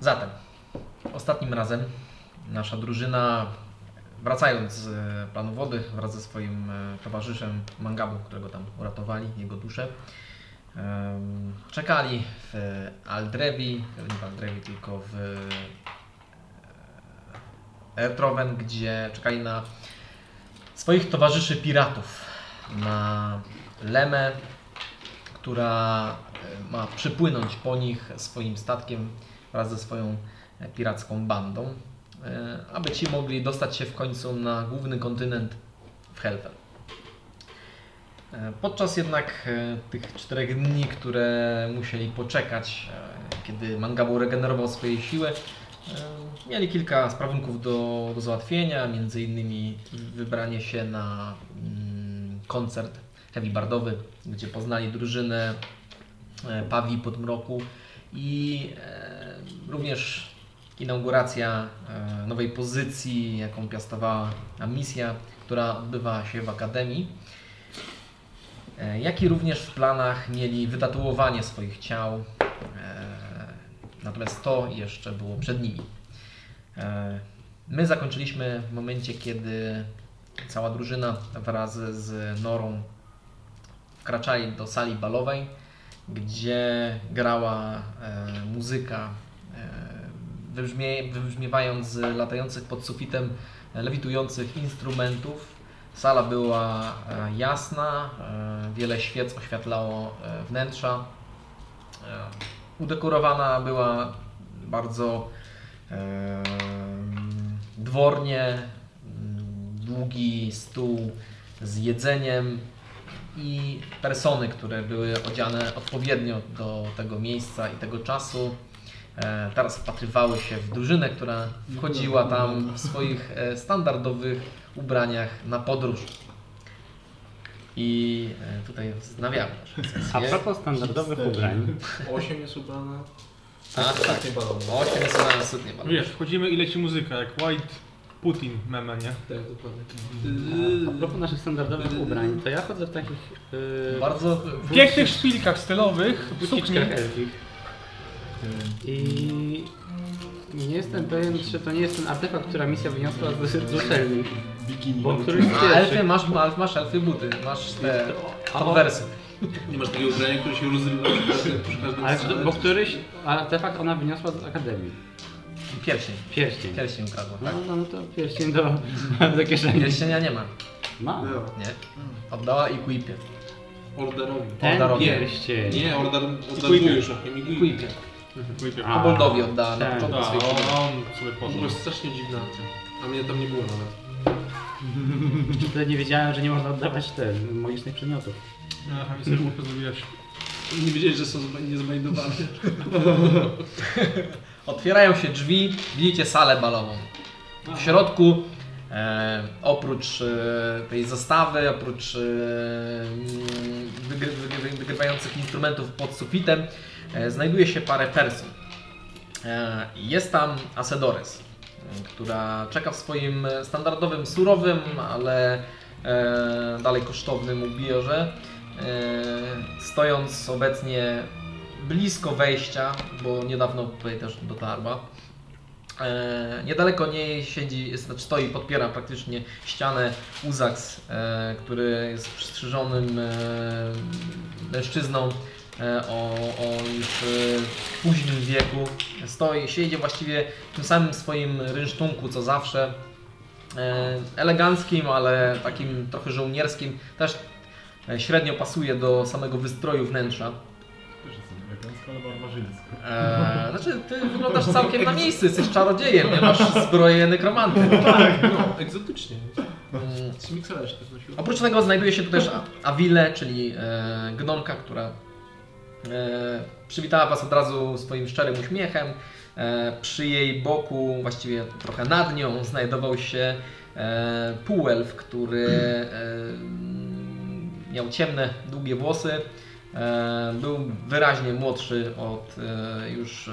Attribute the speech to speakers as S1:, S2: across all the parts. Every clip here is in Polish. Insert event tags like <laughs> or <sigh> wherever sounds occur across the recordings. S1: Zatem, ostatnim razem nasza drużyna, wracając z e, planu wody, wraz ze swoim e, towarzyszem Mangabu, którego tam uratowali, jego duszę, em, czekali w e, Aldrevi, nie w Aldrevi, tylko w e, Ertroven, gdzie czekali na swoich towarzyszy piratów, na Lemę, która e, ma przypłynąć po nich swoim statkiem wraz ze swoją e, piracką bandą, e, aby ci mogli dostać się w końcu na główny kontynent w Helfel. E, Podczas jednak e, tych czterech dni, które musieli poczekać, e, kiedy Mangabu regenerował swoje siły, e, mieli kilka sprawunków do, do załatwienia, między innymi wybranie się na mm, koncert heavy bardowy, gdzie poznali drużynę e, Pawi Podmroku i e, również inauguracja e, nowej pozycji, jaką piastowała misja, która odbywa się w Akademii. E, Jak i również w planach mieli wytatuowanie swoich ciał, e, natomiast to jeszcze było przed nimi. E, My zakończyliśmy w momencie, kiedy cała drużyna wraz z Norą wkraczali do sali balowej, gdzie grała e, muzyka, e, wybrzmie, wybrzmiewając z latających pod sufitem e, lewitujących instrumentów. Sala była e, jasna, e, wiele świec oświetlało e, wnętrza. E, udekorowana była bardzo e, dwornie, mm, długi stół z jedzeniem, i persony, które były odziane odpowiednio do tego miejsca i tego czasu. E, Teraz wpatrywały się w drużynę, która wchodziła tam w swoich e, standardowych ubraniach na podróż. I e, tutaj wznawiam naszą
S2: A
S1: sesję.
S2: propos standardowych
S3: Hipsterzy.
S2: ubrań,
S3: 8 jest ubrana.
S1: A, tak.
S3: nie balon.
S1: O, się wysyłałem absolutnie bardzo.
S4: Wiesz, wchodzimy i leci muzyka, jak White Putin meme, nie?
S3: Tak, dokładnie.
S2: a propos
S5: Yy.
S2: naszych standardowych ubrań, to ja chodzę w takich yy,
S1: Bardzo
S4: W pięknych szpilkach stylowych, sukni.
S2: buciczkach elfich i nie jestem pewien, czy to nie jest ten artefakt, która misja wyniosła z z uczelni,
S3: Bikini.
S2: bo któryś z
S1: A elfy,
S2: pierwszych...
S1: masz, masz, masz elfy buty, masz te
S2: A, o,
S1: konwersy.
S3: Nie masz takiego ubrania, które się rozrywa przy każdym
S2: Ale
S3: strzale.
S2: kto- bo któryś artefakt ona wyniosła z akademii.
S1: Pierścień,
S2: Pierścień.
S1: pierścień ukradła,
S2: No,
S1: tak?
S2: no, no to pierścień do, do kieszeni.
S1: Pierścienia nie ma,
S2: Ma.
S3: No,
S1: nie? Oddała i quipie.
S3: Orderowi.
S2: Ten
S1: Ordarowie.
S2: pierścień.
S3: Nie, order,
S4: Quipie.
S3: orderujesz, a nie migujesz.
S1: Quipie.
S2: A.
S1: Koboldowi oddała na
S2: Tak.
S1: początku
S4: Da,
S1: swojej
S4: on,
S1: przygody.
S4: on sobie
S3: To
S4: poszedł.
S3: była strasznie dziwna akcja. A mnie tam nie było nawet.
S2: Wtedy nie wiedziałem, że nie można oddawać ten, magicznych przedmiotów.
S4: Aha, mi sobie głupio zrobiłaś.
S3: Nie wiedziałeś, że są zba- niezbajdowane.
S2: <laughs>
S1: Otwierają się drzwi, widzicie salę balową. W środku e, oprócz e, tej zestawy, oprócz e, mm, wygry, wygry, wygrywających instrumentów pod sufitem, e, znajduje się parę person. E, jest tam Asedores, m, która czeka w swoim standardowym, surowym, ale e, dalej kosztownym ubiorze, e, stojąc obecnie blisko wejścia, bo niedawno tutaj też dotarła. E, niedaleko niej siedzi, znaczy stoi, podpiera praktycznie ścianę Uzaks, e, który jest przystrzyżonym e, mężczyzną e, o, o już e, późnym wieku. Stoi, siedzi właściwie w tym samym swoim rynsztunku co zawsze. E, eleganckim, ale takim trochę żołnierskim. Też e, średnio pasuje do samego wystroju wnętrza.
S6: Też jestem elegancko, ale barbarzyńsko.
S1: Eee, znaczy, ty wyglądasz całkiem na miejscu, jesteś czarodziejem, nie masz zbroję nekromanty.
S3: No, egzotycznie.
S1: Mm,
S3: Smiksera się tak nosiło.
S1: Oprócz tego znajduje się tu też A- Awile, czyli e, gnomka, która e, przywitała Was od razu swoim szczerym uśmiechem. E, przy jej boku, właściwie trochę nad nią, znajdował się e, półelf, który e, miał ciemne, długie włosy. E, był wyraźnie młodszy od e, już e,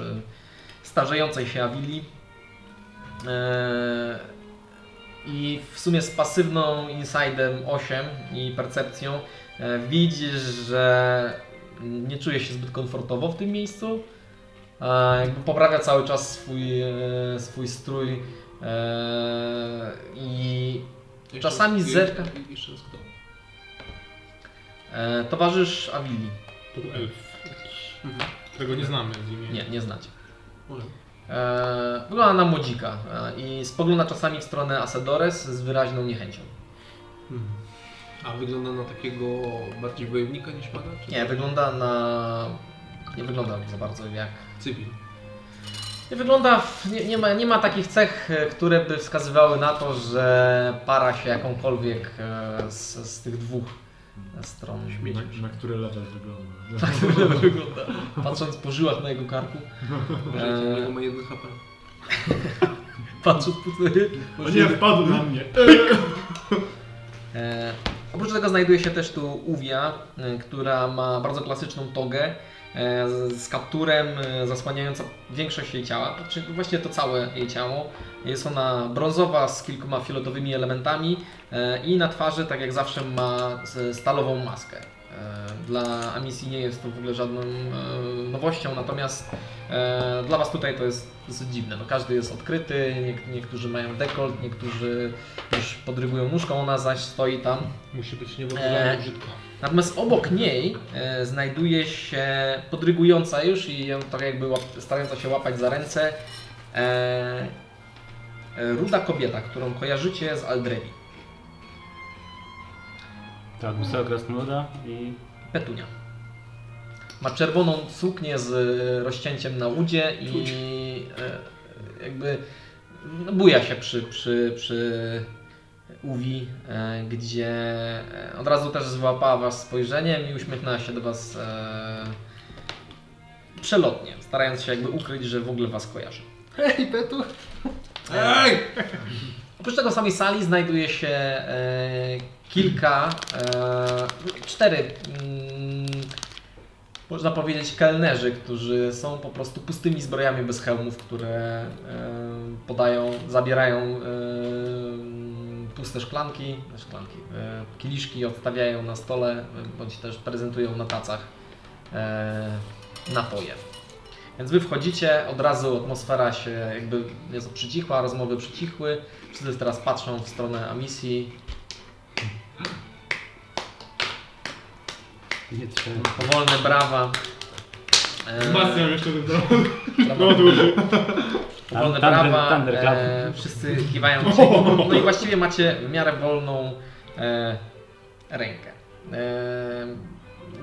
S1: starzejącej się Awili. E, i w sumie z pasywną insidem 8 i percepcją e, widzisz, że nie czuje się zbyt komfortowo w tym miejscu. E, jakby poprawia cały czas swój, e, swój strój e, i
S3: Jeszcze
S1: Czasami
S3: raz-
S1: zerka.
S3: Jeszcze raz kto?
S1: e, towarzysz Awili.
S4: Tu elf,
S2: Mhm.
S4: którego nie znamy z imienia.
S1: Nie, nie znacie.
S3: Może.
S1: E, wygląda na młodzika e, i spogląda czasami w stronę Asadores z wyraźną niechęcią.
S3: Hmm. A wygląda na takiego bardziej wojownika niż pana? Czy
S1: Nie, wygląda na... nie wygląda za bardzo jak...
S3: Cywil.
S1: Nie wygląda... W... Nie, nie, ma, nie ma takich cech, e, które by wskazywały na to, że para się jakąkolwiek e, z, z tych dwóch e, stron.
S6: Na, na który level wygląda?
S1: Dobrze <laughs> wygląda. Patrząc po żyłach na jego karku.
S3: Eee.
S1: E,
S3: Niego ma jeden HP.
S1: patrząc po...
S6: O nie, wpadł na mnie!
S1: E, oprócz tego znajduje się też tu Uwia, e, która ma bardzo klasyczną togę e, z, z kapturem e, zasłaniająca większość jej ciała, czy właściwie to całe jej ciało. Jest ona brązowa z kilkoma fioletowymi elementami e, i na twarzy, tak jak zawsze, ma s- stalową maskę. E, Dla Amisji nie jest to w ogóle żadną e, nowością, natomiast e, dla Was tutaj to jest dosyć dziwne. No, każdy jest odkryty, niek- niektórzy mają dekolt, niektórzy już podrygują nóżką, ona zaś stoi tam.
S4: Musi być niewyobrażalnie
S1: Eee.
S4: brzydko.
S1: Natomiast obok niej e, znajduje się podrygująca już i ją tak jakby łap, starająca się łapać za ręce e, e, ruda kobieta, którą kojarzycie z Aldrevi.
S5: Tak, wysoko krasnoluda i
S1: Petunia. Ma czerwoną suknię z e, rozcięciem na udzie i e, jakby no, buja się przy, przy, przy Uwi, e, gdzie e, od razu też złapała Was spojrzeniem i uśmiechnęła się do Was e, przelotnie, starając się jakby ukryć, że w ogóle Was kojarzy.
S2: Hej, Petu!
S3: Ej!
S1: Oprócz tego w samej sali znajduje się e, kilka, e, cztery, mm, można powiedzieć, kelnerzy, którzy są po prostu pustymi zbrojami bez hełmów, które e, podają, zabierają e, puste szklanki, szklanki e, kieliszki, odstawiają na stole, e, bądź też prezentują na tacach e, napoje. Więc wy wchodzicie, od razu atmosfera się jakby nieco przycichła, rozmowy przycichły. Wszyscy teraz patrzą w stronę Amisji.
S2: Nie trzeba.
S1: Powolne brawa. E,
S4: Sebastian jeszcze dodał.
S3: No,
S1: brawa. Powolne
S5: Tam- thunder-
S1: brawa.
S5: thunderclap.
S1: E, wszyscy kiwają.
S3: <laughs>
S1: No i właściwie macie w miarę wolną e, rękę. E,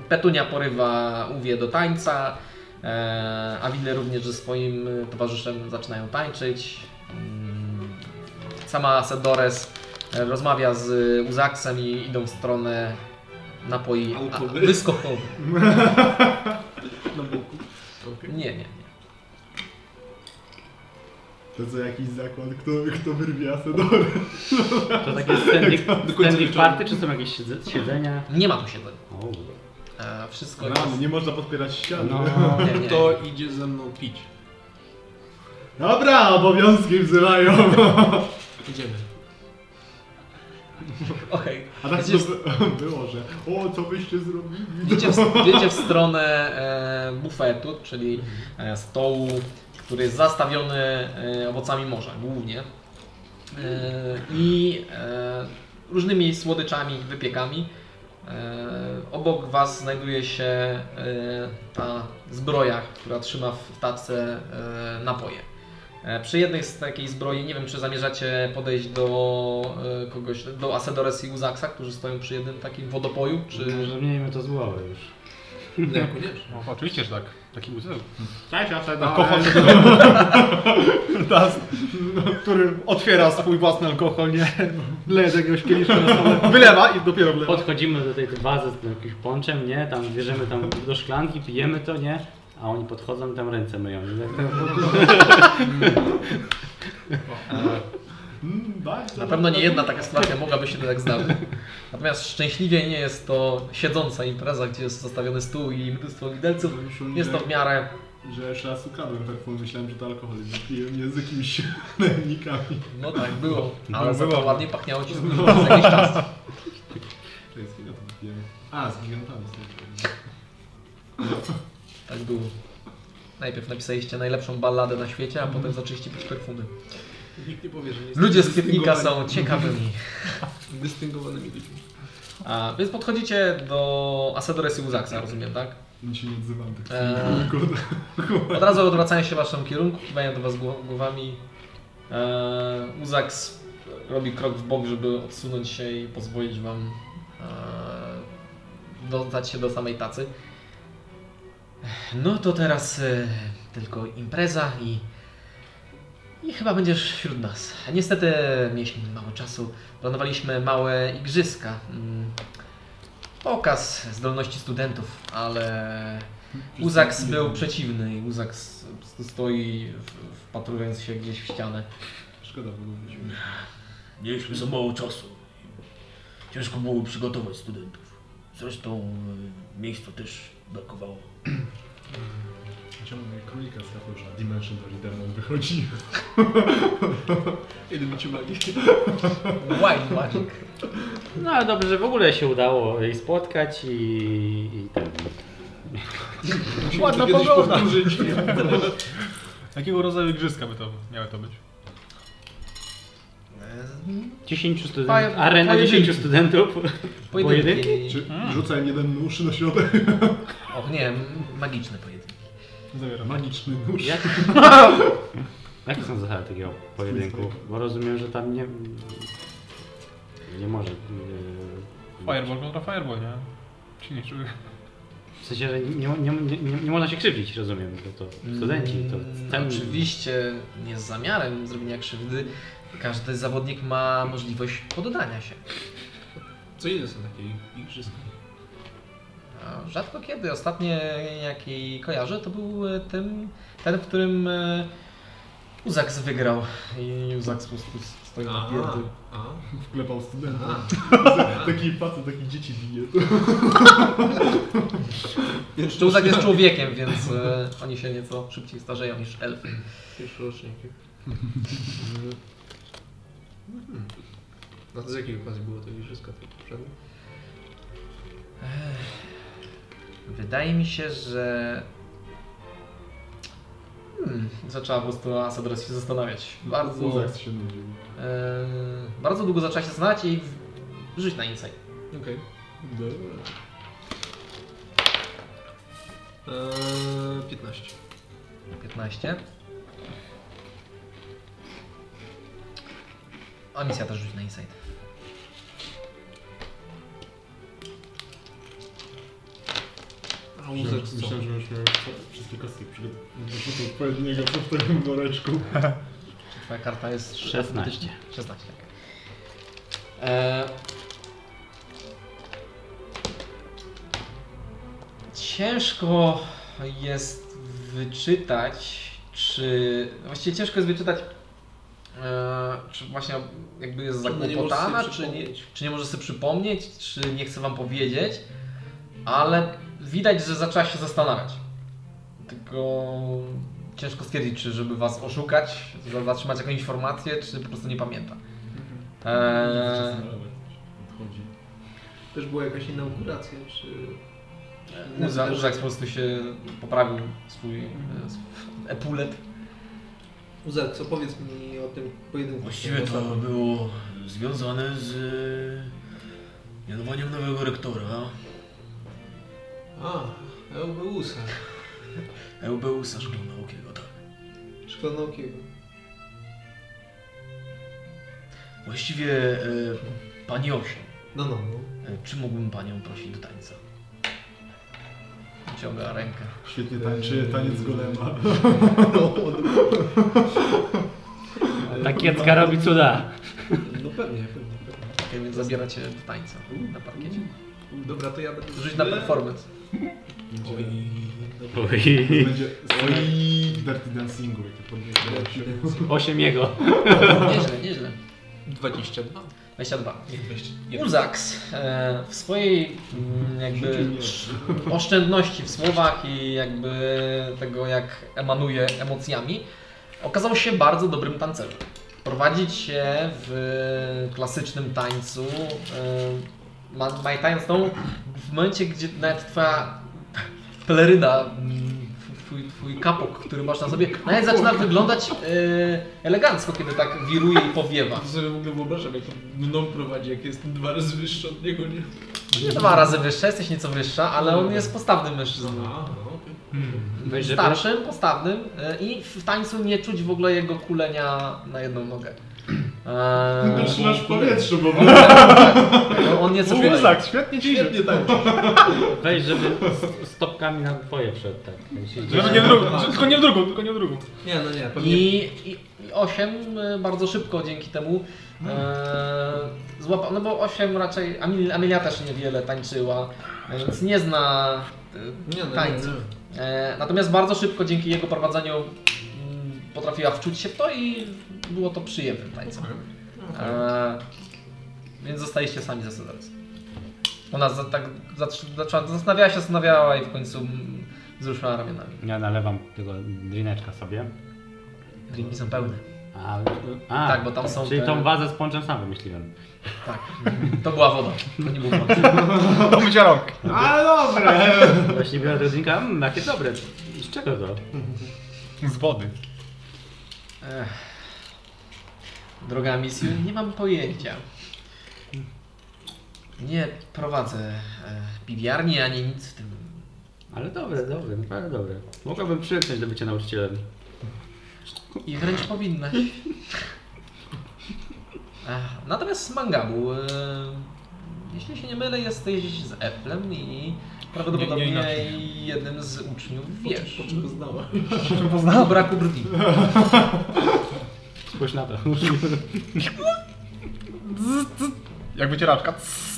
S1: Petunia porywa Uwie do tańca. E, Awile również ze swoim towarzyszem zaczynają tańczyć. Mm, Sama Sedores e, rozmawia z Uzaksem i idą w stronę napoi a-
S3: Alkohol.
S1: wyskokowych.
S3: <laughs> Na boku.
S1: Nie, nie, nie.
S6: To co jakiś zakład, kto, kto wyrwie Asadora?
S2: To takie standing,
S6: do końca
S2: standing
S6: wieczoru.
S2: party, czy są jakieś siedze- siedzenia?
S1: Nie ma tu siedzenia.
S5: o,
S1: E, Wszystko jest...
S6: Rany, nie można podpierać ściany.
S5: no,
S1: Nie, nie.
S3: Kto idzie ze mną pić?
S6: Dobra, obowiązki wzywają.
S3: Idziemy.
S1: Okej.
S6: A tak
S1: Widzisz-
S6: to by- <laughs> było, że o, co byście zrobili?
S1: Idziecie w, idziecie w stronę e, bufetu, czyli e, stołu, który jest zastawiony e, owocami morza głównie. E, I e, różnymi słodyczami, wypiekami. E, obok Was znajduje się e, ta zbroja, która trzyma w w tacce e, napoje. E, Przy jednej z takiej zbroi, nie wiem czy zamierzacie podejść do e, kogoś, do Asedores i Uzaksa, którzy stoją przy jednym takim wodopoju, czy...
S5: może miejmy to z głowy już.
S3: No jak koniecznie.
S4: No, oczywiście, że tak. Taki muzeum.
S6: Cześć,
S4: Alkohol.
S6: Asadora.
S4: Das, no, który otwiera swój własny alkohol, nie? Leje do jakiegoś kieliszka na stole. Wylewa i dopiero wlewa.
S2: Podchodzimy do tej wazy z tym jakimś ponczem, nie? Tam bierzemy tam do szklanki, pijemy to, nie? A oni podchodzą tam ręce myją. Tak
S6: Mm, bardzo
S1: Na pewno nie jedna taka sytuacja mogłaby się tak zdarzyć. Natomiast szczęśliwie nie jest to siedząca impreza, gdzie jest zostawiony stół i mnóstwo widelców.
S6: No,
S1: Jest to w miarę.
S6: Że jeszcze raz ukradłem perfum, myślałem, że to alkohol. Piłem je z jakimiś <laughs> najemnikami.
S1: No tak, było. Ale za to
S4: Było.
S1: ładnie pachniało ci z przez jakiś czas.
S6: To jest chwila, to piłem. A, z gigantami. sobie piłem.
S1: Tak było. Najpierw napisaliście najlepszą balladę na świecie, a potem zaczęliście pić perfumy.
S3: Nikt nie powie, że nie
S1: Ludzie z
S3: jesteście
S1: Kiepnika są
S3: dystyngowani-
S1: ciekawymi.
S3: Dystyngowanymi ludźmi.
S1: A, więc podchodzicie do Asedores i Uzaxa, rozumiem, tak?
S6: My się nie odzywam tak
S1: Eee.
S6: kurde.
S1: Od razu odwracają się w waszym kierunku, kiwają do was gło- głowami. Eee, Uzax robi krok w bok, żeby odsunąć się i pozwolić wam eee, dostać się do samej tacy. No to teraz e, tylko impreza i, i chyba będziesz wśród nas. Niestety mieliśmy mało czasu. Planowaliśmy małe igrzyska. mm, Pokaz zdolności studentów, ale Uzaks był przeciwny i Uzaks stoi w- wpatrując się gdzieś w ścianę.
S6: Szkoda, bo go wziąłem.
S7: Mieliśmy za mało czasu. Ciężko było przygotować studentów. Zresztą y, miejsca też brakowało.
S6: <clears throat> Czemu mnie królika z kapelusza Dimension Door Demon <laughs> wychodzi?
S3: Jeden macie magii.
S1: Wild Magic.
S2: No ale dobrze, że w ogóle się udało jej spotkać i, i tak.
S4: Ładna
S6: Kiedyś
S4: pogoda.
S6: powtórzyć.
S4: Jakiego rodzaju igrzyska by to miały to być?
S2: 10 studentów,
S1: Poje-
S2: arena
S1: pojedynki.
S2: 10 no, studentów.
S1: Pojedynki.
S6: Czy rzucaj jeden nóż na <laughs> środek?
S1: Och nie, m- magiczne pojedynki.
S6: Zawiera magiczny nóż.
S2: Jak... <laughs> Jakie są zasady takiego pojedynku? Bo rozumiem, że tam nie... Nie może... Yy,
S4: Fireball kontra Fireball, nie? Silniejszy. <laughs>
S2: W sensie, że nie, nie, nie, nie, nie można się krzywdzić, rozumiem, bo to studenci, to
S1: Mm,
S2: ten...
S1: Oczywiście nie z zamiarem zrobienia krzywdy. Każdy zawodnik ma możliwość poddania się.
S3: Co inne są takie igrzyska?
S1: A Rzadko kiedy. Ostatnie jaki kojarzę to był e, tym, ten, w którym e, Uzaks wygrał. I Uzaks po prostu stoi na Tak, pierdol.
S3: a.
S6: Wklepał studenta.
S3: a.
S6: <laughs> Taki facet, taki dzieci bije.
S1: Czuzak tak jest człowiekiem, więc e, oni się nieco szybciej starzeją niż elfy.
S3: Pierwszy rocznik. No Mhm. to z jakiej okazji było to tak igrzyska? To poprzednie?
S1: Wydaje mi się, że... Hmm, zaczęła po prostu Asadres się zastanawiać. Bardzo,
S6: Uzak Tak, się nudził.
S1: e, bardzo długo zaczęła się zastanawiać i w- rzuć na insight.
S3: Okej. Dobra. Eee, 15.
S1: 15. A misja też rzuć na insight.
S3: A
S6: Myślałem,
S3: łóżek co?
S6: myślałem, że już miał wszystkie kostki przygotowane. Wyrzucał odpowiedniego w takim woreczku.
S1: Czy twoja karta jest
S2: 16.
S1: 16, tak. E... Ciężko jest wyczytać, czy. no Właściwie ciężko jest wyczytać, e... czy właśnie jakby jest
S3: Czy ona nie może
S1: zakłopotana,
S3: sobie
S1: czy, nie,
S3: przypomnieć?
S1: czy nie może sobie przypomnieć, czy nie chce wam powiedzieć, ale widać, że zaczęła się zastanawiać. Tylko ciężko stwierdzić, czy żeby was oszukać, żeby zatrzymać jakąś informację, czy po prostu nie pamięta. Eee,
S7: E.
S6: Odchodzi.
S3: Też była jakaś inauguracja, czy...
S1: Uza- Uzak po prostu się poprawił swój e, sw- epulet.
S3: Uzak, co powiedz mi o tym pojedynku?
S7: Właściwie to było związane z e, mianowaniem nowego rektora,
S3: A,
S7: <laughs>
S3: Eubeusa.
S7: EUBUS-a szkolnaukiego, tak.
S3: Szklanokiego.
S7: Właściwie e, pani Osiem,
S3: No, no,
S7: <laughs>
S3: no.
S7: e, czy mógłbym panią prosić do tańca?
S1: Ciąga rękę.
S6: Świetnie tańczy, taniec golema.
S7: No,
S2: Ta kiecka robi cuda.
S3: No pewnie, pewnie, pewnie.
S1: Okay, więc zabiera cię do tańca na parkiecie.
S3: Dobra, to ja będę...
S1: Rzuć na <laughs> performance.
S6: Będzie,
S2: Oj, <laughs>
S6: <laughs> będzie w Dirty Dancingu, jak to podniesie.
S2: 8 jego.
S1: Nieźle, nieźle.
S3: 22.
S1: 22.
S3: Nie, 20.
S1: Uzaks e, w swojej mm, jakby <laughs> oszczędności w słowach i jakby tego jak emanuje emocjami okazał się bardzo dobrym tancerzem. Prowadzić się w klasycznym tańcu, e, ma- majtając tą w momencie, gdzie nawet twoja peleryna mm, w- twój, twój kapok, który masz na sobie, nawet zaczyna wyglądać e, elegancko, kiedy tak wiruje i powiewa.
S3: To sobie w ogóle wyobrażam, jak on mną prowadzi, jak jestem dwa razy wyższy od niego, nie?
S1: Nie dwa razy wyższa, jesteś nieco wyższa, ale on jest postawnym mężczyzną.
S3: A, no, okej.
S2: Weź, żeby...
S1: Starszym, postawnym e, i w tańcu nie czuć w ogóle jego kulenia na jedną nogę. Eee,
S6: Trzymasz w powietrzu, bo
S1: no, on nieco kuleje.
S4: Zak, świetnie ci idzie.
S6: świetnie tak.
S2: Weź, żeby z- stopkami na twoje przed tak. Myślisz,
S4: Żeby nie w drugą, tylko nie w drugą, tylko nie w drugą.
S3: Nie, no nie, pewnie...
S1: I, i, i 8 y, bardzo szybko dzięki temu e, złapał, no bo 8 raczej, Amil- Amelia też niewiele tańczyła, więc nie zna
S3: Nie,
S1: y,
S3: no,
S1: tańców. E, natomiast bardzo szybko dzięki jego prowadzeniu mm, potrafiła wczuć się w to i było to przyjemnym tańcem. E, więc zostaliście sami ze Cezarys. Ona za, tak zatrzy- zaczęła, zastanawiała się, zastanawiała i w końcu mm, wzruszyła ramionami.
S5: Ja nalewam tego drineczka sobie.
S1: Drinki są pełne.
S5: A, a,
S1: Tak, bo tam są
S5: Czyli
S1: te-
S5: tą wazę z ponczem sam wymyśliłem.
S1: Tak. To była woda. To nie był prąd.
S4: To będzie rąk.
S6: A dobra.
S5: Właśnie biorę tego drinka, mmm, jakie dobre.
S2: I mm, Z czego to?
S4: Z wody.
S1: Ech. Droga misji, nie mam pojęcia. Nie prowadzę e, piwiarni ani nic w tym.
S2: Ale dobre, dobre, naprawdę dobre. Mogłabym przyknąć do bycia nauczycielem.
S1: I wręcz powinnaś. Ach, Natomiast z Mangabu, e, jeśli się nie mylę, jesteś z Eplem i prawdopodobnie jednym z uczniów wiesz.
S3: Po czym go
S1: <laughs>
S3: znała?
S1: Poznałem braku brwi.
S2: Spójrz na to. <laughs>
S4: Jak wycieraczka. Cs.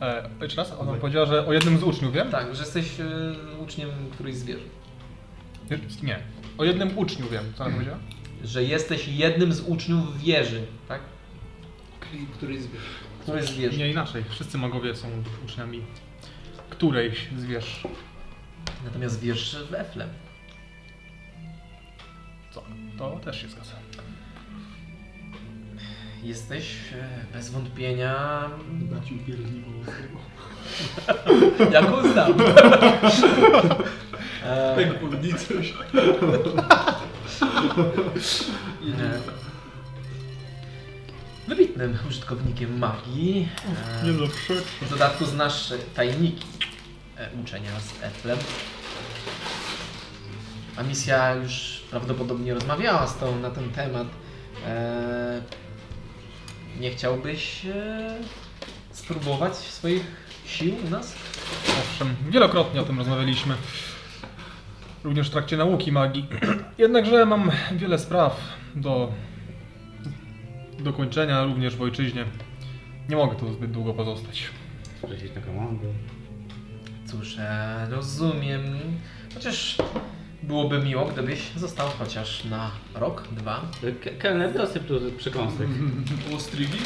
S4: E, jeszcze raz? Ona powiedziała, że o jednym z uczniów, wiem?
S1: Tak, że jesteś e, uczniem któryś z wieży.
S4: Nie. O jednym uczniu wiem, co ona powiedziała?
S1: Że jesteś jednym z uczniów wieży, tak?
S3: Który jest wiesz?
S1: Któryś z wieży.
S4: Nie inaczej. Wszyscy magowie są uczniami którejś z wież.
S1: Natomiast wiersz w Eflem.
S4: Co? To też się zgadza.
S1: Jesteś e, bez wątpienia
S6: Dacił pierdniło ostrego.
S1: jaką znam. E,
S6: Tak podnicę się.
S1: e, Wybitnym użytkownikiem magii. E,
S4: zawsze.
S1: W dodatku znasz e, tajniki e, uczenia z Eflem. A misja już prawdopodobnie rozmawiała z tą na ten temat. E, Nie chciałbyś e, spróbować swoich sił u nas?
S4: Owszem, wielokrotnie o tym rozmawialiśmy. Również w trakcie nauki magii. <clears throat> Jednakże mam wiele spraw do dokończenia również w ojczyźnie. Nie mogę tu zbyt długo pozostać.
S5: Przejść na komandę.
S1: Cóż, e, rozumiem. Chociaż byłoby miło, gdybyś został chociaż na rok, dwa.
S2: K- Kelner, dosyp tu przekąsek.
S3: Ostrigi?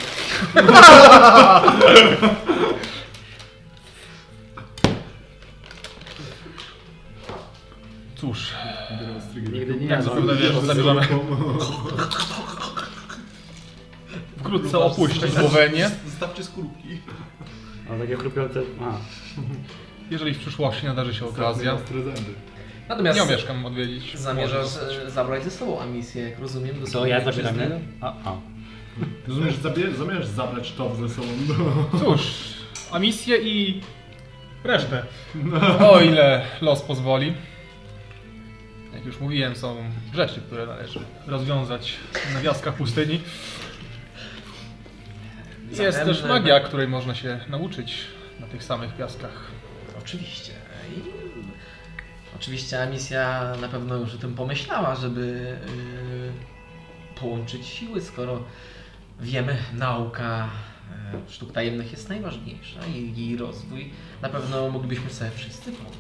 S4: Cóż,
S6: Biorę Tak, ostrygę.
S2: Nigdy nie
S4: jak
S2: jadłem.
S4: zwykle wiesz, zabierzemy. Wkrótce opuści Słowenię.
S3: Zostawcie skorupki.
S2: O, takie chrupiące... A,
S4: Jeżeli w przyszłości nadarzy się okazja.
S6: Ostre zęby.
S1: Natomiast
S4: Nie omieszkam odwiedzić.
S1: zamierzasz
S4: Może zostać.
S1: e, zabrać ze sobą emisję, jak rozumiem, do
S2: to
S1: swojej
S2: ja zabieram
S1: ojczyzny.
S2: jedno? A, a.
S6: Rozumiesz, zabier- zamierzasz zabrać to ze sobą do...
S4: Cóż, a misję i resztę. O ile los pozwoli. Jak już mówiłem, są rzeczy, które należy rozwiązać na wiaskach pustyni. Jest
S1: Zatem,
S4: też
S1: e,
S4: magia, której można się nauczyć na tych samych piaskach.
S1: Oczywiście. I... Oczywiście misja na pewno już o tym pomyślała, żeby y, połączyć siły, skoro wiemy, nauka y, sztuk tajemnych jest najważniejsza i jej rozwój na pewno moglibyśmy sobie wszyscy pomóc.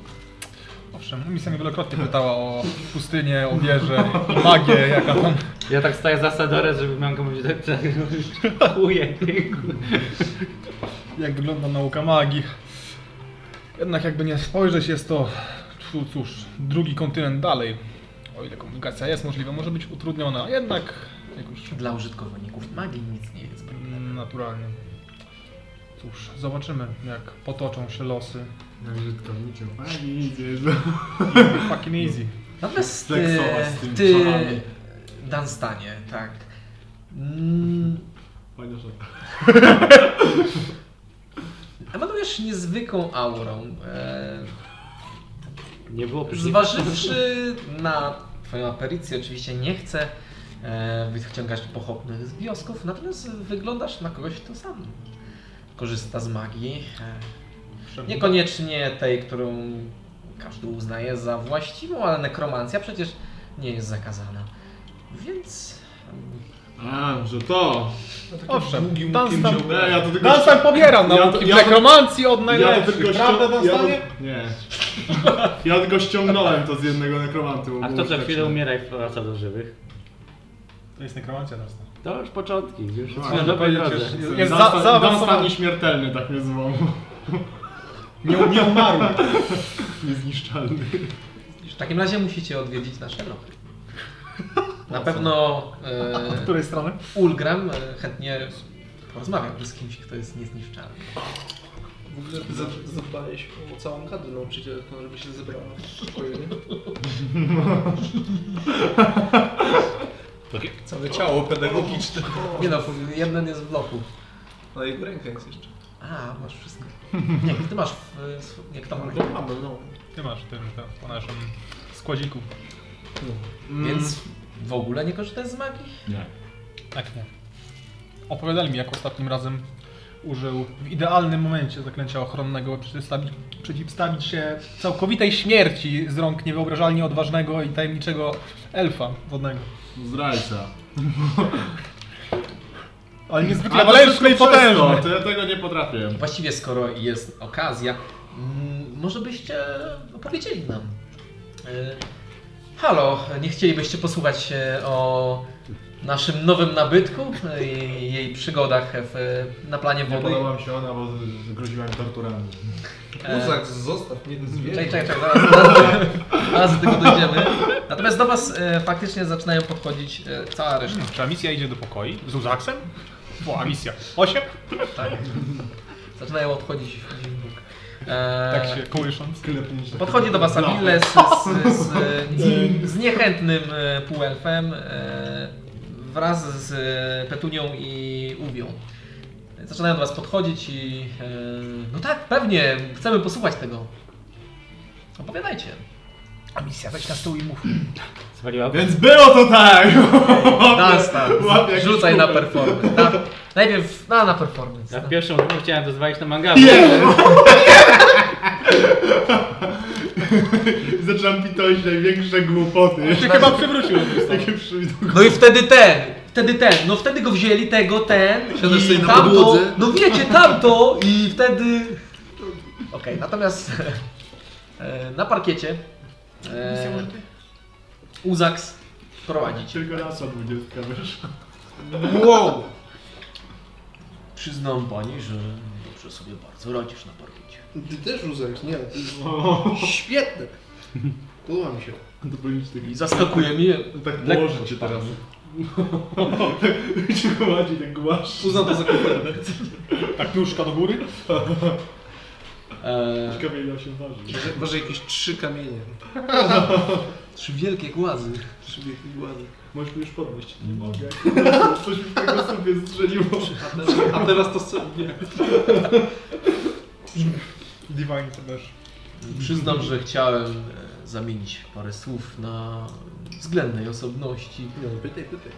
S4: Owszem, misja mnie wielokrotnie pytała o pustynię, o wieżę i magię, jaka tam
S2: Ja tak staję za Sadorę, żeby miałem komuś tak... tak Chuje.
S4: jak wygląda nauka magii. Jednak jakby nie spojrzeć, jest to, czu- cóż, drugi kontynent dalej. O ile komunikacja jest możliwa, może być utrudniona, a jednak jakoś
S1: Dla użytkowników magii nic nie jest problemem.
S4: naturalnie. Cóż, zobaczymy jak potoczą się losy
S6: Na użytkowniczą. A nie idzie, że...
S4: Fucking easy.
S1: Natomiast ty,
S6: Flexować z tymi
S1: ty
S6: szalami.
S1: Danstanie, tak. Mm,
S6: Fajna żarta.
S1: emanujesz niezwykłą aurą. E,
S2: Nie było przeciwnika.
S1: Zważywszy na Twoją aperycję, oczywiście nie chcę e, wyciągać pochopnych z wniosków, natomiast wyglądasz na kogoś, kto sam korzysta z magii. E, niekoniecznie tej, którą każdy uznaje za właściwą, ale nekromancja przecież nie jest zakazana. Więc
S6: A, że to!
S4: No, Owszem,
S6: Długim
S4: Dunstan-
S6: łukiem zioł- Nie, ja to tylko...
S4: Dunstan pobieram
S6: Ja to-
S4: nauki
S6: ja
S4: w
S6: to-
S4: nekromancji od
S6: ja to
S4: najlepszych,
S6: tylko
S4: prawda
S6: ścią- ja to-
S4: Dunstanie?
S6: Nie. <laughs> Ja tylko ściągnąłem to z jednego nekromanty. bo
S2: A kto
S6: było
S2: za chwilę
S6: śmieszne.
S2: umiera i wraca do żywych?
S4: To jest nekromancja Dunstan.
S2: To już początki, już
S6: No,
S2: jesteśmy
S6: ale
S2: na dobrej
S4: powiedzieć,
S2: drodze.
S4: że- Jest
S6: Jest
S4: za-
S6: Dunstan,
S4: zaawansowany.
S6: Dunstan nieśmiertelny, tak mnie zwał.
S4: Nie, nie umarł.
S6: <laughs> Niezniszczalny.
S1: w takim razie musicie odwiedzić nasze lochy. Na pewno
S4: Z
S1: e,
S4: której strony?
S1: Ulgram e, chętnie porozmawiam z kimś, kto jest niezniszczalny.
S3: W ogóle za- zadbałeś o całą kadrę nauczycielską, żeby się zebrała w pokoju, nie?
S1: <laughs>
S6: Całe ciało pedagogiczne.
S1: Nie no, jeden jest w bloku.
S3: Ale jego ręka jest jeszcze.
S1: A, masz wszystko. Nie, ty masz. y, sw- Nie, kto ma?
S3: No, mamy, no.
S4: Ty masz ten, ten po naszym składziku.
S1: Więc w ogóle nie korzystasz z magii?
S4: Tak nie. Opowiadali mi, jak ostatnim razem użył w idealnym momencie zaklęcia ochronnego, by przeciwstawić, przeciwstawić się całkowitej śmierci z rąk niewyobrażalnie odważnego i tajemniczego elfa wodnego.
S6: Zdrajca.
S4: Ale niezwykle
S6: to
S4: waleczny i
S6: wszystko przez to,
S4: potężny.
S6: to ja tego nie potrafię.
S1: Właściwie skoro jest okazja, mm, może byście opowiedzieli nam. Y, Halo, nie chcielibyście posłuchać y, o naszym nowym nabytku y, i jej przygodach w, y, na planie
S6: Nie
S1: wody?
S6: podoba mi się ona, bo z- groziła mi torturami.
S3: Muzak, zostaw mnie zwierzę.
S1: E. Czekaj, czekaj, czekaj, zaraz, zaraz, zaraz do tego dojdziemy. Natomiast do Was y, faktycznie zaczynają podchodzić y, cała reszta.
S4: Czy misja idzie do pokoi? Z Uzaksem? O, misja. Osiem?
S1: Tak. Zaczynają odchodzić w dźwięk. E,
S4: Tak się No. kołysząc.
S6: Klepnięcie.
S1: Podchodzi do was Abile z, z, z, z, z niechętnym e, półelfem e, wraz z e, Petunią i Uwią. Zaczynają do was podchodzić i... e, No tak, pewnie, chcemy posłuchać tego. Opowiadajcie.
S4: A misja, weź na stół i mów.
S2: Zwaliła
S6: Więc było to <laughs> tak!
S1: Dunstan,
S6: łapie jakiś
S1: rzucaj na
S6: kupel.
S1: performance. Na, najpierw no, na, na performance.
S2: Ja
S1: Na-
S2: w pierwszą grupę chciałem to zwalić na mangabu.
S4: <laughs>
S6: <laughs> Zaczynam pitolić największe głupoty.
S4: Ty <laughs> chyba przywrócił Dunstan.
S6: Takie przywidu.
S1: No i wtedy ten, wtedy ten, no wtedy go wzięli, tego, ten
S3: Siadasz
S1: i
S3: sobie na
S1: tamto,
S3: podłodze.
S1: no wiecie, tamto i wtedy... Okej, natomiast e, na parkiecie e, Uzaks prowadzić.
S6: Tylko raz o 20 wyszła.
S3: Wow!
S7: Przyznam pani, że dobrze sobie bardzo radzisz na parkiecie.
S3: Ty też Muzak, nie? Ty... Świetne! Podoba mi się.
S6: To powinien być taki...
S1: I zaskakuje mnie,
S6: Tak położyć <laughs> cię teraz. Tak cię prowadzi, tak głasz.
S3: Uznam to za kupę.
S4: Tak, nóżka do góry.
S1: e,
S6: Kamienia się waży.
S3: Może, może jakieś trzy kamienie.
S1: trzy wielkie głazy.
S3: Trzy wielkie głazy.
S6: Możesz mi już podnieść. Nie mogę. Coś mi w tego sobie strzeliło.
S3: A teraz, a teraz to sobie.
S4: Divine to też.
S1: Przyznam, że chciałem e, zamienić parę słów na względnej osobności. E,
S3: Nie, no, pytaj, pytaj.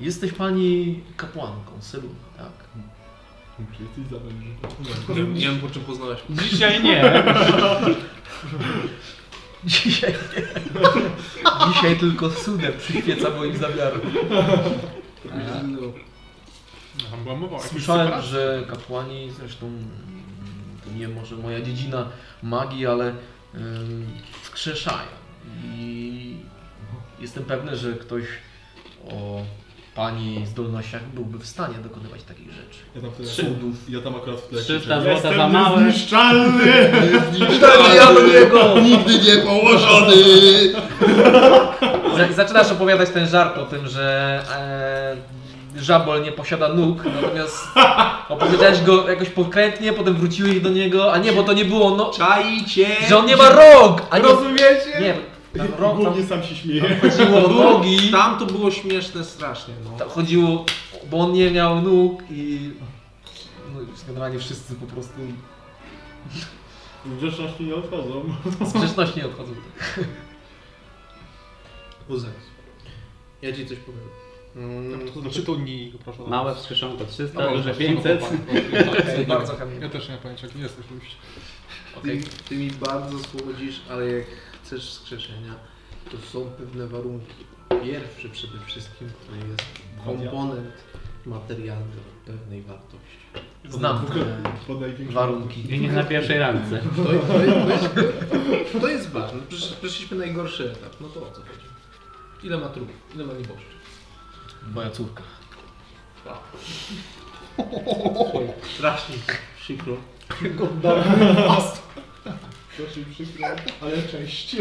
S1: Jesteś pani kapłanką, Selu, tak?
S6: Czy jesteś za mężem?
S3: Nie, nie wiem po czym poznałeś.
S2: Dzisiaj nie.
S1: Dzisiaj nie. <laughs> Dzisiaj tylko cudem przyświeca moim zamiarom.
S4: Tam była mowa o jakimś
S1: Słyszałem,
S4: separacji.
S1: że kapłani, zresztą mm, to nie może moja dziedzina magii, ale ym, wskrzeszają. I jestem pewny, że ktoś o pani zdolnościach byłby w stanie dokonywać takich rzeczy.
S6: Ja tam wtedy...
S1: Cudów.
S6: Ja tam akurat w tle
S2: 300
S6: krzyczę,
S2: złota za
S6: "Jestem
S2: małe."
S1: <laughs>
S6: Niezniszczalny!
S1: Ja do niego!
S6: Nigdy nie położony!
S1: Za- Zaczynasz opowiadać ten żart o tym, że e, żabol nie posiada nóg, natomiast <laughs> opowiedziałeś go jakoś pokrętnie, potem wróciłeś do niego, a nie, bo to nie było no...
S6: Czajcie!
S1: Że on nie ma rąk! A nie,
S6: Rozumiecie?
S1: nie tam rąk, tam
S6: Głównie sam się śmieje.
S1: chodziło o nogi,
S3: Tam to było śmieszne strasznie, no.
S1: tam chodziło, bo on nie miał nóg i... No i generalnie wszyscy po prostu
S6: Grzeczności nie odchodzą.
S1: z grzeczności nie odchodzą.
S3: Wózek. Ja ci coś powiem. Mm,
S4: Przytulnij go proszę.
S5: <laughs> Małe wskrzeszonko 300,
S6: No,
S4: Dobra,
S5: duże
S4: proszę,
S5: 500.
S1: Okej,
S5: <laughs>
S4: chłopak.
S1: bardzo chętnie.
S4: Ja też nie mam pojęcia, kim jesteś. oczywiście.
S1: Okej.
S3: ty, ty mi bardzo słodzisz, ale jak chcesz skrzeszenia, to są pewne warunki. Pierwszy przede wszystkim to jest komponent materialny o pewnej wartości.
S1: Znam
S6: W ogóle Podaj większą-
S1: warunki.
S5: I nie na pierwszej randce.
S3: To, to, jest- to, jest, to jest ważne. Przecież przeszliśmy najgorszy etap. No to o co chodzi? Ile ma trupów? Ile ma nieboszczy?
S1: Moja córka.
S3: Strasznie przykro.
S6: Dosyć przykro, ale cześć. <laughs>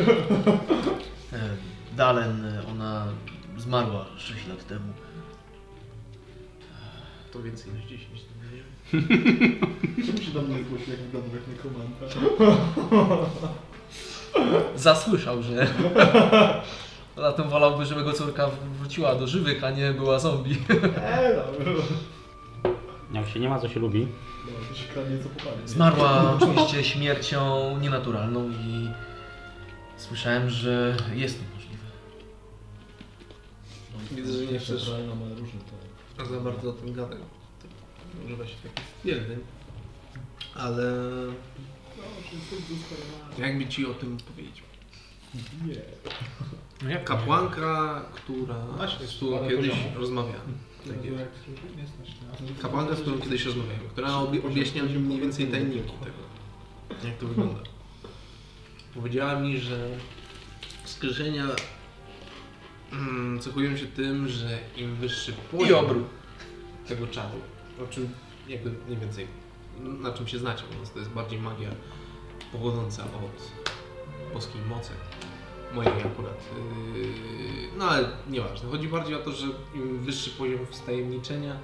S7: E, Dalen, e, ona zmarła 6 lat temu.
S3: To więcej niż 10.
S6: Czemu się do mnie zgłosił jak wyglądał jak nekomanta?
S1: Zasłyszał, że... <laughs> Zatem wolałby, żeby jego córka wróciła do żywych, a nie była zombie.
S6: Eee, dobra.
S5: Jak No, się nie ma, co się lubi.
S6: Dobra, No, to się kradnie co popadnie.
S1: Zmarła oczywiście śmiercią nienaturalną i słyszałem, że jest to możliwe.
S3: Widzę, że nie chcesz
S6: Naturalna ma różne to.
S3: za bardzo o tym gadać. Używa się takich stwierdzeń. Ale
S6: No, wszystko zostaje
S3: jakby ci o tym powiedzieć?
S6: na... Nie.
S4: No jak
S3: Kapłanka, która
S6: Właśnie,
S3: z którą
S6: parę
S3: kiedyś
S6: poziomów.
S3: rozmawiałem. Tak
S6: Tak
S3: jest.
S6: jak nie stać na...
S3: Kapłanka, z którą kiedyś rozmawiałem, która obie, objaśnia mi mniej więcej tajniki tego, jak to wygląda. Powiedziała mi, że skrzyżenia mm, cechują się tym, że im wyższy poziom
S1: obrót.
S3: tego czaru, o czym jakby mniej więcej na czym się znacie, więc to jest bardziej magia pochodząca od boskiej mocy, mojej akurat. Yy, no ale nieważne. Chodzi bardziej o to, że im wyższy poziom wstajemniczenia,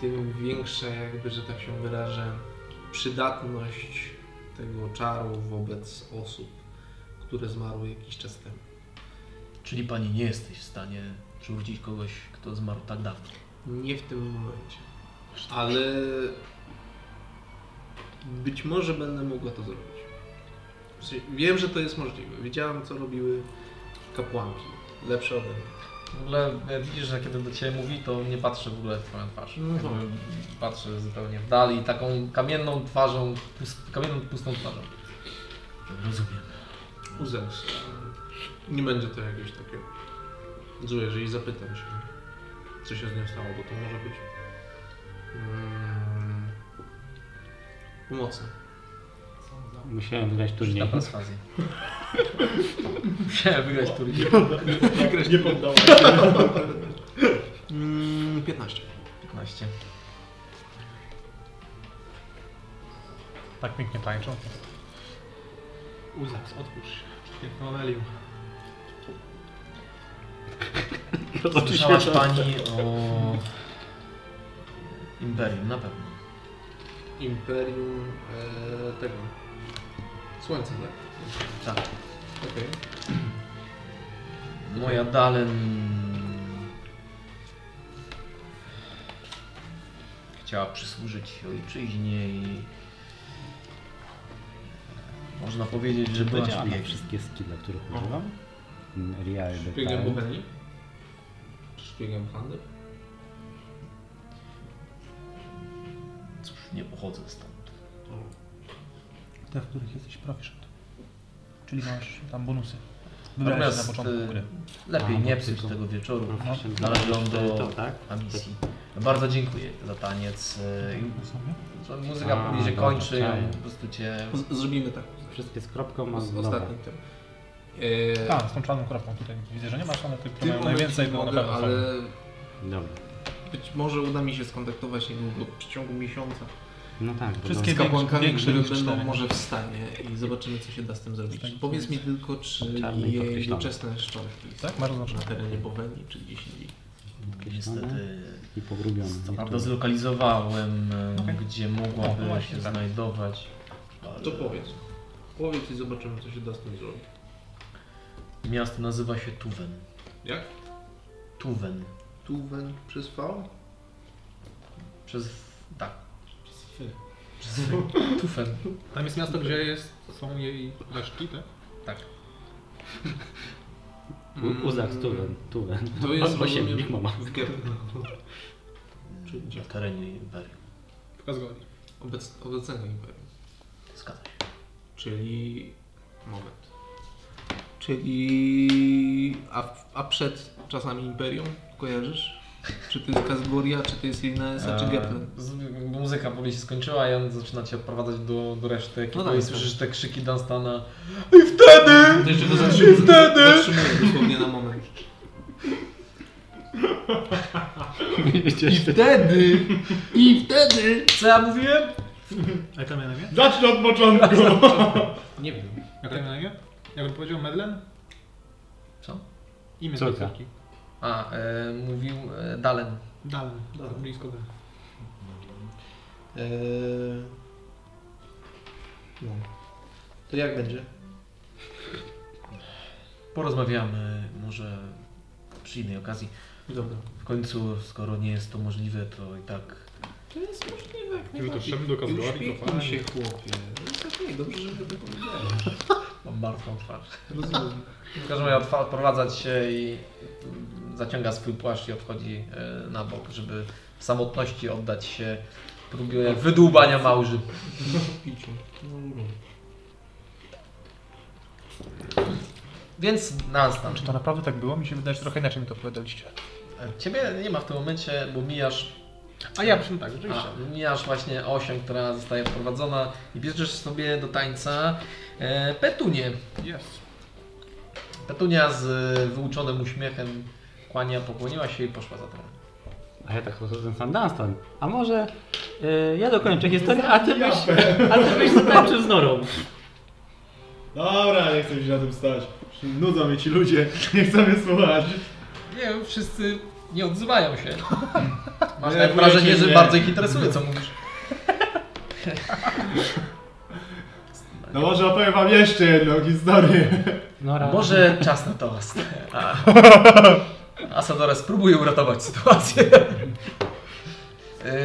S3: tym większa jakby, że tak się wyrażę, przydatność tego czaru wobec osób, które zmarły jakiś czas temu.
S7: Czyli pani nie jesteś w stanie przywrócić kogoś, kto zmarł tak dawno.
S3: Nie w tym momencie. Ale być może będę mogła to zrobić. W sensie, Wiem, że to jest możliwe. Widziałam, co robiły kapłanki. Lepsze ode mnie.
S1: W ogóle e, widzisz, że kiedy do Ciebie mówi, to nie patrzy w ogóle w Twoją twarz.
S3: No
S1: Jakby patrzy zupełnie w dal i taką kamienną twarzą, pust, kamienną pustą twarzą.
S7: Rozumiem.
S3: Uzęs. Nie będzie to jakieś takie złe, jeżeli zapytam się, co się z nią stało, bo to może być mm, pomocne.
S5: Musiałem wygrać
S1: Na
S5: turniej.
S1: perswazję. Musiałem wygrać turniej.
S6: Nie poddałem.
S3: Mm, 15.
S1: 15.
S4: Tak pięknie tańczą. Uzaks, odpuść się. Piękną Amelię.
S1: Słyszałaś Pani o Imperium, na pewno.
S3: Imperium e, tego. Słońce, tak?
S1: Tak.
S3: Okej.
S1: Moja Dalen chciała przysłużyć ojczyźnie i e, można powiedzieć, że była
S5: Powiedziałam na
S1: szpiegiem.
S5: wszystkie skille, których używam. Real
S3: Szpiegiem
S5: detail.
S3: kuchni? Szpiegiem w handel?
S1: Cóż, nie pochodzę stąd.
S8: Te, w których jesteś proficient. Czyli masz tam bonusy. Wybrałeś się na
S1: Natomiast
S8: początku
S1: y,
S8: gry.
S1: lepiej
S5: A,
S1: nie
S5: bo ty
S1: psuć
S5: to-
S1: tego wieczoru.
S5: Proficient.
S1: Należą
S5: No, To,
S1: do
S5: tak?
S1: misji. Bardzo dziękuję za taniec. y,
S8: Na sobie.
S1: i- Muzyka
S5: A,
S1: powoli się
S5: dobra,
S1: kończy,
S5: czaję.
S1: po prostu cię
S3: Z- Zrobimy tak.
S5: Wszystkie z kropką mam
S3: Z-
S5: znowu.
S3: Ostatni ten. E,
S8: A, z tą czarną kropką tutaj widzę, że nie masz, ale
S3: w
S8: tylko
S3: tym
S8: mają
S3: momencie
S8: Tak, najwięcej, tak.
S3: nie
S8: bo na
S3: mogę,
S8: pewno są.
S3: ale
S5: Dobra.
S3: być może uda mi się skontaktować niedługo, w przeciągu miesiąca.
S5: No tak, bo
S8: Wszystkie
S3: Z kapłankami,
S8: większe
S3: które
S8: niż
S3: będą
S8: cztery.
S3: może w stanie i zobaczymy, co się da z tym zrobić.
S8: Tak.
S3: Powiedz mi tylko, czy
S5: Czarny i
S3: jej
S5: podkreślony.
S3: doczesne szczątki
S8: Tak? Masz
S3: na
S8: zaznaczone.
S3: terenie Bowenii, czy gdzieś indziej.
S1: Niestety
S5: i pogrubione.
S1: co prawda zlokalizowałem, e,
S8: Mhm. Okej.
S1: gdzie mogłaby
S8: No właśnie,
S1: się
S8: tak.
S1: znajdować.
S7: ale-
S3: To powiedz. Powiedz i zobaczymy, co się da z tym zrobić.
S1: Miasto nazywa się Tuwen.
S3: Jak?
S1: Tuwen.
S3: Tuwen przez V?
S1: Przez... tak. Przez F. Tufen.
S4: Tam jest miasto, gdzie jest, są jej resztki, tak?
S5: U- Uzak, Tuwen, Tuwen.
S3: Mm. To jest
S5: <laughs> Osiem,
S3: rozumiem, <laughs>
S5: Big Mama.
S3: w Gep-
S1: Czyli w terenie Imperium.
S4: Pokaz zgodzi.
S3: Obec, obecnego imperium.
S1: Zgadza się.
S3: Czyli... Moment. Czyli... A, a przed czasami imperium kojarzysz? Czy to jest Kazgoria, czy to jest Linesa,
S4: Eee.
S3: czy Geplen?
S1: E, z- Muzyka powoli się skończyła i on zaczyna cię odprowadzać do, do reszty ekipy
S3: No
S1: no
S3: tak,
S1: i
S3: tak.
S1: słyszysz te krzyki Dunstana I wtedy!
S3: To jeszcze go zatrzymuję, zatrzymuję dosłownie na moment.
S1: I wtedy! I wtedy! Co ja mówiłem?
S4: A jak miała na imię?
S6: Zacznij od początku!
S3: Nie wiem.
S4: Jak miała na imię? Jakbym powiedział Medlen?
S1: Co?
S4: Imię
S5: Córka.
S4: tej córki.
S1: A, e, mówił e, Dalen.
S4: Dalej, tak blisko dalej.
S3: Eee... No. To jak będzie?
S1: Porozmawiamy może przy innej okazji.
S3: Dobra.
S1: W końcu, skoro nie jest to możliwe, to i tak
S3: To jest tak, możliwe jak
S4: Już
S3: najbardziej.
S4: doszedłem do Kazgorii,
S3: Już
S4: to
S3: pięknie się
S4: fajnie.
S3: chłopie. No jest okej, dobrze, że tego powiedziałem.
S1: mam martwą twarz.
S3: Rozumiem.
S1: W każdym razie odfa- odprowadzać się i mm, zaciąga swój płaszcz i odchodzi e, na bok, żeby w samotności oddać się próbie wydłubania małży.
S3: Piciu. No, no.
S1: Więc Dunstan.
S8: Czy to naprawdę tak było? Mi się wydaje, że trochę inaczej mi to opowiadaliście.
S1: e, Ciebie nie ma w tym momencie, bo mijasz
S4: A ja przy tym tak, rzeczywiście.
S1: A, mijasz właśnie osią, która zostaje wprowadzona i bierzesz sobie do tańca e, petunię.
S4: Jest.
S1: Petunia z e, wyuczonym uśmiechem kłania, pokłoniła się i poszła za tobą.
S5: A ja tak podchodzę sam Dunstan. A może y, ja dokończę historię, a ty byś, a ty byś tańczył z Norą.
S6: Dobra, nie chcę mi się na tym stać. Nudzą mnie ci ludzie, <laughs> nie chcę mnie słuchać.
S1: Nie, wszyscy nie odzywają się. <laughs> Masz
S6: Nie,
S1: takie
S6: bójcie
S1: wrażenie, że
S6: mnie.
S1: bardzo ich interesuje, co mówisz.
S6: No może opowiem wam jeszcze jedną historię.
S5: Nora.
S1: Może czas na toast. <laughs> A- Asadora spróbuje uratować sytuację. Y,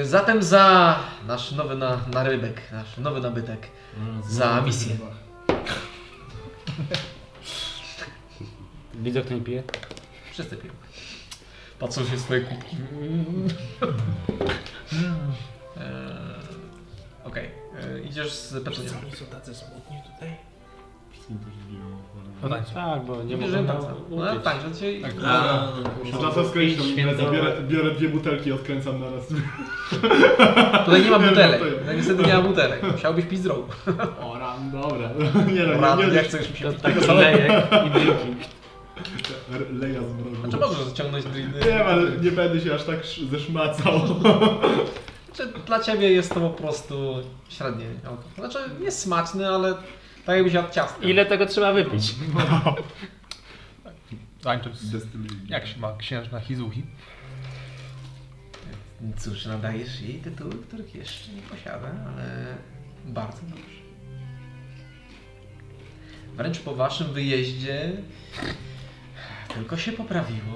S1: Zatem za nasz nowy na, narybek, nasz nowy nabytek, za misję.
S5: Widzę, kto nie pije.
S1: Wszyscy piją. Patrzą się w swoje kubki. Mm. Eee, Okej, e, idziesz z Petrzynią.
S3: Oni są tacy smutni tutaj?
S5: No tak, tak, bo nie
S1: Bierzemy
S5: mogę
S1: tańca. No tak, że dzisiaj...
S3: A,
S6: Czasem
S5: Idź,
S6: skręcić,
S5: święta.
S6: biorę, biorę dwie butelki i odkręcam na raz.
S1: Tutaj nie ma
S6: <laughs> Nie,
S1: butelek.
S6: no to-
S1: No niestety nie ma butelek. Musiałbyś pić z rogu.
S6: O ram, dobra. <laughs> Nie no,
S1: Rano,
S6: nie, nie,
S1: jak
S6: nie.
S1: chcesz mi się
S5: To
S1: pić
S5: taki
S1: tego samego.
S5: lejek i drinki.
S6: R- Leja z
S1: Znaczy
S6: mrozu.
S1: możesz zaciągnąć driny.
S6: Nie wiem, ale nie będę się aż tak sz- <laughs> zeszmacał.
S1: Znaczy, dla ciebie jest to po prostu średnie. alkohol. Znaczy jest smaczny, ale tak jakbyś jadł ciasto.
S5: Ile tego trzeba wypić?
S4: Tańczyć z... Jak się ma księżna Hizuhi?
S1: Cóż, nadajesz jej tytuły, których jeszcze nie posiada, ale bardzo dobrze. Wręcz po waszym wyjeździe tylko się poprawiło.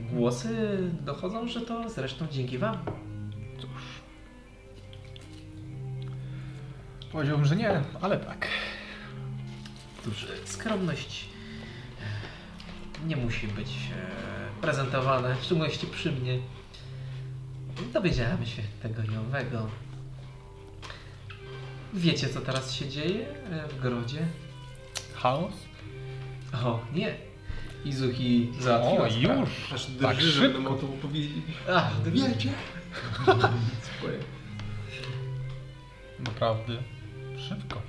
S1: Głosy dochodzą, że to zresztą dzięki wam.
S4: Powiedziałbym, że nie, ale tak.
S1: Cóż, skromność e, nie musi być e, prezentowana, w szczególności przy mnie. Dowiedziałem się tego i owego. Wiecie, co teraz się dzieje e, w grodzie?
S4: Chaos?
S1: O, nie. Izuki załatwiła
S4: O,
S1: sprawę.
S4: już!
S3: Aż
S4: Tak
S3: drży, że
S4: szybko.
S3: będę o to opowiedzieć.
S1: Ach, wiecie.
S3: Swoje.
S4: Naprawdę. Szybko.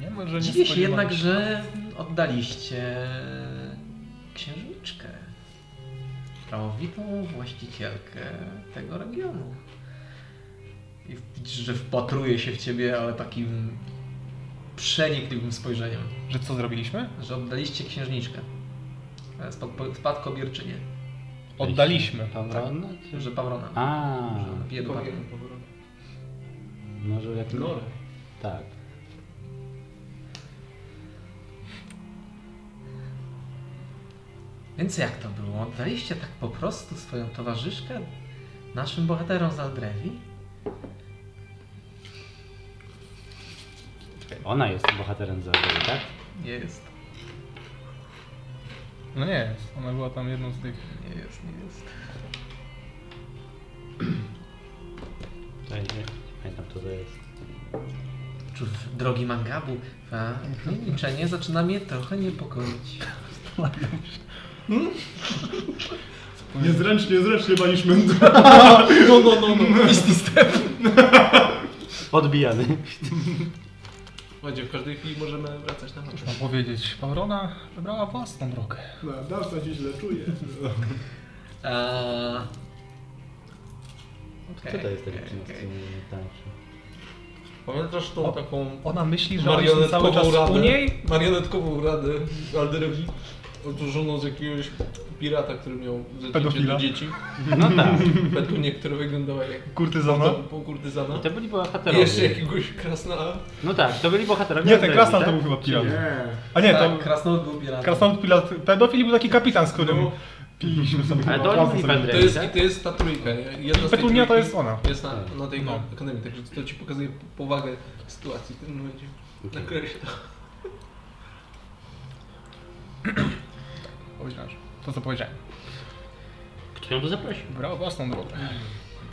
S4: Nie może nie
S1: Dziwię się
S4: spodziewałem
S1: jednak, że oddaliście księżniczkę. Prawowitą właścicielkę tego regionu. I widzisz, że wpatruje się w ciebie, ale takim przenikliwym spojrzeniem.
S4: Że co zrobiliśmy?
S1: Że oddaliście księżniczkę. Spad- spadkobierczynię.
S4: Oddaliśmy. Tak.
S2: Pawrona?
S1: Że Pawrona.
S2: A,
S1: Piję do Pawrona.
S5: No,
S2: może jak...
S6: Gore.
S2: Tak.
S1: Więc jak to było? Oddaliście tak po prostu swoją towarzyszkę naszym bohaterom z Aldrewi?
S2: Ona jest bohaterem Zelda, tak?
S1: Nie jest,
S4: No nie jest. Ona była tam jedną z tych.
S1: nie jest, nie jest.
S2: Tutaj
S5: Tak,
S2: nie pamiętam, kto to jest.
S1: Cóż, drogi Mangabu, a milczenie zaczyna mnie trochę niepokoić.
S6: Niezręcznie, zręcznie baliśmy. No, no, no, no.
S2: Odbijany.
S3: Chodźcie, w każdej chwili możemy wracać na mecz.
S4: Mam powiedzieć, Pawrona wybrała własną drogę.
S6: <laughs> No, Dawca się źle czuje.
S1: Eee...
S2: Kto to jest ten
S1: okej,
S2: dziewczyna z
S1: okej.
S2: tym tańczy?
S3: Pamiętasz tą taką
S4: Ona myśli, że oni są cały czas
S3: marionetkową radę?
S4: u niej?
S3: Marionetkową radę Alderowi odróżoną z jakiegoś pirata, który miał zacięcie
S4: Pedofila.
S3: do dzieci.
S2: No tak.
S3: Petunię, która wyglądała jak
S4: Kurtyzana?
S3: pół kurtyzana.
S2: I to byli
S3: I
S2: bohaterowie.
S3: jeszcze jakiegoś krasnala.
S2: No tak, to byli bohaterowie.
S4: Nie, ten
S2: Zelda,
S4: krasnal to
S2: tak?
S4: był chyba pirat.
S6: Nie.
S1: Tak,
S4: A nie, Tak. to
S1: Krasnolud był piratem.
S4: krasnal pirat. Pedofil był taki kapitan, z którym
S3: No.
S4: piliśmy sobie.
S2: Ale to
S4: razem
S2: oni byli
S4: sobie.
S2: Pedre.
S3: To jest, I to jest ta trójka, nie? Jedna z tej
S4: Petunia to
S3: trójki
S4: jest ona.
S3: Jest na, na tej
S4: No.
S3: akademii, także to ci pokazuje powagę sytuacji w tym momencie. Nakreśla.
S4: Powiedziałem, że To co powiedziałem.
S2: Kto ją tu zaprosił?
S4: Wybrała własną drogę.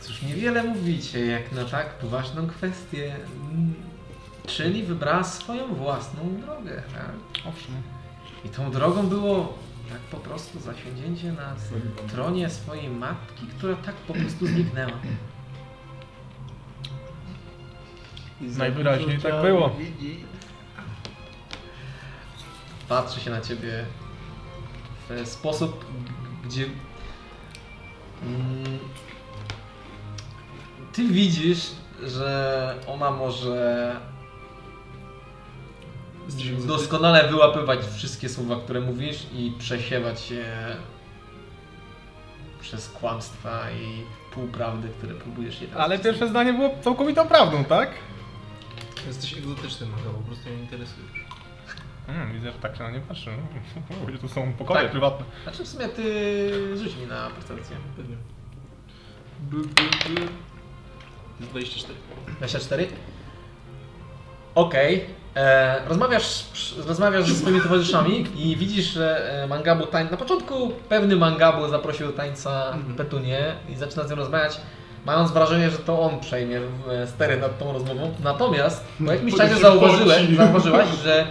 S1: Cóż, niewiele mówicie jak na tak poważną kwestię. Mm, Czyli wybrała swoją własną drogę. Tak?
S4: Owszem.
S1: I tą drogą było tak po prostu zasiądzięcie na tronie swojej matki, która tak po prostu zniknęła.
S4: Najwyraźniej tak było.
S1: Patrzy się na ciebie w sposób, gdzie mm, ty widzisz, że ona może doskonale wyłapywać wszystkie słowa, które mówisz i przesiewać je przez kłamstwa i półprawdy, które próbujesz jej tam
S4: Ale
S1: wcisnąć.
S4: pierwsze zdanie było całkowitą prawdą, tak?
S3: Jesteś egzotyczny, Magda, po prostu mnie interesujesz.
S4: Mm, widzę, że tak się na nie patrzy. <laughs> Ludzie tu są pokoje
S1: Tak.
S4: prywatne.
S1: Znaczy w sumie ty rzuć mi na percepcję.
S3: Pewnie. By, by, by. Jest 24.
S1: 24. Okej. E, Rozmawiasz, przy- rozmawiasz ze swoimi towarzyszami i widzisz, że e, Mangabu tań... Na początku pewny Mangabu zaprosił do tańca Petunię i zaczyna z nią rozmawiać, mając wrażenie, że to on przejmie e, stery nad tą rozmową. Natomiast po jakimś czasie zauważyłeś, zauważyłaś, że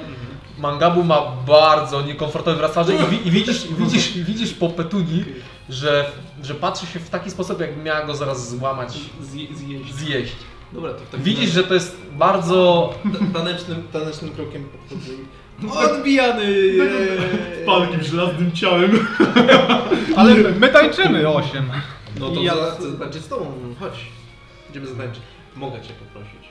S1: Mangabu ma bardzo niekomfortowy wyraz twarzy i, wi- i widzisz, i widzisz, i widzisz po Petuni, że, że patrzy się w taki sposób, jakby miała go zaraz złamać,
S3: Zje, zjeść.
S1: zjeść.
S3: Dobra, to w takim
S1: Tak Widzisz, że to jest bardzo.
S3: Ta- Tanecznym, tanecznym krokiem podchodzę i- Odbijany! Eee.
S6: Palkim żelaznym ciałem. <laughs>
S4: Ale my tańczymy osiem.
S3: No to
S4: I ja-
S3: ja... chcę zobaczyć z tobą, chodź. Będziemy zatańczyć. Mogę cię poprosić.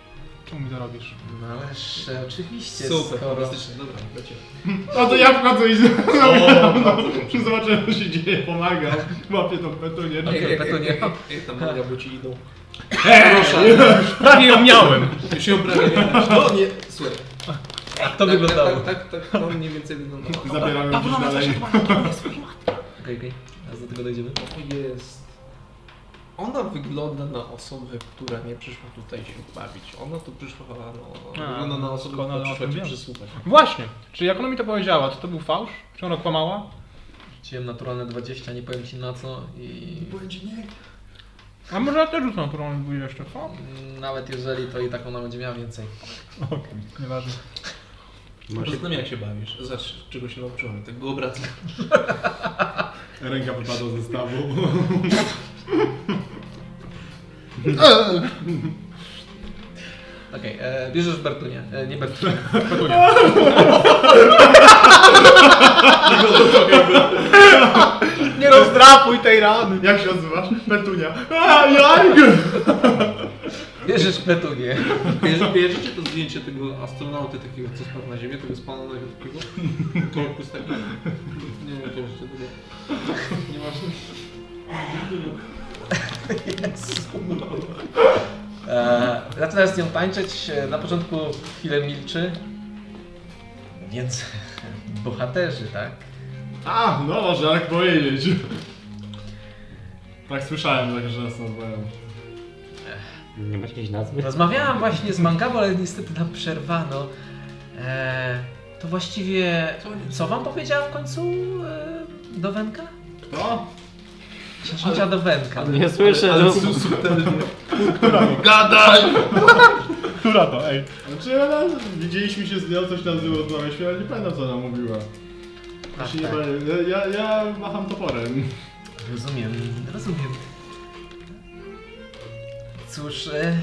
S4: Czemu mi to robisz?
S1: No ależ e, oczywiście.
S3: Super,
S1: skoro...
S3: fantastycznie, dobra, lecie.
S6: A No to ja wchodzę i <laughs>
S3: O,
S6: zobaczę, co się dzieje. Pomagam. Łapię tą petunię.
S1: Okej, Petunia.
S3: Jak tam magia, bo ci idą.
S4: Prawie ją miałem!
S3: Już ją prawie nie masz. No nie, słuchaj.
S1: Tak to wyglądało.
S3: Tak, tak, tak, tak, no mniej więcej wyglądało.
S6: Zabieram ją gdzieś dalej.
S1: Okej, okej. Zaraz do tego dojdziemy.
S3: To jest... Ona wygląda na osobę, która nie przyszła tutaj się bawić. Ona tu przyszła, no...
S4: A,
S3: wygląda na osobę,
S4: doskonale
S3: która
S4: o
S3: przyszła
S4: tym
S3: cię
S4: wiem.
S3: przysłuchać.
S4: Właśnie! Czy jak ona mi to powiedziała, to to był fałsz? Czy ona kłamała?
S1: Rzuciłem naturalne 20, nie powiem ci na co i.
S4: A może ja też rzucam prąd jeszcze, co?
S1: mm, Nawet jeżeli to i tak ona będzie miała więcej.
S4: Nieważne.
S2: Może
S3: Zastanawiam jak się bawisz. Zobacz, czego się nauczyłem. Tego obraca.
S6: Ręka wypadła ze stawu.
S1: Okej, e, bierzesz Bertunię. E, nie Bertunię. <laughs>
S4: Nie rozdrapuj tej rany!
S6: Jak się odzywasz? Petunia. A, jaj!
S1: Bierzesz Petunię.
S3: Kojarzy- Kojarzycie to zdjęcie tego astronauty takiego, co spadł na ziemię, tego spalonego takiego? Korpus taki. Nie wiem, kojarzycie tego. Nie masz nic.
S1: E, zaczyna z nią tańczyć. e, Na początku chwilę milczy. Więc <laughs> bohaterzy, tak?
S6: A, no można tak powiedzieć. Tak słyszałem, tak, że nas nazywają.
S5: Nie masz jakiejś nazwy?
S1: Rozmawiałam właśnie z Mangabo, ale niestety nam przerwano. E, to właściwie. Co wam powiedziała w końcu e, Dowenka?
S6: Kto?
S1: Księżniczka Dowenka.
S5: Nie słyszę,
S6: Ale
S5: no.
S6: su- subtelnie.
S3: Gadaj!
S4: Która to, ej?
S6: Znaczy, ona, widzieliśmy się z nią, coś tam z nią rozmawialiśmy, ale nie pamiętam co ona mówiła.
S1: Tak,
S6: Znaczy, nie
S1: tak.
S6: pamiętam. Ja, ja macham toporem.
S1: Rozumiem, rozumiem. Cóż, e,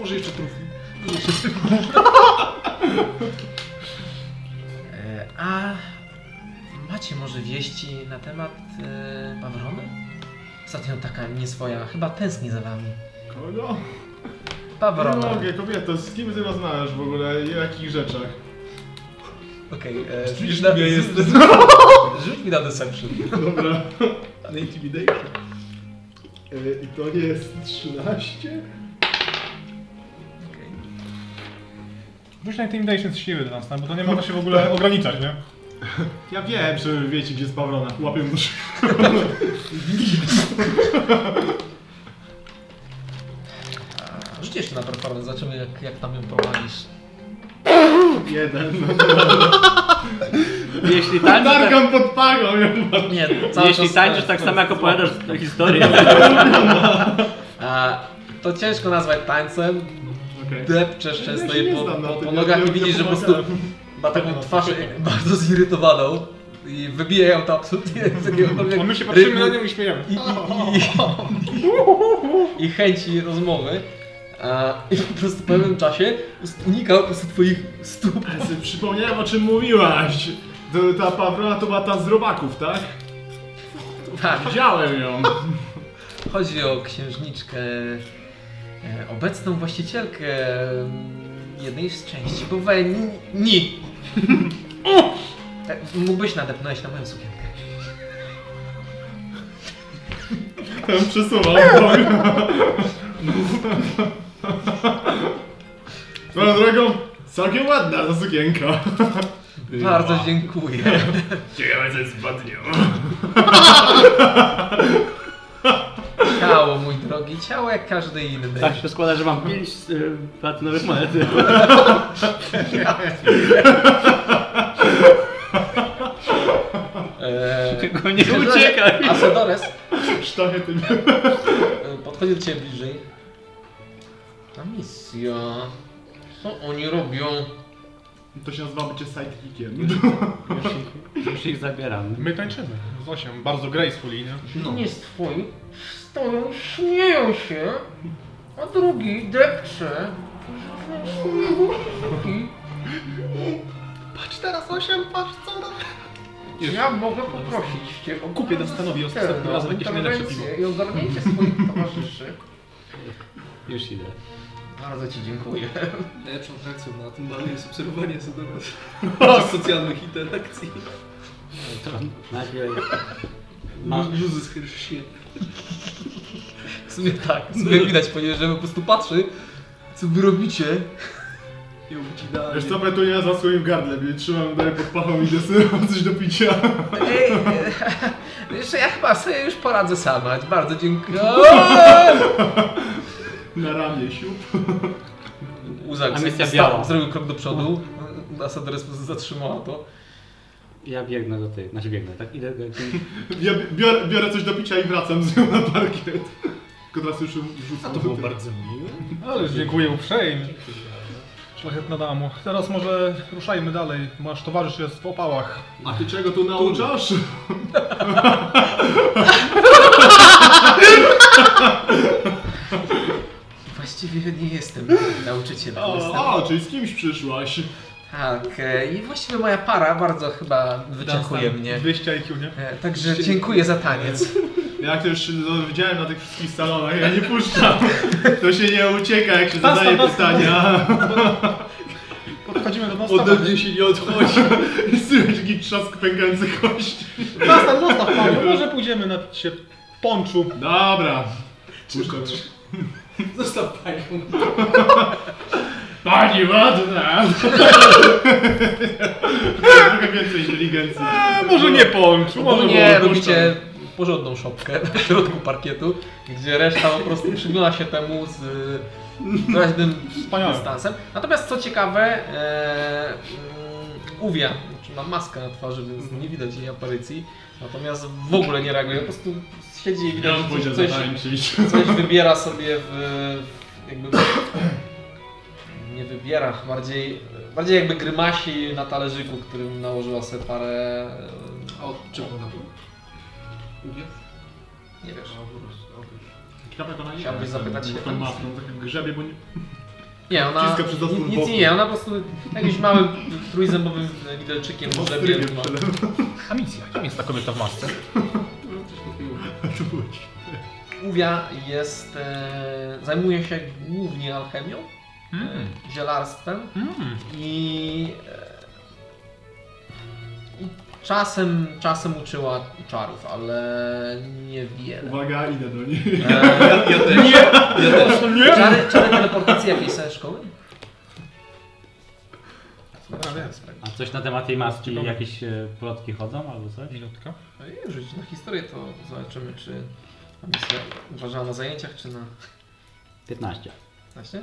S6: Może jeszcze trufli.
S1: e, a macie może wieści na temat e, Pawrona? Ostatnio taka nieswoja, chyba tęskni za wami.
S6: Kogo? Nie
S1: Pawrona.
S6: No, mogę, kobieto, z kim ty rozmawiasz w ogóle i o jakich rzeczach?
S1: Okej, okay,
S6: Oczywiście
S1: rzuć, na-
S6: ja jestem.
S1: <laughs> rzuć mi na deception.
S6: Dobra. Na intimidation. E, I to nie jest 13?
S4: Rzuć na Intimidation z siły do nas, no, bo to nie można się w ogóle ograniczać, nie?
S6: Ja wiem, że wiecie gdzie jest Pawlona. Łapię mu
S1: A, Rzuć jeszcze na performance, zobaczymy jak, jak tam ją prowadzisz.
S6: jeden. <laughs>
S5: Jeśli tańczysz, tak,
S6: Targam pod pagą ją.
S1: Nie,
S5: jeśli tańczysz tak samo jak opowiadasz tę historię,
S1: A, to ciężko nazwać tańcem.
S6: Okej.
S1: Depczesz często jej po, po, po nogach i widzisz, że po prostu ma taką
S4: No,
S1: twarz
S4: tak.
S1: bardzo zirytowaną i wybija ją to absolutnie z jakiegokolwiek
S4: A my się patrzymy
S1: rytmu
S4: na nią i śmiejemy.
S1: i, i, i, i chęci rozmowy. A, I po prostu po pewnym czasie unika po prostu twoich stóp.
S6: Ale sobie przypomniałem o czym mówiłaś. To, ta Pawlona to była ta z robaków, tak?
S1: Tak,
S6: Widziałem ją.
S1: chodzi o księżniczkę, e, obecną właścicielkę m, jednej z części Bowenii. O! <laughs> E, Mógłbyś nadepnąć na moją sukienkę.
S6: Tam przesuwał głowę. Swoją drogą, całkiem ładna ta sukienka. Y,
S1: Bardzo dziękuję.
S6: Ciekawe co jest pod nią.
S1: Ciało, mój drogi, ciało jak każdy inny.
S5: tak się składa, że mam 5 platynowych <laughs> monet.
S1: <laughs> Eee,
S5: Tylko nie <laughs> uciekaj!
S1: Asadores
S6: Sztachy tym. <laughs>
S1: e, podchodzi do ciebie bliżej. Ta misja. Co oni robią?
S6: To się nazywa bycie <laughs> sidekickiem.
S5: Już ich zabieram.
S4: My tańczymy z Osiem, bardzo gracefully, nie?
S1: Nie z twoi. Stoją, śmieją się, a drugi depcze.
S6: Patrz teraz 8, patrz co ona
S1: Ja mogę poprosić cię o
S4: Kupię na stanowi, ostatnim razem będziesz najlepsze piwo.
S1: interwencję i ogarnięcie swoich towarzyszy.
S5: Już idę.
S1: Bardzo ci dziękuję.
S3: Najlepszą reakcją na tym balu jest obserwowanie
S4: <laughs>
S3: Sodora socjalnych interakcji.
S5: To najpierw
S3: Ma. Józef Hirschie.
S1: <laughs> W sumie tak, w
S3: No.
S1: sumie widać po niej, że po prostu patrzy, co wy robicie.
S3: Ją ci dalej.
S6: Wiesz co, Petunia za swoim gardłem i trzymam dalej pod pachą i desyłam coś do picia. <laughs>
S1: Ej, <laughs> jeszcze ja chyba sobie już poradzę sama, bardzo dziękuję.
S4: No.
S6: Na ramię, siup.
S1: <laughs> Uzak
S5: A misja
S1: sta-
S5: biała.
S1: zrobił krok do przodu, Asadores po prostu zatrzymała to.
S5: ja biegnę do tej, znaczy biegnę, tak? Idę do
S6: Ja bi- biorę, biorę coś do picia i wracam z nią na parkiet. <laughs> Tylko teraz już rzucam.
S3: To było bardzo miłe.
S4: Ale dziękuję uprzejmie. Szlachetna damo. Teraz może ruszajmy dalej. Masz towarzysz jest w opałach.
S6: A ty czego tu nauczasz?
S1: Właściwie nie <gasps> jestem nauczycielem. jestem...
S6: O, o, czyli z kimś przyszłaś.
S1: Tak, e, i właściwie moja para bardzo chyba wyczekuje mnie.
S4: 200 IQ, nie?
S1: E, Także dziękuję za taniec. <laughs>
S6: Jak to już widziałem na tych wszystkich salonach, ja nie puszczam. <laughs> To się nie ucieka, jak się
S4: Basta,
S6: zadaje
S4: basta.
S6: pytania.
S4: Podchodzimy do nas.
S6: Ode mnie się nie <laughs> odchodzi. I słychać taki trzask pękający kości.
S4: Zostaw, zostaw panie. Może pójdziemy na się ponczu.
S6: Dobra. Puszczam.
S3: Zostaw tak. panią.
S6: Pani ładna! Trochę więcej inteligencji.
S4: A, E, może nie ponczu, może
S1: Ogólnie
S4: było
S1: robicie porządną szopkę <laughs> w środku parkietu, gdzie reszta po prostu przygląda się temu z y, groźnym
S4: Wspaniałe.
S1: dystansem. Natomiast co ciekawe, e, mm, uwia, znaczy ma maskę na twarzy, więc nie widać jej aparycji, natomiast w ogóle nie reaguje, po prostu siedzi i widać,
S6: Miałem
S1: że
S6: pójść
S1: coś, coś,
S6: zatańczyć.
S1: coś wybiera sobie w... jakby... <clears throat> Nie wybiera, bardziej, bardziej jakby grymasi na talerzyku, którym nałożyła sobie parę...
S3: A od czego ona była? Ubie?
S1: e, Nie wiesz.
S3: A, po prostu, okej.
S6: Krawę to na
S1: Chciałbyś zapytać się-
S6: Tą maską, tak grzebie, bo nie...
S1: Nie, ona
S6: Wciska przez osłon
S1: nic, nic
S6: boku.
S1: nie, je, ona po prostu jakimś małym trójzębowym widelczykiem grzebie.
S6: Ostrygiem
S1: ma-
S6: przelewa.
S4: A misja, kim jest ta kobieta w masce?
S3: No, coś takiego.
S6: To było ci-
S1: Uwia jest, e, zajmuje się głównie alchemią,
S4: Mm.
S1: e, zielarstwem
S4: Mm.
S1: i, e, i czasem, czasem uczyła czarów, ale niewiele.
S6: Uwaga, idę do niej.
S1: E,
S3: Ja też. <laughs> Ja też.
S1: czary, czary teleportacji jakiejś sobie szkoły? tak,
S5: A coś na temat tej maski,
S4: Ciekawe.
S5: jakieś e, plotki chodzą albo coś?
S4: Minutka.
S1: E, Rzuć na historię, to zobaczymy, czy misja uważała na zajęciach, czy na
S5: 15.
S1: Właśnie.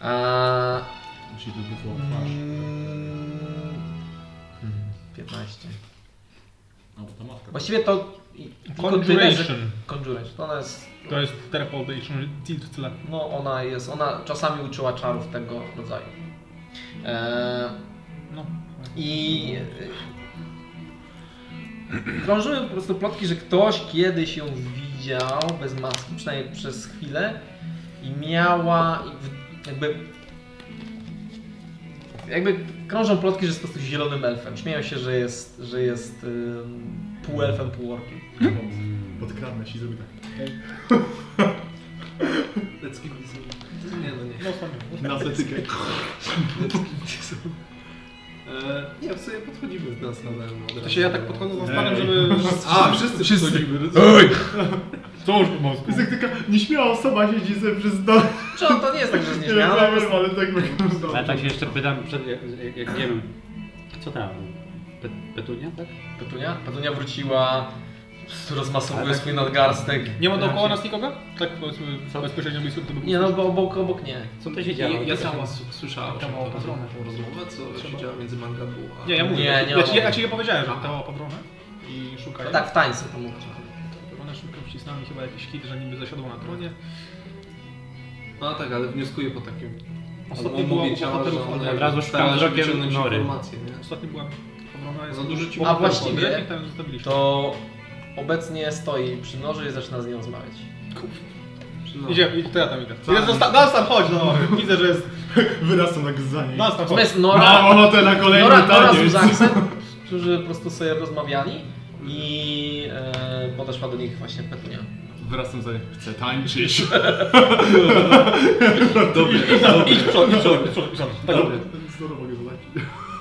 S1: A...
S6: Musi to być
S1: Mm, 15.
S6: No bo to matka.
S1: Właściwie to... i- tylko tyle, że-
S4: Conjuration.
S1: Conjuration. To ona jest...
S4: To jest teleportation, tyle.
S1: No ona jest... Ona czasami uczyła czarów tego rodzaju. E,
S4: No.
S1: I... e, Krążyły po prostu plotki, że ktoś kiedyś ją widział bez maski, przynajmniej przez chwilę i miała i w- jakby jakby krążą plotki, że jest po prostu zielonym elfem. Śmieją się, że jest, że jest ym, półelfem, półorkiem.
S6: Podkradnę się i zrobię tak.
S3: Let's give this a... Nie, no nie.
S6: Na setykę.
S3: E, nie, w sumie podchodzimy z Dunstanem. od
S6: To
S3: razu.
S6: się ja tak podchodzę za stanem,
S4: Ej.
S6: <laughs> żeby...
S3: A, wszyscy
S6: Wszyscy.
S3: podchodzimy.
S6: Ej!
S4: Co już po masku?
S6: Jest jak taka nieśmiała osoba siedzi sobie przez dom.
S1: Czy on to nie jest tak, że jest
S6: Nie wiem,
S1: nieśmiała?
S6: ale tak wygląda.
S5: Ale tak się jeszcze pytam, przed, jak, jak, jak nie wiem, co tam, Pe, petunia, tak?
S1: Petunia? Petunia wróciła, rozmasowuje
S5: Ale-
S1: swój nadgarstek.
S4: Nie ma dookoła nas nikogo? Tak powiedzmy bezpośrednio blisko, to by było
S1: Nie no, bo obok, obok nie.
S5: Co to się
S3: Ja,
S5: działo?
S3: ja sama s- słyszałem o
S4: Taka
S3: tym,
S4: mała
S3: tą
S4: patrona.
S3: tą rozmowę, co się działo między Mangabu a...
S4: Nie, ja mówię.
S1: Nie, nie
S4: ja, ci,
S1: mogę.
S4: ja ci ja powiedziałem, że to padronę i szukają.
S1: No tak, w tańcu to mówię.
S4: Ona szybko wcisnęła mi chyba jakiś hit, że niby zasiadła na tronie.
S3: No tak, ale wnioskuję po takim...
S4: Ostatnio była u bohaterów Olbra.
S5: Od razu szukam wzrokiem Nory.
S3: informacje, nie?
S4: Ostatnio była obrona jest...
S3: Za dużo ci
S1: A właściwie-
S4: I tam zostawiliśmy.
S1: To obecnie stoi przy noży i zaczyna z nią rozmawiać.
S3: No.
S4: Idzie, idzie, to ja tam idę.
S6: Tak.
S4: Jest zosta- Dunstan, chodź no! <laughs> Widzę, że jest...
S6: Wyrastam tak za niej.
S4: Dunstan, chodź.
S1: Natomiast Nora,
S6: Mam ochotę na kolejny
S1: Nora, Nora z
S6: taniec.
S1: Uzaksem, którzy po prostu sobie rozmawiali i e, podeszła do nich właśnie Petunia.
S6: Wyrastam za niej. Chcę tańczyć.
S3: Dobry,
S4: Idź w przód, idź w przód, idź w przód, idź w przód. Tak,
S6: Dobra. Znowu mogę zobaczyć.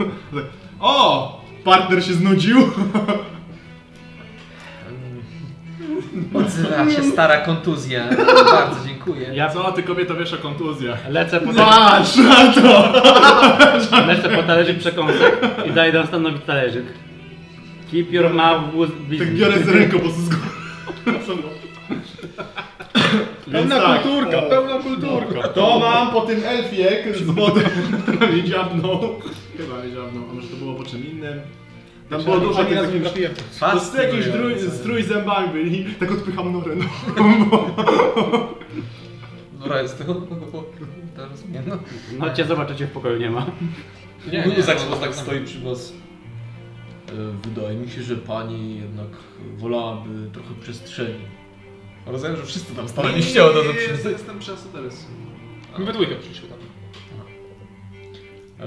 S6: <laughs> Tak. O! Partner się znudził.
S1: Odzywa się stara kontuzja. No, Bardzo dziękuję.
S5: Ja
S6: Co ty kobieta wiesz o kontuzjach?
S5: lecę po,
S6: Patrz na to!
S4: No.
S5: lecę po talerzyk przekąsek i daję Dunstanowi talerzyk. Keep your mouth with
S6: Tak
S5: business.
S6: biorę z ręką po prostu z góry. Więc
S4: Pełna
S6: tak,
S4: kulturka,
S6: o. No.
S4: pełna kulturka.
S6: To mam po tym elfie z <laughs> wody, która mnie dziabnął. Chyba mnie dziabnął, a może to było po czym innym. Tam było dużo
S4: Ani
S6: tych
S4: razu nie
S6: takich...
S4: trafiłem.
S6: Po prostu jakieś trój, z trójzębami byli. Tak odpycham norę. No.
S1: Dobra, jest to. to rozumiem. No.
S5: No cię zobaczę, cię w pokoju nie ma.
S1: Nie,
S7: Nie,
S1: nie,
S7: Zak
S1: no,
S7: tak
S1: no.
S7: stoi przy was. E, Wydaje mi się, że pani jednak wolałaby trochę przestrzeni.
S1: Rozumiem, że wszyscy tam staraliście o to, co
S3: Nie,
S1: przy-
S3: Jestem przy Asoterysu.
S4: My we dwójkę przyszliśmy tam.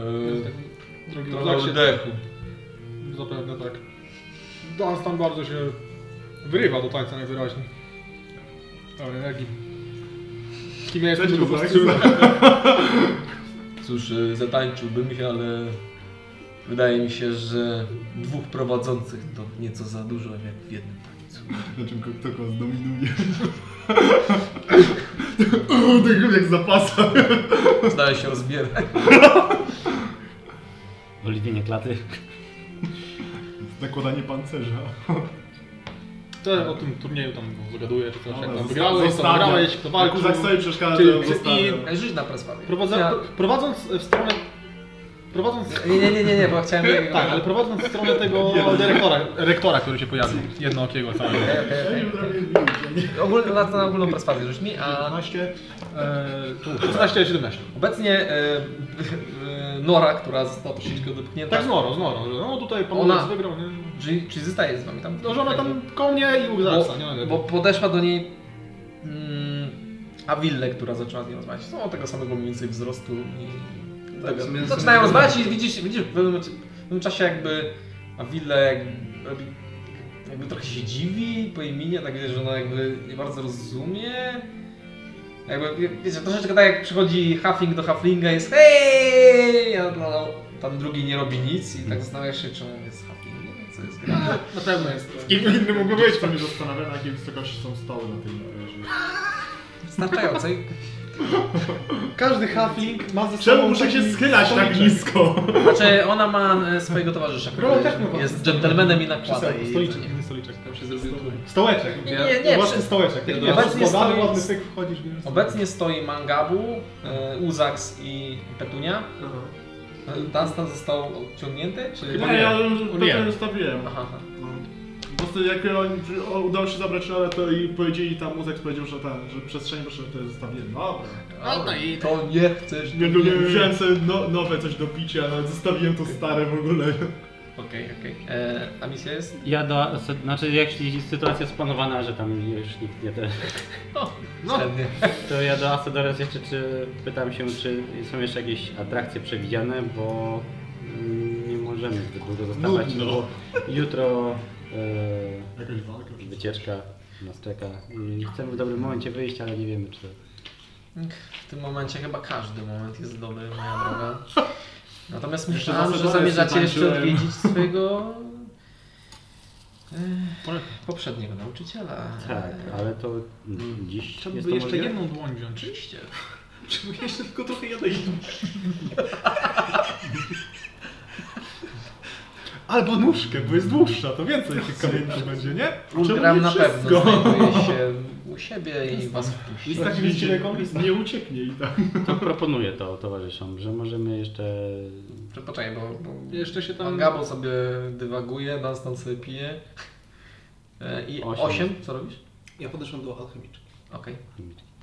S7: E,
S4: Drogi
S1: To na
S4: Dunstan,
S1: oddechu.
S4: Zapewne tak. Dunstan bardzo się wyrywa do tańca najwyraźniej. Ale energii. Kim ja jestem,
S6: Cześć,
S4: to po
S6: Luzak.
S4: prostu... <laughs>
S7: Cóż, e, zatańczyłbym się, ale wydaje mi się, że dwóch prowadzących to nieco za dużo jak w jednym tańcu.
S6: Na czym kto go zdominuje. <laughs> O, tak jak zapasa.
S1: Zdaje się rozbierać.
S5: Oliwienie klaty.
S6: Nakładanie pancerza.
S4: To o tym turnieju tam zagaduję, czy coś, jak tam
S6: Zosta-
S4: wygrałeś, tam
S6: zostawiam.
S4: grałeś, kto
S6: Jak
S4: walczył.
S6: Kuzak sobie przeszkadza,
S4: Czyli-
S6: to ją
S4: i-
S6: zostawiam.
S1: Żyć na prespawie.
S4: Prowadząc, prowadząc e, w stronę... Prowadząc...
S1: Nie, nie, nie, nie, nie, bo chciałem...
S4: Tak, ale prowadząc w stronę tego dyrektora, rektora, który się pojawił, jednookiego całego.
S1: Okej, okej,
S6: Ja
S1: okej.
S6: się prawie biję.
S1: Ogólnie na, na ogólną prespawie rzuć mi, a
S6: 12.
S4: Eee, tu, 16, 17.
S1: obecnie e, e, Nora, która została troszeczkę odepchnięta,
S4: Tak z Norą, z Norą. że No tutaj pan
S1: Ona-
S4: Ona... wygrał, nie?
S1: czyli, czyli zostaje z wami tam.
S4: No, że ona tam koło mnie i łza,
S1: bo,
S4: nie
S1: bo podeszła do niej mm, Awille, która zaczęła z nią rozmawiać. Są tego samego mniej więcej wzrostu i
S3: Tak, w sumie-
S1: tego.
S3: w
S1: Zaczynają
S3: sumie-
S1: rozmawiać i widzisz, widzisz w, pewnym, w tym czasie jakby Awille jakby, robi- jakby trochę się dziwi po jej minie, tak wiesz, że ona jakby nie bardzo rozumie. Jakby, wiecie, troszeczkę tak jak przychodzi Huffing do Hufflinga jest hej, a no, no, tam drugi nie robi nic
S3: Hmm.
S1: i tak zastanawiasz się, czemu jest Huffling, nie wiem co
S4: <laughs>
S1: jest grane.
S4: Na pewno jest.
S6: Z <laughs> kim innym mógłby być, to mnie zastanawia, na jakiej wysokości są stoły na tej wieży.
S1: Wystarczająco i
S4: Każdy halfling ma ze sobą
S6: Czemu muszę się
S4: taki
S6: schylać tak
S4: stoliczek.
S6: nisko?
S1: Znaczy ona ma e, swojego towarzysza, który
S4: Roman też miał
S1: jest dżentelmenem i
S4: Przy
S1: nakłada
S4: sobie,
S1: jej
S4: Stoliczek,
S1: jedzenie.
S4: inny stoliczek.
S3: Tam się zrobił trudno.
S4: Stołeczek.
S1: Nie, nie, nie,
S4: Własny
S1: przy-
S4: stołeczek. Taki
S3: Obecnie
S4: wiesz, składany,
S1: stoi-
S4: ładny syk, wchodzisz, bierzesz sobie.
S1: Obecnie stoi Mangabu, e, Uzax i Petunia.
S3: Aha.
S1: E, Dunstan został odciągnięty? Czy...
S6: Nie, ja już
S4: Nie.
S6: potem zostawiłem.
S1: Aha, aha.
S6: No. Po prostu jak e, oni, przy- o, udało się zabrać rolę, to i powiedzieli tam mózg powiedział, że ta, że przestrzeń proszę to jest zostawiłem. Dobra.
S1: To nie chcesz.
S6: Nie, nie, nie, wziąłem sobie no, nowe coś do picia, ale zostawiłem to stare w ogóle.
S1: Okej, okej. E, A misja jest?
S5: Ja da, se- znaczy jeśli sytuacja jest planowana, że tam już nikt nie te,
S1: No.
S5: to ja do Asadores jeszcze czy pytam się, czy są jeszcze jakieś atrakcje przewidziane, bo mm, nie możemy zbyt długo zostawać,
S6: Nudno.
S5: bo jutro e,
S6: Jakaś walka.
S5: wycieczka nas czeka. I Chcemy w dobrym momencie wyjść, ale nie wiemy czy...
S1: W tym momencie chyba każdy moment jest dobry, moja droga. Netamesto
S6: Jeszcze
S1: myślałem,
S6: za
S1: że
S6: Sadorem
S1: zamierzacie
S6: się
S1: jeszcze
S6: tańczyłem.
S1: odwiedzić swojego... e, poprzedniego nauczyciela. E,
S5: Tak, ale to dziś
S4: Trzeba
S5: jest
S4: by
S5: to
S4: jeszcze
S5: możliwe?
S4: jedną dłoń wziąć.
S1: Oczywiście.
S3: Czemu ja jeszcze tylko trochę jadę i
S4: Albo nóżkę, bo jest dłuższa, to więcej tych kamieni będzie, nie?
S1: Ulgram
S6: nie
S1: na pewno
S6: wszystko?
S1: znajduje
S6: <laughs>
S1: się u siebie i was wpuści.
S6: Lista
S4: Tak,
S6: nie,
S4: wiecie,
S6: nie, nie ucieknie i tak.
S5: To proponuję to towarzyszom, że możemy jeszcze...
S1: Czy Poczekaj, bo, bo
S4: Jeszcze się tam...
S1: Gabo sobie dywaguje, Dunstan sobie pije. E, I
S5: Osiem.
S1: 8, co robisz?
S3: Ja podeszłam do alchemiczki.
S1: Okej.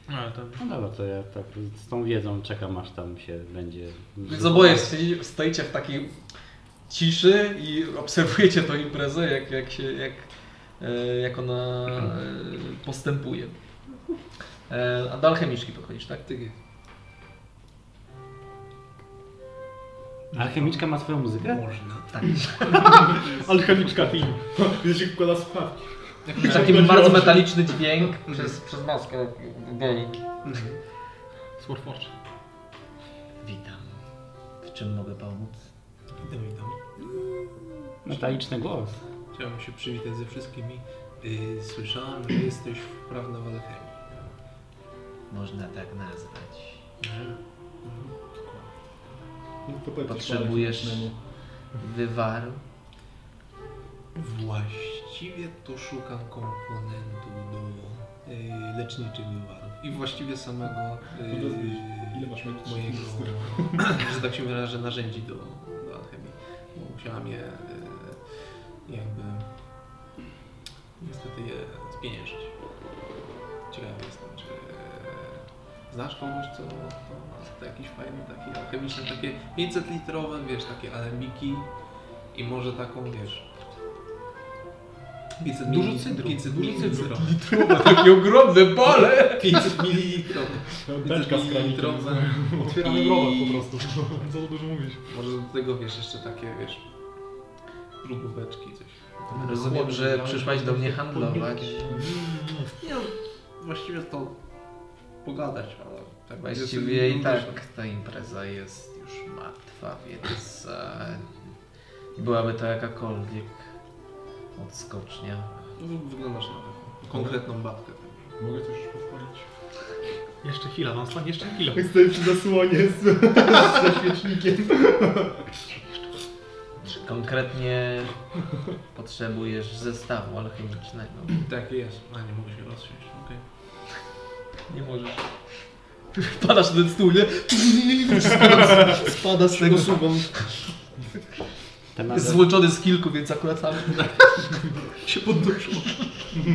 S4: A, tam.
S5: No dobra, to ja tak z tą wiedzą czekam aż tam się będzie...
S1: Więc oboje stoi- stoicie w takiej ciszy i obserwujecie tą imprezę, jak, jak, się, jak, e, jak ona e, postępuje. E, A do alchemiczki podchodzisz, tak?
S3: Ty
S5: Alchemiczka ma swoją muzykę?
S4: Alchemiczka team.
S6: Gdy się wkłada sprawki.
S5: Tak.
S1: Taki bardzo metaliczny dźwięk
S4: Mhm.
S1: przez, przez maskę boli.
S4: Swordforge.
S7: Witam. W czym mogę pomóc?
S3: Witam, witam.
S5: Metaliczny głos.
S3: Chciałem się przywitać ze wszystkimi. Yy, Słyszałem, że jesteś wprawna w alchemii.
S7: Można tak nazwać.
S6: No to powiedz,
S7: Potrzebujesz wywaru?
S3: Właściwie to szukam komponentu do yy, leczniczych wywarów. I właściwie samego
S6: No to zbliż.
S3: yy,
S6: Ile masz metrów?
S3: mojego, <clears throat> że tak się wyrażę, narzędzi do, do alchemii. Bo musiałam je yy, jakby niestety je spieniężyć. Ciekawy jestem, czy yy, znasz kogoś, co to ma to jakiś fajny taki alchemiczny, takie 500 litrowe, wiesz, takie alembiki i może taką, wiesz, 500
S1: Dużo
S3: mili-
S1: cydru.
S3: 500 <laughs> mililitrowe.
S1: Takie ogromne bole!
S3: 500
S6: <laughs>
S3: mililitrowe.
S6: Beczka z kranikiem.
S3: Mililitrowe.
S6: Otwieramy
S3: I-
S6: browar po prostu. Co tu dużo mówić.
S3: Może do tego, wiesz, jeszcze takie, wiesz, próbóweczki, coś.
S1: Rozumiem, że przyszłaś do mnie handlować.
S3: Nie no, właściwie to pogadać, ale... Tak
S1: Właściwie i
S3: będzie
S1: tak ta impreza jest już martwa, więc e, byłaby to jakakolwiek odskocznia.
S3: Wy- Wyglądasz na taką konkretną babkę.
S6: Mogę coś pochwalić?
S4: Jeszcze chwila, Wąslan, jeszcze chwila.
S6: Jak stoi przy zasłonie z, ze świecznikiem.
S1: Konkretnie potrzebujesz zestawu alchemicznego.
S3: Tak jest. A nie mogę się rozsiąść, no okej.
S1: Nie możesz. Wpadasz na ten stół, nie? Spada- <laughs> Spada z tego suwą.
S5: Te
S1: Jest
S5: meble,
S1: złączony z kilku, więc akurat sam się podnosił.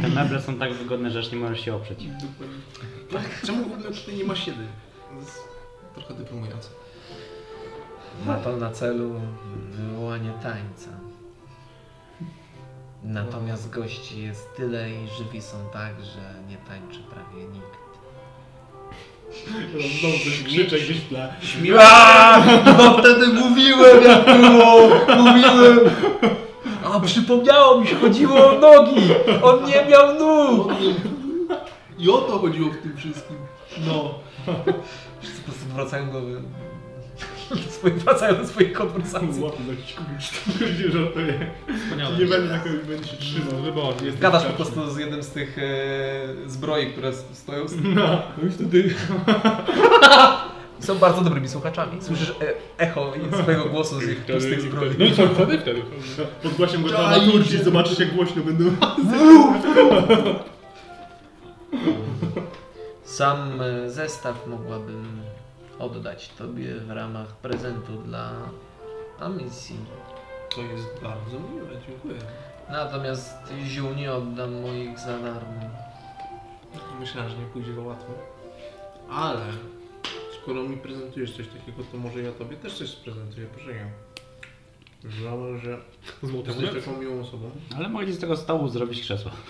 S5: te meble są tak wygodne, że aż nie możesz się oprzeć.
S3: Tak. Czemu w ogóle tutaj nie ma siedy? To jest trochę deprymujące.
S1: Ma to na celu wywołanie tańca. Natomiast gości jest tyle i żywi są tak, że nie tańczy prawie nikt.
S6: Znowu coś krzyczę gdzieś w tle.
S1: No wtedy mówiłem jak było, mówiłem. A przypomniało mi się, chodziło o nogi. On nie miał nóg.
S3: I o to chodziło w tym wszystkim.
S6: No.
S1: Wszyscy po prostu wracają <laughs> głowy. Swoje, wracają do swoich konwersacji.
S6: Łapie za jakiś kurcz, nie żartuję.
S4: Wspaniale.
S6: Nie będę na kogoś będzie się trzymał.
S4: Wybornie.
S6: Jestem
S1: Gadasz po
S6: straszny.
S1: prostu z jednym z tych e, zbroi, które s- stoją. Z...
S6: No.
S1: No i wtedy... Są bardzo dobrymi słuchaczami. Słyszysz e, echo swojego głosu z ich pustych zbroi.
S4: No i co wtedy? Wtedy.
S6: Podgłosiam go dramaturgii, zobaczysz jak głośno będą. <laughs>
S1: Sam e, zestaw mogłabym oddać Tobie w ramach prezentu dla Amicji.
S3: To jest bardzo miłe, dziękuję.
S1: Natomiast ziół nie oddam moich za darmo.
S3: Myślałem, że nie pójdzie to łatwo. Ale skoro mi prezentujesz coś takiego, to może ja tobie też coś prezentuję, proszę ja. Żałuję, że
S4: Złote
S3: jesteś
S4: monety.
S3: taką miłą osobą.
S5: Ale mogli z tego stołu zrobić krzesło. <laughs>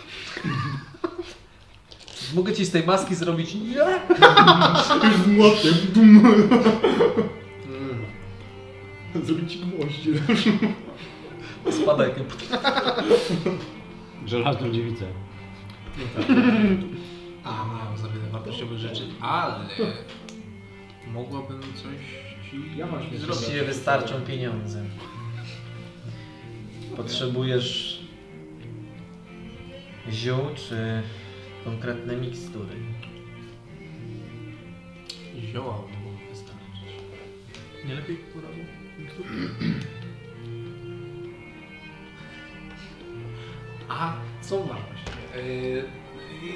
S1: Mogę Ci z tej maski zrobić... Nie!
S6: Już z młotem. Bum.
S3: Mm.
S6: <laughs> Zrobić ci gwoździe.
S1: Spada jak...
S5: Żelazną dziewicę.
S3: A, mam za wiele wartościowych rzeczy, ale mogłabym coś ci
S6: Ja właśnie
S3: zrobić.
S1: Właściwie wystarczą pieniądze. Potrzebujesz... ziół czy konkretne mikstury.
S3: Zioła mogą wystarczyć.
S4: Nie lepiej poradził?
S3: A, co masz właśnie? Yy,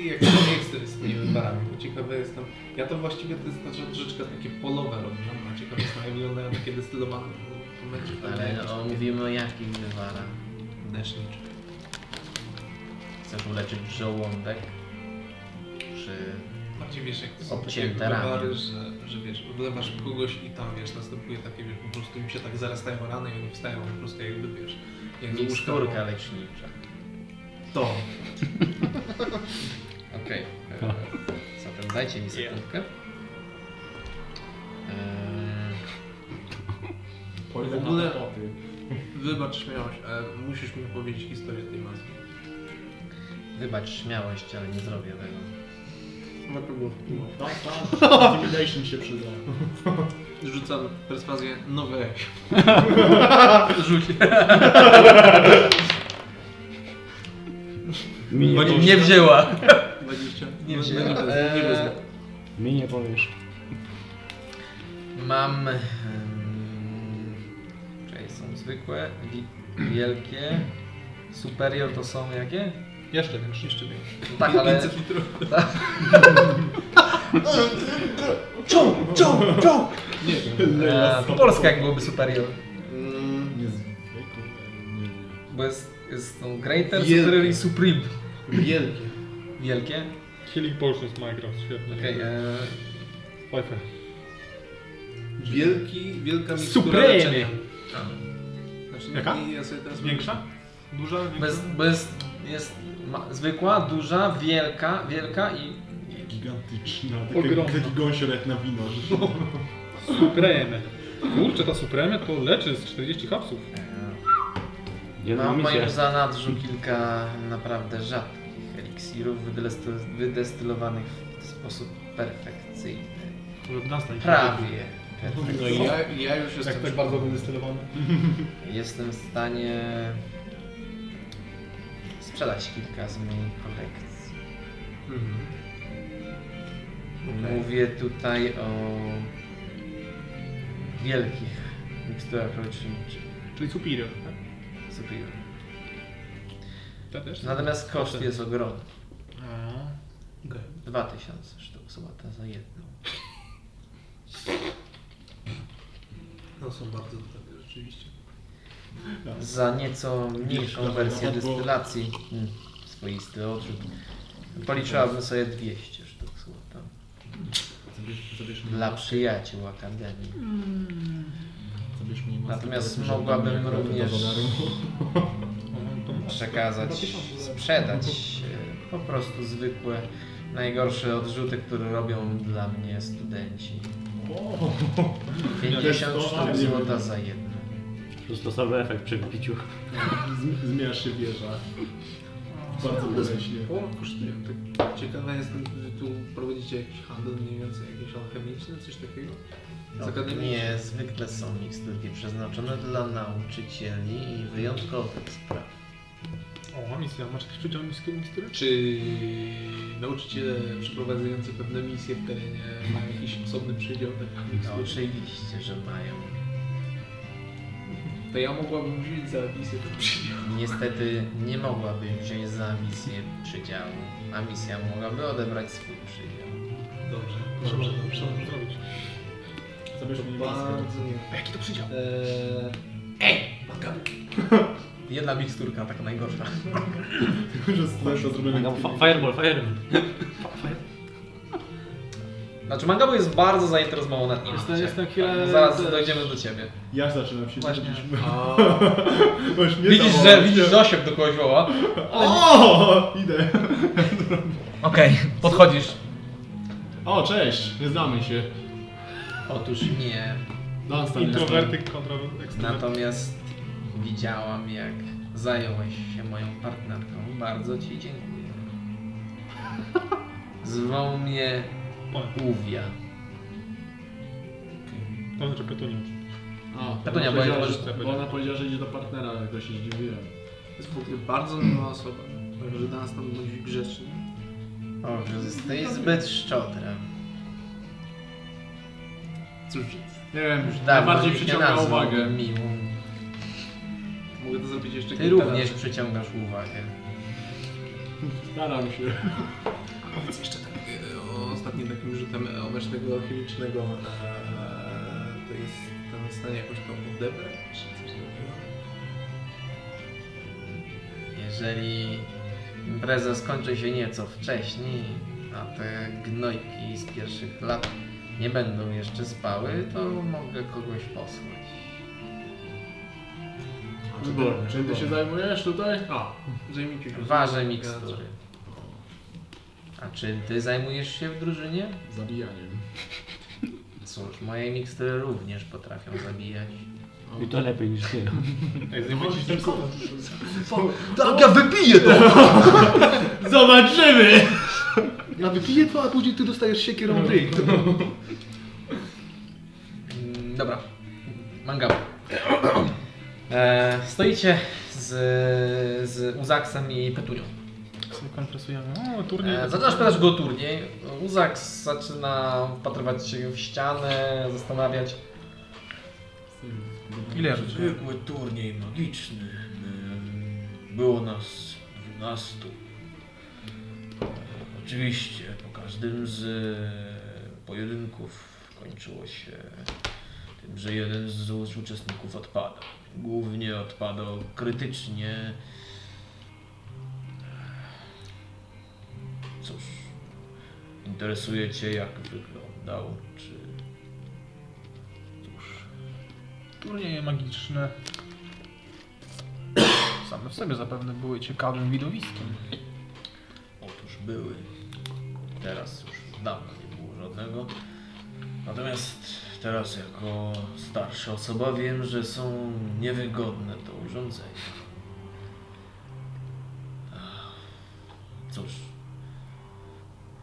S3: jak to miejsce jest z tymi wyparami, bo ciekawe jestem. Ja to właściwie to jest nasza troszeczkę takie polowe robiłam, a ciekawe jest, jak wyglądają takie destylowane pomyczy.
S1: Ale no, o, mówimy o jakim wywarach.
S3: Desznicz.
S1: Chcesz uleczyć żołądek? Czy
S3: Bardziej wiesz, jak to są
S1: Obcięte
S3: takie
S1: ramię.
S3: wywary, że, że wiesz, wlewasz w kogoś i tam wiesz, następuje takie, wiesz, po prostu im się tak zarastają rany i oni wstają po prostu jakby, wiesz, jak z łóżka.
S1: miksturka lecznicza?
S3: To.
S1: Okej. Okay. Zatem dajcie mi sekundkę. Eee,
S3: W ogóle, wybacz śmiałość, ale musisz mi opowiedzieć historię tej maski.
S1: Wybacz śmiałość, ale nie zrobię tego.
S3: No to było.
S6: Intimidation się przyda.
S3: Rzucam perswazję nowe.
S1: Rzuć.
S5: Mi nie,
S3: Chodzi-
S5: powiesz,
S1: Nie wzięła.
S3: 20.
S1: Nie
S3: No,
S1: wzięła.
S3: no, nie wezmę, nie wezmę.
S5: mi nie powiesz.
S1: Mam... em, Czekaj, są zwykłe, wi- wielkie. Superior to są jakie?
S4: Jeszcze większy.
S3: Jeszcze więcej.
S1: Tak, ale...
S3: 500 litrów.
S1: Czu, czu, czu!
S3: Nie wiem.
S1: Eee, po polsku jak byłoby superior?
S3: Mm,
S6: Niezwykle. Nie, nie.
S1: Bo jest, jest no, Greater,
S3: Wielkie.
S1: Superior i Supreme.
S3: Wielkie.
S1: Wielkie.
S4: Healing Potions Minecraft, świetnie.
S1: Okej. e,
S4: Fajfę.
S3: Wielki, wielka mikstura
S4: Supreme.
S3: leczenia.
S1: a,
S3: Znaczy,
S4: Jaka?
S3: nie, ja sobie teraz
S4: Większa? Duża?
S1: bo jest, bo jest, jest ma, zwykła, duża, wielka, wielka i
S6: Gigantyczna.
S4: Ogromna.
S6: Taki, taki gąsior jak na wino. że-
S4: Supreme. Kurczę, ta Supreme to leczy z 40 kapsów.
S1: e,
S5: Jedną
S1: mam w moim
S5: misję.
S1: zanadrzu kilka naprawdę rzadkich eliksirów wydestyl- wydestylowanych w sposób perfekcyjny. Prawie perfekcyjny.
S3: No i ja, ja już jestem.
S4: Jak tak bardzo wydestylowany.
S1: Jestem w stanie sprzedać kilka z mojej kolekcji.
S4: Mhm.
S1: Mówię tutaj o wielkich miksturach leczniczych.
S4: Czyli Superior, tak?
S1: Superior.
S4: To też?
S1: Natomiast koszt jest ogromny.
S4: A,
S1: 2000 sztuk złota za jedną.
S3: No są bardzo drogie, rzeczywiście.
S1: Za nieco mniejszą wersję
S6: Bo-
S1: destylacji. Hmm, swoisty odrzut. Policzyłabym sobie 200 sztuk złota.
S6: Zabierz, zabierz, mi,
S1: Dla przyjaciół Akademii.
S6: zabierz mi mocno
S1: Natomiast
S6: do- do-
S1: mogłabym
S6: do- do- do- do- do-
S1: również-
S4: no, to masz.
S1: przekazać, sprzedać e, po prostu zwykłe, najgorsze odrzuty, które robią dla mnie studenci.
S6: O,
S1: 50
S6: Jest to
S1: sztuk
S6: armię.
S1: złota za jedno.
S5: Plusowy efekt przy wbiciu.
S6: zm- Zmienia się wieża. Bardzo boleśnie.
S3: Połowa kosztuje. Tak ciekawa jestem, że tu prowadzicie jakiś handel mniej więcej, jakiś alchemiczny, coś takiego? Z akademii?
S1: Nie, zwykle są miksturki przeznaczone dla nauczycieli i wyjątkowych spraw.
S4: O, a misja, masz jakieś przydział miski- mikstury?
S3: Czy nauczyciele przeprowadzający pewne misje w terenie mają jakiś osobny przydział tak takich
S1: No,
S3: mikstur?
S1: oczywiście, że mają.
S3: To ja mogłabym wziąć za misję ten przydział.
S1: Niestety nie mogłabym wziąć za misję przydziału, a misja mogłaby odebrać swój przydział.
S3: Dobrze,
S4: Co
S3: dobrze,
S4: możesz- co
S3: dobrze.
S4: możesz zrobić?
S6: Zabierz mi maskę.
S3: Bardzo nie.
S4: Jaki to przydział?
S3: Eee... Ej, manga!
S1: Jedna miksturka, taka najgorsza.
S6: Tylko, że zostaje to zrobione.
S2: No, fa- Fireball, fireball.
S1: Znaczy Mangabo jest bardzo zainteresowana nim.
S5: No,
S2: Jestem-
S5: tak.
S2: jestem chwilę-
S1: No, Zaraz
S2: też-
S1: dojdziemy do ciebie.
S6: Ja zaczynam się
S4: Właśnie.
S6: dziwić.
S3: A,
S6: <laughs> bo już mnie
S1: Widzisz, że
S6: zawołał.
S1: widzisz że osiąg do kogoś woła.
S6: O, idę.
S8: Okej, podchodzisz.
S6: O, cześć, nie znamy się.
S1: Otóż nie.
S6: Dan Stan jest
S4: Introwertyk kontra ekstrawertyk.
S1: Natomiast widziałam jak zająłeś się moją partnerką. Bardzo ci dziękuję. Zwał mnie Uwia.
S4: To znaczy Petunia.
S6: tam. O,
S1: Tak to nie,
S6: ona
S1: bo ja-
S6: powiedziała,
S4: bo-
S6: że- bo ona powiedziała, że idzie do partnera, ale to się zdziwiłem.
S3: jest w ogóle bardzo miła osoba. Powiem, że dla nas tam będzie grzeczny.
S1: O, że jesteś zbyt szczodra.
S3: Cóż,
S6: Nie wiem,
S1: Już
S6: już
S1: dawno
S6: najbardziej
S1: ich Tak, nie
S6: przyciąga
S1: nazwałbym
S6: uwagę.
S1: miłą.
S3: mogę to zrobić jeszcze
S1: Ty
S3: kilka
S1: również
S3: razy.
S1: przyciągasz uwagę.
S6: Staram się.
S3: Powiedz jeszcze tak e, o ostatnim takim rzutem e, obecnego alchemicznego. e, To jest tam w stanie jakoś tą odebrać, czy coś takiego?
S1: Jeżeli impreza skończy się nieco wcześniej, a te gnojki z pierwszych lat nie będą jeszcze spały, to mogę kogoś posłać.
S6: Wybornie. Czym ty się zajmujesz tutaj?
S3: A, zajmij się.
S1: Ważę mikstury. A czy ty zajmujesz się w drużynie?
S6: Zabijaniem.
S1: Cóż, moje mikstury również potrafią zabijać.
S5: I to lepiej niż ty.
S4: Ej, zajmujesz się tylko...
S6: Tak, ja wypiję to! Zobaczymy!
S9: <laughs> Ja wypiję to, a później ty dostajesz siekierą w ryj.
S1: Mm, Dobra, mangabu. E, stoicie z, z Uzaksem i Petunią.
S4: Sobie kompresujemy. O, turniej.
S1: E, Zaczynasz pytać go o turniej. Uzak zaczyna wpatrywać się w ścianę, zastanawiać.
S8: Ile rzuć?
S7: Zwykły turniej magiczny. Ym, Było nas 12. Oczywiście po każdym z e, pojedynków kończyło się tym, że jeden z uczestników odpada. Głównie odpadał krytycznie. Cóż, interesuje Cię jak wyglądał, czy... Cóż,
S8: Turnieje magiczne. Same w sobie zapewne były ciekawym widowiskiem.
S7: Otóż były. Teraz już dawno nie było żadnego. Natomiast teraz jako starsza osoba wiem, że są niewygodne to urządzenia. Ach, Cóż.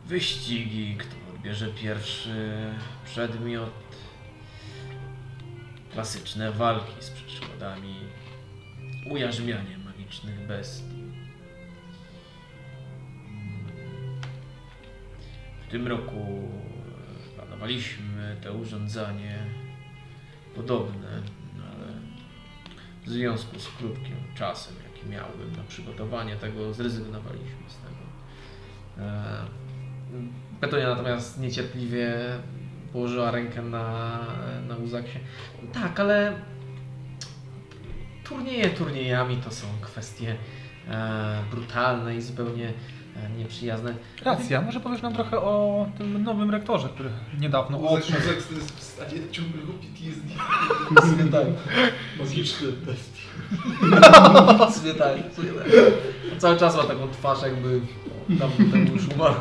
S7: Wyścigi, kto odbierze pierwszy przedmiot. Klasyczne walki z przeszkodami. Ujarzmianie magicznych bestii. W tym roku planowaliśmy to urządzenie podobne, no ale w związku z krótkim czasem, jaki miałbym na przygotowanie tego, zrezygnowaliśmy z tego. E, Petonia natomiast niecierpliwie położyła rękę na, na uzaksie. Tak, ale turnieje turniejami to są kwestie e, brutalne i zupełnie e, nieprzyjazne.
S4: Racja, może powiesz nam trochę o tym nowym rektorze, który niedawno
S6: No,
S4: odszedł.
S6: Uzek jest w stanie ciągłego PTSD.
S1: tak.
S6: Magiczny test.
S1: Sobie tak, sobie tak. Cały czas ma taką twarz jakby tam, tam już umarł.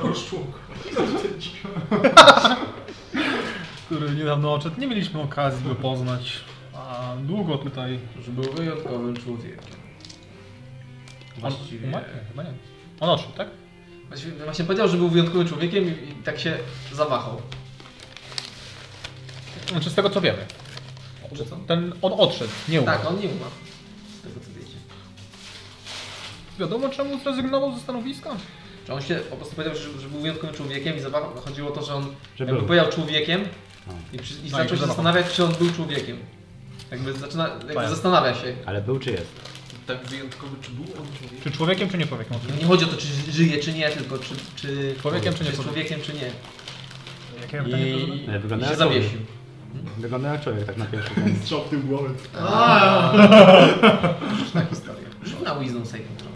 S4: który niedawno odszedł. Nie mieliśmy okazji go poznać, a długo tutaj.
S7: Już był wyjątkowym człowiekiem.
S4: On
S7: Właściwie,
S4: umarł? Nie, Chyba nie. On odszedł, tak?
S1: Właśnie, właśnie powiedział, że był wyjątkowym człowiekiem i, i tak się zawahał.
S4: Znaczy z tego co wiemy. Ten, on odszedł, nie umarł.
S1: Tak, on nie umarł. Z tego co wiecie.
S4: Wiadomo czemu zrezygnował ze stanowiska?
S1: Czy on się po prostu powiedział, że, że był wyjątkowym człowiekiem i zawahał. Chodziło o to, że on
S5: Że
S1: jakby
S5: był.
S1: powiedział człowiekiem i, przy, i
S4: No i się
S1: zaczął się
S4: zawahał.
S1: zastanawiać, czy on był człowiekiem. Jakby, zaczyna, jakby
S4: Tak.
S1: zastanawia się.
S5: Ale był czy jest?
S3: Tak wyjątkowy, czy był on człowiek?
S4: Czy człowiekiem, czy nie człowiekiem?
S1: Nie chodzi o to, czy żyje, czy nie, tylko czy, czy,
S4: Człowiekiem, czy nie
S1: czy jest człowiekiem, czy nie.
S4: Jakie
S1: I,
S5: Ale
S1: i
S5: wygląda
S1: się
S5: jak
S1: zawiesił.
S5: Wygląda jak człowiek tak na pierwszy rzut.
S6: Strzał w tył głowy.
S1: Różna tak historia. Rzuć na Wisdom Saving Throw.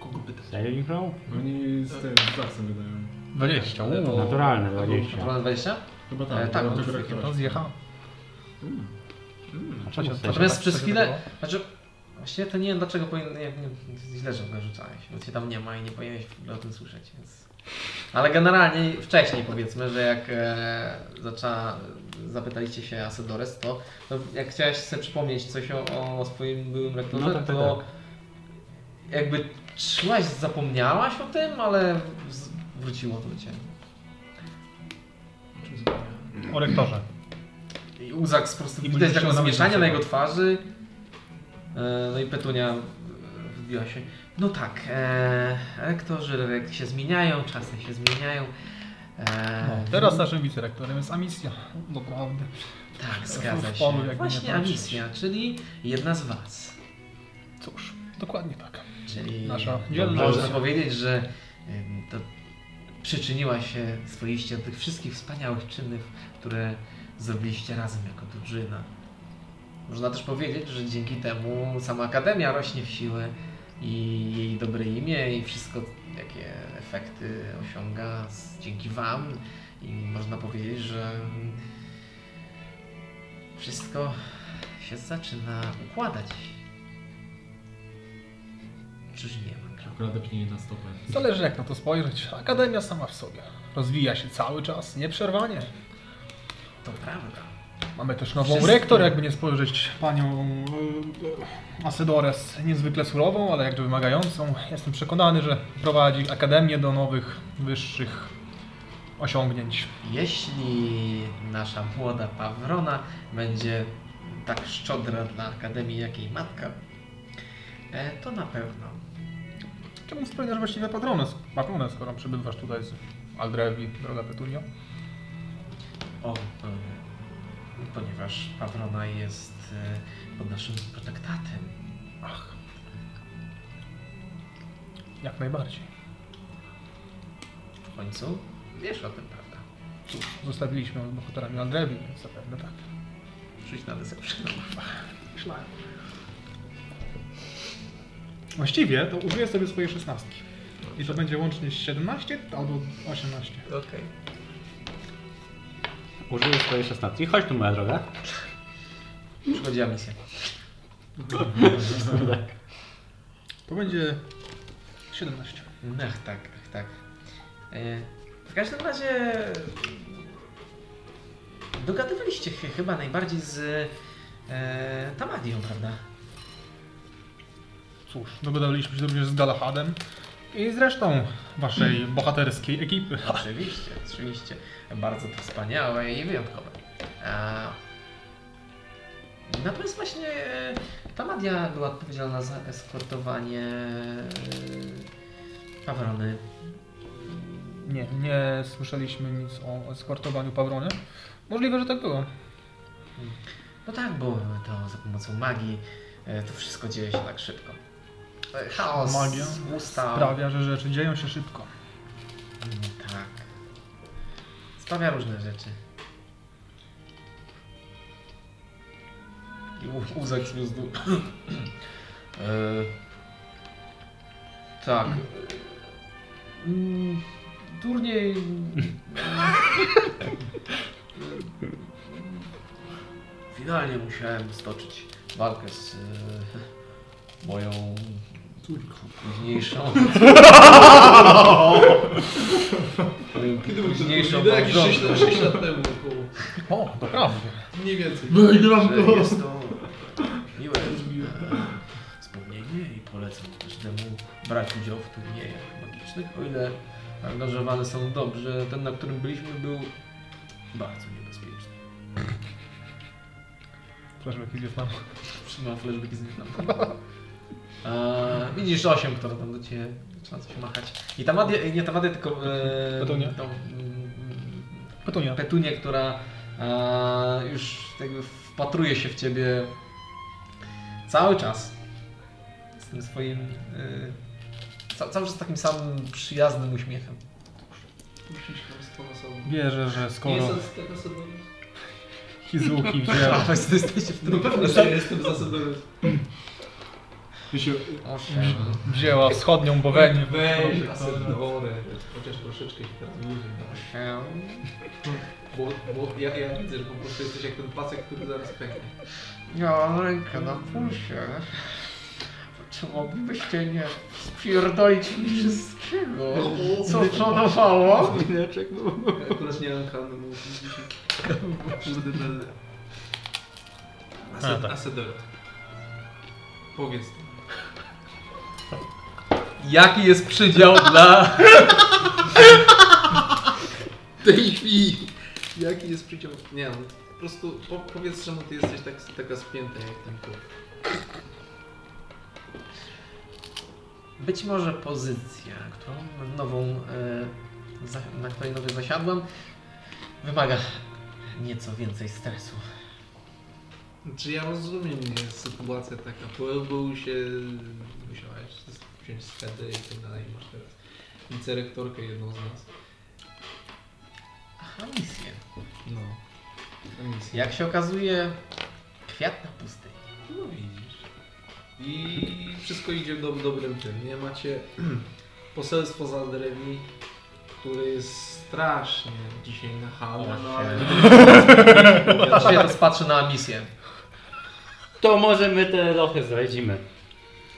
S3: Kogo pyta?
S5: Saving throw?
S6: Oni z tym, tak sobie dają.
S4: 20,
S1: uuu.
S4: uuu.
S5: Naturalne
S1: Naturalne
S5: 20.
S1: 20?
S6: Chyba
S1: E,
S6: tak.
S1: tak,
S6: bo
S1: on
S6: tego
S1: już
S6: rektora.
S4: To zjechał.
S5: A czemu saving?
S1: Natomiast
S4: tak,
S1: przez
S4: tak
S1: chwilę,
S4: wyglądało.
S1: znaczy, właściwie to nie wiem dlaczego powinien, nie, nie, źle, że go rzucałeś, bo cię tam nie ma i nie powinieneś w ogóle o tym słyszeć, więc... Ale generalnie wcześniej powiedzmy, że jak e, zaczęła, zapytaliście się Asedores, to, to jak chciałeś sobie przypomnieć coś o, o swoim byłym rektorze,
S5: No tak, tak,
S1: to jakby szłaś, zapomniałaś o tym, ale z- wróciło to do ciebie.
S3: O czym zapomniałem?
S4: O rektorze.
S1: I Uzak po prostu
S4: I
S1: widać
S4: będziesz
S1: taką
S4: chciał zamknąć
S1: zmieszanie na
S4: sobie.
S1: jego twarzy. E, No i Petunia wbiła się. No tak, e, rektorzy rek- się zmieniają, czasy się zmieniają. E,
S4: No, teraz naszym wicerektorem jest Amisja. Naprawdę.
S1: tak, zgadza
S4: w polu, jakby
S1: się.
S4: nie
S1: Właśnie
S4: patrzeć.
S1: Amisja, czyli jedna z was.
S4: Cóż, dokładnie tak.
S1: Czyli
S4: Nasza dzielna
S1: można
S4: Amisja.
S1: powiedzieć, że em, to przyczyniła się swoiście do tych wszystkich wspaniałych czynów, które zrobiliście razem jako drużyna. Można też powiedzieć, że dzięki temu sama Akademia rośnie w siłę i jej dobre imię i wszystko, jakie efekty osiąga z, dzięki Wam. I można powiedzieć, że mm, wszystko się zaczyna układać. Czyż nie, Magda?
S6: Akurat pnie na stopę.
S4: Zależy jak na to spojrzeć. Akademia sama w sobie. Rozwija się cały czas, nieprzerwanie.
S1: To prawda.
S4: Mamy też nową
S1: Wszystkie.
S4: rektor, jakby nie spojrzeć, panią y, Asedores, niezwykle surową, ale jakże wymagającą. Jestem przekonany, że prowadzi Akademię do nowych, wyższych osiągnięć.
S1: Jeśli nasza młoda Pawrona będzie tak szczodra dla Akademii, jak jej matka, e, to na pewno.
S4: Czemu wspominasz właściwie patronę, patronę skoro przybywasz tutaj z Aldrewi, droga Petunio?
S1: O, e, ponieważ Pawrona jest e, pod naszym protektatem.
S4: Ach. Jak najbardziej.
S1: W końcu wiesz o tym, prawda?
S4: Cóż, zostawiliśmy ją z bohaterami Aldrewi, więc zapewne tak.
S1: Rzuć na deception.
S4: Właściwie to użyję sobie swojej szesnastki. I to będzie łącznie 17 albo 18.
S1: Okej.
S5: Użyję swojej 16. Chodź tu moja droga.
S1: Przychodziła misja.
S4: To będzie 17.
S1: Ach tak, ach tak. E, W każdym razie mm, dogadywaliście się chyba najbardziej z e, Tamadią, prawda?
S4: Cóż, dogadaliśmy się również z Galahadem i zresztą waszej bohaterskiej ekipy.
S1: Oczywiście, oczywiście. Bardzo to wspaniałe i wyjątkowe. A... Natomiast właśnie e, Tamadia była odpowiedzialna za eskortowanie e, Pawrony
S4: Nie, nie słyszeliśmy nic o eskortowaniu Pawrony. Możliwe, że tak było.
S1: No tak, bo to za pomocą magii e, to wszystko dzieje się tak szybko. E, Chaos
S4: Magia
S1: ustał.
S4: Sprawia, że rzeczy dzieją się szybko.
S1: Mm, Tak. Sprawia różne rzeczy.
S7: I łu- Łzek z dół. <clears throat> E, Tak. Mm, Turniej. Finalnie musiałem stoczyć walkę z e, moją późniejszą. późniejszą
S3: Idę jakieś
S7: małżonką.
S3: 6 lat, 6 lat temu około.
S4: O, to prawda.
S3: Mniej więcej.
S6: Wygram
S7: że
S6: to!
S7: jest to miłe e, wspomnienie i polecam każdemu brać udział w turniejach magicznych, o ile angażowane są dobrze. Ten, na którym byliśmy, był bardzo niebezpieczny.
S4: Proszę, jakiś jest tam.
S1: Trzymam flashbacki z Wietnamu. E, widzisz 8, która tam do ciebie zaczyna coś machać. I ta madia, nie ta madia, tylko e,
S4: Petunia.
S1: tą mm,
S4: Petunia.
S1: petunię, która e, już jakby wpatruje się w ciebie cały czas. Z tym swoim. E, ca, cały czas takim samym przyjaznym uśmiechem.
S3: Musisz tam z tą osobą.
S4: Wierzę, że skoro
S3: Jestem z tego osobą.
S4: <laughs> Hizuki wzięła
S1: A Państwo jesteście w
S3: No
S1: tym
S3: pewnie, że jestem zasadowym.
S6: Krzysiu,
S1: Owszem.
S4: Wzięła wschodnią Bowenię.
S3: Weź asadorę. Chociaż troszeczkę się teraz dłużej. dawaj.
S1: Owszem.
S3: Bo, bo ja, ja widzę, że po prostu jesteś jak ten pasek, który zaraz pęknie.
S1: Ja mam rękę na pulsie. Czy moglibyście nie spierdolić mi wszystkiego, No, co planowało?
S9: Mineczek, no.
S3: Ja Akurat nie mam kanału, bo dzisiaj... Kurde, będę. Ased,
S4: tak.
S3: Asadora. Powiedz to.
S1: Jaki jest przydział dla...
S3: tej chwili. Jaki jest przyciąg? Nie no, po prostu po, powiedz, czemu ty jesteś tak, taka spięta jak ten kot.
S1: Być może pozycja, którą nową, e, za, na której nowej zasiadłam, wymaga nieco więcej stresu.
S3: Czy ja rozumiem nie, sytuacja taka, pojawił się, musiałeś wziąć schedę i tak dalej, masz teraz wicerektorkę jedną z nas.
S1: A misję.
S3: No. Misję.
S1: Jak się okazuje, kwiat na pustyni.
S3: No widzisz. I wszystko idzie w dob- dobrym tym. Nie macie <clears throat> poselstwo za drewni, które jest strasznie dzisiaj nachalne, no ale...
S1: Ja teraz patrzę tak na misję.
S5: To może my te lochy zradzimy.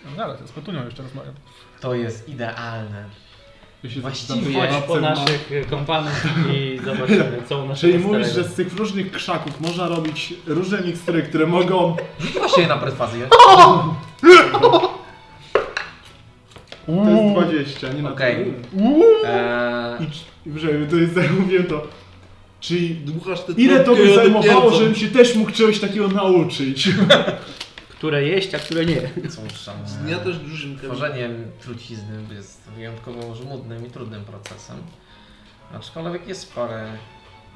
S4: No Zaraz, z Petunią jeszcze rozmawiam.
S1: To jest idealne.
S6: ja się
S1: Właściwie-
S6: zapytam,
S5: Chodź po
S6: co ma-
S5: naszych e, kompanów i zobaczymy, co u nas
S6: Czyli
S5: jest
S6: mówisz, że
S5: starego.
S6: z tych różnych krzaków można robić różne mikstury, które mogą...
S1: Rzuć właśnie na perswazję.
S6: To jest 20, nie na
S1: Okej.
S6: tyle.
S1: Eee,
S6: I cz- I żeby to jest, jak mówiłem to... Czyli
S3: Dmuchasz te
S6: ile to
S3: trąbki,
S6: by
S3: one
S6: zajmowało,
S3: pierdzą.
S6: żebym się też mógł czegoś takiego nauczyć? <laughs>
S5: Które jeść, a które nie.
S1: Cóż, tam,
S3: Z dnia też dużym
S1: tworzenie trucizny jest wyjątkowo żmudnym i trudnym procesem. Aczkolwiek jest parę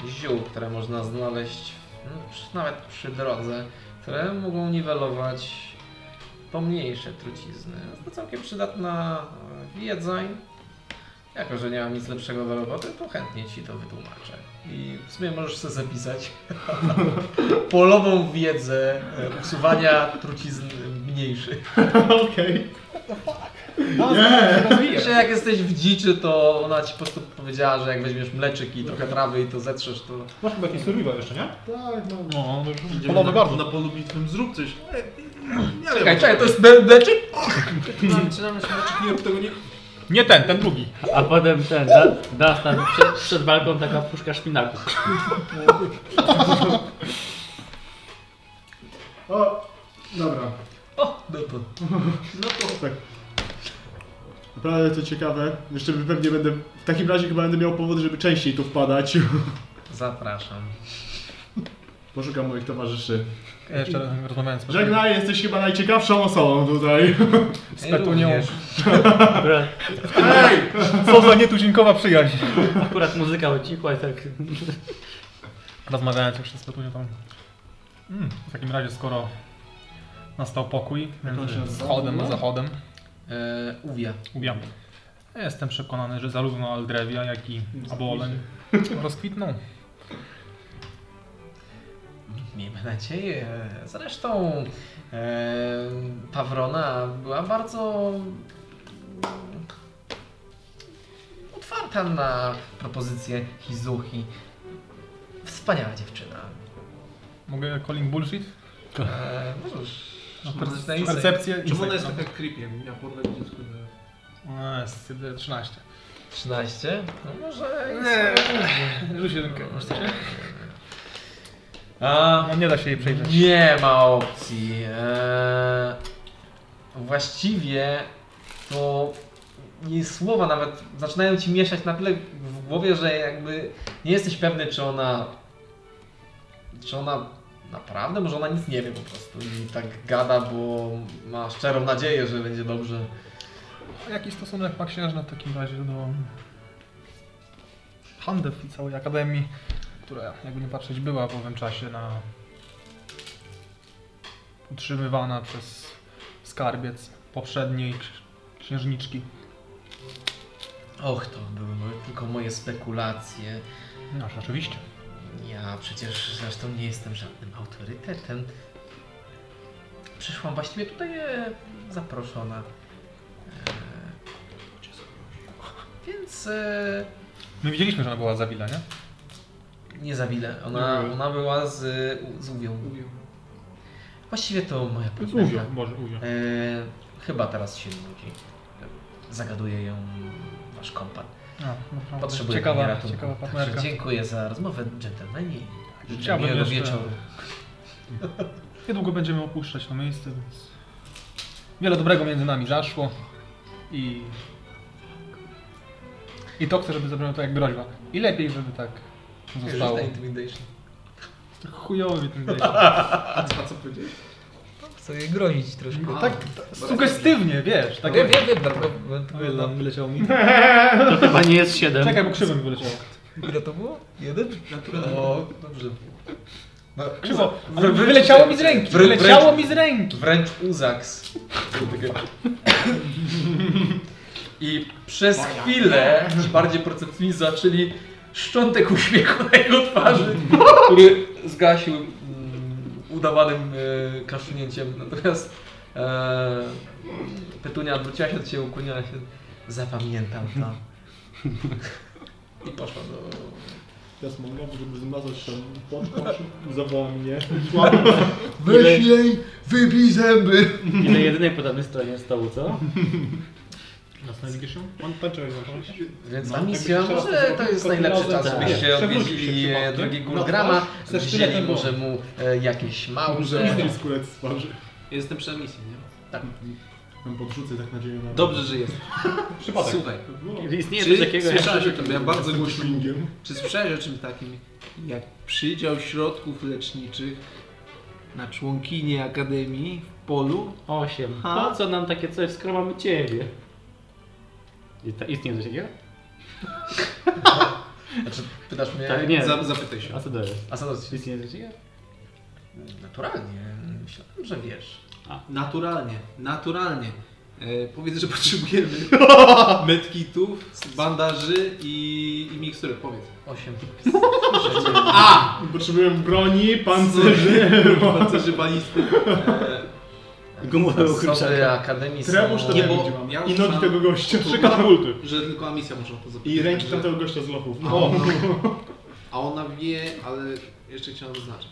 S1: ziół, które można znaleźć no, przy- nawet przy drodze, które mogą niwelować pomniejsze trucizny. Jest to całkiem przydatna e, wiedza i jako, że nie mam nic lepszego do roboty, to chętnie Ci to wytłumaczę. I w sumie możesz sobie zapisać <laughs> polową wiedzę e, usuwania trucizn mniejszych.
S6: Okej.
S4: No, yeah. rozwijasz.
S1: Że jak jesteś w dziczy, to ona ci po prostu powiedziała, że jak weźmiesz mleczyk i trochę trawy i to zetrzesz, to...
S4: Masz chyba jakiś survival jeszcze, nie?
S6: Tak, no.
S4: No,
S3: Idziemy na,
S4: polowy bardzo.
S3: Na polu bitwym zrób coś. E, Nie wiem.
S1: Czekaj, czekaj, to jest mle- mleczyk?
S3: Zaczynamy- Zaczynamy się leczyć, nie rób tego nie.
S4: Nie ten, ten drugi.
S5: A potem ten, da, da tam przed, przed walką taka puszka szpinaku.
S6: O, dobra.
S1: O, no to...
S6: No tak. Naprawdę to ciekawe. Jeszcze pewnie będę... W takim razie chyba będę miał powód, żeby częściej tu wpadać.
S1: Zapraszam.
S6: <laughs> Poszukam moich towarzyszy.
S4: Ja jeszcze rozmawiałem z
S6: Żegnaj, jesteś chyba najciekawszą osobą tutaj.
S4: z Petunią.
S1: Również.
S2: Akurat,
S6: Hej!
S4: Co za nietuzinkowa przyjaźń.
S2: akurat muzyka ucichła i tak...
S4: Rozmawiałem jeszcze z Petunią tam. Mm, w takim razie, skoro nastał pokój
S6: on się
S4: między
S6: nazywa?
S4: wschodem a zachodem,
S1: E, uwia.
S4: ubiam. Jestem przekonany, że zarówno Aldrevia, jak i Abolem rozkwitną.
S1: Miejmy nadzieję. Zresztą e, Pawrona była bardzo otwarta na propozycje Hizuchi. Wspaniała dziewczyna.
S4: Mogę calling bullshit?
S1: E, możesz. możesz na
S4: Percepcję.
S1: insight.
S4: Percepcję.
S3: Czemu ona jest
S4: insight,
S3: taka creepy? Jakby miała porwać dziecko na...
S4: no. A, jest 13.
S1: 13? No może.
S4: Nie, rzuć jedynkę.
S1: No, A,
S4: No nie da się jej przejrzeć.
S1: Nie ma opcji. Eee, właściwie to jej słowa nawet zaczynają ci mieszać na tyle w głowie, że jakby nie jesteś pewny, czy ona. Czy ona naprawdę, może ona nic nie wie po prostu i tak gada, bo ma szczerą nadzieję, że będzie dobrze.
S4: A Jaki stosunek ma księżna w takim razie do Handew i całej akademii, która jakby nie patrzeć była w owym czasie na utrzymywana przez skarbiec poprzedniej ksi- księżniczki.
S1: Och, to były mo- tylko moje spekulacje.
S4: No, rzeczywiście.
S1: Ja przecież zresztą nie jestem żadnym autorytetem. Przyszłam właściwie tutaj e, zaproszona. E, więc e,
S4: My widzieliśmy, że ona była zawila, nie?
S1: nie zawilę. Ona,
S4: Mhm.
S6: Nie.
S1: ona była z, u- z Uwią.
S3: Uwią.
S1: Właściwie to moja partnerka.
S4: Uwio, Boże, uwio.
S1: E, chyba teraz się nudzi. Zagaduje ją wasz kompan.
S4: A, no,
S1: Potrzebuję pani
S4: ciekawa,
S1: ratunku.
S4: ciekawa partnerka.
S1: Także dziękuję za rozmowę, dżentelmeni.
S4: Chciałbym
S1: Miłego
S4: jeszcze-
S1: wieczoru.
S4: Niedługo będziemy opuszczać to miejsce, więc wiele dobrego między nami zaszło i i to chcę, żeby zabrzmiało to jak groźba. I lepiej, żeby tak zostało.
S1: Rzuć na intimidation.
S4: To Chujowi ten dajesz.
S3: A co powiedziałeś?
S1: No, Chcę je gronić troszkę.
S4: Tak sugestywnie, wiesz. Tak
S1: wiem, wiem, wiem, dlatego
S4: Ojej,
S1: no,
S4: nam wyleciało mi.
S2: To chyba nie jest 7.
S4: Czekaj, bo krzywo mi wyleciało.
S1: Ile to było? Jeden?
S3: Naturalnie.
S1: O, No, dobrze. No,
S4: Krzywo, ale wyleciało mi z ręki, wyleciało mi z ręki.
S1: Wręcz uzaks. I przez chwilę ci bardziej percepcyjni zaczęli szczątek uśmiechu na jego twarzy, który zgasił mm, udawanym e, kasznięciem. Natomiast e, Petunia odwróciła się do ciebie, ukłoniła się. Zapamiętam to. I poszła do
S6: Teraz mam głowę, żeby zmazać się podkład, zawoła mnie. Słabo.
S9: Weź jej, wybij zęby.
S2: I na jedynej podobnej stronie stołu, co?
S6: On tańczył jakąś.
S1: Więc
S6: No,
S1: ta misja,
S6: jakbyście teraz
S1: może
S6: to
S1: to jest
S6: zrobili,
S1: najlepszy
S6: to
S1: czas,
S2: razem,
S1: żebyście
S6: tak. Przewrócił
S1: odwiedzili
S6: się No,
S1: e,
S6: przypadkiem.
S1: drugiego
S6: Na
S1: Grama,
S6: twarz, ze
S1: wzięli
S6: sztyletem
S1: może mu e, jakieś
S6: Dobrze,
S1: małże.
S6: musi skórę z twarzy.
S3: Jestem przy emisji, nie?
S6: Tam podrzucę tak nadzieję na... No.
S3: Dobrze, że <laughs> jest.
S6: Przypadek.
S3: Słuchaj,
S2: Jeżeli istnieje
S3: czy
S2: coś takiego jak...
S3: słyszałeś o tym, ja bardzo głośno
S6: Wingiem.
S3: Czy słyszałeś o czymś takim jak przydział środków leczniczych na członkini Akademii w polu?
S2: 8.
S3: Ha?
S2: Po co nam takie coś, skoro mamy ciebie? I ta, istnieje coś takiego?
S1: Znaczy, pytasz mnie,
S2: Tak, nie.
S3: Za, zapytaj się.
S2: A co dalej?
S1: a co to jest?
S2: Istnieje coś takiego?
S1: Naturalnie, myślałem, że wiesz.
S3: Naturalnie, naturalnie. E, powiedz, że <laughs> potrzebujemy
S6: <laughs>
S3: medkitów, bandaży i, i mikstury, powiedz.
S1: Osiem.
S6: <laughs>
S3: A!
S6: Potrzebuję broni, pancerzy.
S3: <laughs> Pancerzy balisty. E,
S2: Gumowe
S1: Zasoby Akademii są...
S6: Trebusz to
S3: Nie,
S6: nie
S3: bo
S6: będzie mam.
S3: ja
S6: I
S3: już
S6: nogi
S3: mam-
S6: tego gościa.
S3: Tu-
S6: Trzy katapulty.
S3: że tylko Amisja może o to zapytać.
S6: I ręki
S3: że-
S6: tamtego gościa z lochów.
S3: A
S6: O,
S3: ona, a ona wie, ale jeszcze chciałem zaznaczyć.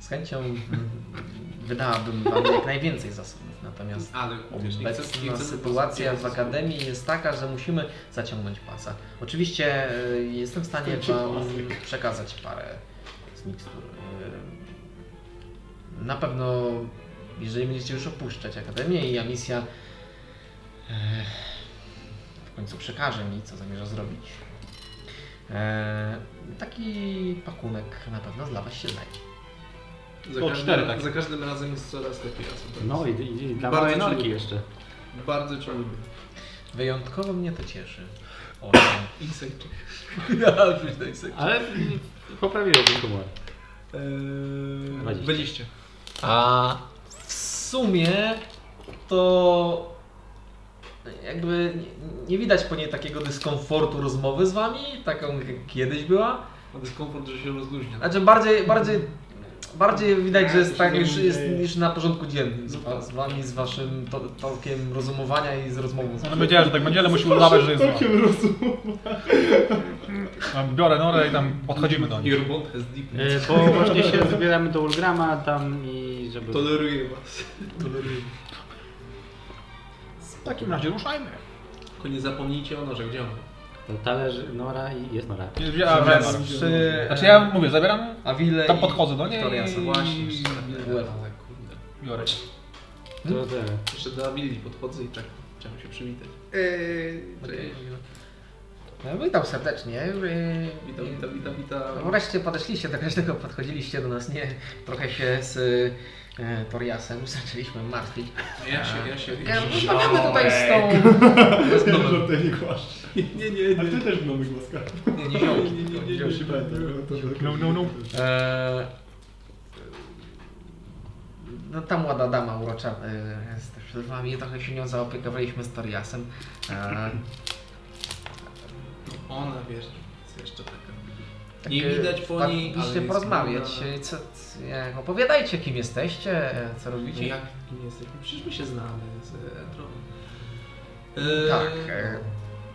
S1: Z chęcią mm, wydałabym wam jak najwięcej zasobów, natomiast
S3: Ale wiesz, nie chcę, nie
S1: Obecna
S3: chcę
S1: sytuacja w Akademii jest taka, że musimy zaciągnąć pasa. Oczywiście e, jestem w stanie Wam przekazać parę z mikstur. E, Na pewno, jeżeli będziecie już opuszczać Akademię i ja misja e, w końcu przekaże mi, co zamierza zrobić. E, E, taki pakunek na pewno dla Was się znajdzie.
S3: Za,
S2: O,
S3: każdym,
S2: cztery
S6: tak.
S2: takie.
S3: za każdym razem jest coraz lepiej. a co teraz?
S2: No i, i, i dla
S3: Bardzo
S2: małej
S3: ci
S2: norki
S3: lubię.
S2: jeszcze.
S3: Bardzo cię lubię.
S1: Wyjątkowo mnie to cieszy. Ola.
S3: Insejczyk.
S1: Ja, rzuć na
S5: tak.
S1: insekt.
S2: Ale poprawiło ten humor.
S3: Eee,
S2: Dwadzieścia.
S3: 20.
S1: A w sumie to jakby nie, nie widać po niej takiego dyskomfortu rozmowy z wami, taką jak kiedyś była.
S3: Ma dyskomfort, że się rozluźnia.
S1: Znaczy bardziej, bardziej, bardziej widać, że jest tak już, jest,
S6: dzieje.
S1: już na porządku dziennym z, wa- z wami, z waszym to, tokiem rozumowania i z rozmową. Z
S4: Ona powiedziała, że tak będzie, ale musi udawać, że jest
S6: Takim
S4: zła.
S6: rozumiem.
S4: A Biorę norę i tam podchodzimy do nich.
S3: Your bond has deepened.
S2: E, bo właśnie się zbieramy do Ulgrama tam i
S6: E-
S2: żeby...
S3: Toleruję was.
S4: W takim razie ruszajmy.
S3: Tylko nie zapomnijcie o nożach, gdzie on?
S2: To talerz, nora i jest nora.
S4: Nie wzięła
S1: Przy-
S4: Wema.
S1: przy-
S4: Znaczy ja mówię, zabieram,
S1: Awile
S4: tam
S1: i
S4: podchodzę do niej
S1: Wiktoriasa.
S4: i
S3: Właśnie, jeszcze do Willi.
S1: Łeb.
S3: Ale kurde.
S4: biorę.
S2: To te...
S3: Jeszcze do Abilii podchodzę i tak chciałem się przywitać.
S1: Okej. No, witam serdecznie. Yy,
S3: Witam,
S1: yy,
S3: witam, witam,
S1: No
S3: witam.
S1: Wreszcie podeszliście do każdego, podchodziliście do nas, nie? Trochę się z e, Toriasem zaczęliśmy martwić.
S3: Ja się, ja się...
S1: Ja,
S3: Ja się
S1: Rozmawiamy tutaj z tą...
S6: Bez noża tutaj nie kłasz.
S3: nie, nie, nie.
S6: A ty też mamy głaska.
S1: Nie, nie, ziołki,
S3: Nie, nie, nie,
S1: to
S3: nie,
S1: ziołki.
S6: No, no, no.
S1: E, No ta młoda dama urocza e, jest też z wami, trochę się nią zaopiekowaliśmy z Toriasem. E,
S3: Ona, wiesz, jest jeszcze taka.
S1: tak,
S3: Nie
S1: e,
S3: widać po
S1: wpadliście
S3: niej, ale jest
S1: porozmawiać.
S3: młoda.
S1: E, Co, co, jak- opowiadajcie kim jesteście, e, co
S3: Wiecie,
S1: robicie.
S3: No jak nie jesteśmy? Przecież my się znamy z e, Edronem.
S1: Tak, e,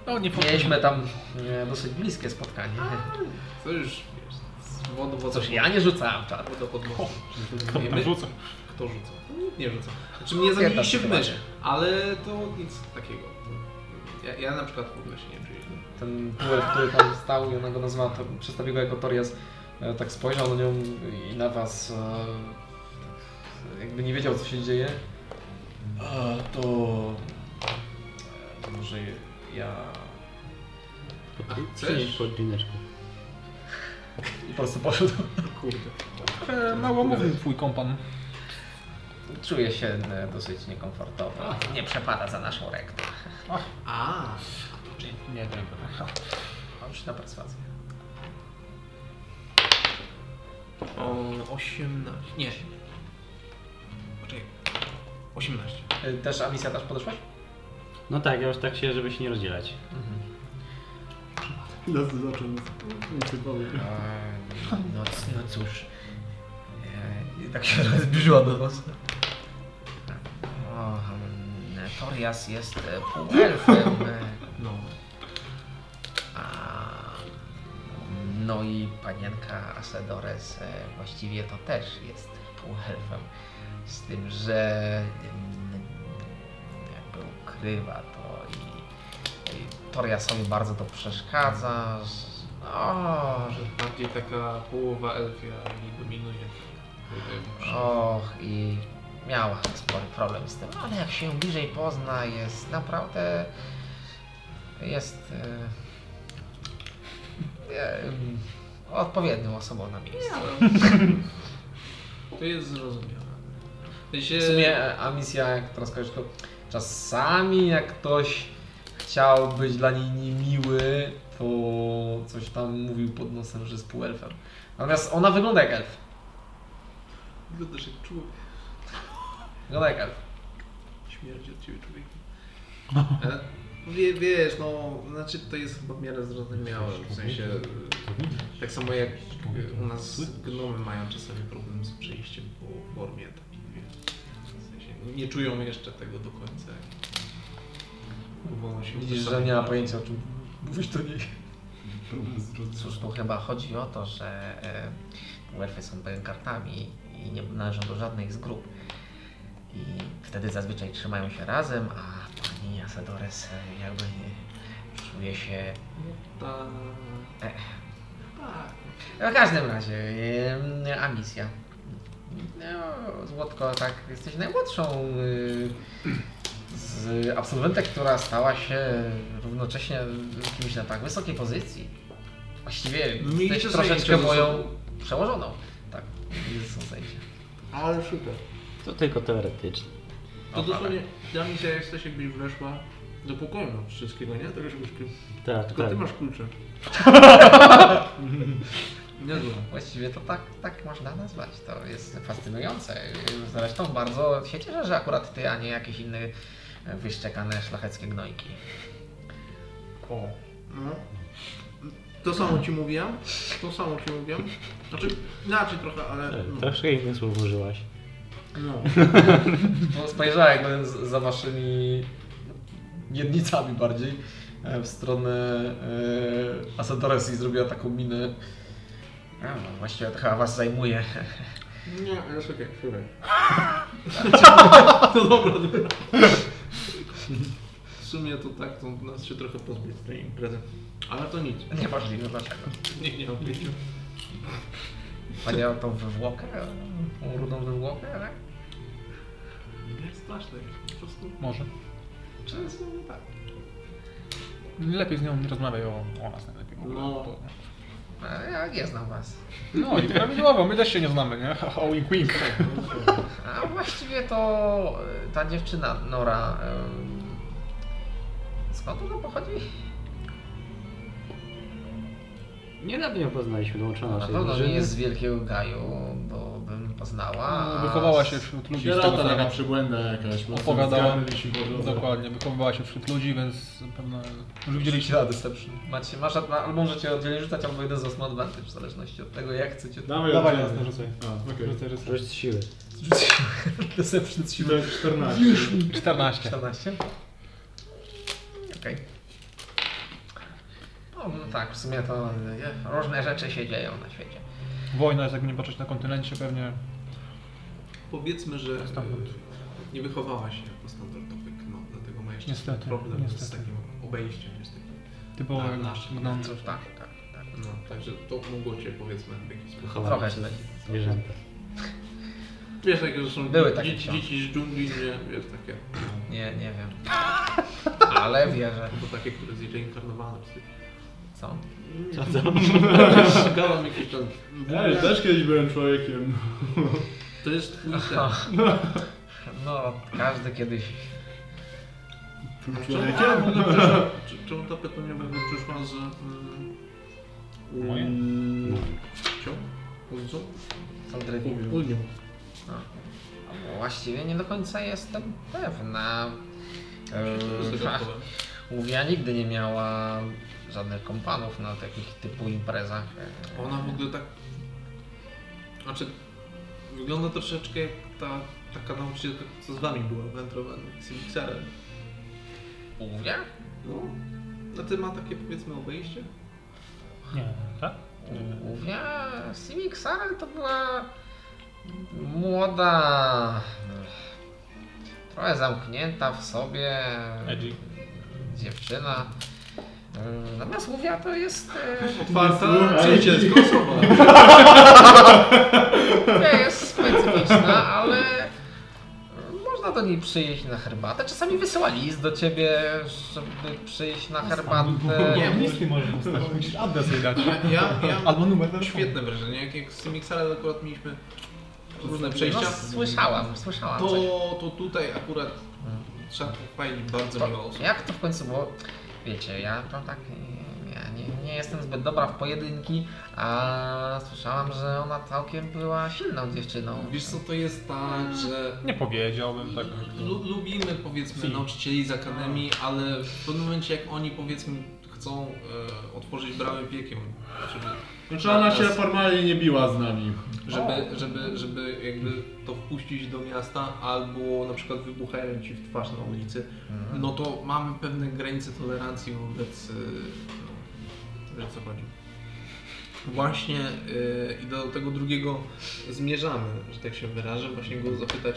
S4: No nie
S1: mieliśmy tam e, dosyć bliskie spotkanie.
S3: To już, wiesz, z wodą, wodą.
S1: Cóż, ja nie rzucałem czadu.
S3: Wodą pod most.
S4: Kto tam
S3: My-
S4: rzuca?
S3: Kto rzuca? No, Nie rzuca. Znaczy mnie zabiliście w
S1: chyba
S3: mecz, ale to nic takiego. Ja, ja na przykład w ogóle się nie przyjeżdżam.
S1: Ten półek, który tam stał i ona go nazwała, to przedstawił go jako Torias, e, tak spojrzał na nią i na was, e, tak jakby nie wiedział co się dzieje.
S7: A to... e, Może ja...
S3: Chcesz?
S2: Przynieś podwineczkę.
S1: I po prostu poszedł.
S3: Kurde.
S4: E, Mało mówił twój kompan.
S1: Czuje się e, dosyć niekomfortowo. Nie przepada za naszą rektą.
S3: A,
S4: Nie, nie.
S1: Mam już na perswazję.
S3: o, 18. Nie. Poczekaj. 18.
S1: E, Też, a misja też podeszłaś?
S2: No tak, ja już tak się, żeby się nie rozdzielać.
S6: Nas zaczął nas. Nie chcę powiem.
S1: No, no cóż. I tak się <laughs> rozbliżyła do was. Torias jest e, półelfem. e,
S3: No.
S1: A, no i panienka Asadores e, właściwie to też jest półelfem. Z tym, że mm, jakby ukrywa to i, i Toriasowi bardzo to przeszkadza. że- O, że
S3: Może bardziej taka połowa elfia mi dominuje.
S1: Och, i miała spory problem z tym, ale jak się ją bliżej pozna, jest naprawdę. jest. E, e, m, odpowiednią osobą na miejscu.
S3: To jest zrozumiałe. To
S1: W
S3: się...
S1: sumie e, a misja, jak teraz kojarzysz, to czasami jak ktoś chciał być dla niej niemiły, to coś tam mówił pod nosem, że jest półelfem. Natomiast ona wygląda jak elf.
S3: Wygląda, że człowiek
S1: Wygląda jak elf.
S3: śmierdzi od ciebie
S1: <laughs>
S3: człowiek. E, Wie, wiesz, no, znaczy to jest chyba w miarę zrozumiałe, w sensie e, tak samo jak e, u nas gnomy mają czasami problem z przejściem po formie takiej, wiesz, w sensie nie czują jeszcze tego do końca. Wolno się
S1: Widzisz, że
S3: utożsamiać.
S1: nie ma pojęcia o czym mówisz do niej.
S6: Problem z rodzicem.
S1: Cóż, tu chyba chodzi o to, że e, elfy są bękartami i nie należą do żadnej z grup. I wtedy zazwyczaj trzymają się razem, a pani Asadores e, jakby nie czuje się...
S3: Ta...
S1: E.
S3: Tak.
S1: No, W każdym razie, e, a misja. No, Złotko, tak, jesteś najmłodszą e, z absolwentek, która stała się równocześnie kimś na tak wysokiej pozycji. Właściwie
S3: No mieliście
S1: jesteś
S3: zajęcia
S1: troszeczkę
S3: ze
S1: moją
S3: sobą.
S1: przełożoną. Tak, jest są zajęcia.
S6: Ale super.
S5: To tylko teoretycznie.
S3: To dosłownie, ta misja jesteś jakbyś weszła do pokoju wszystkiego, nie? Tego się
S5: Tak,
S3: Tylko
S5: tak.
S3: ty masz
S6: <laughs>
S3: klucze. Niezłe.
S1: Właściwie to tak, tak można nazwać. To jest fascynujące. Zresztą bardzo się cieszę, że akurat ty, a nie jakieś inne wyszczekane szlacheckie gnojki.
S6: O.
S3: No. To samo ci mówiłem, to samo ci mówiłem. Znaczy, inaczej trochę, ale... No.
S5: E, Troszkę inne słowo użyłaś.
S3: no.
S1: Bo spojrzała No, jakby z- za waszymi miednicami bardziej e, w stronę e, Asadores i zrobiła taką minę. A, no, właściwie to chyba was zajmuje. <laughs>
S3: Nie, jest okej, okay, W sumie to tak, to nas się trochę pozbyć z tej imprezy. Mhm. Ale to nic,
S1: Niemożliwe dlaczego.
S3: nie, nie mam pojęcia.
S1: Powiedział tą wywłokę, tą rudą wywłokę, tak?
S3: Nie straszne, po prostu
S4: Może.
S3: często nie tak.
S4: Lepiej z nią nie rozmawiaj o, o nas najlepiej.
S3: No.
S4: To-
S1: E, Ja nie znam was.
S4: No i prawidłowo, my też się nie znamy, nie? <laughs> O wink wink.
S1: A właściwie to e, ta dziewczyna Nora. em, Skąd ona pochodzi?
S5: Niedawno ją poznaliśmy, dołączona do
S1: Na
S5: naszej
S1: pewno nie
S5: drużyny.
S1: jest z Wielkiego Gaju, bo bym poznała. a
S4: No, Wychowała
S1: z-
S4: się wśród ludzi. z tego,
S6: Sierota
S4: co
S6: taka przybłęda jakaś. po prostu
S4: Opowiadała.
S6: zgarnęliśmy po drodze.
S4: Dokładnie, wychowywała się wśród ludzi, więc pewno już widzieliście.
S1: Rzuć na deception. Macie, masz, albo możecie oddzielnie rzucać, albo jeden z was ma advantage, w zależności od tego, jak chcecie.
S6: Dawaj,
S4: Dawaj,
S6: oddzielnie.
S4: jasne, rzucaj.
S6: A, okej.
S4: Rzucaj, rzucaj.
S5: Rzuć z siły.
S1: <laughs> Rzuciłem deception z
S6: To
S1: siły
S6: jest 14.
S4: 14.
S1: 14. Okej. No, no tak, w sumie to e, różne rzeczy się dzieją na świecie.
S4: Wojna jest, jakby nie patrzeć na kontynencie, pewnie
S3: Powiedzmy, że e,
S4: Standard.
S3: nie wychowała się jako standardowy no, dlatego ma jeszcze
S4: Niestety,
S3: problem z
S4: niestety.
S3: takim obejściem, jest taki.
S4: typowo
S3: Na-
S4: jak
S3: nasz-
S4: gnom.
S1: Cóż, tak, tak, tak.
S3: No, także to mogło cię powiedzmy w jakiś sposób.
S5: Wychowane
S1: Trochę
S5: przez
S1: źle.
S5: zwierzęta.
S3: Wiesz, jakie to są
S1: Były takie
S3: dzieci,
S1: książki.
S3: dzieci z dżungli, nie, wiesz, takie.
S1: Nie, nie wiem. <laughs> Ale wierzę.
S3: Albo takie, które jest reinkarnowane. w stylu.
S1: Co?
S5: Co, co?
S3: Gadam jakiś tam.
S6: Ja już też kiedyś byłem człowiekiem.
S3: To jest twój sen.
S1: No, no każdy kiedyś.
S3: Czemu ta w ogóle przyszła- czy- Czemu ta pytania w ogóle przyszła z... Mm,
S4: Moje?
S3: Cią? Ulicą?
S1: Sandryni.
S3: Unią.
S1: No, Właściwie nie do końca jestem pewna. Eee, ha, Mówiła nigdy nie miała żadnych kompanów na takich typu imprezach. Eee,
S3: Ona w ogóle tak... Znaczy... Wygląda troszeczkę jak ta taka nauczycielka, co z wami była, wędrowana z Elixirem.
S1: Mówię?
S3: No. No ty ma takie powiedzmy obejście?
S4: Nie, tak?
S1: Mówię? Simi Xarel to była młoda, trochę zamknięta w sobie
S4: Edgy.
S1: dziewczyna. Eee, Natomiast mówiła to jest... eee,
S3: Otwarta, przyjacielska osoba.
S1: Nie, jest specyficzna, ale można do niej przyjść na herbatę. Czasami wysyła list do ciebie, żeby przyjść na herbatę.
S3: Nie,
S4: Nic nie możesz dostać, musisz <laughs> adres jej dać.
S3: <laughs> Ja, ja
S4: Albo numer
S3: mam
S4: telefonu.
S3: świetne wrażenie. Jak, jak z tym Mixalem akurat mieliśmy różne
S1: No,
S3: przejścia,
S1: słyszałam, słyszałam
S3: to,
S1: coś.
S3: to tutaj akurat trzeba pochwalić bardzo miło
S1: To,
S3: osób.
S1: jak to w końcu było? Wiecie, ja to tak nie- ja nie, nie jestem zbyt dobra w pojedynki, a słyszałam, że ona całkiem była silną dziewczyną.
S3: Wiesz co, to jest tak, że
S4: Nie powiedziałbym tak.
S3: lu- lubimy powiedzmy
S4: Si.
S3: nauczycieli z akademii, ale w pewnym momencie jak oni powiedzmy chcą e, otworzyć bramy piekiem, żeby
S6: Znaczy ona się formalnie nie biła z nami.
S3: żeby, żeby, żeby jakby to wpuścić do miasta, albo na przykład wybuchają ci w twarz na ulicy, no to mamy pewne granice tolerancji wobec. y, No, wiesz o co chodzi. Właśnie y, i do tego drugiego zmierzamy, że tak się wyrażę, właśnie go zapytać.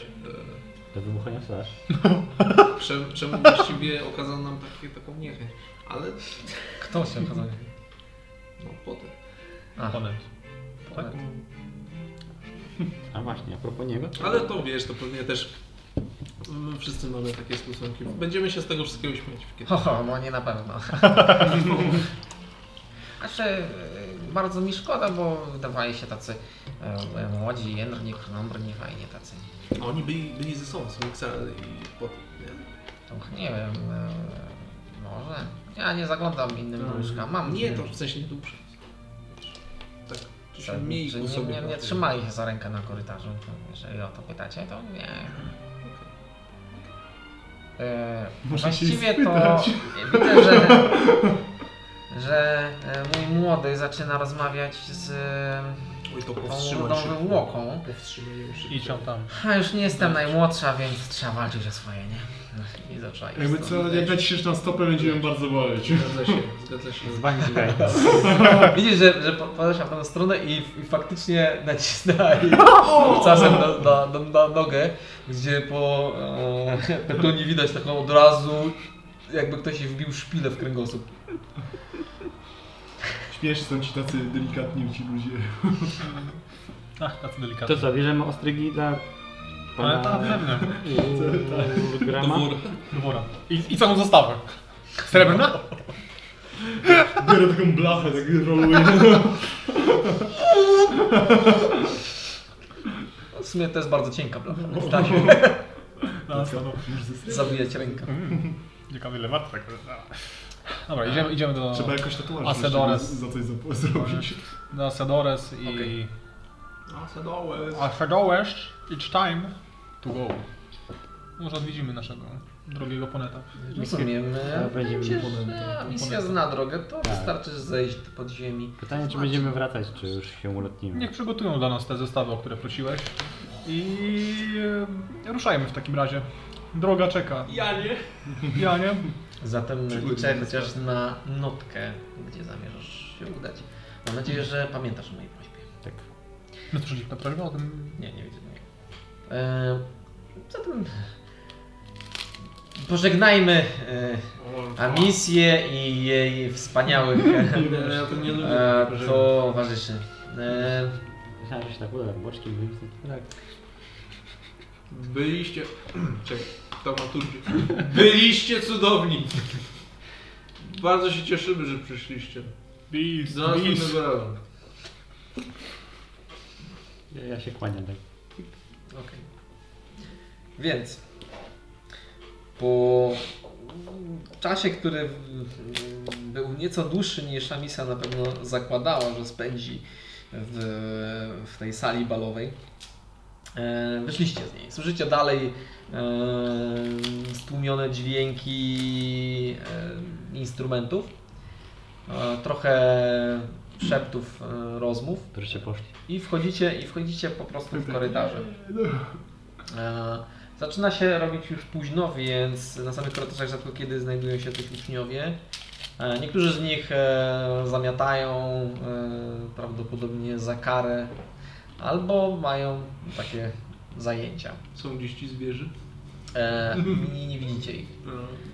S3: y,
S5: Do wybuchania flash.
S3: Czemu, czemu właściwie okazano nam takie, taką niechęć? Ale
S1: Kto się okazał?
S3: no potem.
S1: A,
S4: Ponad.
S3: tak?
S4: Tak.
S1: ponad.
S5: A właśnie, a propos niego.
S3: Ale to wiesz, to pewnie też my wszyscy mamy takie stosunki.
S1: no
S3: <laughs> Będziemy się z tego wszystkiego śmiać.
S1: Ho, ho, no nie na pewno. Znaczy, e, bardzo mi szkoda, bo wydawali się tacy e, młodzi, jędrni, krnąbrni, fajnie tacy.
S3: A Oni byli, byli ze sobą, są Xel i pod. Nie?
S1: Och, nie wiem, e, może. Ja nie zaglądam innym
S2: Tak.
S1: nóżka. Mam
S3: No, Nie, to w sensie dłużej. Tak, czy się
S1: Czy
S3: mieli
S1: nie,
S3: po sobie.
S1: nie, nie
S3: bardziej.
S1: trzymali się za rękę na korytarzu. Jeżeli o to pytacie, to nie. E,
S6: Tak. Muszę się
S1: właściwie to
S6: spytać.
S1: widzę, że, że e, mój młody zaczyna rozmawiać z e,
S3: Oj, to
S1: tą
S3: powstrzymaj się.
S1: rudowym łoką.
S3: Powstrzymaj ją szybko.
S4: Idź tam tam.
S1: A już nie jestem najmłodsza, więc trzeba walczyć o swoje, nie? No, I zaczęła
S6: Jakby co, jak naciśniesz na stopę, będziemy bardzo boleć.
S3: Zgadza się, zgadza się.
S2: Zbań z gaj.
S1: Widzisz, że, że po- podeszła w tą stronę i, i faktycznie nacisnęła
S4: <laughs>
S1: jej czasem na, na, na, na nogę, gdzie po e, petonie widać taką od razu, jakby ktoś jej wbił szpilę w kręgosłup.
S6: Śmiesz, są ci tacy delikatni ci ludzie.
S4: Ach, Tak, tacy delikatny.
S5: To co, bierzemy ostrygi dla
S4: Ale tak,
S5: pana
S4: pewnie.
S5: yy, Grama?
S4: Dobra. I, I całą zostawę. Srebrna?
S6: Biorę taką blachę, tak roluję.
S1: W sumie to jest bardzo cienka blacha. więc tak
S6: no,
S1: Zabija ci rękę.
S4: Ciekawy Mm. ile warto tak. Dobra, idziemy, idziemy do,
S6: Trzeba jakoś tatuaż
S4: A
S6: jeszcze
S4: Sedores?
S6: za coś zap- zrobić.
S4: do Asadores i...
S3: Okej. A, Sadołe.
S4: Asadores, it's time to go. Może odwiedzimy naszego drogiego poneta.
S1: Rozumiem.
S5: Będziemy
S1: Będziesz,
S5: ponętą.
S1: e, misja zna drogę, to wystarczy zejść do podziemi.
S5: Pytanie, czy będziemy wracać, czy już się ulotnimy.
S4: Niech przygotują dla nas te zestawy, o które prosiłeś. I e, ruszajmy w takim razie. Droga czeka.
S3: Ja nie.
S4: Ja nie?
S1: Zatem
S3: Przygotuj
S1: liczę
S3: nas.
S1: chociaż na notkę, gdzie zamierzasz się udać. Mam nadzieję, że pamiętasz o mojej prośbie.
S5: Tak.
S4: No cóż, na prośbę o tym.
S1: Nie, nie widzę. Nie. E, zatem pożegnajmy e, Amisję i jej wspaniałych
S3: Nie, ja to nie lubię.
S1: e,
S3: Boże.
S1: towarzyszy. E,
S5: Myślałem, że się tak uda, boczkiem wyjdzie.
S3: Byliście. <clears throat> Czekaj, dramaturgie. Byliście cudowni! Bardzo się cieszymy, że przyszliście.
S4: Bis,
S3: Do następnego razu.
S5: Ja, ja się kłaniam tak.
S1: Okej. Więc po czasie, który mm, był nieco dłuższy niż Amisa na pewno zakładała, że spędzi w, w tej sali balowej, e, wyszliście z niej. Słyszycie dalej e, stłumione dźwięki e, instrumentów, e, trochę szeptów e, rozmów
S5: Proszę poszli.
S1: i wchodzicie, i wchodzicie po prostu w korytarze. E, Zaczyna się robić już późno, więc na samych korytarzach rzadko kiedy znajdują się tych uczniowie. E, Niektórzy z nich e, zamiatają e, prawdopodobnie za karę albo mają takie zajęcia.
S3: Są gdzieś ci zwierzy? No.
S1: E, Nie, nie widzicie ich.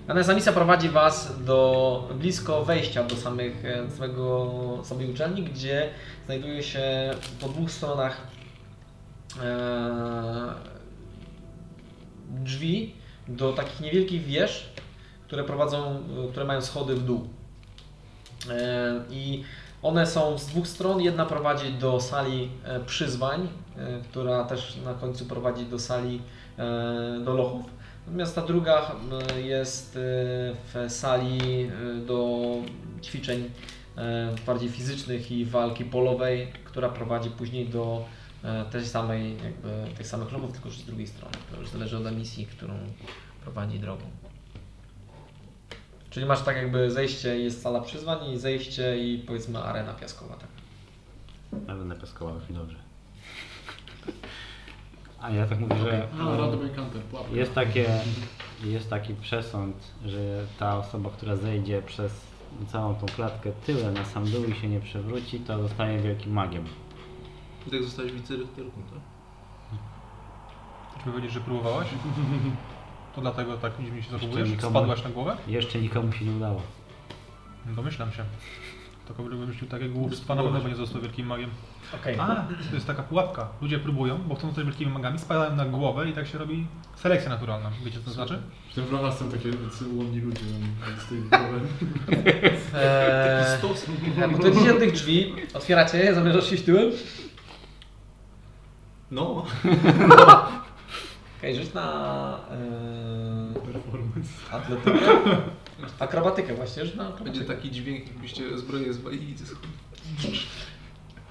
S1: Natomiast Anisa prowadzi Was do blisko wejścia do samych, e, samego, samej uczelni, gdzie znajduje się po dwóch stronach e, drzwi do takich niewielkich wież, które prowadzą, e, które mają schody w dół. E, I one są z dwóch stron. Jedna prowadzi do sali e, przyzwań, e, która też na końcu prowadzi do sali e, do lochów. Natomiast ta druga m, jest e, w sali e, do ćwiczeń e, bardziej fizycznych i walki polowej, która prowadzi później do e, tej samej, jakby tych samych ruchów, tylko już z drugiej strony. To już zależy od misji, którą prowadzi drogą. Czyli masz tak jakby zejście, jest sala przyzwań i zejście i powiedzmy arena piaskowa, tak?
S5: Nawet na piaskołach i dobrze. A ja tak mówię, że
S6: A, random encounter,
S5: e, jest, takie, jest taki przesąd, że ta osoba, która zejdzie przez całą tą klatkę tyłem na sam dół i się nie przewróci, to zostanie wielkim magiem.
S3: I tak zostałeś wicerychterką, tak?
S4: Chcesz mi powiedzieć, że próbowałaś? To dlatego tak dziwnie się zachowujesz?
S5: nikomu-
S4: Spadłaś na głowę?
S5: Jeszcze nikomu się nie udało.
S4: Domyślam się. Tylko byłbym życiu takiego głupstwa, na pewno by nie został wielkim magiem.
S1: Okej.
S4: A, to jest taka pułapka. Ludzie próbują, bo chcą zostać wielkimi magami, spadają na głowę i tak się robi selekcja naturalna. Wiecie co to znaczy?
S6: W tym wrogach są takie łomni ludzie tam z tej głowy.
S1: Eee,
S6: Stos.
S1: podchodzicie do tych drzwi, otwieracie je, zamierzasz się tyłem.
S6: No.
S1: <laughs> Okej, rzuć na eee,
S6: Performance.
S1: atletykę. Akrobatykę właśnie, rzuć na
S3: Będzie
S1: akrobatykę.
S3: taki dźwięk, jakbyście zbroję zwalili ze schodów.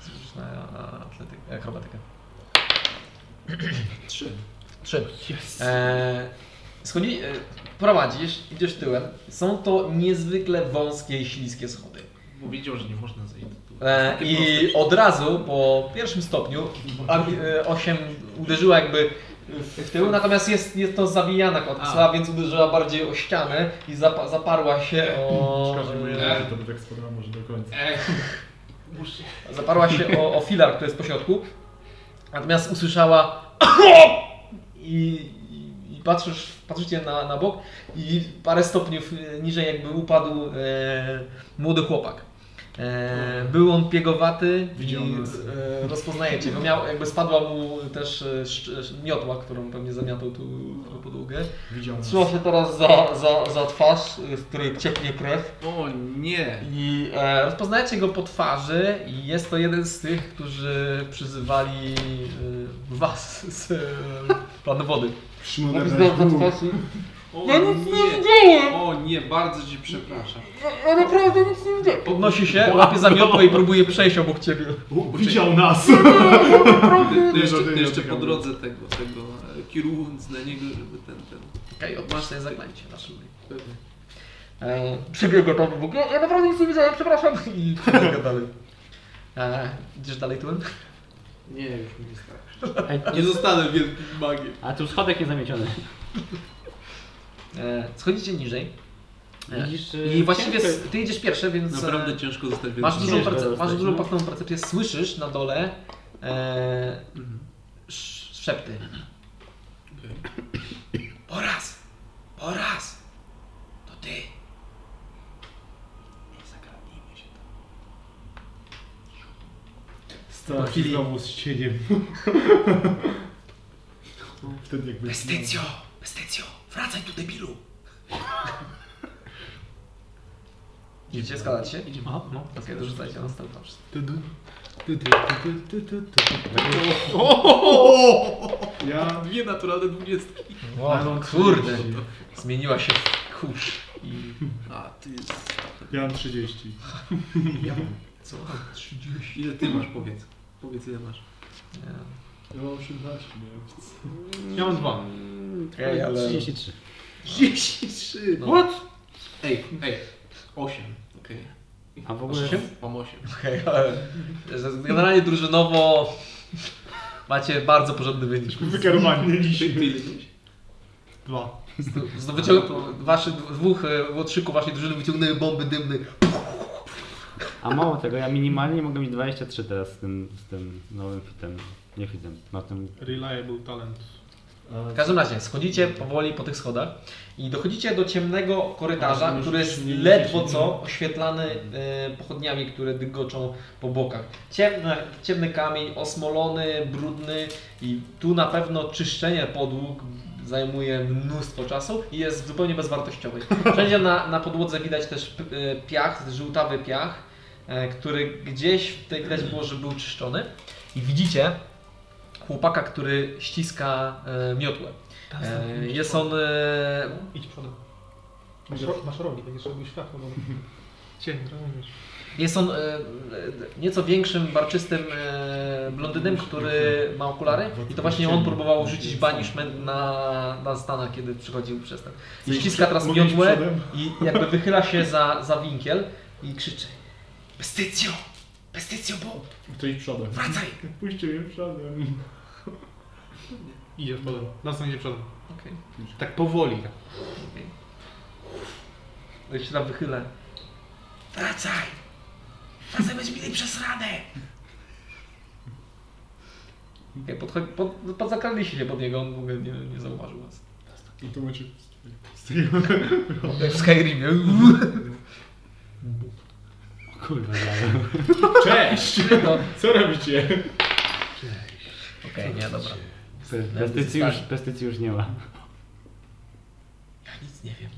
S1: Rzuć na e, atletykę, akrobatykę.
S3: Trzy.
S1: Trzy. Eee, schodzi, e, prowadzisz, idziesz tyłem. Są to niezwykle wąskie i śliskie schody.
S3: Powiedział, że nie można zejść do tu.
S1: E, I od razu po pierwszym stopniu Ami- e, 8 uderzyła jakby w tył, natomiast jest, jest to zawijana kotwica,
S3: A.
S1: więc uderzyła bardziej o ścianę i zapa- zaparła się o...
S6: Szkoda, że moje
S1: e,
S6: nogi to by tak spadało może do końca.
S3: Muszę.
S1: zaparła się o, o filar, który jest po środku. Natomiast usłyszała i, i, i patrzysz, patrzycie na, na bok i parę stopniów e, niżej jakby upadł e, młody chłopak. E, był on piegowaty i
S6: Widziałem nas.
S1: e, rozpoznajecie go. Miał, jakby spadła mu też e, szcz- szcz- miotła, którą pewnie zamiatał tu na podłogę.
S6: Widziałem.
S1: Trzymał się teraz za, za, za twarz, e, z której cieknie krew.
S3: O nie!
S1: I e, rozpoznajecie go po twarzy i jest to jeden z tych, którzy przyzywali e, was z e, planu wody.
S6: Szymon
S3: O nie! O nie, bardzo cię przepraszam.
S1: Podnosi się, łapie za miotło i próbuje przejść obok ciebie.
S6: Widział nas!
S3: To jeszcze,
S6: żartuję,
S3: to jeszcze po
S6: czekam.
S3: drodze tego, tego e, kierując na niego, żeby ten, ten...
S1: Okej, odmasz sobie zaklęcie na szyi. E, Przebiegł tam obok, ja, ja naprawdę nic nie widziałem, przepraszam. <laughs> I przebiega dalej. E, idziesz dalej tyłem?
S3: Nie, już mi nie starczy.
S5: Ej,
S3: Nie zostanę wielkim magiem.
S5: A tu schodek nie zamieciony.
S1: E, schodzicie niżej. E,
S5: Widzisz, y,
S1: I właściwie
S5: ciężko-
S1: s- ty idziesz pierwszy, więc... e,
S3: Naprawdę ciężko zostać wielkim
S1: Masz dużą,
S5: Ciężko
S1: perce- masz
S5: dostać,
S1: dużą
S5: no.
S1: pachną percepcję, słyszysz na dole e, sz- szepty. Oraz! Oraz! To ty!
S6: Stała się znowu z cieniem. <laughs> Wtedy jakby...
S1: Bestycjo! Bestycjo! Wracaj tu debilu! Idziecie, skadacie się? Idziemy.
S2: Aha, no.
S1: Okej, okay, dorzucajcie na stan wszyscy.
S6: Ja...
S3: Dwie naturalne dwudziestki.
S1: O, No kurde! Zmieniła się w kurz. I...
S3: A, ty jest...
S6: Ja mam 30.
S3: co? 30. Ile ty masz, powiedz. Powiedz ile masz.
S6: Ja mam 18, nie?
S4: Ja mam dwa.
S1: Ej, ale...
S5: 33.
S3: 33!
S1: No.
S3: What? Ej, ej. 8. Okej.
S5: A w ogóle
S3: Mam 8.
S1: Okej, ale generalnie drużynowo macie bardzo porządny wynik.
S6: Wykierowani
S3: Ty, ty
S6: mieliśmy.
S3: ile miałeś?
S4: Dwa.
S1: Z- z- Wyciąg... Waszy dwóch e, łotrzyków waszej drużyny wyciągnęły bomby dymne.
S5: A mało tego, ja minimalnie mogę mieć 23 teraz z tym, z tym nowym fitem. Nie fitem, na tym.
S4: Reliable talent.
S1: W każdym razie schodzicie powoli po tych schodach i dochodzicie do ciemnego korytarza, który jest ledwo co oświetlany e, pochodniami, które dygoczą po bokach. Ciemne, ciemny kamień, osmolony, brudny i tu na pewno czyszczenie podłóg zajmuje mnóstwo czasu i jest zupełnie bezwartościowy. Wszędzie na, na podłodze widać też p- e, piach, żółtawy piach, e, który gdzieś tutaj widać było, że był czyszczony i widzicie chłopaka, który ściska e, miotłę. E, jest on e,
S8: Idź przodem. Masz, ro- masz rogi,
S4: tak
S8: będziesz robił
S4: <laughs>
S8: światło. Bo... Cień,
S4: no
S8: rozumiesz.
S1: Jest on e, e, nieco większym, barczystym e, blondynem, który ma okulary i to właśnie on próbował rzucić banishment na, na Stana, kiedy przychodził przez ten. I ściska teraz
S6: Mogę iść
S1: miodłę
S6: przodem?
S1: i jakby wychyla się za, za winkiel i krzyczy Bestycjo! Bestycjo, bo
S6: To idź przodem.
S1: wracaj!
S6: Pójście mnie przodem.
S4: Idziesz potem. Nas idzie przodem.
S1: Okej.
S4: Tak powoli.
S1: Okay. Jeszcze tam wychylę. Wracaj! Wracaj, będziemy mieli przesrane! Okay, podchodź, pod, podzakraliście się pod niego, on w ogóle nie, nie zauważył was.
S6: I to macie...
S1: W Skyrimie.
S5: Kurwa, ja
S6: Cześć!
S1: No.
S6: Co robicie?
S1: Okej, nie, dobra.
S5: pestycjusz, pestycjusz nie ma.
S1: Ja nic nie wiem.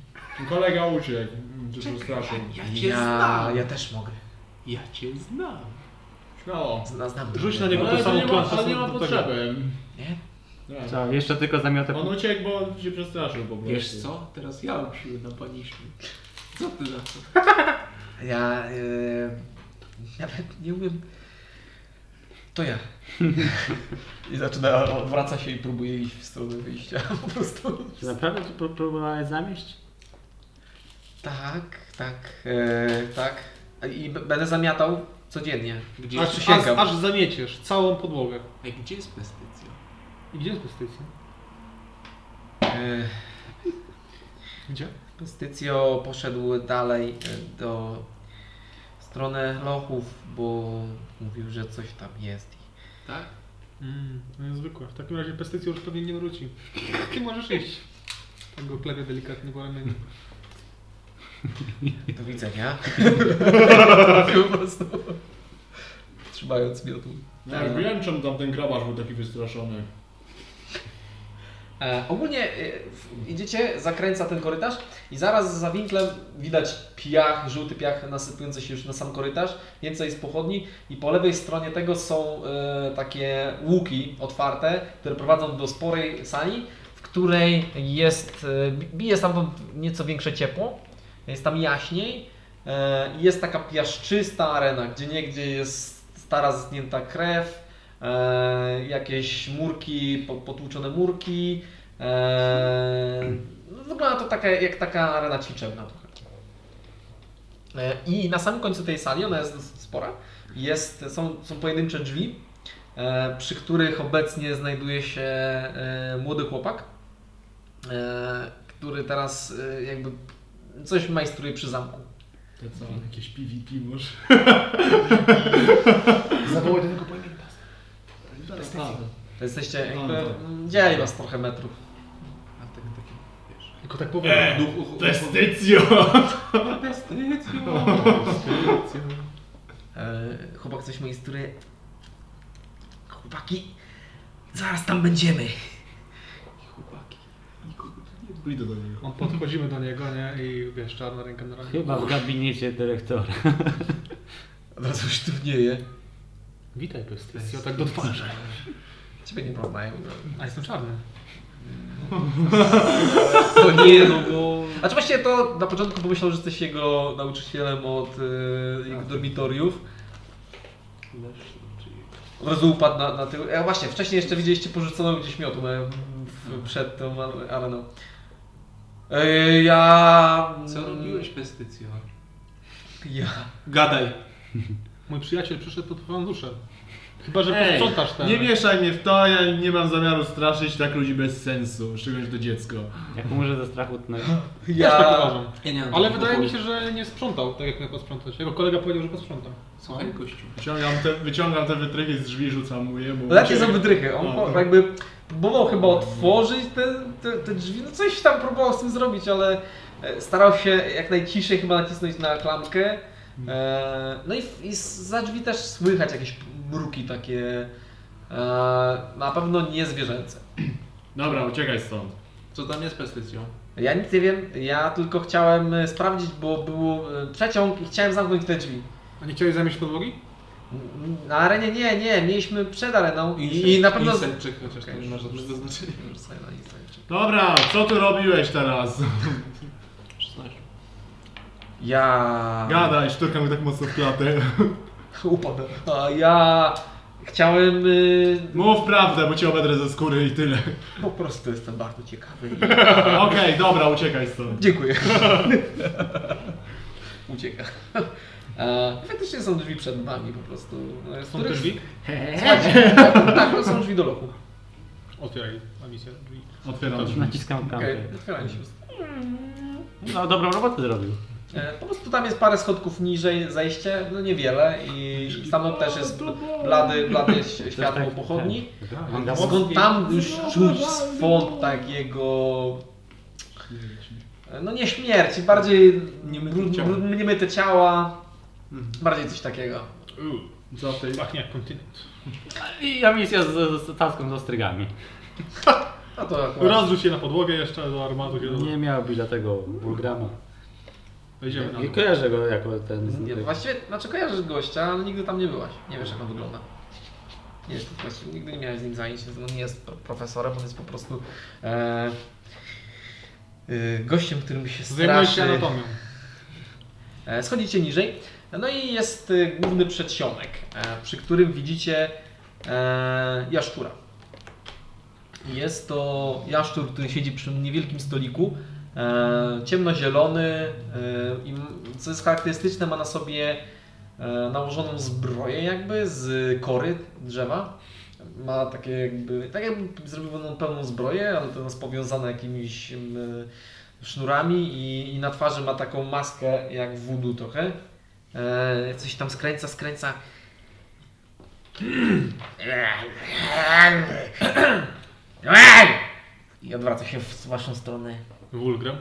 S6: Kolega uciekł. Cię przestraszył.
S3: Ja cię
S1: Ja,
S3: znam.
S1: ja też mogę.
S3: Ja cię znam.
S6: No.
S1: Zna- Znam
S4: Rzuć
S1: to.
S4: na niego
S6: Ale
S4: No, to
S6: to
S4: samo
S6: nie ma,
S4: klątwę,
S6: ale
S4: co
S6: nie
S4: do
S6: ma
S4: tego.
S6: potrzeby.
S1: Nie?
S6: Nie.
S5: Co, jeszcze tylko zamiotę...
S6: On uciekł, bo się przestraszył po prostu.
S3: Wiesz co? Teraz ja mam siły na paniszmy. Co ty na to?
S1: Ja yy, nawet nie umiem. To ja. I zaczyna, odwraca się i próbuje iść w stronę wyjścia. Po prostu.
S5: Czy naprawdę tu pró- próbowałeś zamieść?
S1: Tak, tak, e, tak. I b- będę zamiatał codziennie.
S3: Gdzie jest,
S4: Aż, aż,
S1: Przysięgam.
S4: aż zamieciesz całą podłogę.
S3: Ej, gdzie jest pestycja?
S4: I gdzie jest pestycja?
S1: E,
S4: Gdzie?
S1: Pestycjo poszedł dalej e, do strony lochów, bo mówił, że coś tam jest.
S3: Tak?
S4: Mm, no niezwykłe. W takim razie pestycja już pewnie nie wróci. <laughs> Ty możesz iść. Tak go klepie delikatnie po ramieniu.
S1: I do widzenia.
S3: <laughs>
S1: po prostu. Trzymając miotu.
S6: No, Ja już wiem, czemu tamten grabarz był taki wystraszony.
S1: E, ogólnie e, w- idziecie, zakręca ten korytarz i zaraz za winklem widać piach, żółty piach nasypujący się już na sam korytarz, więcej jest pochodni i po lewej stronie tego są e, takie łuki otwarte, które prowadzą do sporej sali, w której jest, e, bi- bije stamtąd nieco większe ciepło, jest tam jaśniej e, i jest taka piaszczysta arena, gdzie niegdzie jest stara zgnięta krew, e, jakieś murki, po- potłuczone murki. E, no, wygląda to taka, jak taka arena ćwiczebna trochę. E, I na samym końcu tej sali, ona jest dosyć spora, jest, są, są pojedyncze drzwi, e, przy których obecnie znajduje się e, młody chłopak, e, który teraz e, jakby coś majstruje przy zamku.
S6: To co? Jakieś PvP może?
S9: <laughs> Zawołaj do niego pamięta.
S1: To jesteście jakby,
S6: No, tak.
S1: no, dzieli was trochę metrów.
S3: A tak, taki, wiesz...
S4: Tylko tak powiem.
S3: Duch uch,
S6: Pestycjo!
S3: <laughs>
S1: E, Chłopak coś majstruje. Chłopaki, zaraz tam będziemy.
S3: chłopaki.
S6: Idę do niego.
S4: On podchodzimy do niego, nie? I wiesz, czarna ręka na ramieniu.
S5: Chyba w gabinecie dyrektora.
S1: Od razu sztywnieje.
S4: Witaj pestycjo, tak do twarzy.
S1: Ciebie nie no. poznają.
S4: A jestem czarny.
S1: To nie, no bo... Znaczy właśnie to na początku pomyślał, że jesteś jego nauczycielem od e,
S3: Tak.
S1: jego dormitoriów.
S3: no,
S1: Od razu upadł na, na tył. E, właśnie, wcześniej jeszcze widzieliście porzuconą gdzieś miotłę w- przed tą ar- areną. E, ja...
S3: Co robiłeś pestycjo?
S1: Ja...
S3: Gadaj.
S4: Mój przyjaciel przyszedł pod twoją duszę. Chyba, że
S6: Ej,
S4: posprzątasz ten.
S6: Nie mieszaj mnie w to, ja nie mam zamiaru straszyć tak ludzi bez sensu, szczególnie to dziecko.
S5: Jak może ze strachu tnąć.
S1: Ja...
S4: tak uważam.
S3: Ja nie mam
S4: Ale
S3: tego
S4: wydaje mi się,
S3: pokoju.
S4: że nie sprzątał tak jak miał posprzątać. Jego kolega powiedział, że posprzątał.
S3: Słuchaj, gościu.
S6: Wyciągam te, wyciągam te wytrychy z drzwi, rzucam mu je, bo...
S1: Lepiej za wydrychy. On
S6: No,
S1: po-
S6: tak.
S1: jakby próbował chyba otworzyć te, te, te drzwi, no coś tam próbował z tym zrobić, ale e, starał się jak najciszej chyba nacisnąć na klamkę. E, No i, i za drzwi też słychać jakieś mruki takie, e, na pewno nie zwierzęce.
S6: Dobra, uciekaj stąd.
S3: Co tam jest pestycją?
S1: Ja nic nie wiem, ja tylko chciałem e, sprawdzić, bo był e, przeciąg i chciałem zamknąć te drzwi.
S4: A nie chciałeś zamieść podłogi?
S1: Na arenie nie, nie, mieliśmy przed areną i, i na pewno...
S3: Insektczyk, chociaż to
S1: Okej,
S3: nie ma żadnego znaczenia.
S1: Rzuć sobie na insight.
S6: Dobra, co ty robiłeś teraz?
S3: 16.
S1: Ja...
S6: Gadaj, szturkam go tak mocno w klatę.
S1: Upadł. A ja chciałem. y,
S6: Mów prawdę, bo cię obedrę ze skóry i tyle.
S1: Po prostu jestem bardzo ciekawy. i- <laughs>
S6: Okej, dobra, uciekaj stąd.
S1: Dziękuję. <laughs> Ucieka. E, faktycznie są drzwi przed wami po prostu. e, z
S4: Są
S1: których-
S4: te drzwi?
S1: Słuchajcie, <laughs> tak, tak, są drzwi do lochu.
S4: Otwieraj misję drzwi.
S6: Otwieram drzwi.
S5: Naciskam
S1: Okej,
S5: kampę.
S1: otwieramy się.
S5: No dobrą robotę zrobił.
S1: E, po prostu tam jest parę schodków niżej zejście, no niewiele i tam też jest blady, blady światło
S5: tak-
S1: pochodni.
S5: tak.
S1: A Skąd tam już czuć swąd takiego... E, No nie śmierci, bardziej brud- brud- niemyte ciała.
S4: Mhm.
S1: Bardziej coś takiego.
S6: Co w tej...
S4: Pachnie jak kontynent.
S5: I ja misja z, z taską z ostrygami.
S1: No to akurat.
S4: Rozrzuć je na podłogę jeszcze do armatu. kiedy-
S5: Nie miał biletego Bulgrama.
S4: Wejdziemy na
S5: Nie kojarzę go jako ten... Z...
S1: Nie, właściwie, znaczy kojarzysz gościa, ale nigdy tam nie byłaś. Nie wiesz jak on wygląda. Nie jest właściwie, nigdy nie miałeś z nim zajęć, więc on nie jest pro- profesorem, on jest po prostu e, y, gościem, którym się
S4: Zajmuję się
S1: straszy.
S4: anatomią.
S1: E, Schodzicie niżej, no i jest e, główny przedsionek, e, przy którym widzicie e, jaszczura. Jest to jaszczur, który siedzi przy niewielkim stoliku, e, ciemnozielony e, i m- co jest charakterystyczne, ma na sobie e, nałożoną zbroję jakby z kory drzewa. Ma takie jakby, tak jakby zrobioną pełną zbroję, ale to jest powiązane jakimiś m, sznurami i, i na twarzy ma taką maskę jak wudu trochę. E, coś tam skręca, skręca. I odwraca się w waszą stronę.
S4: Wulgrem.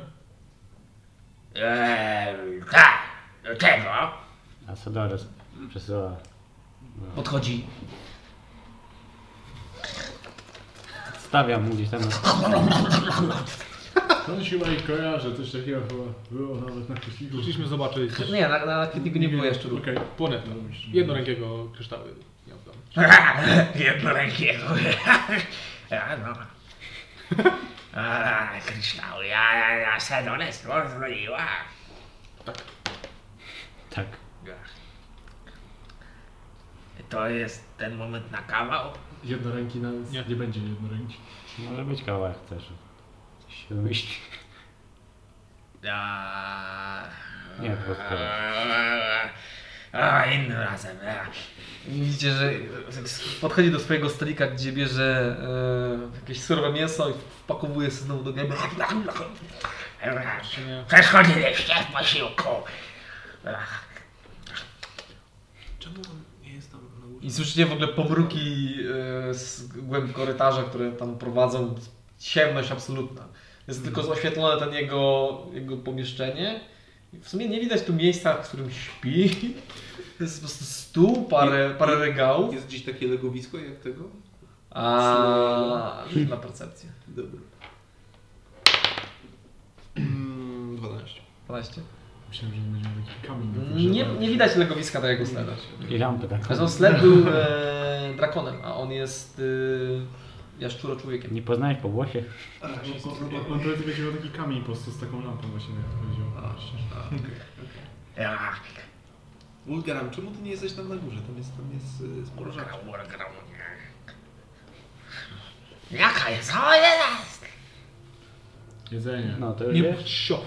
S7: tak, do czego?
S5: A Sodores przesyła...
S1: Podchodzi.
S5: Stawiam mu gdzieś tam na
S6: To się ma i kojarzę, coś takiego chyba było nawet na krzyżniku.
S4: Rzuciliśmy zobaczyć. coś.
S1: No Nie, na, na kwietniku nie było jeszcze ruchu.
S4: Okej, płonę. Jednorękiego kryształy. nie oddam.
S7: Jednorękiego. A no. A, kryształ, ja, ja, ja, sedones, rozroiła.
S5: Tak.
S7: To jest ten moment na kawał?
S6: Jednoręki nawet
S4: Nie.
S6: nie, będzie jednoręki.
S5: Może być kawałek też. Się myśli.
S7: A,
S5: Nie, po prostu.
S7: a, innym razem. A.
S1: Widzicie, że podchodzi do swojego stolika, gdzie bierze e, jakieś surowe mięso i wpakowuje się znowu do gęby.
S7: Przeszkodziliście w posiłku. Ach,
S3: Czemu on nie jest tam na górze?
S1: I słyszycie w ogóle pomruki e, z głębi korytarza, które tam prowadzą. Ciemność absolutna. Jest tylko oświetlone ten jego, jego pomieszczenie. I W sumie nie widać tu miejsca, w którym śpi. <laughs> Jest po prostu stół, parę, parę regałów.
S3: Jest gdzieś takie legowisko jak tego?
S1: A rzuć na percepcję.
S3: Dobra. 12.
S1: 12.
S6: Myślałem, że będzie taki kamień. na górze,
S1: Nie,
S6: ale-
S1: nie widać legowiska tego sleda.
S5: I lampy tak.
S1: Zresztą sled był e, drakonem, a on jest e, jaszczuro człowiekiem.
S5: Nie poznałeś po głosie?
S6: On, on, No, on, on pewnie będzie miał taki kamień po prostu z taką lampą właśnie, jak powiedział.
S7: ja,
S3: Ulgaram, czemu ty nie jesteś tam na górze? Tam jest, tam jest y, sporo rzeczy.
S7: grał, grał, nie. Jaka jest? O, jest!
S6: Jedzenie.
S5: No to już
S4: Nie
S5: wiesz.
S4: sio.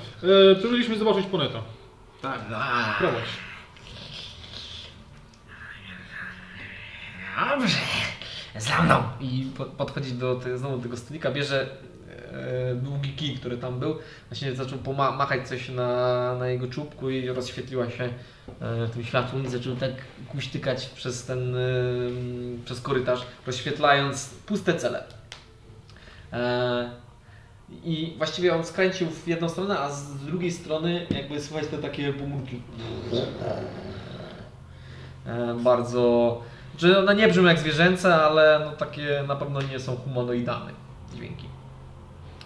S4: E, Przeżyliśmy zobaczyć No poneta.
S3: Tak,
S7: A,
S4: Prowadź.
S7: Dobrze. Za mną.
S1: I po- podchodzi do te, znowu do tego stolika, bierze e, długi kij, który tam był. Właśnie zaczął poma- machać coś na, na jego czubku i rozświetliła się e, tym światłem i zaczął tak kuśtykać przez ten, e, przez korytarz, rozświetlając puste cele. E, I właściwie on skręcił w jedną stronę, a z drugiej strony jakby słychać te takie pomórki. E, bardzo. Że one nie brzmią jak zwierzęce, ale no takie na pewno nie są humanoidalne dźwięki.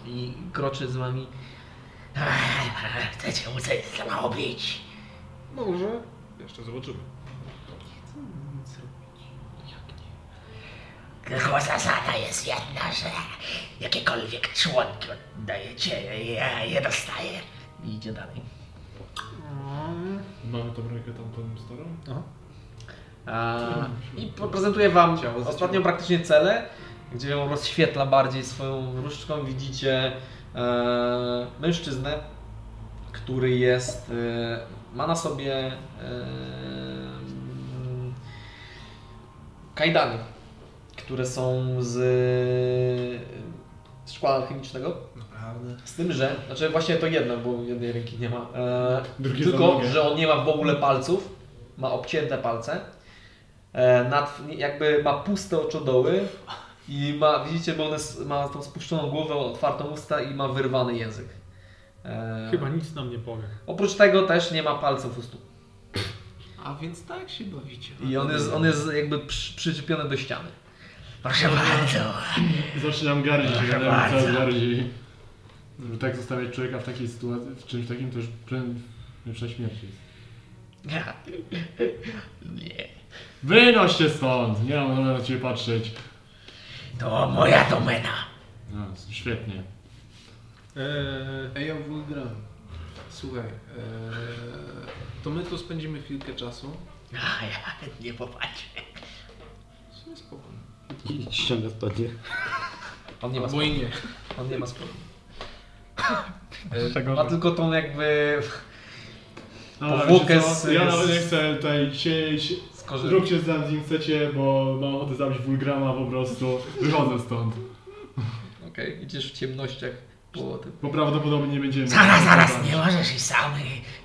S1: I kroczy z wami.
S7: Chcecie mu coś zrobić?
S3: Może. Jeszcze zobaczymy.
S7: Tylko zasada jest jedna, że jakiekolwiek członki oddajecie, ja je dostaję. I idzie dalej.
S6: Mamy tą rękę tamtą starą?
S1: A, I po- prezentuje wam ostatnio praktycznie cele, gdzie ją rozświetla bardziej swoją różdżką. Widzicie e, mężczyznę, który jest, e, ma na sobie e, mm, kajdany, które są z e, szkła alchemicznego.
S3: Naprawdę.
S1: Z tym, że, znaczy właśnie to jedno, bo jednej ręki nie ma. E,
S6: Drugie za
S1: tylko,
S6: nogę.
S1: że on nie ma w ogóle palców, ma obcięte palce, e, nad, jakby ma puste oczodoły i ma, widzicie, bo on jest, ma tą spuszczoną głowę, otwartą usta i ma wyrwany język. E,
S4: Chyba nic nam nie powie.
S1: Oprócz tego też nie ma palców u stóp.
S3: A więc tak się bawicie.
S1: I on jest, on jest jakby przy, przyczepiony do ściany. Proszę bardzo.
S6: Zaczynam gardzić, gadałem coraz bardziej. Żeby tak zostawiać człowieka w takiej sytuacji, w czymś takim, to już prędzej śmierć jest.
S1: Nie.
S6: Wynoś się stąd! Nie mam na ciebie patrzeć.
S1: To moja domena.
S6: No, świetnie.
S4: Eee,
S3: Ej, ja w ogóle grałem. Słuchaj, e, to my tu spędzimy chwilkę czasu.
S1: A ja nie popatrzę.
S3: W sumie spokojnie.
S5: I ściąga spodnie.
S1: On nie ma
S3: Bo
S1: spokoju.
S3: i nie.
S1: On nie ma spokoju.
S4: Czego?
S1: Ma tylko tą jakby
S6: Dobra,
S1: Powłokę
S6: wiecie co?
S1: z-
S6: Ja
S1: z-
S6: nawet nie chcę tutaj siedzieć.
S1: skorzy...
S6: Zróbcie z nami z nim chcecie, bo mam ochotę zabić wulgrama po prostu. Wychodzę stąd.
S1: Okej, idziesz w ciemnościach po tym.
S6: Bo prawdopodobnie nie będziemy.
S1: Zaraz, zaraz, nie możesz i sam.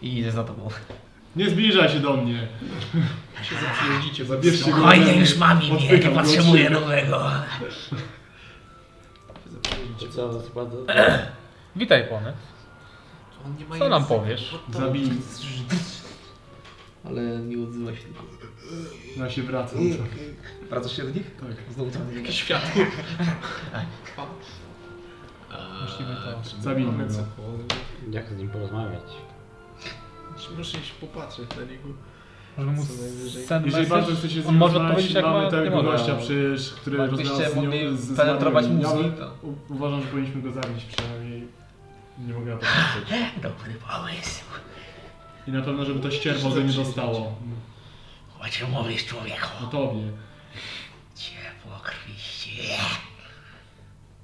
S1: i- I idę za tobą.
S6: Nie zbliżaj się do mnie.
S3: Się zaprzyjaźnicie,
S6: Zabierzcie go.
S1: Spokojnie,
S6: ode mnie.
S1: już mam imię, nie
S6: Odpykam go od
S1: potrzebuję
S6: siebie.
S1: nowego.
S5: To co, spada?
S4: witaj pony.
S3: On nie ma
S4: Co nam
S3: języka.
S4: powiesz?
S6: Zabij.
S1: Ale nie odzywa się tylko.
S6: Ja się wracam.
S1: Wracasz się do nich?
S6: Tak.
S1: Znowu tam jakieś
S3: Światło.
S4: Musimy to-
S6: Zabijmy
S3: Mamy
S6: go.
S3: co po-
S5: Jak z nim porozmawiać?
S3: Muszę się popatrzeć na niego.
S4: Możemy mu
S3: Co najwyżej.
S4: send
S6: Jeżeli bardzo
S4: message?
S6: chcecie z
S4: On
S6: nim
S4: może
S6: rozmawiać,
S4: odpowiedzieć jak
S6: mamy
S4: ma, nie
S6: tego
S4: mogę.
S6: gościa przecież, który rozmawiał
S1: Jakbyście
S6: z nią
S1: mogli
S6: z- z
S1: penetrować
S6: zmarłym. Ja
S1: mózgi,
S6: bym-
S1: to...
S6: u- Uważam, że powinniśmy go zabić przynajmniej. Nie mogę na to patrzeć.
S1: Dobry pomysł.
S6: I na pewno, żeby to ścierwo ze mnie dostało.
S1: O czym mówisz, człowieku?
S6: O tobie.
S1: Ciepło krwiście.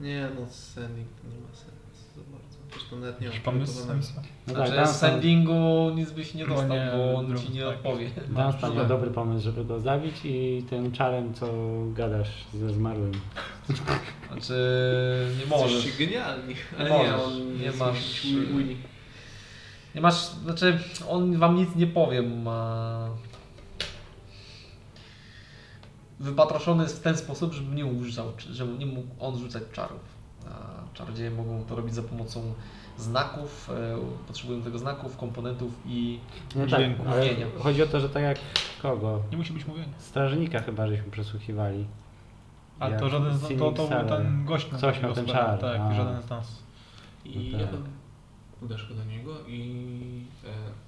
S3: Nie no, sending to nie ma sensu za bardzo. Zresztą nawet nie mam
S4: Pomysł?
S3: przygotowanego.
S5: No
S1: Znaczy,
S5: tak,
S1: z
S5: Dunstan,
S1: sendingu nic byś nie dostał,
S4: Nie,
S1: bo on
S4: drugi,
S1: ci nie
S4: tak.
S1: <laughs> odpowie.
S5: Dunstan ma dobry pomysł, żeby go zabić i tym czarem, co gadasz ze zmarłym.
S1: Znaczy, nie możesz.
S3: Jesteście genialni. Ale nie,
S1: Możesz,
S3: on
S1: nie
S3: jest
S1: masz,
S3: jakiś uni- unik.
S1: Nie masz, znaczy, on wam nic nie powie, ma... Wypatroszony jest w ten sposób, żeby nie używał, żeby nie mógł on rzucać czarów. A czarodzieje mogą to robić za pomocą znaków, e, potrzebują tego znaków, komponentów i...
S5: No tak,
S4: Dźwięku.
S5: ale
S1: Mówienia.
S5: chodzi o to, że tak jak kogo?
S4: Nie musi być mówienia.
S5: Strażnika chyba żeśmy przesłuchiwali.
S4: A
S5: Jak
S4: to żaden z to, to był
S5: Sinistera.
S4: ten gość na
S5: Coś
S4: takiego
S5: miał ten
S4: spela,
S5: czar,
S4: Tak,
S5: a.
S4: żaden z nas.
S3: I
S5: No
S3: ja
S5: tak.
S3: uderz go do niego i... E,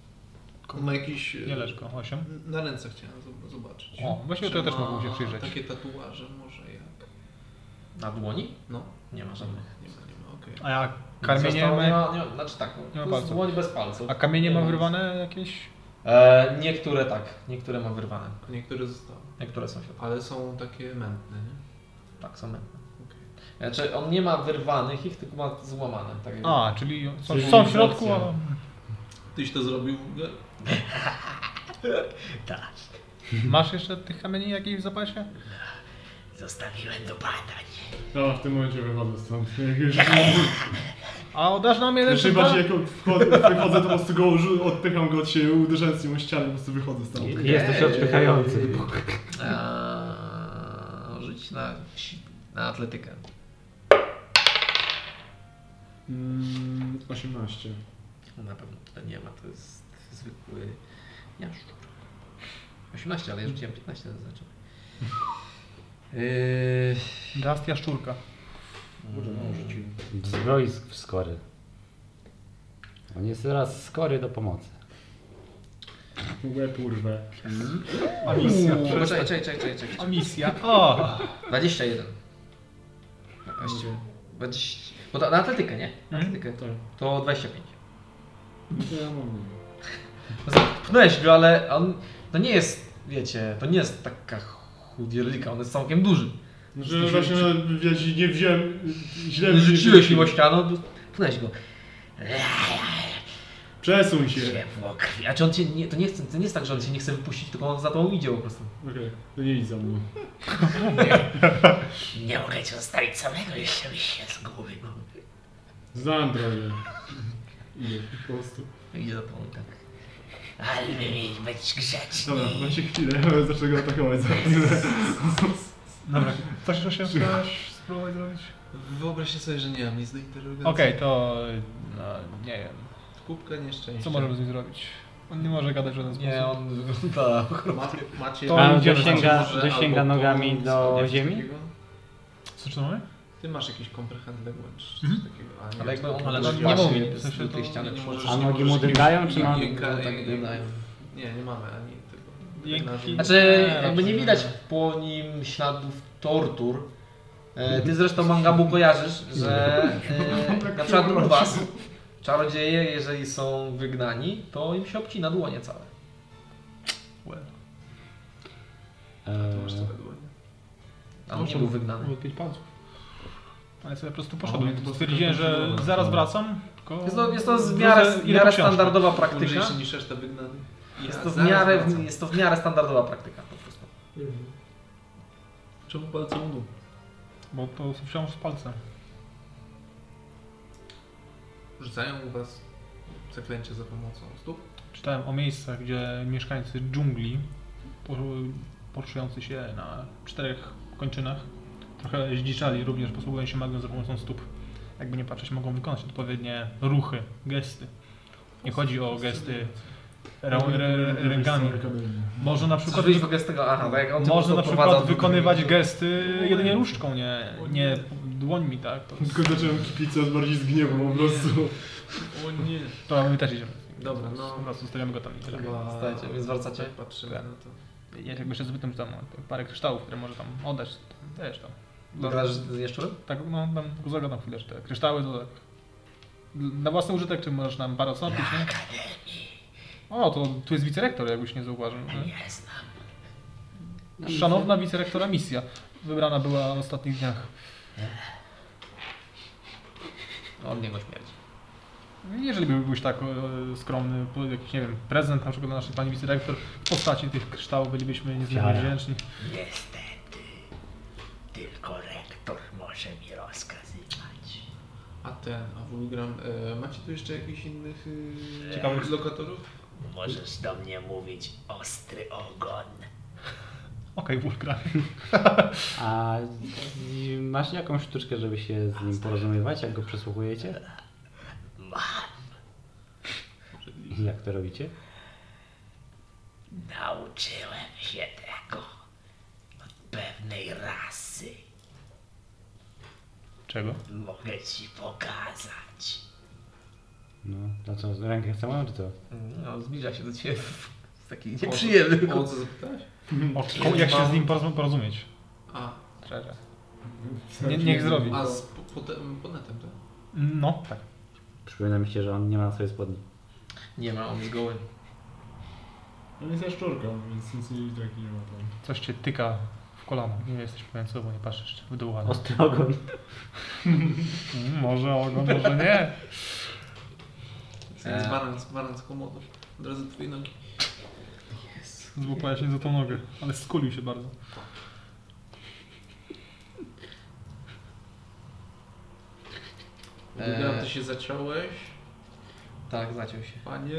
S3: on ma jakiś... e,
S4: Nie leżko, 8.
S3: Na ręce chciałem zob- zobaczyć.
S4: O, właściwie to ja
S3: Czy
S4: też
S3: ma
S4: mogłem się przyjrzeć.
S3: Takie tatuaże może jak...
S1: Na dłoni?
S3: No,
S1: Nie ma żadnych.
S3: nie ma, nie ma, okej.
S4: A jak
S1: Został-
S4: karmienie
S1: Nie
S4: ma...
S1: ma, nie ma, znaczy tak,
S4: nie ma
S1: to jest
S4: palców.
S1: dłoń bez palców.
S4: A kamienie ma wyrwane jakieś?
S1: E, niektóre tak, niektóre ma wyrwane.
S3: A niektóre zostały.
S1: Niektóre są świetne.
S3: Ale są takie mętne, nie?
S1: Tak, są mętne.
S3: Okej.
S1: Znaczy on nie ma wyrwanych ich, tylko ma złamane. Tak jakby.
S4: A, czyli są,
S5: Czyli
S4: są w środku, a...
S5: racja.
S3: Tyś to zrobił w ogóle?
S1: tak.
S4: Masz jeszcze tych kamieni jakichś w zapasie?
S1: Zostawiłem do badań.
S6: Dobra, No, w tym momencie wychodzę stąd. <laughs> Jak już
S4: A oddasz nam je
S6: znaczy,
S4: lepszy
S6: bardziej jak wchodzę, wychodzę, to po prostu go rzu- odpycham go od siebie, uderzając nim o ścianę, po prostu wychodzę stąd.
S5: Jesteś odpychający.
S1: Eee, rzuć na, si- na atletykę.
S6: Mm, 18.
S1: No, Na pewno tutaj nie ma, to jest zwykły jaszczur. 18, ale ja rzuciłem 15 zaznaczam. Yy,
S4: Rast jaszczurka.
S5: Zbroi sk- w skory. On jest teraz skory do pomocy.
S6: Łeb urwę.
S4: A misja.
S1: Uuu, czekaj, czekaj, czekaj, czekaj, czekaj.
S4: A misja. O!
S1: 21. Na kościół. 20. Tak, Bo to, na atletykę, nie? Na
S4: Mhm.
S1: atletykę. To 25.
S6: No To ja mam nie.
S1: Pchnąłeś go, ale on. To nie jest, wiecie, to nie jest taka chudzielika, on jest całkiem duży.
S6: Że właśnie, no, wiesz, nie wziąłem, źle
S1: Rzuciłeś nim o ścianę, pchnąłeś go.
S6: Przesuń się.
S1: Ciepło krwi. A czy on cię nie, to nie chce, to nie jest tak, że on cię nie chce wypuścić, tylko on za tobą idzie po prostu.
S6: Okej, to nie idź za mną.
S1: Nie mogę cię zostawić samego, jeszcze byś się zgubił.
S6: Znam drogę. <laughs> Idę, po prostu.
S1: Idzie za tobą tak. Ale być grzeczny.
S4: No,
S6: Dobra, macie chwilę, ale zacznę go atakować za chwilę.
S4: Dobra, coś jeszcze się chcesz spróbować zrobić?
S3: Wyobraźcie sobie, że nie mam nic do interrogacji.
S4: Okej, to... No, nie wiem.
S3: Kubka nieszczęścia.
S4: Co możemy z nim zrobić? On nie może gadać w żaden sposób.
S1: Nie, on <laughs> tak. wygląda
S3: Ma, macie...
S4: To
S3: macie
S4: on
S2: dosięga-
S3: może
S2: dosięga
S3: albo
S2: nogami
S3: to,
S2: do
S3: albo coś
S2: ziemi?
S3: takiego.
S4: Co to mamy?
S3: Ty masz jakiś comprehend language, czy coś
S4: Mhm.
S3: takiego. a nie
S1: Ale jakby
S3: wiem,
S1: on
S3: co
S1: ale
S3: to
S1: nie
S4: no, nie
S3: jest.
S4: mówi,
S1: pasuje
S4: w sensie
S1: do tej
S4: to-
S1: ściany.
S3: Nie możesz-
S2: A
S3: nie
S2: nogi
S3: możesz
S2: mu
S3: nie-
S2: drgają, czy
S3: nie-
S2: ma...
S3: nie-
S1: No, tak
S3: nie-
S1: dygają.
S3: Nie, nie mamy ani tego.
S4: Dzięki.
S3: Narzędzi.
S1: Znaczy,
S4: Nie,
S1: jakby nie
S4: raczej
S1: widać
S4: nie.
S1: po nim śladów tortur. E,
S4: Mhm.
S1: Ty zresztą Mangabu kojarzysz, że e, na przykład u was czarodzieje, jeżeli są wygnani, to im się obcina dłonie całe.
S5: E,
S3: To masz tyle dłonie.
S1: A on nie był wygnany.
S4: Było pięć palców. Ale sobie po prostu
S6: O,
S4: poszedłem.
S6: to
S4: Stwierdziłem, że
S6: to-
S4: zaraz wracam, tylko...
S1: Jest to, jest to z
S4: wrócę
S1: miarę,
S4: i na
S1: miarę
S4: książkę.
S1: standardowa praktyka.
S3: Mądrzejszy niż reszta wygnanych. Ja
S1: Jest to, w
S3: zaraz
S1: miarę,
S3: wracam.
S1: jest to w miarę standardowa praktyka po prostu.
S3: Mhm. Czemu palce u nóg?
S4: Bo to wciąż z palcem.
S3: Rzucają u was zaklęcie za pomocą stóp?
S4: Czytałem o miejscach, gdzie mieszkańcy dżungli, por- poruszający się na czterech kończynach, trochę zdziczali również, posługują się magią za pomocą stóp. Jakby nie patrzeć, mogą wykonać odpowiednie ruchy, gesty. Nie chodzi o gesty rą- re- re- rękami. Można na
S1: Przykład
S4: przykład,
S1: wyjść Znaczy, w ogóle z tego, aha, tak jak on cię po prostu
S4: można na
S1: odprowadza
S4: przykład
S1: od-
S4: wykonywać gesty jedynie różdżką, nie, nie dłońmi, tak? To,
S6: Tylko zacząłem kpić coraz bardziej z gniewu po prostu.
S3: O nie.
S4: to my też idziemy.
S3: Dobra, no.
S4: Po prostu zostawiamy go tam i tyle.
S3: Chyba...
S1: Stajecie, więc wracacie?
S3: Tak patrzymy
S4: Tak.
S3: na to.
S4: Ja jakby jeszcze zapytam tam o parę kryształów, które może tam oddać, to też tam.
S1: Dodasz z Jaszczurem?
S4: Tak, no tam zagadam chwilę, że te kryształy to tak. Na własny użytek, czy możesz nam parę odstąpić, nie? O, to tu jest wicerektor, jakbyś nie zauważył. Nie znam. Szanowna wicerektora misja. Wybrana była w ostatnich dniach.
S1: No, Od niego śmierć.
S4: Jeżeli byłbyś tak e, skromny, po- jakiś, nie wiem, prezent na przykład dla naszej pani wicerektor, w postaci tych kryształów bylibyśmy niezmiernie
S5: Wiara.
S4: wdzięczni.
S7: Niestety, tylko rektor może mi rozkazywać.
S3: A ten, a wulgram, e, macie tu jeszcze jakichś innych e,
S4: Ciekawych-
S3: lokatorów?
S7: Możesz do mnie mówić ostry ogon.
S4: Okej, wulkra.
S1: <laughs>
S5: A i masz jakąś sztuczkę, żeby się z nim porozumiewać, jak go przesłuchujecie? Mam. Jak to robicie?
S7: Nauczyłem się tego od pewnej rasy.
S4: Czego?
S7: Mogę ci pokazać.
S5: No, to co, rękę chcę moją, czy co?
S1: No, zbliża się do ciebie w taki nieprzyjemny
S3: O co zapytałeś?
S4: O, jak się z nim porozum- porozumieć?
S3: A,
S4: Szczerze. Nie, niech zrobi.
S3: a z po, potem- ponetem, tak?
S4: No, tak.
S5: Przypomina mi się, że on nie ma na sobie spodni.
S1: Nie ma, on jest goły.
S6: No jest jaszczurka, więc nic nie widać, nie ma tam.
S4: Coś cię tyka w kolano. Nie jesteś pewien co, bo nie patrzysz w dół. Ale...
S5: Ostry ogon.
S4: Mm, Może ogon, może nie.
S1: E.
S3: Z baran, z baran z komodą. Od razu twojej nogi.
S4: Złapała się za tą nogę, ale skulił się bardzo.
S3: Wulgram,
S1: E.
S3: ty się zaciąłeś?
S1: Tak, zaciął się.
S3: Panie.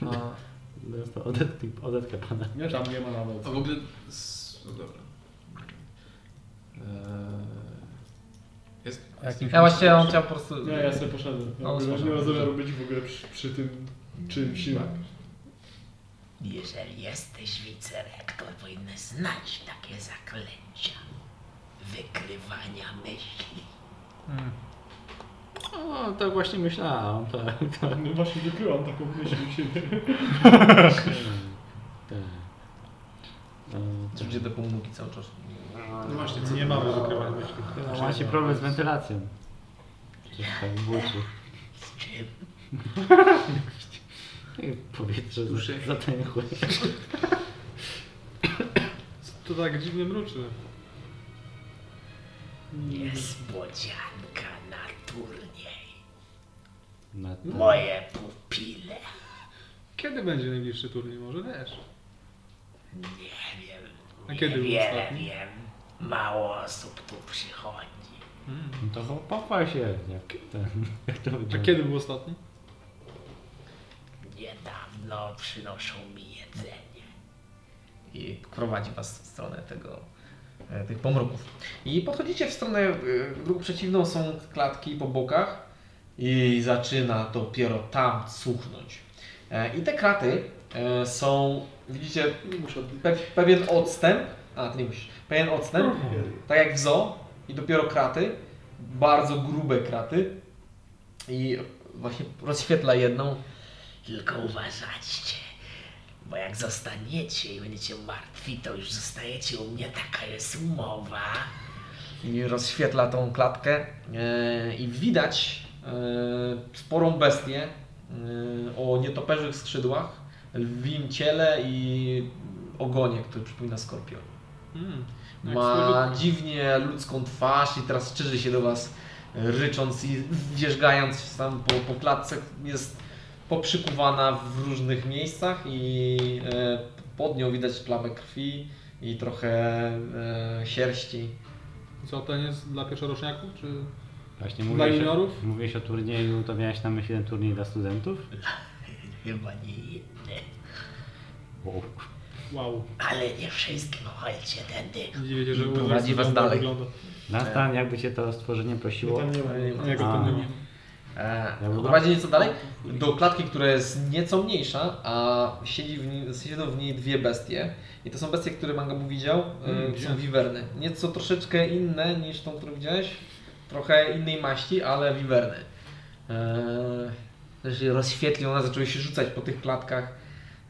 S6: No,
S1: <laughs>
S3: A,
S5: Dostał odetkę, odetkę pana.
S6: Nie, tam nie ma nawet.
S3: a w ogóle... S, no dobra. E, jest?
S4: A jakim-
S1: Ja właściwie on chciał po prostu...
S6: Nie, ja sobie poszedłem. Ja
S1: No,
S6: no, nie
S1: spoko.
S6: ma zamiaru być w ogóle przy, przy tym czymś.
S7: Jeżeli jesteś wicerektor, powinny znać takie zaklęcia. Wykrywania myśli.
S4: Mm.
S5: O, tak właśnie myślałem, tak. tak.
S6: No właśnie wykryłam taką myśl u siebie.
S1: Czy gdzie te pomówi cały czas?
S3: No właśnie, co
S4: Nie mamy wykrywania myśli.
S5: No, macie problem z wentylacją. Przecież tak buczy.
S7: Z czym?
S5: Powietrze
S3: Duszy.
S5: za- zatęchłe.
S4: To tak dziwnie mruczy.
S7: Niespodzianka na turniej.
S5: Na te-
S7: Moje pupile.
S4: Kiedy będzie najbliższy turniej? Może wiesz.
S7: Nie wiem.
S4: A kiedy był
S7: Niewiele
S4: ostatni?
S7: wiem. Mało osób tu przychodzi.
S5: No to chyba pochwal się, jak, ten, jak to
S4: A
S5: wygląda.
S4: kiedy był ostatni?
S7: Niedawno przynoszą mi jedzenie.
S1: I prowadzi was w stronę tego, e, tych pomruków. I podchodzicie w stronę, e, w drugą przeciwną są klatki po bokach i zaczyna dopiero tam cuchnąć. E, I te kraty e, są, widzicie, pe, pewien odstęp, a ty nie musisz, pewien odstęp, tak jak w zoo i dopiero kraty, bardzo grube kraty i właśnie rozświetla jedną.
S7: Tylko uważajcie, bo jak zostaniecie i będziecie martwi, to już zostajecie u mnie, taka jest umowa.
S1: i rozświetla tą klatkę e, i widać e, sporą bestię e, o nietoperzych skrzydłach, lwim ciele i ogonie, który przypomina skorpion. Ma dziwnie ludzką twarz i teraz czyży się do Was rycząc i dzierżgając się tam po, po klatce. Jest poprzykuwana w różnych miejscach i e, pod nią widać plamę krwi i trochę e, sierści.
S4: Co ten jest dla pierwszoroczniaków? Czy...
S5: Właśnie
S4: Dla
S5: mówiłeś o,
S4: juniorów?
S5: mówiłeś o turnieju, to miałeś na myśli ten turniej dla studentów?
S7: Chyba nie jedne.
S5: Wow.
S4: Wow.
S7: Ale nie wszystkim, chodźcie tędy.
S4: Nie wiecie, że
S1: Prowadzi was
S4: wygląda-
S1: dalej.
S4: wygląda.
S5: Nastan, jakby cię to stworzenie prosiło.
S4: Ja go
S5: A.
S4: tam nie ma.
S5: Ja
S1: Eee,
S5: bym-
S1: prowadzi nieco dalej do klatki, która jest nieco mniejsza, a siedzi w niej, siedzą w niej dwie bestie. I to są bestie, które Mangabu widział, mm, są wiwerny. Nieco troszeczkę inne niż tą, którą widziałeś. Trochę innej maści, ale wiwerny. Eee, też je rozświetlił, one zaczęły się rzucać po tych klatkach,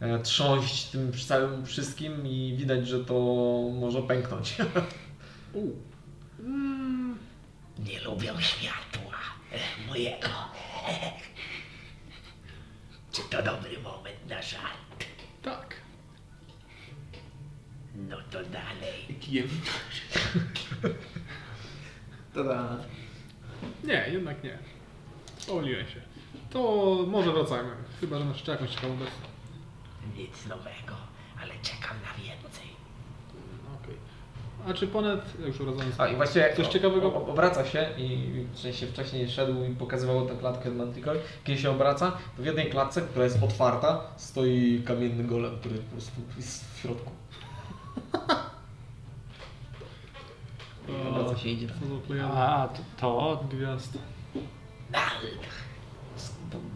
S1: e, trząść tym całym wszystkim i widać, że to może pęknąć. Mm,
S7: Nie lubią światła e, mojego. Czy to dobry moment na żart? Tak. No to dalej.
S6: Tada.
S4: Nie, jednak nie. Pomyliłem się. To może wracajmy. Chyba, że masz jeszcze jakąś ciekawą bestię.
S7: Nic nowego, ale czekam na więcej.
S4: Okej. A czy ponad... Ja już wracając.
S1: A i właśnie
S4: Coś
S1: o-
S4: ciekawego?
S1: o- obraca się i w sensie wcześniej szedł i pokazywał tę klatkę Manticore. Kiedy się obraca, to w jednej klatce, która jest otwarta, stoi kamienny golem, który po prostu jest w środku. I obraca się i idzie.
S4: Co do plejady
S5: A, to, to
S4: gwiazd.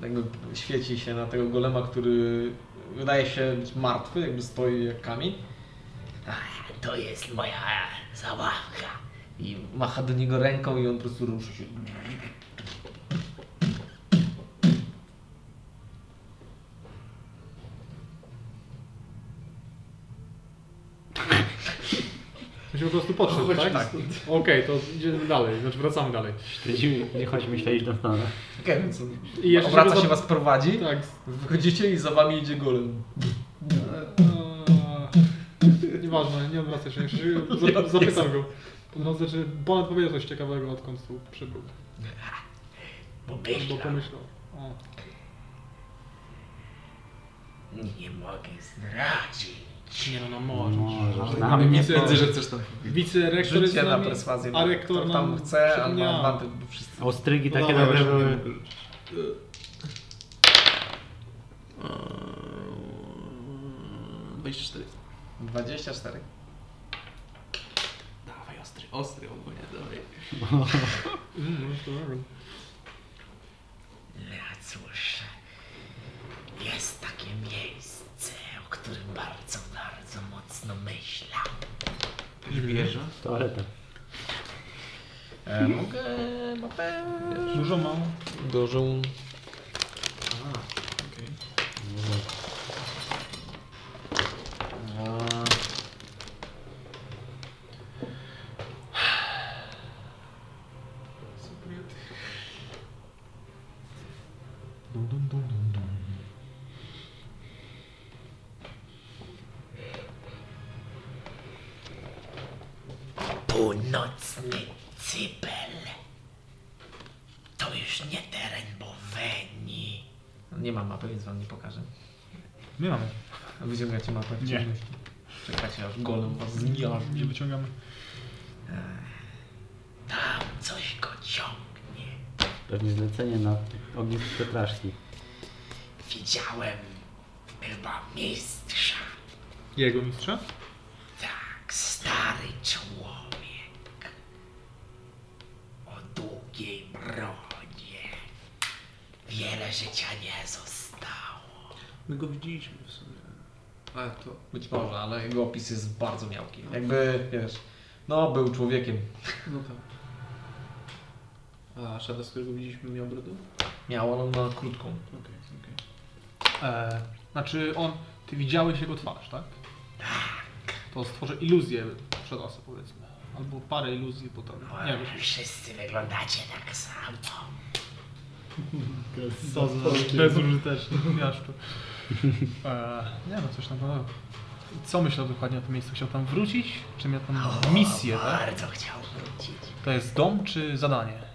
S1: Jakby świeci się na tego golema, który wydaje się być martwy, jakby stoi jak kamień.
S7: A, to jest moja zabawka.
S1: I macha do niego ręką i on po prostu ruszy się.
S4: Musimy po prostu
S6: No
S4: podszedł, tak? tak. Okej, to idziemy dalej. Znaczy wracamy dalej.
S5: śledzimy, nie chodźmy śledzić Nastana.
S1: Okay, więc on
S4: I jeszcze
S1: obraca
S4: żeby
S1: się, was prowadzi.
S4: Tak.
S1: Wychodzicie i za wami idzie golem.
S4: Eee, e, Nieważne, nie odwracaj się. Jeszcze się <laughs> zap- Zapytam go. Po drodze, czy ponad powiedział coś ciekawego, odkąd tu przybył. Albo
S7: Pomyślam,
S4: pomyślał. O,
S7: nie mogę zdradzić.
S4: nie no, no może.
S5: Możesz, na mnie
S6: Widzę, że chcesz tam.
S4: Wicerektor No. jest z
S1: Rzućcie na
S4: nami,
S1: perswazję.
S4: a rektor
S1: Kto
S4: nam
S1: tam chce, a
S4: przypomniał.
S1: ma advantage, bo wszyscy.
S5: Ostrygi takie dobre były.
S3: Eee, 24.
S1: 24.
S3: Dawaj, ostry, ostry ogólnie, dawaj.
S4: Mm, no to dobra.
S1: No
S7: A cóż, jest takie miejsce, o którym bardzo, bardzo mocno myślę.
S3: Wieża?
S5: Toaleta.
S1: E, mogę mapę.
S8: Dużo mam.
S1: Dużą.
S3: Okej.
S7: Północny Cypel. To już nie teren Boweni.
S1: Nie mam mapy, więc wam nie pokażę.
S8: My mamy.
S1: Wyciągacie mapę. w
S8: Nie.
S1: ciemności. Czekacie aż golem was zmiażdży.
S8: Nie wyciągamy.
S7: Tam coś go ciągnie.
S5: Pewnie zlecenie na ognisko Petraszki.
S7: Widziałem chyba mistrza.
S4: Jego mistrza?
S7: Tak, stary człowiek. O długiej brodzie. Wiele życia nie zostało.
S3: My go widzieliśmy w sumie. Ale to
S1: Być może, ale jego opis jest bardzo miałki. Jakby, wiesz, no był człowiekiem.
S3: No tak. A szata, z którego widzieliśmy, miał brodę?
S1: Miał, ale on ma krótką.
S3: Okej, okej.
S4: E, znaczy on, ty widziałeś jego twarz, tak? To stworzy iluzję przed osą, powiedzmy. Albo parę iluzji, bo
S1: No,
S4: tam, nie wiem.
S7: Wszyscy wyglądacie tak samo.
S4: Co za bezużyteczny miaszczu. E, nie no, coś tam było. Co myślał dokładnie o tym miejscu? Chciał tam wrócić? Czy miał tam
S1: No,
S4: misję, tak?
S7: Bardzo chciał wrócić.
S4: To jest dom czy zadanie?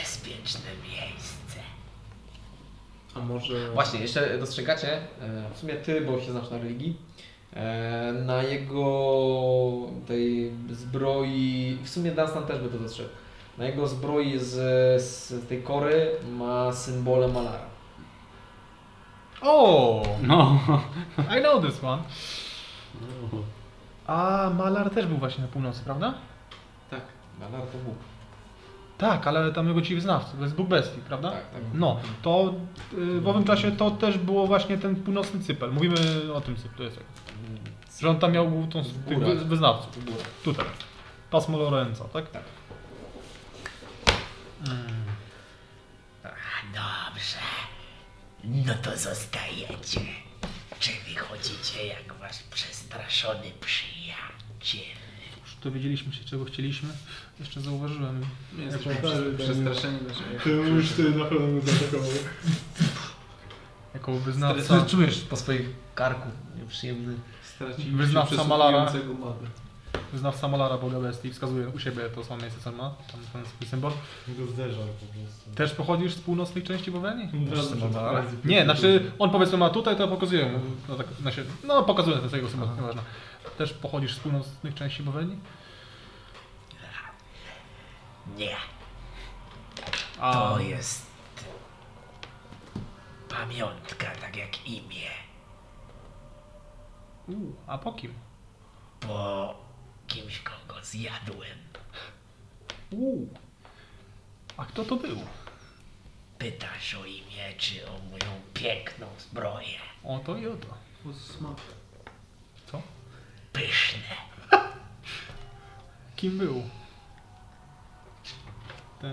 S7: Bezpieczne miejsce.
S3: A może...
S1: Właśnie, jeszcze dostrzegacie, e, w sumie ty, bo się znasz na religii, e, na jego tej zbroi, w sumie Dunstan też by to dostrzegł, na jego zbroi z, z tej kory ma symbole Malara.
S4: O!
S5: No,
S4: I know this one. A Malar też był właśnie na północy, prawda?
S3: Tak.
S1: Malar to Bóg.
S4: Tak, ale tam jego ci wyznawcy, to jest Bóg Bestii, prawda?
S1: Tak, tak.
S4: No, to y, w owym czasie to też było właśnie ten północny Cypel. Mówimy o tym Cypelu, jest tak. Że on tam miał tą, tych
S1: górach.
S4: wy- wyznawców.
S1: W górę.
S4: Tutaj. Pasmo Lorenza, tak?
S1: Tak.
S4: Mm.
S7: Dobrze. No to zostajecie. Czy wychodzicie jak wasz przestraszony przyjaciel?
S4: Już dowiedzieliśmy się, czego chcieliśmy. Jeszcze zauważyłem.
S3: My jesteśmy
S6: tak,
S3: przez,
S6: tak.
S3: przestraszeni znaczy, naszej...
S6: Ty już ty na pewno mnie zaatakował.
S4: Jako
S1: Co
S4: wyznawca.
S1: czujesz po swoich karku nieprzyjemny?
S3: Straciliśmy
S4: Wyznawca
S3: przez
S4: Malara.
S3: łupiącego Magę.
S4: Wyznawca Malara Boga Bestii wskazuje u siebie to samo miejsce, co ma. Tam ten swój symbol.
S6: Go zderzał po prostu.
S4: Też pochodzisz z północnej części Bowenii?
S6: No Dobrze,
S1: Malara.
S6: tak.
S4: Nie, znaczy on powiedzmy ma tutaj, to ja pokazuję mu. No, tak, na się, no pokazuję ten swojego symbolu, nieważne. Też pochodzisz z północnych części Bowenii?
S7: Nie,
S4: A,
S7: to jest pamiątka, tak jak imię.
S4: u, a po kim?
S7: Po kimś, kogo zjadłem.
S4: U. A kto to był?
S7: Pytasz o imię, czy o moją piękną zbroję.
S4: O to i o to.
S3: O, smak.
S4: Co?
S7: Pyszne.
S4: Kim był? Ten,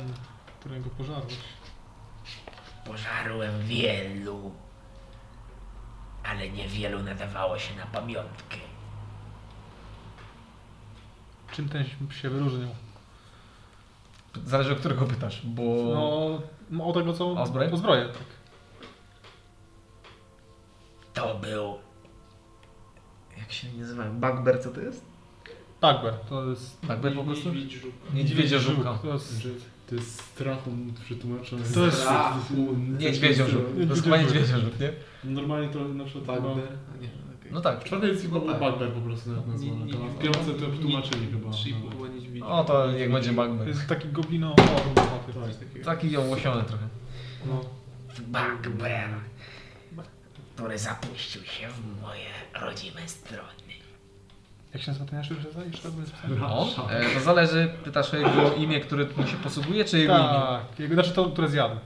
S4: którego pożarłeś.
S7: Pożarłem wielu, ale niewielu nadawało się na pamiątkę.
S4: Czym ten się wyróżnił?
S1: Zależy o którego pytasz, bo...
S4: No, no, o tego co...
S1: O zbroję?
S4: O zbroję, tak.
S7: To był. Jak się nazywają? Bugbear, co to jest?
S4: Tagber, to jest...
S1: Tak by po prostu...
S3: Niedźwiedź żuk.
S1: Niedźwiedzie żuka.
S4: To jest...
S6: To jest strachun przetłumaczony.
S4: To jest-
S1: Niedźwiedzio żuk. To jest chyba niedźwiedzio żuk, nie?
S6: Normalnie to na przykład...
S4: Tak,
S6: chyba-
S3: Bagber. A nie, okej.
S1: No tak.
S6: W tradycji było Bagber po prostu
S3: Nie,
S6: nazwane.
S3: nie,
S6: To
S3: nie.
S6: W piątce to tłumaczyli chyba.
S3: Shibu
S6: No.
S3: była niedźwiedź.
S1: O, to jak będzie
S4: To
S1: magmy.
S4: jest taki goblino... O,
S6: Tak.
S3: Coś takiego.
S1: Taki ją łosiony trochę.
S4: no.
S7: Bugbear, który zapuścił się w moje rodzime strony.
S4: Jak się nazywa ten jeszcze raz? Jeszcze raz będzie
S1: No, e, to zależy, pytasz o jego imię, które mu się posługuje, czy jego imię?
S4: Tak, jego, znaczy to, które zjadł.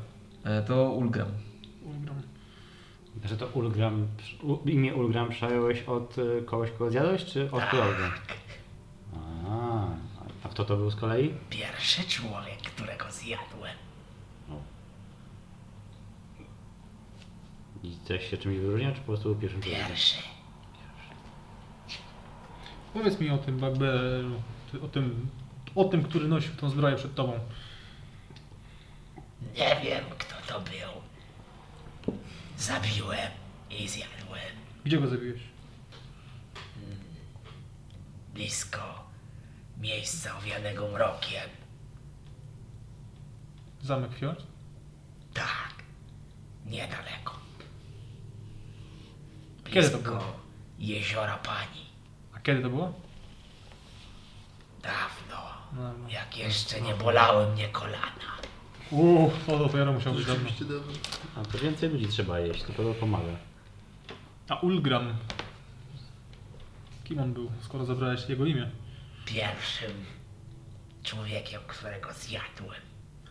S1: E, to Ulgram.
S5: że Znaczy to Ulgram, u, imię Ulgram przejąłeś od y, kogoś, kogo zjadłeś, czy
S7: Tak.
S5: od kogo? A, a kto to był z kolei?
S7: Pierwszy człowiek, którego zjadłem.
S5: I coś się czymś wyróżnia, czy po prostu był pierwszym człowiekiem?
S7: Pierwszy.
S4: Powiedz mi o tym Bagberu, ty- o tym, o tym, który nosił tą zbroję przed tobą.
S7: Nie wiem, kto to był. Zabiłem i zjadłem
S4: Gdzie go zabiłeś?
S7: blisko miejsca owianego mrokiem.
S4: Zamek Fjord?
S7: Tak, niedaleko.
S4: Kiedy to
S7: Blisko
S4: było?
S7: jeziora Pani.
S4: A kiedy to było?
S7: Dawno,
S4: No,
S7: jak jeszcze nie bolały mnie kolana.
S4: Uuu, to dopiero musiał być dawno.
S3: Rzeczywiście dawno.
S5: A to więcej ludzi trzeba jeść, to pewno pomaga.
S4: A Ulgram. Kim on był, skoro zabrałeś jego imię?
S7: Pierwszym człowiekiem, którego zjadłem.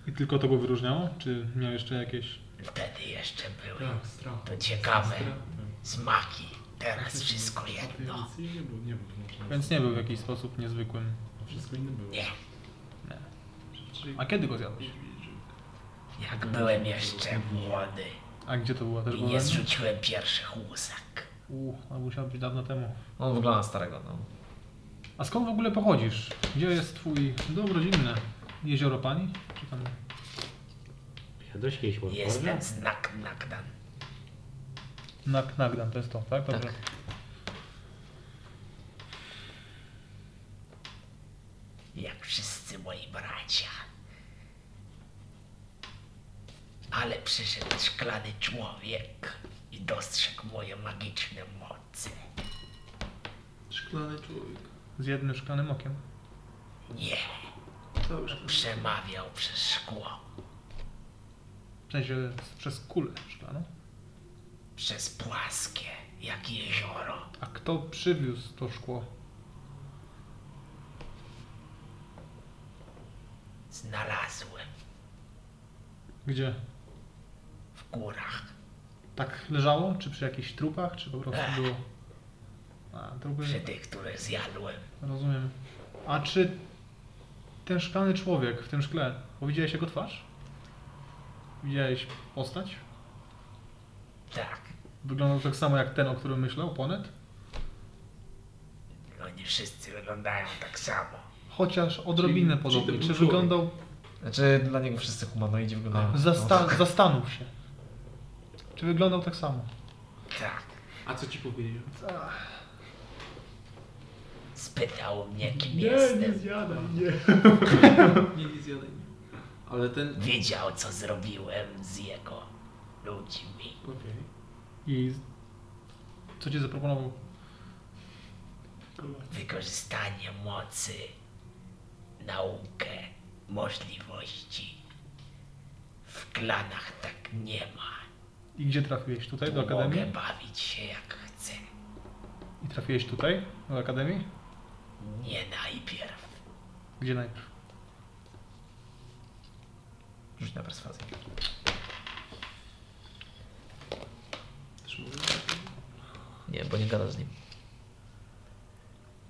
S4: I tylko to go wyróżniało? Czy miał jeszcze jakieś
S7: Wtedy jeszcze były. To ciekawe. Smaki. Teraz wszystko jedno.
S6: Nic nie było, nie było. może.
S4: Więc nie był w jakiś sposób niezwykłym.
S6: Wszystko inne było.
S7: Nie.
S4: Nie.
S6: Czyli-
S4: A kiedy go zjadłeś?
S7: Jak byłem jeszcze młody
S4: A gdzie to było? Też
S7: i
S4: było
S7: nie
S4: we mnie?
S7: zrzuciłem pierwszych łusek.
S4: Uuu, to musiało być dawno temu.
S1: On wygląda starego, no.
S4: A skąd w ogóle pochodzisz? Gdzie jest twój dom rodzinny? Jezioro Pani? Czy tam...
S5: Jadłeś kiedyś Warforge'a?
S7: Jestem znak Nagdan.
S4: Nak, Nagdan to jest to, tak? Dobrze.
S1: Tak.
S7: jak wszyscy moi bracia. Ale przyszedł szklany człowiek i dostrzegł moje magiczne moce.
S6: Szklany człowiek.
S4: Z jednym szklanym okiem.
S7: Nie,
S6: Cały szklany.
S7: przemawiał przez szkło,
S4: W sensie przez kulę szklaną.
S7: przez płaskie, jak jezioro.
S4: A kto przywiózł to szkło?
S7: Znalazłem
S4: Gdzie?
S7: w górach.
S4: Tak leżało? Czy przy jakichś trupach? Czy po prostu było... A, trupy...
S7: Przy tych, które zjadłem,
S4: Rozumiem. A czy ten szklany człowiek w tym szkle, bo widziałeś jego twarz? Widziałeś postać?
S7: tak,
S4: Wyglądał tak samo jak ten, o którym myślał, Ponet?
S7: oni wszyscy wyglądają tak samo.
S4: Chociaż odrobinę podobnie.
S6: czyli to
S4: Czy
S6: był człowiek?
S4: wyglądał...
S1: Znaczy dla niego wszyscy humanoidzi
S7: no.
S1: wyglądają.
S4: Zasta zastanów się. Czy wyglądał tak samo?
S7: Tak,
S3: A co ci powiedział?
S7: spytał mnie, kim
S6: Nie, nie
S7: jestem.
S6: zjadaj, nie.
S3: Nie, nie zjadaj. mnie. Ale ten...
S7: Wiedział, co zrobiłem z jego ludźmi.
S3: Okej.
S4: I co ci zaproponował?
S7: wykorzystanie mocy, naukę, możliwości. W klanach tak nie ma.
S4: I gdzie trafiłeś? Tutaj do
S7: Tu mogę
S4: Akademii?
S7: bawić się jak chcę.
S4: I trafiłeś tutaj? Do Akademii?
S7: Nie najpierw.
S4: Gdzie najpierw?
S1: Rzuć na perswazję.
S3: Też mówię?
S1: Nie, bo nie gada z nim.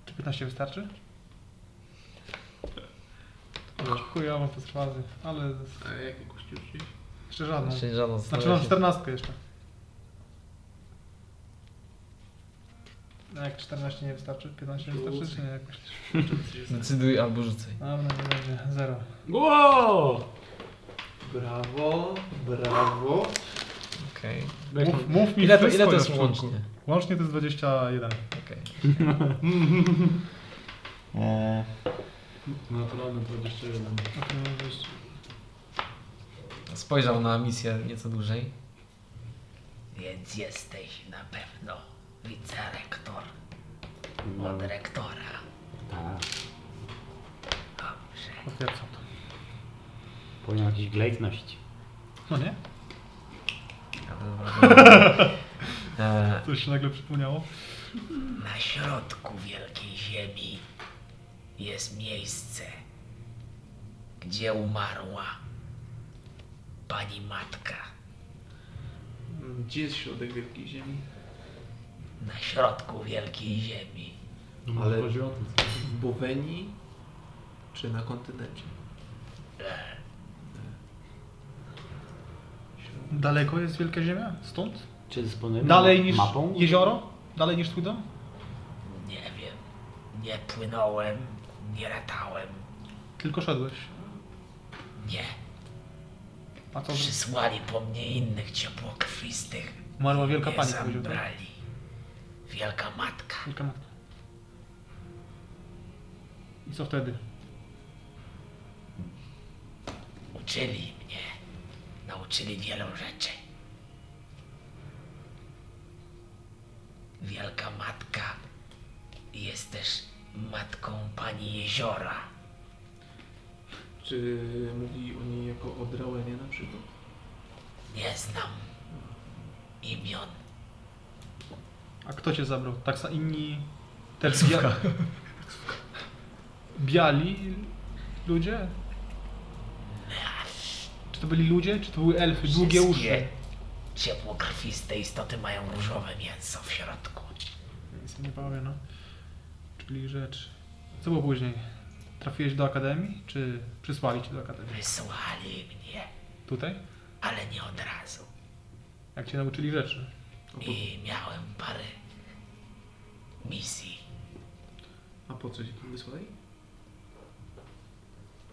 S4: Czy 15 wystarczy? Chujowo to trwazy, ale
S3: A jakie kości użyłeś?
S4: jeszcze żadną.
S1: Jeszcze nie żadną
S4: Znaczy
S1: zastanawiam
S4: mam
S1: się.
S4: 14 jeszcze. No jak 14 nie wystarczy? 15 nie wystarczy czy nie? Jak myślisz?
S1: Decyduj albo rzucaj.
S4: Dobra, nie będzie. Zero.
S2: Wow!
S6: Brawo, brawo.
S1: Okej.
S4: Mów, mów mi
S1: Ile to,
S4: wszystko
S1: ile to
S4: na
S1: jest
S4: początku.
S1: łącznie?
S4: Łącznie to jest 21.
S1: Okej. E.
S6: Naturalny 21.
S1: Spojrzał na misję nieco dłużej.
S7: Więc jesteś na pewno wicerektor
S5: No,
S7: od rektora.
S5: tak.
S7: Dobrze.
S4: Potwierdzam to.
S5: Powinien jakiś glejtność.
S4: No nie?
S1: Ale dobra. E,
S4: Coś się nagle przypomniało.
S7: Na środku wielkiej ziemi jest miejsce, gdzie umarła pani matka.
S3: Mm, Gdzie jest środek Wielkiej Ziemi?
S7: Na środku wielkiej ziemi.
S6: Ale...
S3: Ale-
S6: No, Chodzi o to, co-
S3: W Bowenii czy na kontynencie?
S4: Daleko jest Wielka Ziemia? Stąd?
S5: Czy dysponujemy
S4: Dalej niż
S5: No, mapą?
S4: jezioro? Dalej niż twój dom?
S7: Nie wiem. Nie płynąłem, nie latałem.
S4: Tylko szedłeś.
S7: Nie.
S4: A co? że-
S7: Przysłali po mnie innych ciepłokrwistych.
S4: Umarła Wielka
S7: Mnie
S4: Pani. powiedział, tak?
S7: zabrali. Wielka matka.
S4: Wielka Matka. I co wtedy?
S7: Uczyli mnie. Nauczyli wielu rzeczy. Wielka matka jest też matką pani jeziora.
S3: Czy mówili o niej jako o Drałenie na przykład?
S7: Nie znam imion.
S4: A kto cię zabrał? Tak sa inni też bia... biali ludzie? Czy to byli ludzie, czy to były elfy? Długie uszy.
S7: Wszystkie ciepłokrwiste istoty mają różowe mięso w środku.
S4: Nic mi nie powie, no. Czyli rzecz. Co było później? Trafiłeś do akademii, czy przysłali cię do akademii?
S7: Wysłali mnie,
S4: Tutaj?
S7: ale nie od razu.
S4: Jak cię nauczyli rzeczy? Mhm.
S7: I miałem parę misji,
S3: A po co się tam wysłali?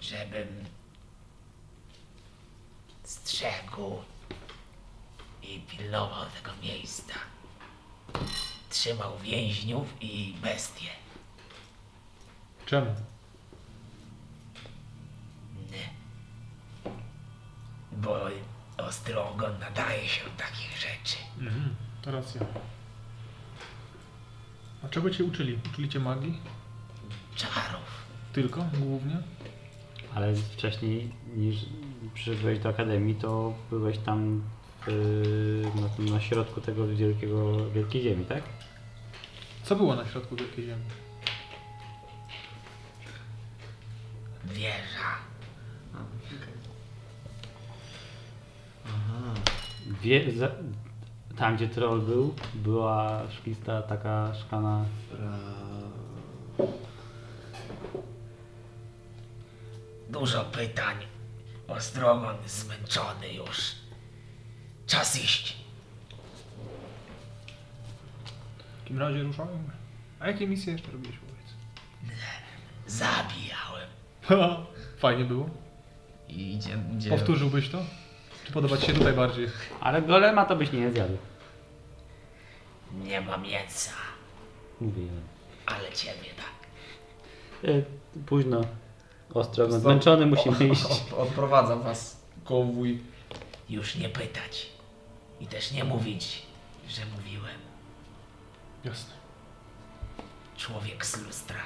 S7: żebym strzegł i pilnował tego miejsca. Trzymał więźniów i bestie.
S4: Czemu?
S7: Bo Ostrogon nadaje się do takich rzeczy.
S4: Mhm, to racja. A czego cię uczyli? Uczyli cię magii?
S7: Czarów.
S4: Tylko? Głównie?
S5: Ale wcześniej niż przybyłeś do Akademii, to byłeś tam yy, na, tym, na środku tego wielkiego, wielkiej ziemi, tak?
S4: Co było na środku Wielkiej Ziemi?
S7: Wieża.
S5: Wie, za, tam, gdzie troll był, była szklista taka szklana...
S7: Dużo pytań. Ostrogon zmęczony już. Czas iść.
S4: W takim razie ruszałem. A jakie misje jeszcze robiłeś, powiedz?
S7: Zabijałem.
S4: Fajnie było.
S1: I idzie, idzie.
S4: Powtórzyłbyś to? Czy podoba ci się tutaj bardziej?
S5: Ale golema to byś nie zjadł.
S7: Nie ma mięsa,
S5: Mówiłem.
S7: ale ciebie tak.
S5: E, późno. Ostro, no zmęczony
S4: <laughs>
S5: musimy iść.
S1: Od, odprowadza was konwój.
S7: Już nie pytać. I też nie mówić, że mówiłem.
S4: Jasne.
S7: Człowiek z lustra.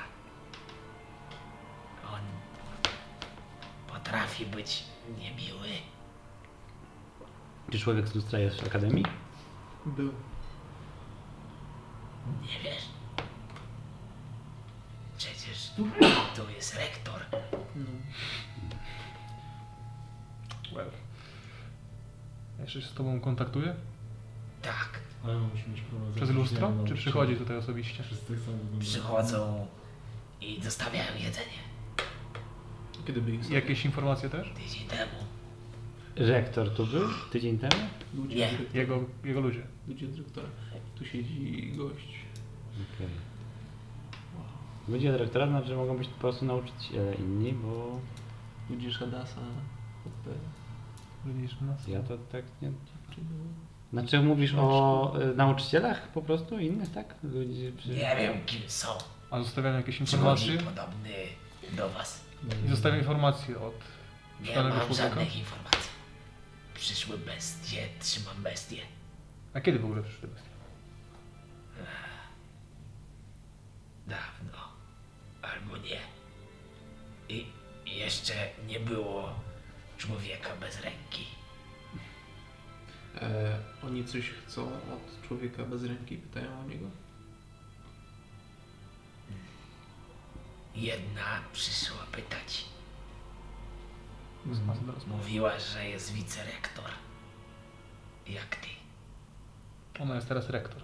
S7: On potrafi być niemiły.
S5: Czy człowiek z lustra jest w Akademii?
S6: Był.
S7: Nie wiesz? Przecież tu jest rektor.
S4: Well. Jeszcze się z tobą kontaktuje?
S7: Tak,
S10: Ale musi mieć problem z
S4: Przez
S10: jakimś
S4: lustro?
S10: wielkim
S4: no, Czy
S10: nauczycielem.
S4: przychodzi tutaj osobiście?
S10: Wszyscy chcą wyglądać.
S7: przychodzą i dostawiają jedzenie.
S3: Kiedy byli
S4: I Jakieś informacje też?
S7: Tydzień temu.
S5: Rektor tu był tydzień temu?
S3: ludzie,
S7: Nie.
S3: dyrektora-
S4: Jego, jego ludzie.
S3: ludzie dyrektora. Tu siedzi gość.
S5: Okej. Ludzie dyrektora znaczy, że mogą być po prostu nauczyciele inni, bo
S3: Ludzie Shadasa.
S4: Widzisz nas?
S5: ja to tak nie... Znaczy mówisz o y, nauczycielach po prostu innych, tak? Ludzi, przy...
S7: Nie wiem kim są.
S4: A zostawiają jakieś
S7: Przychodzi
S4: informacje?
S7: podobny do was.
S4: I zostawiam informacje od...
S7: Nie
S4: Szklanego
S7: mam
S4: człowieka?
S7: żadnych informacji. Przyszły bestie, trzymam bestie.
S4: A kiedy w ogóle przyszły?
S7: Dawno. Albo nie. I i jeszcze nie było człowieka bez ręki.
S3: E, oni coś chcą od człowieka bez ręki? Pytają o niego?
S7: Jedna przyszła pytać.
S4: Z do rozmowy.
S7: Mówiła, że jest wicerektor. Jak ty?
S4: Ona jest teraz rektor.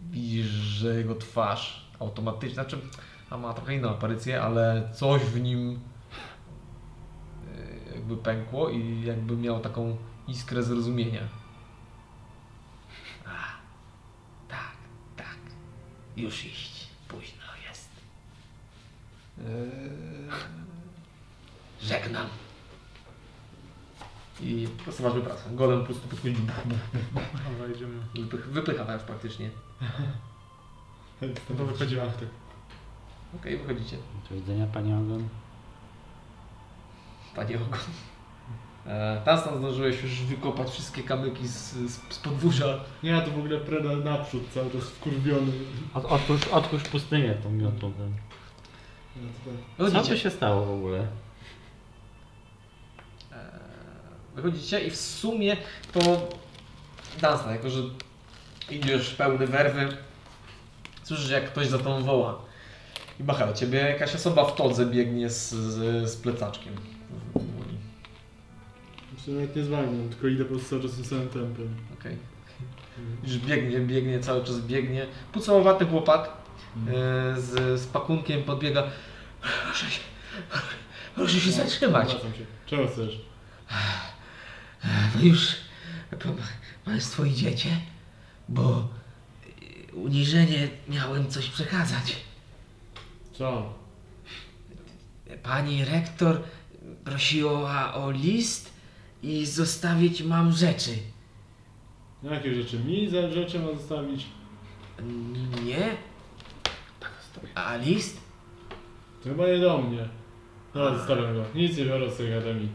S1: Widzisz, że jego twarz automatycznie, znaczy, a ma trochę inną aparycję, ale coś w nim e, jakby pękło i jakby miał taką iskrę zrozumienia.
S7: A, tak, tak. Już iść. Późno jest.
S1: E,
S7: Żegnam.
S1: I po prostu masz wypracę. Golem po prostu podchodzi, buch, buch,
S4: Dobra, idziemy.
S1: wypych, wypycha was praktycznie.
S10: <laughs> To wychodziła.
S1: Okej, wychodzicie.
S5: Do widzenia, panie Ogon.
S1: Panie Ogon. E, Tanstan zdążyłeś już wykopać wszystkie kamyki z, z, z podwórza.
S10: Nie, ja to w ogóle preda naprzód, cały czas wkurwiony.
S5: Od, otwórz, otwórz pustynię tą miotą. tam.
S10: No to tak.
S5: Co
S1: Wychodzicie.
S5: tu się stało w ogóle?
S1: E, Wychodzicie i w sumie to Dansna, jako że idziesz pełny werwy, słyszysz jak ktoś za tą woła. I macha do ciebie jakaś osoba w todze biegnie z, z, z plecaczkiem
S10: Się nawet nie zwalniam, tylko idę po prostu cały czas tym samym tempem.
S1: Okej. Już biegnie, biegnie, cały czas biegnie. Pucołowaty chłopak e, z, z pakunkiem podbiega. Proszę się, proszę się zatrzymać.
S10: Wracam się. Czego chcesz?
S1: No już pa- Państwo idziecie, bo y, uniżenie miałem coś przekazać.
S10: Co?
S1: Pani rektor prosiła o list i zostawić mam rzeczy.
S10: Jakie rzeczy? Mi za rzeczy ma zostawić?
S1: N- Nie? A list?
S10: To chyba nie do mnie. No, zostawiam go. Nic nie biorę z tej akademii.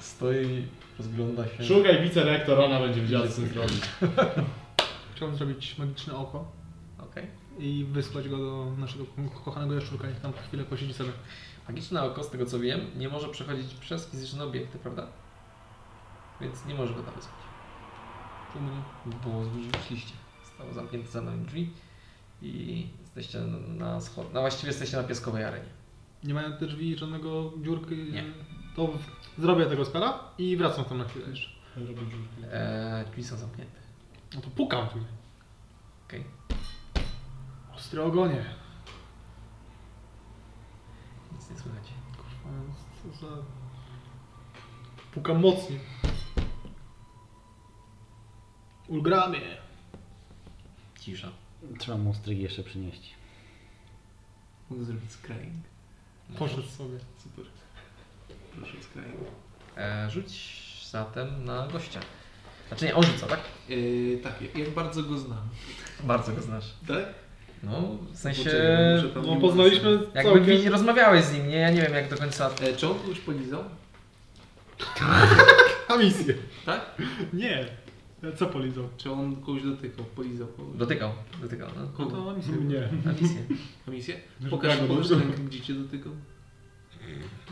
S3: Stoi, rozgląda się.
S10: Szukaj wicerektora, ona będzie wiedziała, co z tym zrobić.
S4: Chciałbym zrobić magiczne oko
S1: Okej.
S4: i wysłać go do naszego ko- kochanego jaszczurka, niech tam chwilę posiedzi sobie.
S1: Magiczne oko, z tego co wiem, nie może przechodzić przez fizyczne obiekty, prawda? Więc nie może go tam wysłać.
S4: Czemu nie?
S1: Bo zrzuciliście. Stało zamknięte za nami drzwi i jesteście na schod... No właściwie jesteście na piaskowej arenie.
S4: Nie mają te drzwi żadnego dziurki?
S1: Nie.
S4: To w- zrobię tego spela i wracam tam na chwilę jeszcze.
S10: Robię dziurki.
S1: Eee, drzwi są zamknięte.
S4: No to pukam tu.
S1: Okej.
S4: Ostre ogonie.
S1: Nic nie słychać.
S4: Kurwa, co za... Pukam mocniej. Ulgramie.
S1: Cisza.
S5: Trzeba mu ostrygi jeszcze przynieść.
S3: Mogę zrobić scrying.
S4: Poszedł sobie.
S3: Super. Proszę scrying.
S1: Eee, rzuć zatem na gościa. Znaczy nie, on rzuca, tak?
S3: Yy, tak, jak- jak bardzo go znam.
S1: Bardzo go znasz.
S3: Tak?
S1: No, w sensie...
S3: Poczekaj, muszę tam
S4: No
S3: niuanse.
S4: poznaliśmy
S1: Jakby
S4: całkiem...
S1: wi- rozmawiałeś z nim, nie? Ja nie wiem jak do końca...
S3: E, czy on już polizał?
S4: A misję.
S3: Tak?
S4: Nie. Co polizał?
S3: Czy on kogoś dotykał? Polizał kogoś?
S1: Dotykał, dotykał, no.
S3: Kogo?
S4: To misję.
S10: Nie.
S1: Na misję.
S3: Komisję?
S10: Już
S3: Pokaż,
S10: brawo,
S3: pokaż
S10: dobrze.
S3: rękę, gdzie cię dotykał.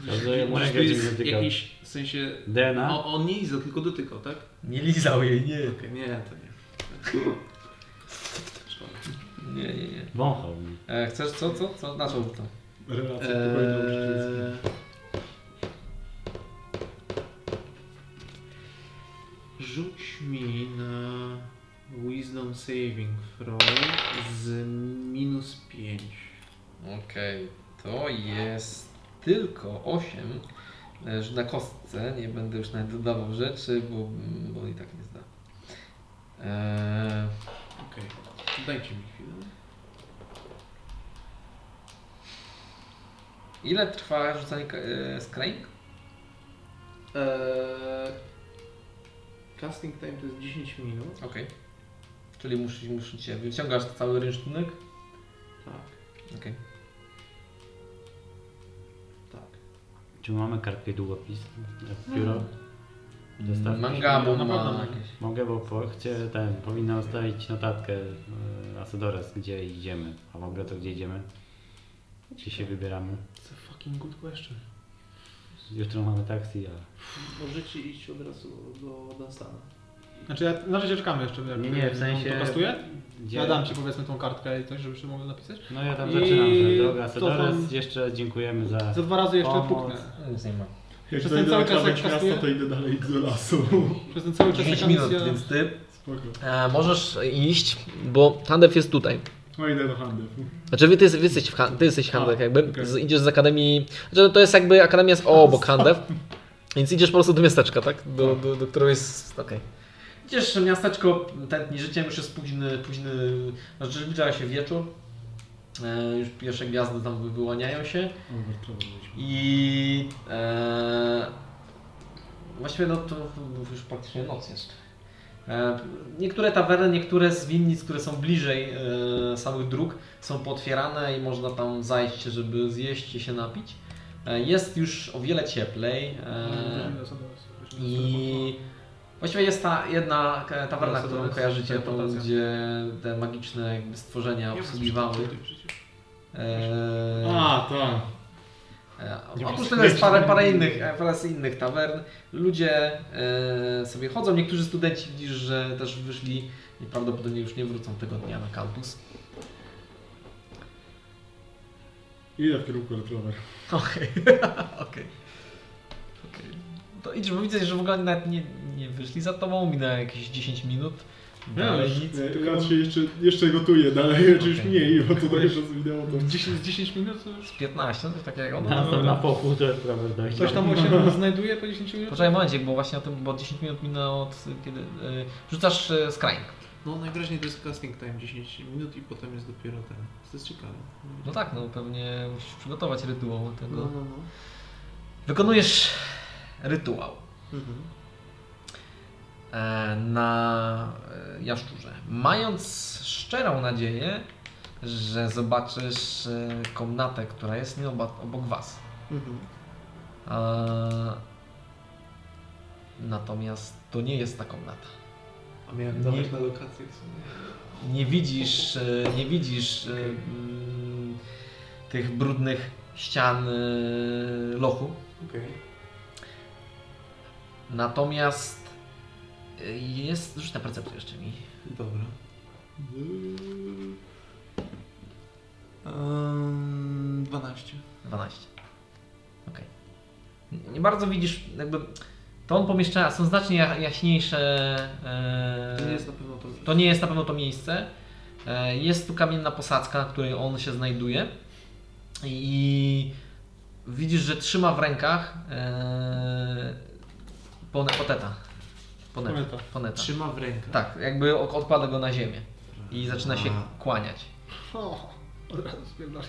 S5: Każdy jednego
S3: Może tu
S5: gdzie
S3: jest
S5: dotykał.
S3: jakiś, w sensie...
S5: DNA?
S3: O, on nie lizał, tylko dotykał, tak?
S1: Nie lizał jej, nie.
S3: Okej, nie, to nie. Szkoda.
S1: Nie, nie, nie.
S5: Wąchał mi.
S1: E, chcesz co, co, co? Na co to?
S10: Relacja pokoju mężczyzn.
S3: Eee... Rzuć mi na Wisdom Saving Throw z minus 5.
S1: Okej, to jest tylko 8 e, że na kostce. Nie będę już nawet dodawał rzeczy, bo, bo i tak nie zda. Eee,
S3: Okej, dajcie mi chwilę.
S1: ile trwa rzucanie ka- e, skrajk?
S3: Eee... Casting time to jest 10 minut.
S1: Okej. Czyli musisz, musisz cię wyciągasz cały rynsztunek?
S3: Tak,
S1: Okej.
S3: tak.
S5: Czy mamy kartkę i długopis?
S3: Hmm.
S5: Pióro?
S1: Okay.
S5: Zestaw?
S1: Mangabo
S4: Na pewno
S1: ma
S4: ma
S1: jakieś.
S5: Mogę, bo po, chcę, ten, powinna ustawić notatkę y, Asadores, gdzie idziemy. A w ogóle to gdzie idziemy? Gdzie się wybieramy?
S4: It's a fucking good question.
S5: Jutro mamy taksi, a...
S3: Możecie iść od razu do Dunstana.
S4: Znaczy, ja, na razie czekamy jeszcze. jak-
S5: Nie, nie, w
S4: on
S5: sensie-
S4: To kastuje?
S5: Gdzie...
S4: Ja dam Ci powiedzmy tą kartkę i coś, żebyś mogł napisać.
S5: No ja tam
S4: I
S5: zaczynam. I... Droga
S4: to
S5: Asadores,
S4: tam-
S5: jeszcze dziękujemy za...
S4: Za dwa razy jeszcze
S5: Tak. Pomoc.
S4: puknę.
S1: No Nic nie ma.
S10: Jak
S4: Przez
S10: to
S4: ten
S10: idę
S4: cały
S10: na
S4: czas jak
S10: krawędź miasta,
S4: kastuje?
S10: to idę dalej do lasu.
S4: Przez ten cały czas
S1: 10
S4: jaka
S1: minut,
S4: misja...
S1: więc ty
S10: Spoko.
S1: e, możesz iść, bo Tandef jest tutaj.
S10: No idę do handlu.
S1: Znaczy wy, ty, wy jesteś w han- ty jesteś w handlach
S10: A,
S1: jakby,
S10: okej.
S1: z, idziesz z akademii, znaczy to jest jakby akademia jest <laughs> obok handew, więc idziesz po prostu do miasteczka, tak? Do, do, do którego jest, okej. Idziesz w miasteczko tętni życiem, już jest późny, późny, znaczy zbliża się wieczór, e, już pierwsze gwiazdy tam wy- wyłaniają się
S4: Eee.
S1: i e, właściwie no to już praktycznie noc jest. E, Niektóre tawerny, niektóre z winnic, które są bliżej e, samych dróg, są potwierane i można tam zajść, żeby zjeść i się napić. E, jest już o wiele cieplej.
S4: No, Mhm.
S1: E, I właściwie jest ta jedna e, tawerna,
S3: Teraz
S1: którą
S3: teraz
S1: kojarzycie, tą,
S3: teleportacja.
S1: gdzie te magiczne jakby stworzenia obsługiwały. E,
S10: A, tak.
S1: E,
S10: Nie
S1: Oprócz
S10: ma
S1: tego jest parę,
S10: sklepów.
S1: parę, innych, e, parę innych tawern. Ludzie e, sobie chodzą. Niektórzy studenci widzisz, że też wyszli i prawdopodobnie już nie wrócą tego dnia na <laughs> kampus.
S10: Idę w kierunku Red Rover.
S1: Okej. Okej. Okej. To idź, bo widzę, że w ogóle nawet nie, nie wyszli za tobą, minęło jakieś 10 minut.
S4: No,
S6: Nie,
S1: Dalej
S6: już,
S1: nic.
S10: Eee,
S6: nie, Raz się jeszcze, jeszcze
S10: <laughs>
S6: gotuje dalej, czy już
S1: Okej.
S6: mniej, bo to tak już rozwinęło to.
S4: 10, 10 minut to już.
S1: Z 15, no coś takiego. No,
S5: Na,
S1: no,
S5: na pochód prawda?
S4: Coś
S5: <laughs>
S4: tam się znajduje po 10 minutach?
S1: Poczekaj momencik, bo właśnie o tym, bo 10 minut minęło od kiedy... y, rzucasz y, skrajnik.
S3: No najwyraźniej to jest casting time 10 minut i potem jest dopiero ten. To jest ciekawe.
S1: No tak, no pewnie musisz przygotować rytuał tego.
S3: No, no, no.
S1: Wykonujesz rytuał
S3: Mhm.
S1: e, na e, jaszczurze. Mając szczerą nadzieję, że zobaczysz e, komnatę, która jest nie oba, obok was. E,
S3: Mhm.
S1: A... Natomiast to nie jest ta komnata.
S3: A miałem
S1: Nie.
S3: dawać na lokację w sumie.
S1: Nie widzisz, e, nie widzisz e, mm, tych brudnych ścian e, lochu.
S3: Okej.
S1: Natomiast e, jest. Rzuć na percepcję jeszcze mi.
S3: Dobra. Ehm, 12.
S1: 12. Okej. Nie- Nie bardzo widzisz, jakby. To on pomieszcza, są znacznie ja- jaśniejsze. e,
S3: To nie jest na pewno to.
S1: To nie jest na pewno to miejsce. E, Jest tu kamienna posadzka, na której on się znajduje. I widzisz, że trzyma w rękach e, pone- poteta. Poneta.
S4: Poneta.
S1: Poneta.
S3: Trzyma w rękach.
S1: Tak, jakby ok- odkłada go na ziemię. I zaczyna się
S3: A.
S1: kłaniać.
S9: O, od razu spierdolę.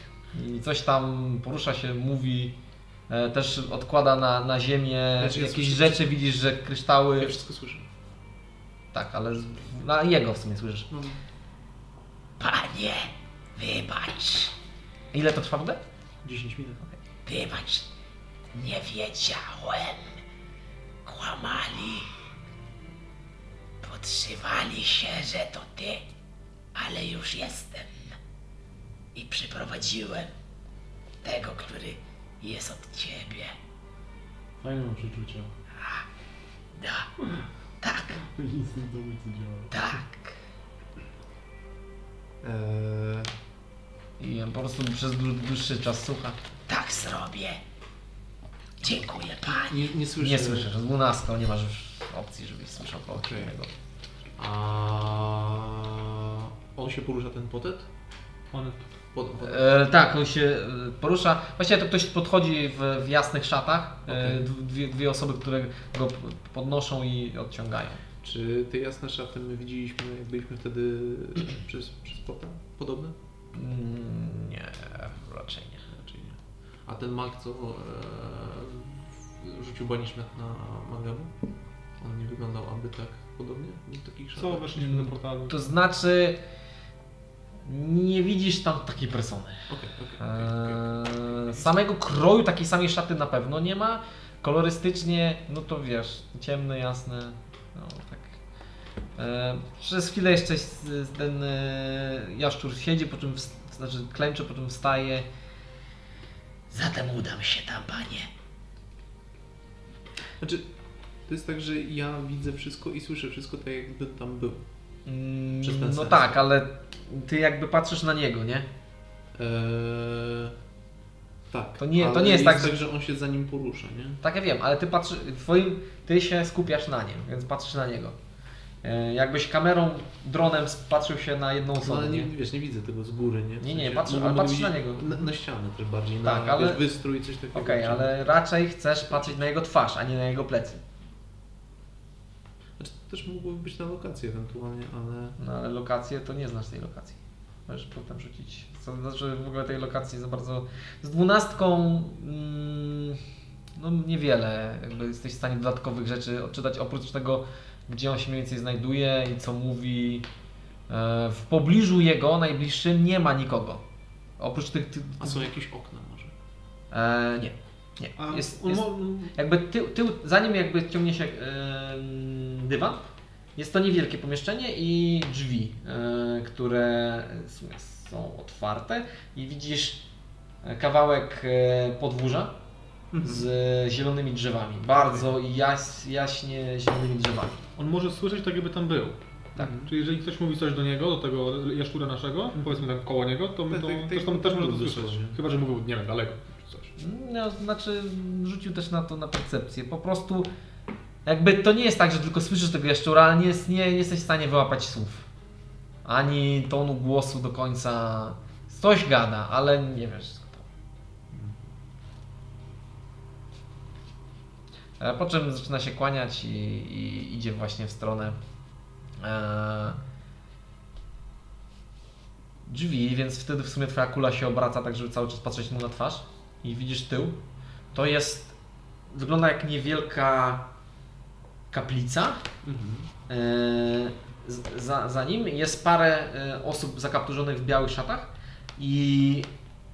S1: I coś tam porusza się, mówi. E, Też odkłada na, na ziemię
S3: Znaczy, ja
S1: jakieś
S3: słyszę-
S1: rzeczy, widzisz, że kryształy.
S3: Ja wszystko słyszę.
S1: Tak, ale z- na jego w sumie słyszysz.
S3: No.
S1: Panie, wybacz. Ile to trwa w ogóle?
S3: 10 minut.
S1: Wybacz, nie wiedziałem. Kłamali. Podszywali się, że to ty, ale już jestem. I przyprowadziłem tego, który jest od ciebie.
S10: Fajne mam przeczucia.
S6: Nic nie domu co działa.
S1: Tak.
S3: Eee,
S1: I on po prostu przez dłu- dłuższy czas słucha. Tak zrobię. Dziękuję pani.
S3: nie, nie słyszę.
S1: Nie słyszysz, z dwunastką nie masz już opcji, żebyś słyszał kogoś
S3: Okej.
S1: innego.
S3: A on się porusza ten potet?
S4: One
S3: Pod, pod,
S1: E, tak, on się e, porusza. Właściwie to ktoś podchodzi w, w jasnych szatach. E,
S3: Okej.
S1: dw- dwie, dwie osoby, które go p- podnoszą i odciągają.
S3: Czy te jasne szaty my widzieliśmy, jak byliśmy wtedy przez, przez potem? Podobne?
S1: Mm, Nie, raczej nie.
S3: Raczej nie. A ten mag, co e, rzucił banishment na Mangabu? On nie wyglądał aby tak podobnie? W takich
S4: Co
S3: szatach?
S4: weszliśmy do portalu?
S1: To znaczy, nie widzisz tam takiej persony.
S3: Okej, okej, okej, okej.
S1: E, samego kroju, takiej samej szaty na pewno nie ma. Kolorystycznie, no to wiesz, ciemne, jasne. No tak. E, przez chwilę jeszcze s- s- ten e, jaszczur siedzi, po czym wst- znaczy klęczy, po czym wstaje. Zatem udam się tam, panie.
S3: Znaczy, to jest tak, że ja widzę wszystko i słyszę wszystko tak, jakby tam był.
S1: Mm,
S3: Przez ten
S1: no
S3: sens.
S1: tak, ale ty jakby patrzysz na niego, nie?
S3: Eee, E, tak.
S1: To nie- to
S3: ale
S1: nie jest tak,
S3: tak, że on się za nim porusza, nie?
S1: Tak, ja wiem, ale ty patrzysz, twoim, ty się skupiasz na nim, więc patrzysz na niego. E, jakbyś kamerą, dronem patrzył się na jedną
S3: No,
S1: osobę,
S3: ale nie,
S1: nie?
S3: wiesz, nie widzę tego z góry, nie? W
S1: Nie, nie,
S3: sensie
S1: patrzę-
S3: mogę
S1: ale patrzysz
S3: mówić
S1: na niego.
S3: Na, na ścianę też bardziej,
S1: Tak,
S3: na
S1: ale-
S3: wiesz, wystrój, coś takiego.
S1: Okej, ale raczej chcesz patrzeć na jego twarz, a nie na jego plecy.
S3: Znaczy, to też mogłoby być na lokacji ewentualnie, ale...
S1: No ale lokację, to nie znasz tej lokacji. Możesz potem rzucić. Co to znaczy w ogóle tej lokacji za bardzo... Z dwunastką... Mm, no niewiele. Jakby jesteś w stanie dodatkowych rzeczy odczytać, oprócz tego, gdzie on się mniej więcej znajduje i co mówi. E, W pobliżu jego, najbliższym, nie ma nikogo. Oprócz tych... tych
S3: A są jakieś okna może?
S1: e, nie.
S6: A
S1: Nie. Jest,
S6: on
S1: jest,
S6: mo-
S1: jakby tył, tył, zanim jakby ciągnie się em, dywan, jest to niewielkie pomieszczenie i drzwi, e, które w sumie są otwarte i widzisz e, kawałek e, podwórza z zielonymi drzewami, bardzo jaś, jaśnie zielonymi drzewami.
S4: On może słyszeć tak, jakby tam był.
S1: Tak.
S3: Mhm.
S4: Czyli jeżeli ktoś mówi coś do niego, do tego Mhm. jaszczura naszego, powiedzmy tam koło niego, to my
S3: Tak,
S4: to,
S3: tak,
S4: też,
S3: tak,
S4: tam, też może to
S3: dosłownie.
S4: słyszeć. Chyba, że mówił, nie wiem, daleko czy coś.
S1: No, znaczy, rzucił też na to na percepcję. Po prostu, jakby to nie jest tak, że tylko słyszysz tego jaszczura, ale nie, jest, nie, nie jesteś w stanie wyłapać słów. Ani tonu głosu do końca. Coś gada, ale nie wiesz. co to. E, Po czym zaczyna się kłaniać i, i idzie właśnie w stronę e, drzwi, więc wtedy w sumie twoja kula się obraca tak, żeby cały czas patrzeć mu na twarz i widzisz tył. To jest, wygląda jak niewielka kaplica. E, z- za, za nim jest parę e, osób zakapturzonych w białych szatach i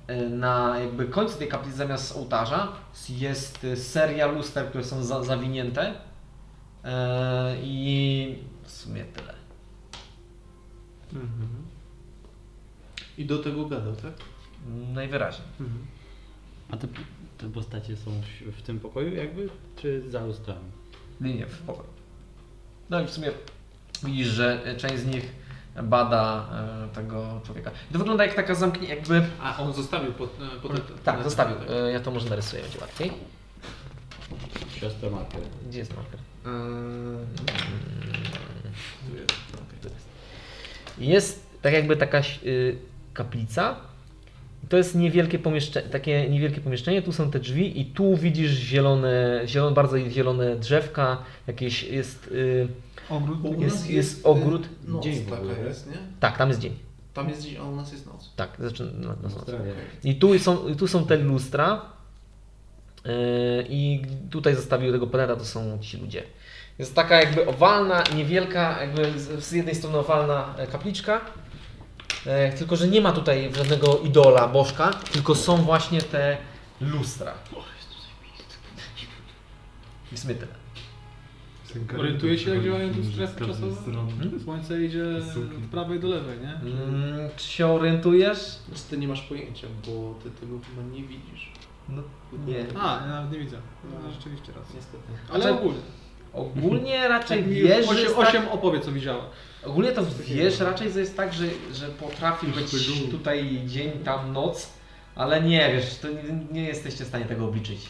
S1: e, na jakby końcu tej kaplicy zamiast ołtarza jest e, seria luster, które są za, zawinięte E, i w sumie tyle.
S3: I do tego gadał, tak?
S1: Najwyraźniej.
S5: A te, te postacie są w, w tym pokoju jakby, czy za lustrami?
S1: Nie, nie, w pokoju. No i w sumie widzisz, że e, część z nich bada e, tego człowieka. I to wygląda jak taka zamknięta, jakby...
S3: A on zostawił pod, pod,
S1: Tak, zostawił. E, Ja to może narysuję, będzie łatwiej.
S5: Siostra marker.
S1: Gdzie jest marker? Jest tak jakby taka y, kaplica. To jest niewielkie pomieszczenie, takie niewielkie pomieszczenie, tu są te drzwi i tu widzisz zielone, zielone bardzo zielone drzewka, jakieś jest, y,
S8: Ogród?
S3: Bo u
S1: Jest-
S3: nas
S1: jest
S3: y,
S1: ogród.
S3: Noc
S5: Dzień w
S3: taka
S5: ogóle.
S3: jest, nie?
S1: tak, tam jest dzień.
S3: Tam jest dzień, a u nas jest noc.
S1: Tak, zaczyna no, no, no.
S5: Australia.
S1: I tu są, tu są te lustra. Yy, I tutaj zostawił tego planeta, to są ci ludzie. Jest taka jakby owalna, niewielka, jakby z- z jednej strony owalna e, kapliczka. E, Tylko, że nie ma tutaj żadnego idola, bożka, tylko są właśnie te lustra. I w sumie tyle.
S4: Orientuje się, jak działają tu strefy
S10: każdej
S4: czasowe?
S10: strony.
S4: Słońce idzie
S10: Suki.
S4: od E, prawej do lewej, nie?
S1: Mm, czy się orientujesz?
S3: Znaczy ty nie masz pojęcia, bo ty tego chyba nie widzisz.
S1: No, nie.
S4: A, ja nawet nie widzę. No, rzeczywiście raz.
S3: Niestety.
S4: Ale
S1: Znaczy,
S4: ogólnie.
S1: Ogólnie raczej
S4: Tak mi
S1: wiesz, że
S4: osiem,
S1: jest tak-
S4: osiem opowie, co widziała.
S1: Ogólnie to wiesz raczej, że jest tak, że, że potrafi być tutaj dzień, tam noc, ale nie wiesz, to nie, nie jesteście w stanie tego obliczyć.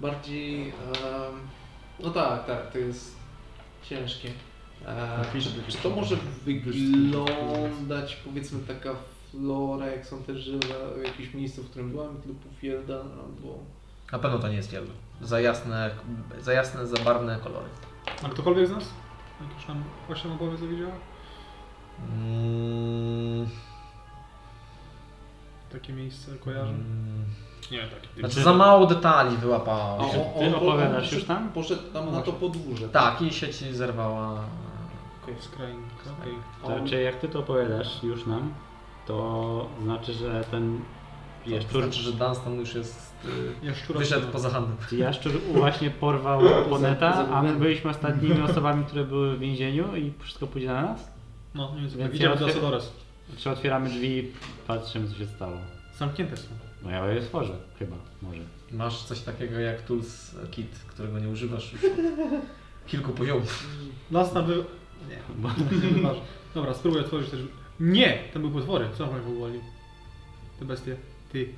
S3: Bardziej... em, no tak, tak, to jest ciężkie. E,
S5: No,
S3: czy, czy to może wyglądać, powiedzmy, taka flora, jak są te żywe w jakimś miejscu, w którym byłam, typu Fielda, albo...
S1: Na pewno to nie jest wielu. Za jasne, za jasne, za barwne kolory.
S4: A ktokolwiek z nas? Jakieś nam osiem opowie, co widziała?
S1: Mm,
S4: Takie miejsce kojarzę. Nie wiem, takie.
S1: mm. znaczy za mało detali wyłapało.
S5: Ty opowiadasz już tam?
S3: Poszedł tam na to podwórze.
S1: Tak, jej się ci zerwała.
S4: Skrajnika. Okej.
S3: A
S5: To,
S3: on-
S5: czy jak ty to opowiadasz już nam, to znaczy, że ten
S1: To
S5: jaszczur,
S1: znaczy, że Dunstan już jest.
S4: Jaszczura.
S1: Wyszedł poza handel.
S5: jaszczur właśnie porwał poneta, a my byliśmy ostatnimi osobami, które były w więzieniu i wszystko pójdzie na nas?
S4: No, nie wiem,
S5: Więc
S4: idziemy
S5: ja
S4: do
S5: otwier-
S4: Asadores.
S5: Czy otwieramy drzwi i patrzymy, co się stało?
S4: Zamknięte są.
S5: No ja je otworzę, chyba, może.
S1: Masz coś takiego jak Tools Kit, którego nie używasz już od kilku poziomów.
S4: Nas tam był... Nie, nieważne. <laughs> Dobra, spróbuję otworzyć też. Nie! Tam były potwory. Co tam powoli? Te bestie. Ty.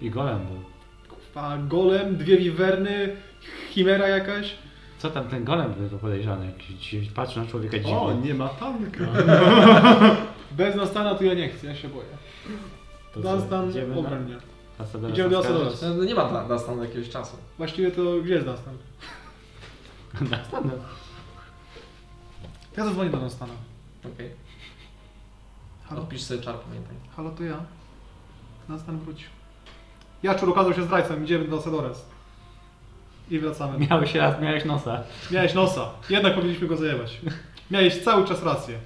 S5: I golem był.
S4: Kurwa, golem, dwie wiwerny, chimera jakaś.
S5: Co tam ten golem był to podejrzany? Jakiś- Patrzy na człowieka dziwnie.
S6: O, nie ma tanka.
S4: <laughs> Bez Nastana tu ja nie chcę, ja się boję.
S5: To co,
S4: Dunstan
S5: idziemy na-
S4: obroń mnie.
S5: Asadora
S4: Idziemy do
S5: zaskarżyć?
S4: Asadores.
S1: No, nie ma dla Dunstan jakiegoś czasu.
S4: Właściwie to gdzie jest Dunstan?
S5: <laughs> Dunstan?
S4: Ja zadzwonię do Dunstana.
S1: Okej.
S4: Halo?
S1: Odpisz sobie czar, pamiętaj.
S4: Halo, to ja. Dunstan wrócił. Jaczur okazał się zdrajcą, idziemy do Asadores. I wracamy.
S5: Miałeś raz, miałeś nosa.
S4: Miałeś nosa. Jednak powinniśmy go zajebać. Miałeś cały czas rację.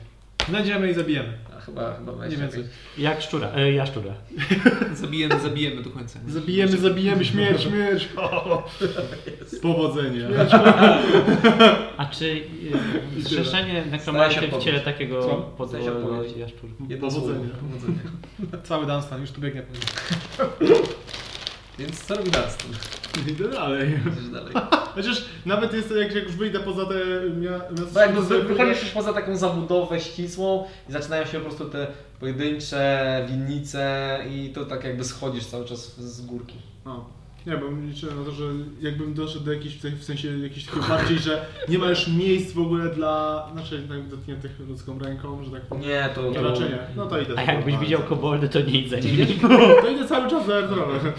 S4: Znajdziemy i zabijemy.
S1: A chyba, chyba
S4: Nie
S1: weź
S4: więcej.
S1: jakieś-
S5: Jak szczura, e, jaszczura.
S3: <laughs> Zabijemy, zabijemy do końca. nie?
S4: Zabijemy, zabijemy, śmierć, śmierć. <laughs> O,
S6: Powodzenia.
S5: A czy e,
S6: tyle.
S5: zrzeszenie
S1: Stara się
S5: nekromanty w
S1: odpowiedź.
S5: ciele takiego
S1: Co? Stara się
S5: podłego
S1: odpowiedź.
S5: jaszczura?
S1: Jedno
S6: Powodzenia.
S1: słowo. Powodzenia.
S4: cały Dunstan, już tu biegnie po nim.
S1: Więc co robi nas?
S6: Idę dalej.
S1: Idziesz dalej.
S6: Chociaż nawet jest to, jak, jak już wyjdę poza te mia- miasto.
S1: Bo jakby wy- Tak, no, wychodzisz już poza taką zabudowę ścisłą i zaczynają się po prostu te pojedyncze winnice i to tak jakby schodzisz cały czas z górki.
S6: No. Nie, bo liczyłem na to, że jakbym doszedł do jakichś, tych- w sensie jakichś takich bardziej, że nie ma już miejsc w ogóle dla, znaczy tak dotkniętych ludzką ręką, że tak powiem.
S1: Nie, to-
S6: Nie,
S1: to-
S6: raczej nie. No to idę.
S5: A jakbyś widział koboldy, to nie idź za nimi.
S6: To idę cały czas za aerodromem.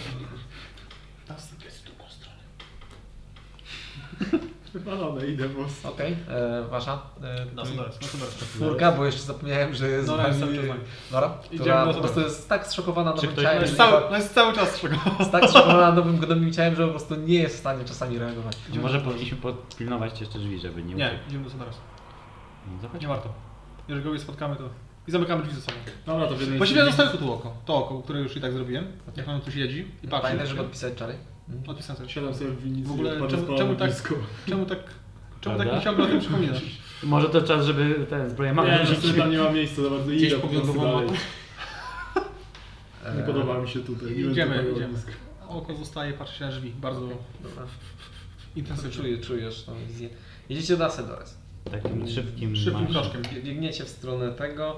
S6: Wypalone, idę po prostu.
S1: Okej, e, wasza?
S4: No
S1: E,
S6: Na
S1: tu-
S6: Sonorys, na Sonorys.
S1: Czwórka, bo jeszcze zapomniałem, że jest
S4: Nora jest
S1: z
S4: cały
S1: nami
S4: czas z nami.
S1: Nora,
S4: Idziemy na
S1: która po
S4: Sonorys.
S1: prostu jest tak zszokowana
S4: Czy
S1: nowym
S4: ktoś-
S1: ciałem,
S4: no jest
S1: że
S4: cały-
S1: nie-
S4: no jest cały czas zszokowana.
S1: jest tak zszokowana nowym gnomim ciałem, że po prostu nie jest w stanie czasami reagować.
S5: A Może powinniśmy podpilnować jeszcze drzwi, żeby nie
S4: Nie,
S5: uciekł.
S4: idziemy do Sonaras.
S5: No, zobacz.
S4: Nie warto. Jeżeli kogoś spotkamy, to... I zamykamy drzwi ze sobą.
S6: Dobra, to w jednej
S4: Właściwie
S6: chwili-
S4: zostawię tu to oko. To oko, które już i tak zrobiłem. Jak on tu siedzi i patrzy.
S1: Pamiętaj, żeby odpisać czary.
S4: Odpisałem sobie.
S6: Siadam sobie w winnicy
S4: W
S6: i
S4: ogóle
S6: odpalam
S4: czemu,
S6: spalone
S4: czemu tak...
S6: blisko.
S4: Czemu tak... Czemu tak
S5: Prawda?
S4: mi ciągle o tym przypominasz?
S5: Może to czas, żeby ten zbroję mamy
S6: Nie, no, sobie tam nie ma miejsca za bardzo.
S3: Gdzieś
S6: Idę po prostu
S3: poglądowo
S6: <laughs> dalej. Nie
S1: Eee,
S6: podoba mi się tutaj. nie będę
S4: Idziemy,
S6: tego
S4: idziemy.
S6: robił.
S4: Oko zostaje, patrzy się na drzwi. Bardzo
S1: Dobra.
S4: intensywnie.
S1: Czuję, czujesz tą wizję. Jedziecie do Asedores.
S5: Takim szybkim
S4: Szybkim
S5: marszem.
S4: kroczkiem.
S1: Biegniecie w stronę tego.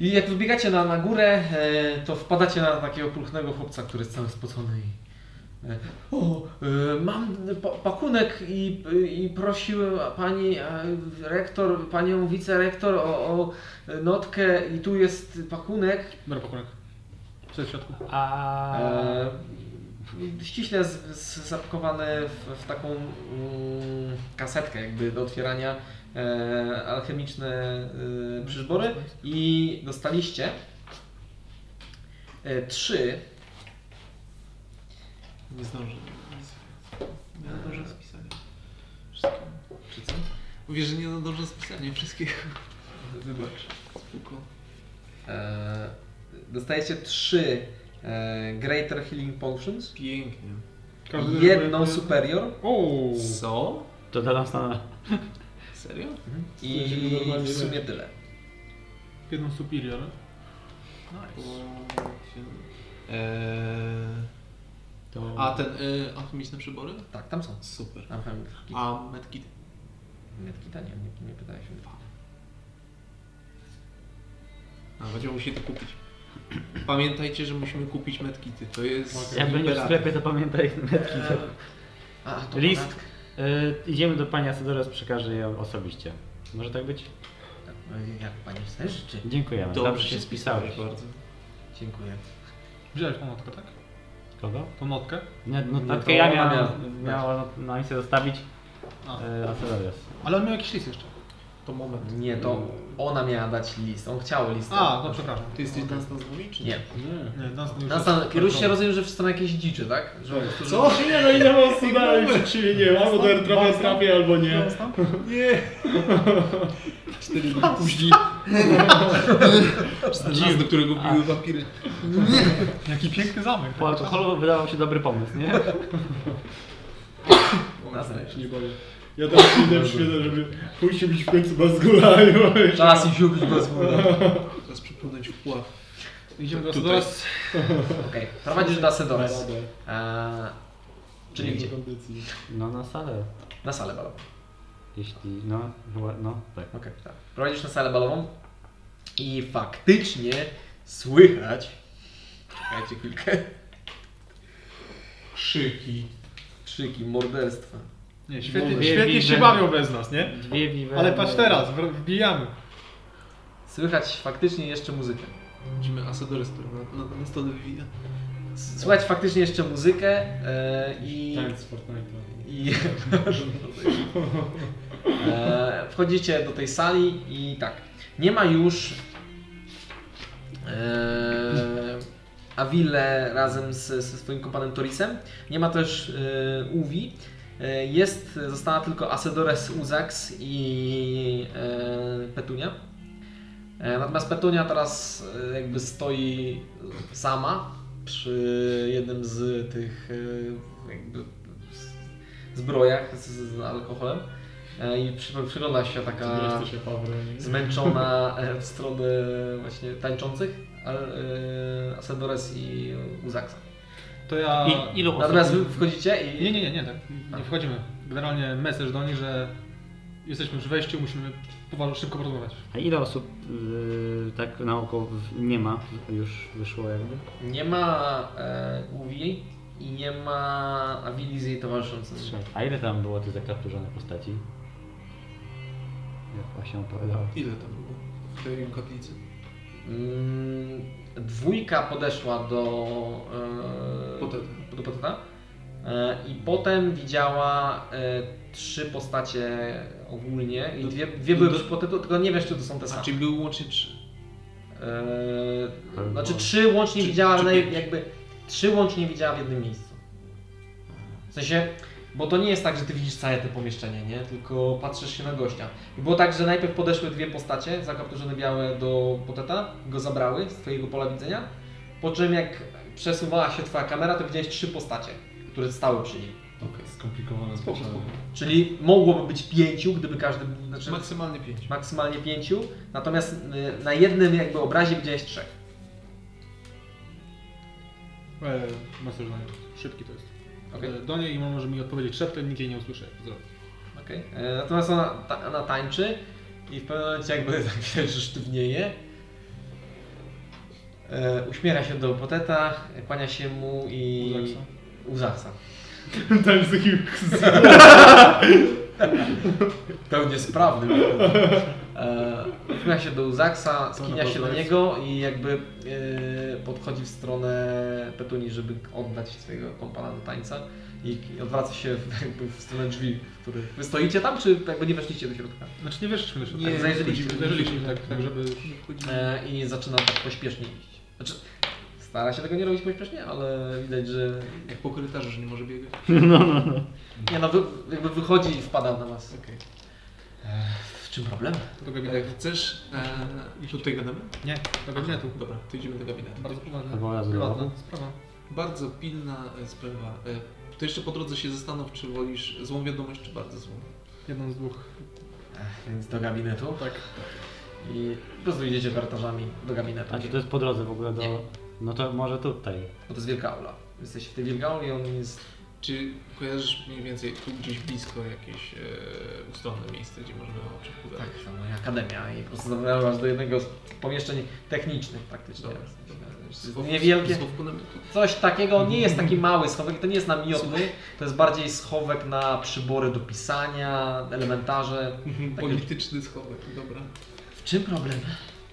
S1: I jak wybiegacie na, na górę, e, to wpadacie na takiego pulchnego chłopca, który jest cały spocony i... E, o, e, mam pa- pakunek i, i prosiłem pani e, rektor, panią wicerektor o, o notkę i tu jest pakunek.
S4: Dobra, pakunek. Co jest w środku?
S5: A...
S1: E, ściśle z- z- zapakowane w, w taką mm, kasetkę jakby do otwierania e, alchemiczne e, przyżbory i dostaliście e, trzy
S3: Nie zdążę. Nie nadążę z pisaniem. Wszystkiego.
S1: czy co?
S3: Mówię, że nie nadążę z pisaniem wszystkiego.
S1: Wybacz.
S3: Spoko.
S1: E, dostajecie trzy e, Greater Healing Potions,
S3: Pięknie.
S1: jedną Superior
S4: Uuu.
S3: Co?
S5: To dla nas na...
S3: Serio?
S1: i w sumie tyle.
S4: Jedną superior.
S3: Nice. Eee,
S5: To...
S3: a ten y, alchemiczne przybory?
S1: Tak, tam są.
S3: Super.
S1: Tam są
S3: A medkit?
S1: medkita, nie, nie, nie pytałeś.
S3: A, będziemy musieli to kupić. Pamiętajcie, że musimy kupić medkity. To jest
S5: Jak będziesz w
S3: imperatyw.
S5: sklepie, to pamiętaj <laughs> metki.
S1: A, to
S5: List.
S1: podatk.
S5: Y, idziemy do pani Asadora, przekażę ją osobiście. Może tak być?
S1: no Jak pani chce życzy?
S5: Dziękujemy, dobrze, się spisałeś.
S3: bardzo.
S1: Dziękuję.
S4: Wziąłeś tą notkę, tak?
S5: Kogo?
S4: Tą notkę?
S5: Nie, no,
S1: No to
S5: notkę ja
S1: ona
S5: miałem,
S1: miała-
S5: miała tak. na misję zostawić
S4: A.
S5: y, Asadorias.
S4: Ale on miał jakiś list jeszcze.
S3: To moment.
S1: Nie, to ona miała dać list. On chciał list.
S4: A, no przepraszam.
S3: Ty jesteś nas na zwoju, czy
S1: Nie.
S4: Nie, nas nie
S1: Na stan- Kierujcie, rozumiem, że w stronę jakiejś dziczy, tak? Że po prostu-
S6: Co? Nie no idę <laughs> po prostu dalej, przed siebie nie Albo do aerodromu trafię, albo nie.
S3: Cztery dni później. Cztery dni, do którego piły wampiry.
S4: Jaki piękny zamek. tak?
S5: Po alkoholu wydawał się dobry pomysł,
S4: <laughs>
S5: nie?
S1: Na serio.
S6: Nie boję. Ja teraz idę przyjdę, żeby pójść być w końcu Bazgula. i mówię,
S1: Czas i siubić bez góry.
S3: Teraz przypłynąć w pław.
S4: Idziemy do
S3: Tutaj.
S4: Asadores.
S1: Okej, prowadzisz do Asedores.
S6: Radę.
S1: Eee, czyli
S6: Nie
S1: gdzie?
S6: do kondycji.
S5: No na salę.
S1: Na salę balową.
S5: Jeśli, no, chyba, no, tak.
S1: Okej, tak. Prowadzisz na salę balową i faktycznie słychać. Czekajcie chwilkę.
S3: Krzyki.
S1: Krzyki, morderstwa.
S4: Nie, świetnie,
S5: Mówię,
S4: świetnie
S5: widzę.
S4: się bawią bez nas, nie?
S5: Dwie wiwe.
S4: Ale patrz teraz, wr- wbijamy.
S1: Słychać faktycznie jeszcze muzykę.
S3: Widzimy Asadores, który na, na, na stole wywija.
S1: Słychać faktycznie jeszcze muzykę e, i
S6: Tak, z Fortnite'a.
S1: I <laughs> e, wchodzicie do tej sali i tak. Nie ma już e, Avile razem z, ze swoim kompanem Torisem. Nie ma też e, Uwi. E, jest, została tylko Asedores Uzax i e, Petunia. E, natomiast Petunia teraz e, jakby stoi sama przy jednym z tych e, jakby zbrojach z, z alkoholem e, i przy, przygląda się taka
S6: Zbierz się Pawle.
S1: zmęczona e, w stronę właśnie tańczących a- e, Asadores i Uzaksa.
S4: to ja...
S2: I- ilu osób?
S1: Natomiast wy wchodzicie i...
S4: Nie, nie, nie, nie, tak. nie wchodzimy. Generalnie message do nich, że jesteśmy już w wejściu, musimy poważnie szybko porozmawiać.
S5: A ile osób y, tak naokoło w- nie ma, już wyszło jakby?
S1: Nie ma e, Uwi i nie ma Avili z jej towarzyszącym.
S5: A ile tam było tych zakapturzonych postaci? Jak właśnie opowiadał.
S3: Ile tam było w tej kotlicy?
S1: Mm, dwójka podeszła do... E,
S3: Poteta.
S1: Do poteta. E, I potem widziała e, trzy postacie ogólnie i dwie, dwie były
S3: do-
S1: już potetu, tylko nie wiesz czy to są te same.
S3: A czyli były łącznie trzy.
S1: Eee, znaczy trzy łącznie
S3: Czy-
S1: widziała,
S3: czy
S1: na,
S3: pięć?
S1: jakby trzy łącznie widziała w jednym miejscu. W sensie, bo to nie jest tak, że ty widzisz całe to pomieszczenie, nie? Tylko patrzysz się na gościa. I było tak, że najpierw podeszły dwie postacie, zakapturzone białe do poteta, go zabrały z twojego pola widzenia, po czym jak przesuwała się twoja kamera, to widziałeś trzy postacie, które stały przy nim.
S3: Okej.
S10: Skomplikowane
S3: Spoko,
S10: zwyczaje.
S3: spoko.
S1: Czyli mogłoby być pięciu, gdyby każdy... był- Znaczy,
S3: Maksymalnie pięć.
S1: maksymalnie pięciu, natomiast y, na jednym jakby obrazie widziałeś trzech.
S4: E, message do nich. Szybki to jest.
S1: Okej.
S3: Y,
S4: E, Do niej i może mi odpowiedzieć szeptem, nikt jej nie usłyszy, jak to
S6: <laughs>
S4: zrobi.
S1: Okej. E, Natomiast ona, ta, ona tańczy i w pewnym momencie jakby <laughs> tak wiesz, że sztywnieje. E, uśmiecha się do poteta, kłania się mu i...
S4: Uzaksa.
S1: Uzaksa.
S10: Tam z takim
S1: Pełnie sprawny. E, uśmiecha się do Uzaksa, skinia się do niego i jakby e, podchodzi w stronę Petuni, żeby oddać swojego kompana do tańca i odwraca się w, jakby w stronę drzwi, w których... Wy stoicie tam, czy jakby nie weszliście do środka?
S4: Znaczy nie weszliśmy do środka.
S1: Nie,
S4: zajrzeliśmy,
S1: wchodzimy.
S4: zajrzeliśmy tak, tak, żeby...
S1: E, i zaczyna tak pośpiesznie iść. Znaczy, stara się tego nie robić pośpiesznie, ale widać, że...
S3: Jak po korytarzu, że nie może biegać.
S1: Nie no, wy, jakby wychodzi i wpada na was.
S3: Okej.
S1: E, W czym problem?
S4: Do gabinetu.
S3: E, Chcesz... E, tutaj gadamy?
S4: Nie, do gabinetu.
S3: Dobra, to idziemy do gabinetu.
S4: Bardzo poważna.
S5: Albo raz do
S4: Prywatna
S1: no.
S5: domu.
S4: sprawa.
S3: Bardzo pilna e, sprawa. E, To jeszcze po drodze się zastanów, czy wolisz złą wiadomość, czy bardzo złą.
S4: Jedną z dwóch.
S1: E, Więc do gabinetu. Tak. I po prostu idziecie korytarzami do gabinetu.
S5: A czy to jest po drodze w ogóle do...
S1: Nie.
S5: No to może tutaj.
S1: Bo to jest wielka aula. Jesteś w tej wielka auli, on jest...
S3: Czy kojarzysz mniej więcej tu gdzieś blisko jakieś e, ustronne miejsce, gdzie można o czymś
S1: Tak,
S3: pogadać?
S1: to moja akademia i po prostu zabrałem do jednego z pomieszczeń technicznych praktycznie.
S3: Dobra,
S1: Jest Niewielkie.
S3: Słówku namiotu.
S1: Coś takiego, on nie jest taki mały schowek, to nie jest na miotły, to jest bardziej schowek na przybory do pisania, elementarze. Takie,
S3: Polityczny schowek, dobra.
S1: w czym problem?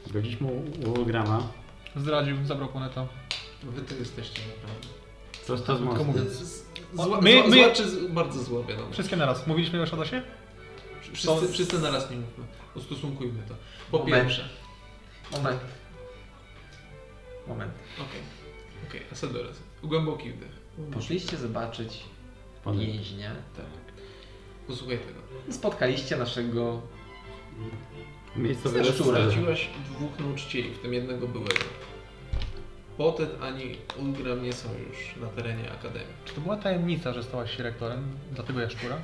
S5: Zgodziliśmy u- u Grama.
S4: Zdradził, zabrał poneta.
S3: No Wy to jesteście naprawdę.
S5: To jest to
S1: Tak,
S5: z mostu.
S4: mówię.
S3: Z- Zła,
S4: No, My-
S3: zła,
S4: my-
S3: zła czy z, bardzo zła wiadomość?
S4: Wszystkie naraz. Mówiliśmy już o Dasie?
S3: Wszyscy,
S1: są-
S3: wszyscy naraz nie mówmy. Ustosunkujmy to. Po
S1: Moment.
S3: pierwsze.
S1: Moment. Moment.
S3: Okej. Okej, a co do razu. Głęboki wdech.
S1: Poszliście zobaczyć
S5: Ponet.
S1: więźnia.
S3: Tak. Posłuchaj tego.
S1: Spotkaliście naszego.
S5: Miejscowy
S1: Zresztą.
S5: restaurator.
S3: Straciłaś dwóch nauczycieli, w tym jednego byłego. Potet ani Ulgram nie są już na terenie Akademii.
S4: Czy to była tajemnica, że stałaś się rektorem? Dlatego jaszczura?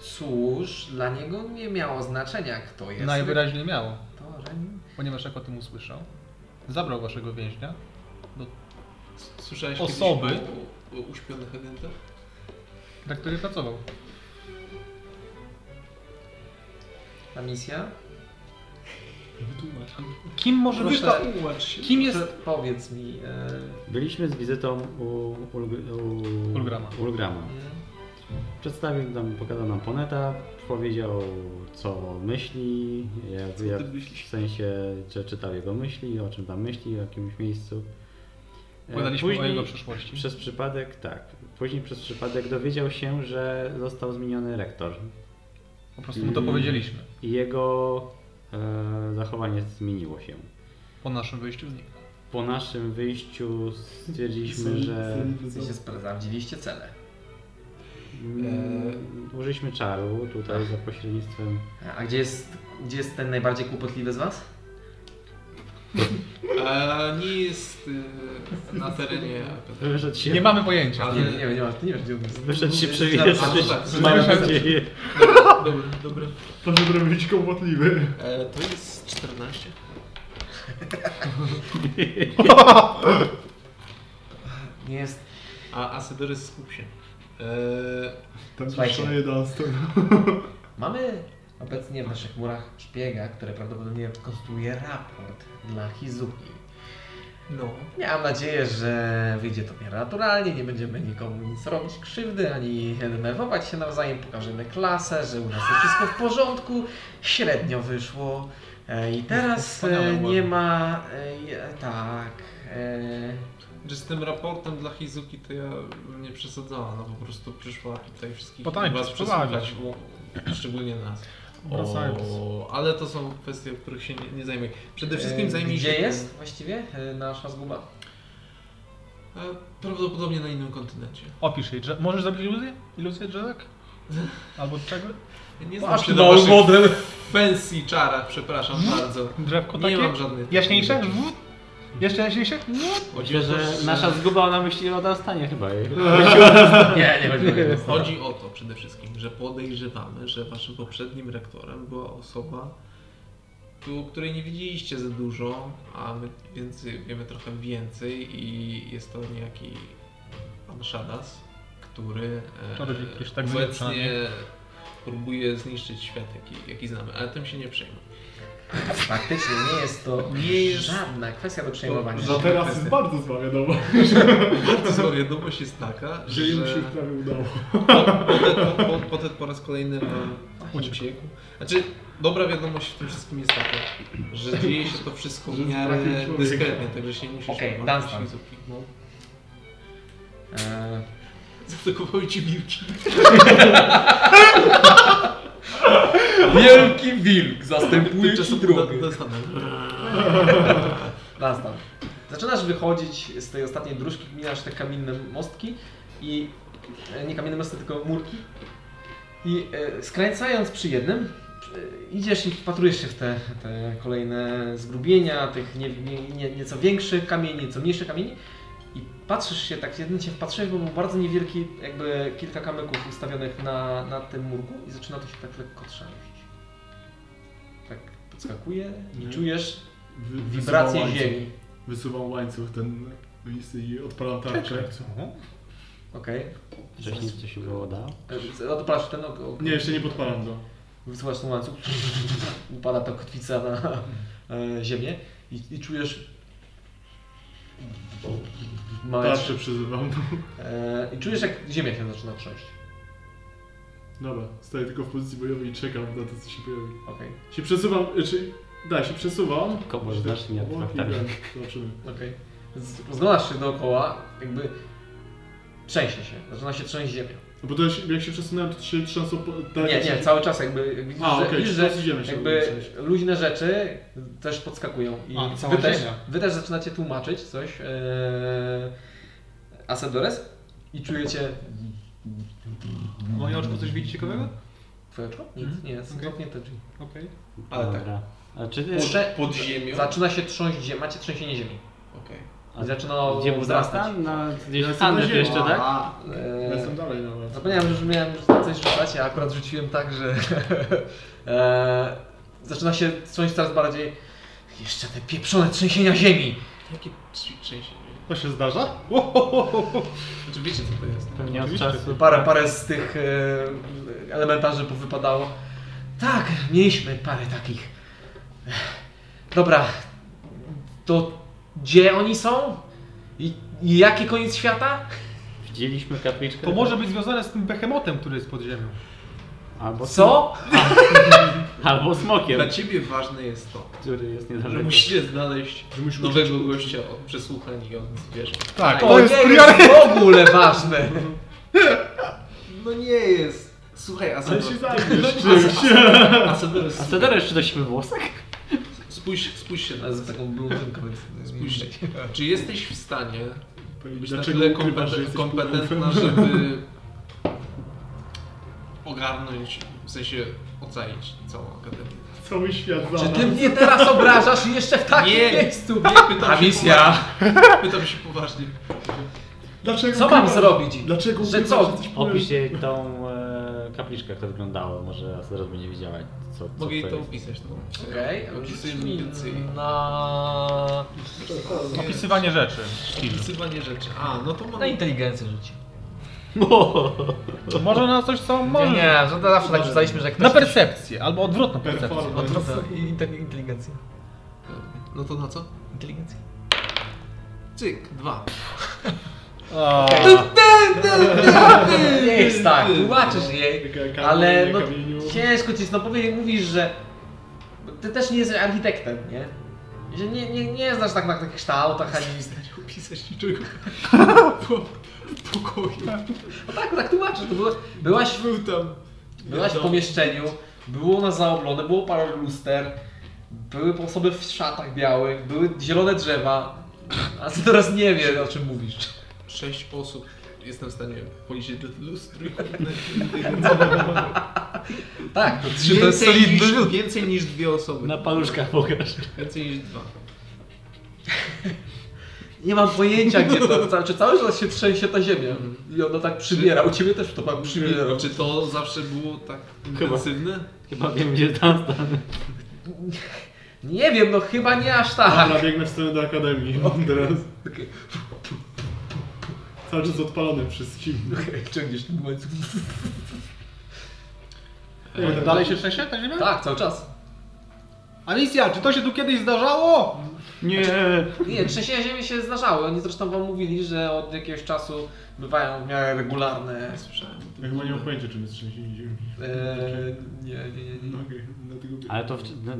S1: Cóż, dla niego nie miało znaczenia, kto jest.
S4: Najwyraźniej miało.
S1: rektorem.
S4: Ponieważ jak o tym usłyszał, zabrał waszego więźnia.
S3: S- Słyszałeś
S4: Osoby.
S3: kiedyś o, o uśpionych agentach?
S4: dla której pracował.
S1: Ta misja?
S4: Kim może być ta...
S3: ułacz się.
S4: Kim jest...
S1: Proszę, Powiedz mi. E...
S5: Byliśmy z wizytą u, Ulg- u
S4: Ulgrama.
S5: Ulgrama. Przedstawił nam, pokazał nam Poneta, powiedział co myśli, jak,
S3: Co
S5: jak,
S3: ty myślisz?
S5: w sensie czy czytał jego myśli, o czym tam myśli, w jakimś miejscu. E,
S4: Gadaliśmy o
S5: później
S4: jego przeszłości.
S5: Przez przypadek, tak. Później przez przypadek dowiedział się, że został zmieniony rektor
S4: Po prostu mu to powiedzieliśmy.
S5: i jego e, zachowanie zmieniło się.
S4: Po naszym wyjściu z nich.
S5: Po naszym wyjściu stwierdziliśmy, że
S1: W sensie sprawdziliście cele.
S5: mm, użyliśmy czaru tutaj za pośrednictwem
S1: A gdzie jest, gdzie jest ten najbardziej kłopotliwy z was?
S3: A, E, nie jest y, na terenie Akademii.
S5: Wyszedł się.
S4: Nie mamy pojęcia.
S3: Ale-
S1: Nie,
S3: <laughs>
S1: nie, nie, masz, ty nie wiesz, gdzie on jest.
S5: Wyszedł
S3: A,
S5: się
S3: no tak,
S5: przewietrzyć. Mam
S3: wyszedł.
S5: nadzieję.
S3: Dobry, dobry.
S10: To żeby być kłopotliwy.
S3: E, to jest 14. nie jest... A, a Syderys, skup się. Eee,
S6: Tam
S1: Słuchajcie.
S6: się jeden stoi.
S1: Mamy obecnie w naszych murach szpiega, który prawdopodobnie konstruuje raport dla Hizuki.
S3: no.
S1: Miałam nadzieję, że wyjdzie to w miarę naturalnie, nie będziemy nikomu nic robić krzywdy, ani denerwować się nawzajem, pokażemy klasę, że u nas jest wszystko w porządku, średnio wyszło. E, I
S3: <laughs>
S1: teraz
S4: Wspaniale,
S1: e, nie
S4: ładnie.
S1: ma... e, je- Tak... e,
S3: Czy z tym raportem dla Hizuki to ja nie przesadzała, no po prostu przyszła tutaj wszystkich
S4: Potańczyć,
S3: was przesłuchać, bo- szczególnie nas.
S6: Wracając.
S3: O, ale to są kwestie, których się nie, nie zajmuję. Przede wszystkim
S1: e,
S3: zajmij się...
S1: Gdzie jest właściwie e, nasza zguba?
S3: E, Prawdopodobnie na innym kontynencie.
S4: Opisz jej. drze- Możesz zrobić iluzję? Iluzję drzewek? Albo czego?
S3: Ja Nie
S4: No Aż
S3: znam się
S4: tu
S3: na
S4: dał
S3: waszych
S4: wodę.
S3: fancy czarach, przepraszam bardzo.
S4: Drzewko
S3: Nie
S4: takie?
S3: mam żadnych.
S4: Jaśniejsze? Wód? Jeszcze jaśniejsze?
S5: Myślę, że
S3: że-
S5: nasza zguba, ona myśli o dostanie chyba jej.
S1: Nie, nie chodzi o to.
S3: Chodzi o to przede wszystkim, że podejrzewamy, że waszym poprzednim rektorem była osoba, tu- której nie widzieliście za dużo, a my więcej, wiemy trochę więcej i jest to niejaki pan Szadas, który e,
S4: Czarodziej, jakiś tak zwany
S3: obecnie
S4: przynajmniej.
S3: próbuje zniszczyć świat, jaki, jaki znamy, ale tym się nie
S6: <laughs>
S3: przejmuj.
S1: Faktycznie nie jest to
S3: Nie jest-
S1: żadna kwestia do przejmowania.
S6: Za teraz jest bardzo zła
S1: <laughs>
S6: wiadomość,
S3: Bardzo zła wiadomość jest taka,
S6: że im się prawie udało.
S3: Potet po, po, potet po raz kolejny nam uciekł. Znaczy, dobra wiadomość w tym wszystkim jest taka, że dzieje się to wszystko w miarę
S6: trafił człowiek.
S3: dyskretnie, także się nie musisz
S1: Okej,
S3: obawiać
S1: Dunstan.
S3: widzów. No.
S1: E,
S3: Zaatakowały ci wilki.
S1: Wielki wilk zastępuje No ci
S3: Tymczasem
S1: drugi.
S3: Dan- Dunstanem.
S1: Dunstan. Zaczynasz wychodzić z tej ostatniej dróżki, mijasz te kamienne mostki i e, nie kamienne mosty, tylko murki. I e, skręcając przy jednym, e, idziesz i wpatrujesz się w te, te kolejne zgrubienia, tych nie, nie, nie, nieco większych kamieni, nieco mniejszych kamieni. I patrzysz się, tak jeden się wpatrzyłeś, bo był bardzo niewielki, jakby kilka kamyków ustawionych na, na tym murku i zaczyna to się tak lekko trzęść. Tak podskakuje i
S6: Nie.
S1: czujesz
S6: Wy-
S1: wibracje
S6: wysuwam łańcuch.
S1: ziemi.
S6: Wysuwam łańcuch ten listy i odpalam tarczę.
S1: Okej.
S5: Wcześniej coś się było dało.
S1: Okay. Odpalasz ten ok. ok-
S6: Nie, jeszcze nie podpalam go.
S1: No, Wysyłasz ten łańcuch. <laughs> Upada ta kotwica na e, ziemię i, i czujesz. Małe,
S6: Tarczę przyzywam. <laughs>
S1: e, I czujesz jak ziemia się zaczyna trząść.
S6: Dobra, stoję tylko w pozycji bojowej i czekam na to, co się pojawi.
S1: Okej.
S6: Się przesuwam, czy... Da, się przesuwam.
S5: Koboż zacznie od
S6: Obok i
S5: faktami.
S6: ten, Zobaczymy.
S1: <laughs> Okej. Więc Rozglądasz się dookoła, jakby trzęsie się, zaczyna się trząść ziemia.
S6: No bo to jak się- jak się przesunąłem, to się trzęsło... po- tak
S1: Nie,
S6: jak się-
S1: nie, cały czas jakby jak widzisz,
S6: A,
S1: że,
S6: okej,
S1: widzisz,
S6: czy
S1: że
S6: teraz idziemy się
S1: jakby
S6: odwrócić?
S1: luźne rzeczy też podskakują i
S4: A, cała
S1: wy, też,
S4: ziemia.
S1: wy też zaczynacie tłumaczyć coś yy, Asadores i czujecie
S4: W moim oczku coś widzi ciekawego?
S1: twoje oczko? Nic, nie, są
S4: okej.
S1: zamknięte drzwi.
S4: Okej.
S3: Ale tak,
S5: Dobra. A czy ty...
S1: Prze-
S3: pod ziemią.
S1: Zaczyna się trząść ziemia, macie trzęsienie ziemi.
S3: Okej.
S5: A
S1: I zaczyna
S5: Gdzie był
S1: wzrastać.
S5: Zastan? Na
S6: Ja
S5: gdzieś
S6: jestem na
S5: Andes
S6: ziemi.
S5: jeszcze, tak?
S6: A, Ja
S1: Eee,
S6: jestem dalej no nawet.
S1: Zapomniałem, że miałem coś rzucać, a akurat rzuciłem tak, że <laughs> eee, zaczyna się trząść coraz bardziej. Jeszcze te pieprzone trzęsienia ziemi.
S3: Jakie trz- trzęsienie.
S6: To się zdarza?
S3: Znaczy wiecie co to jest?
S5: Pewnie od
S6: Oczywiście.
S5: czasu.
S1: Parę, parę z tych e, elementarzy powypadało. Tak, mieliśmy parę takich. Ech. Dobra, to gdzie oni są? I, i jaki koniec świata?
S5: Widzieliśmy kapliczkę.
S4: To może być związane z tym behemotem, który jest pod ziemią.
S5: Albo
S1: Co?
S5: smo- Albo smokiem,
S3: Dla ciebie ważne jest to,
S5: który jest
S3: że
S5: niedaleko.
S3: musicie znaleźć nowego gościa od przesłuchań i od zwierząt.
S4: Tak,
S1: To jest nie jest w ogóle ważne.
S3: No nie jest. Słuchaj, a
S6: Ale No się
S3: Sedor-
S1: <laughs>
S6: zajmiesz czymś.
S3: a Sedorys,
S5: A Cedar jeszcze do siebie włosek?
S3: spójrz, spójrz się na
S1: Z taką blondynką, więc
S3: Spójrz, czy jesteś w stanie być na
S6: Dlaczego
S3: tyle
S6: ukrywasz, tak, że
S3: kompeten-
S6: jesteś
S3: kompetentna,
S6: półgłówem?
S3: żeby ogarnąć, w sensie ocalić całą akademię?
S6: Cały świat za
S1: Czy ty
S6: nas.
S1: mnie teraz obrażasz i jeszcze w takim
S3: Tak, Nie.
S1: miejscu?
S3: Nie, pytam
S1: Ta
S3: się
S1: misja.
S3: poważnie. Pytam się poważnie.
S6: Dlaczego
S1: Co mam
S6: ukrywasz-
S1: zrobić?
S6: Dlaczego
S1: Że
S6: ukrywasz,
S1: co?
S6: jesteś półgłówem?
S5: Opisz jej tą e, kapliczka jak to wyglądało, może raz zaraz będzie wiedziała co, co
S3: Mogę jej
S5: to
S3: to
S5: jest.
S3: opisać. No.
S1: Okej,
S3: Opisuję
S1: czyli
S3: mniej
S1: na...
S4: Opisywanie rzeczy.
S3: Opisywanie rzeczy. A, no to mam...
S1: na inteligencję rzuci.
S4: Może na coś, co
S1: Nie,
S4: może.
S1: nie, że to zawsze tak rzucaliśmy, że jak
S4: Na
S1: ktoś...
S4: percepcję, albo odwrotną percepcję.
S6: Perform-
S1: Odwrotna inte- inteligencja.
S3: No to na co?
S1: Inteligencja.
S3: Cyk, dwa.
S4: A,
S1: Nie jest tak, tłumaczysz jej,
S6: Taka
S1: ale
S6: kamienie,
S1: no
S6: kamieniu.
S1: ciężko ci jest, no powie, mówisz, że bo ty też nie jesteś architektem, nie? I Że nie, nie, nie znasz tak na tych kształtach ani nic.
S3: Opisać niczego. <laughs> po, w pokoju.
S1: No tak, tak tłumaczysz, to było, byłaś,
S3: Był tam.
S5: No
S1: byłaś w
S3: Dom.
S1: pomieszczeniu, było ono zaoblone, było parę luster, były osoby w szatach białych, były zielone drzewa, a ty teraz nie wiesz o czym mówisz.
S3: Sześć osób jestem w stanie policzyć do lustru.
S1: <laughs> Tak, to trzy to jest
S3: Więcej
S1: solidny
S3: niż,
S1: rzut.
S3: więcej niż dwie osoby.
S5: Na paluszkach pokaż.
S3: Więcej niż dwa.
S1: Nie mam pojęcia, gdzie <laughs> to. ca- Czy cały czas się trzęsie ta ziemia? I ona tak przybiera. U ciebie też to pan przybiera.
S3: Czy to zawsze było tak intensywne?
S5: Chyba wiem gdzie tam stanę.
S1: Nie wiem, no chyba nie aż tak.
S6: Dobra, biegnę w stronę do
S1: <laughs>
S6: akademii. Teraz. Cały czas odpalony wszystkim.
S1: Ciągniesz ten łańcuch.
S4: e, Dalej się trzęsie ta ziemia?
S1: Tak, cały czas.
S4: Alicja, czy to się tu kiedyś zdarzało? Nie.
S1: Nie, trzęsienia ziemi się zdarzały. Oni zresztą wam mówili, że od jakiegoś czasu bywają w miarę regularne.
S3: Słyszałem.
S6: Ja chyba nie mam pojęcia, czym jest trzęsienie ziemi.
S1: Eee, nie, nie, nie, nie.
S6: No okej, dlatego wiem.
S5: Ale to w, no,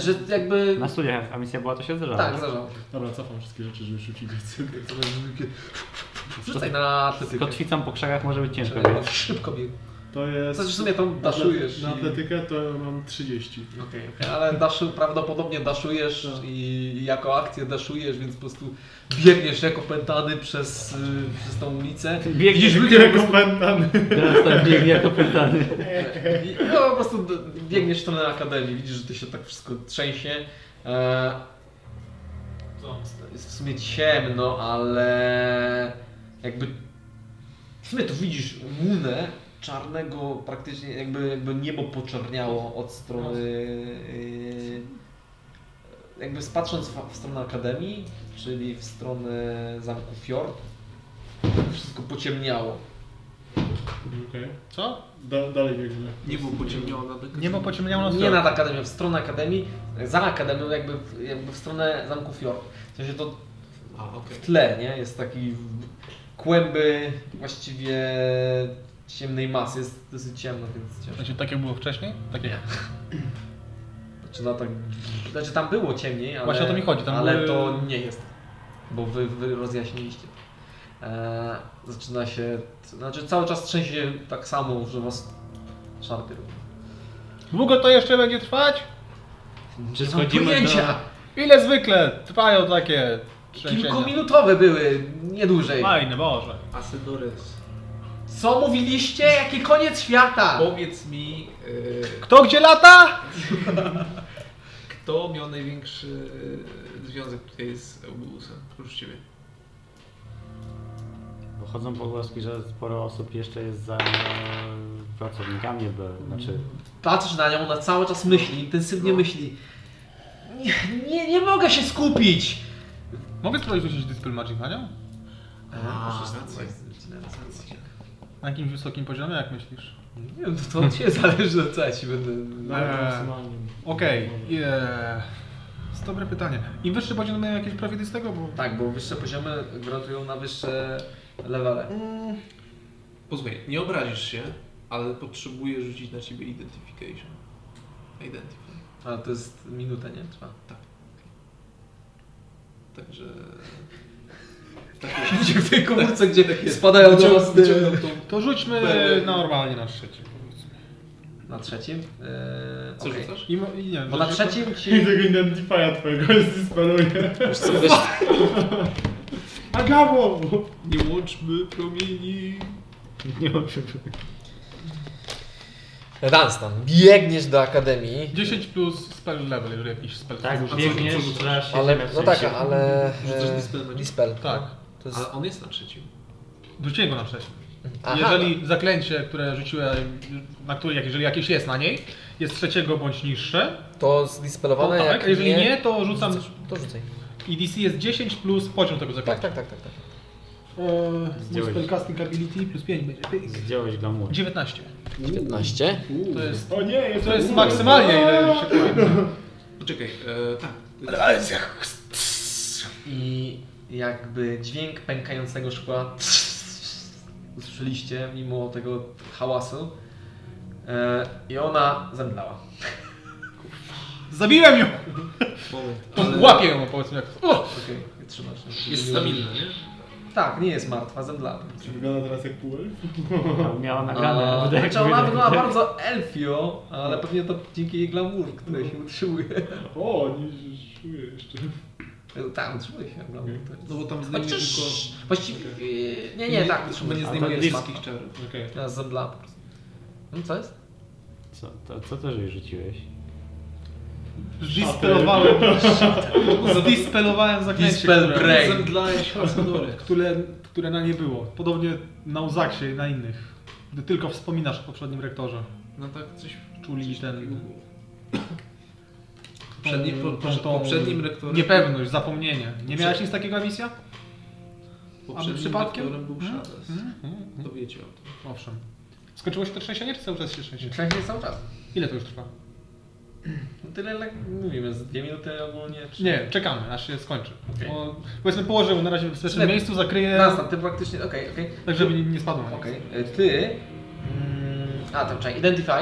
S1: Że, że jakby.
S5: na studiach a misja była to się zdarzało.
S1: Tak, zdarzało.
S6: Dobra, cofam wszystkie rzeczy, żeby szybciej biec.
S1: Rzucaj na atletykę.
S5: Kotwicą po krzakach może być ciężko,
S1: Żeby
S5: więc
S1: Szybko bieg.
S6: To jest...
S1: Znaczy w sumie No, tam daszujesz.
S6: Na
S1: i-
S6: atletykę to mam 30.
S1: Okej, okej, ale daszu, prawdopodobnie daszujesz
S6: No.
S1: i jako akcję daszujesz, więc po prostu biegniesz jako pętany przez, y, przez tą ulicę.
S5: biegniesz
S6: Widzisz, rekomendany.
S5: teraz tak biegnie jako pytany.
S1: I, no, po prostu d- biegniesz w stronę akademii, widzisz, że to się tak wszystko trzęsie. E, jest w sumie ciemno, ale jakby w sumie tu widzisz łunę czarnego, praktycznie jakby, jakby niebo poczerniało od strony. y, Jakby patrząc w, w stronę akademii, czyli w stronę zamku Fjord, wszystko pociemniało.
S6: Okej.
S4: Co?
S6: Da- Dalej biegnę.
S3: Nie było pociemnione na tego.
S4: Niebo pociemniało na
S1: Nie nad Akademią, w stronę Akademii, za Akademią, jakby w, jakby w stronę Zamku Fjord. W sensie to
S3: A, okej.
S1: w tle, nie? Jest taki w- kłęby właściwie ciemnej masy. Jest dosyć ciemno, więc ciężko.
S4: Znaczy, tak jak było wcześniej? Tak jak...
S1: Znaczy, no, tak, znaczy tam było ciemniej, ale,
S4: Właśnie o to mi chodzi, tam
S1: ale
S4: były-
S1: to nie jest, bo wy, wy rozjaśniliście. Eee, zaczyna się, znaczy cały czas trzęsie się tak samo, że was szarpie.
S4: Długo to jeszcze będzie trwać?
S5: Czy
S1: Mam
S5: schodzimy do...
S1: pojęcia,
S4: Ile zwykle trwają takie trzęsienia?
S1: kilkuminutowe były, nie dłużej.
S4: Fajne, Boże.
S3: Asedores.
S1: Co mówiliście? Jaki koniec świata?
S3: Powiedz mi, y,
S4: Kto gdzie lata?
S3: kto miał największy y, związek tutaj z Eubusem? Oprócz ciebie.
S5: Bo chodzą pogłoski, że sporo osób jeszcze jest za e, pracownikami, bo, znaczy
S1: Patrz na nią, ona cały czas myśli, intensywnie myśli. Nie, nie, nie mogę się skupić!
S4: Mogę spróbować rzucić Dispel Magic na nią?
S3: A,
S1: Proszę,
S3: racja.
S1: racja.
S4: Na jakim wysokim poziomie, jak myślisz?
S1: Nie wiem, to od ciebie zależy, co ja ci będę...
S4: Eee,
S10: maksymalnie.
S4: Okej, yeah. jest dobre pytanie. Im wyższy poziom mają jakieś profity z tego, bo...
S1: Tak, bo wyższe poziomy gratulują na wyższe levele.
S3: Posłuchaj, nie obrazisz się, ale potrzebuję rzucić na ciebie identification. Identify.
S1: Ale to jest minuta, nie? Trwa.
S3: Także...
S1: Gdzie w tej komórce, gdzie spadają do was...
S3: Wyciągam tą...
S4: To rzućmy
S3: Be-
S4: normalnie na trzecim.
S1: Na trzecim? Eee,
S3: Co
S1: okej.
S3: rzucasz?
S4: I, mo- i nie wiem,
S1: Bo na
S4: że-
S1: trzecim ci...
S6: I tego identifya twojego <laughs> jest disparuję.
S1: Wiesz co, wiesz,
S6: Agamo!
S3: Nie łączmy promieni.
S5: nie ma się
S1: Dunstan, biegniesz do akademii.
S4: 10 plus spell level, jeżeli jakiś spell
S5: Tak,
S4: Rzucę.
S3: co
S5: biegniesz,
S3: rzucasz?
S5: raz się
S1: Ale,
S5: ziemia
S1: no tak,
S5: trzęsie.
S1: ale...
S3: Rzucasz
S1: e,
S3: dispel magic?
S1: Dispel.
S4: Tak,
S1: To jest...
S3: Ale on jest na trzecim.
S4: rzuciłem go na trzecim.
S1: Aha.
S4: Jeżeli zaklęcie, które rzuciłem, na której, jeżeli jakieś jest na niej, jest trzeciego bądź niższe,
S1: To zdispelowane,
S4: To tak,
S1: jak
S4: a jeżeli nie, to rzucam-
S1: Rzucasz, to rzucaj.
S4: i DC jest 10 plus poziom tego
S1: Tak,
S4: zaklęcia.
S1: tak, tak, tak. tak.
S4: Eee,
S8: Mój
S5: Zdjąłeś.
S8: spellcasting ability plus 5 będzie. Pyk.
S5: Zdjąłeś dla muru.
S4: 19.
S1: 15.
S4: To jest,
S10: O nie,
S4: to jest maksymalnie ile się
S3: Poczekaj, e, tak.
S1: I jakby dźwięk pękającego szkła <laughs> usłyszeliście mimo tego hałasu. E, I ona zemdlała.
S4: Zabiłem ją!
S3: Moment.
S4: To Łapię ją, powiedzmy jak... O!
S1: Okej, trzymasz.
S3: Jest stabilna, nie?
S1: Tak, nie jest martwa, zemdlała.
S6: Czy wygląda teraz jak półelf?
S1: No.
S5: Miała nagrane.
S1: A,
S5: wydech,
S1: Znaczy ona
S5: wydech.
S1: wygląda bardzo elfio, ale pewnie to dzięki jej glamour, które się utrzymuje. <laughs>
S6: O, nie czuję jeszcze.
S1: Tak, utrzymuje się glamour. to jest-
S3: No bo tam zdejmuje
S1: Chociaż
S3: tylko...
S1: właściwie... Nie, nie, tak.
S3: Chyba nie
S1: utrzymuje.
S3: zdejmuje
S1: To jest
S3: wszystkich
S1: martwa.
S3: czarów.
S6: Okej.
S1: Teraz zemdlała po prostu. No co jest?
S5: Co, to, co też jej rzuciłeś?
S4: Zdispelowałem. Zdispelowałem zaklęcie,
S1: Dispel
S4: które-
S1: break.
S3: <laughs>
S6: Zemdlałeś Hasadorę.
S4: które, które na nie było. Podobnie na Uzaksie i na innych. Gdy tylko wspominasz o poprzednim rektorze.
S3: No tak, coś...
S4: Czuli ten...
S3: Poprzedni, po, po, poprzednim rektorem...
S4: Niepewność, zapomnienie. Nie miałeś nic takiego misja?
S3: Poprzednim
S4: przypadkiem?
S3: rektorem był
S4: Mhm.
S3: Szades.
S4: Mhm.
S3: To wiecie o tym.
S4: Owszem. Skończyło się to trzęsienie, czy cały czas się trzęsie?
S1: Trzęsie cały czas.
S4: Ile to już trwa?
S1: No tyle jak mówimy, z dwie minuty ogólnie. Czy...
S4: Nie, czekamy, aż się skończy.
S1: Okej.
S4: Bo, powiedzmy, położę ją na razie w bezpiecznym
S1: Lepiej.
S4: miejscu, zakryję,
S1: Nasta, ty praktycznie, okej, okej.
S4: tak żeby nie- nie spadła.
S1: Okej, e, ty... Mm, a, tam czekaj, Identify.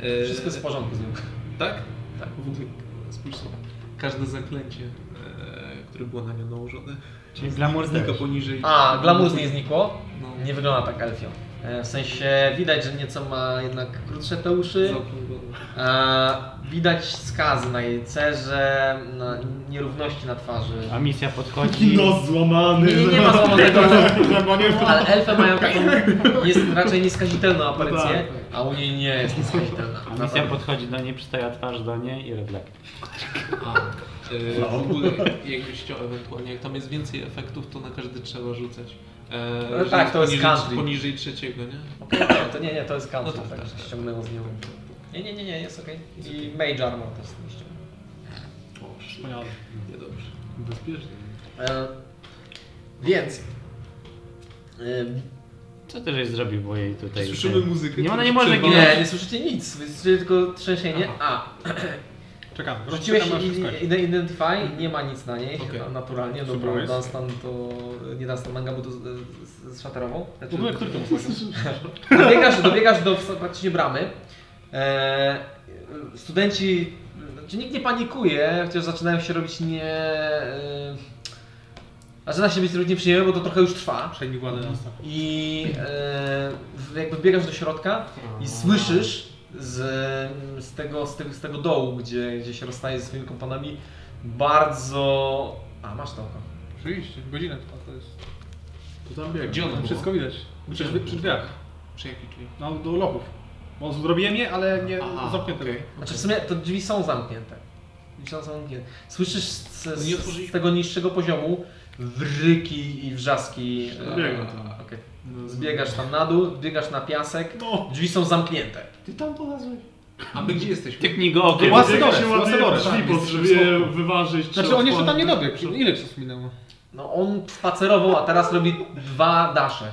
S3: E,
S1: Wszystko jest w porządku z nim.
S3: Tak? Tak. W ogóle, spójrz sobie. Każde zaklęcie, e, które było na nią nałożone,
S5: Czyli glamour
S3: znika
S5: zdech.
S3: poniżej...
S1: A, glamour z niej znikło.
S3: No,
S1: Nie wygląda tak elfio. E, W sensie widać, że nieco ma jednak krótsze te uszy.
S3: zaokrąglone.
S1: E, widać skazy na jej cerze, na nierówności na twarzy.
S5: A misja podchodzi.
S6: Nos złamany.
S1: Nie, nie, nie ma
S6: <laughs>
S1: złamanego <laughs>
S6: Złamanie w
S1: No, Ale elfy mają taką, <laughs> jest raczej nieskazitelną aparycję, a u niej nie jest nieskazitelna.
S5: A misja podchodzi do niej, przystaje twarz do niej i redlek.
S3: A,
S4: <laughs>
S3: e,
S4: No.
S3: w ogóle, jakbyś chciał ewentualnie, jak tam jest więcej efektów, to na każdy trzeba rzucać. E,
S1: No
S3: jeżeli
S1: tak,
S3: jest
S1: to jest
S3: poniżej,
S1: country.
S3: poniżej trzeciego, nie?
S1: Okej, nie, to nie, nie, to jest counter,
S3: No to
S1: tak,
S3: tak.
S1: że ściągnęło z nią. Nie, nie, nie, nie, jest okej. I mage armor też z niej ściągnął.
S3: O,
S4: Wspaniale.
S3: niedobrze.
S6: Bezpiecznie.
S1: E, więc... E,
S5: Co ty żeś zrobił, bo jej tutaj...
S3: Słyszymy muzykę.
S5: Nie, ona nie
S3: którą
S5: może
S3: przerwała.
S1: nie, nie słyszycie nic, wy słyszycie tylko trzęsienie. A,
S4: Czekamy,
S1: rzuciłeś
S4: rozczekamy, aż się
S1: i-
S4: skończy.
S1: i- identify, nie ma nic na niej,
S3: Okej.
S1: na- naturalnie, no bo
S4: Surprise.
S1: Dunstan to... nie Dunstan, Mangabu to z- z- Znaczy- zszaterował.
S4: W ogóle, który to był poziom?
S1: Dobiegasz, dobiegasz do w- praktycznie bramy. E, studenci, znaczy nikt nie panikuje, chociaż zaczynają się robić nie... E, zaczyna się być różnie przyjemnie, bo to trochę już trwa.
S4: Przejmij władzę na stach.
S1: I e, w- jakby biegasz do środka i słyszysz z, z, tego, z, tego, z tego dołu, gdzie, gdzie się rozstaje ze swoimi kompanami, bardzo... A, masz to oko.
S4: Oczywiście, godzinę trwa, to jest...
S3: To tam biegł. Gdzie ona
S4: Tam
S3: była?
S4: wszystko widać. Przy, drzwi- przy drzwiach.
S3: Przy jakiej drzwi?
S4: No, do lochów. Bo zrobiłem je, ale nie
S3: Aha,
S4: zamknięte.
S3: okej.
S1: Znaczy w sumie to drzwi są zamknięte. Drzwi są zamknięte. Słyszysz z,
S3: No
S1: z,
S3: nie
S1: z
S3: otworzyliśmy.
S1: tego niższego poziomu wryki i wrzaski. e,
S3: Biegam tam.
S1: okej.
S3: No,
S1: Zbiegasz tam na dół, biegasz na piasek,
S6: No.
S1: drzwi są zamknięte.
S6: Ty tam polazłeś.
S3: A my gdzie jesteśmy?
S5: Tyknij go okiem.
S4: Łasy
S6: Jak
S4: dobre,
S6: się
S4: łasy
S6: ładnie
S4: dobre,
S6: drzwi
S4: tak.
S6: potrzebuje wyważyć. tak,
S4: Znaczy on jeszcze tam nie dobiegł. Ile czasu minęło?
S1: No on spacerował, a teraz robi dwa dasze.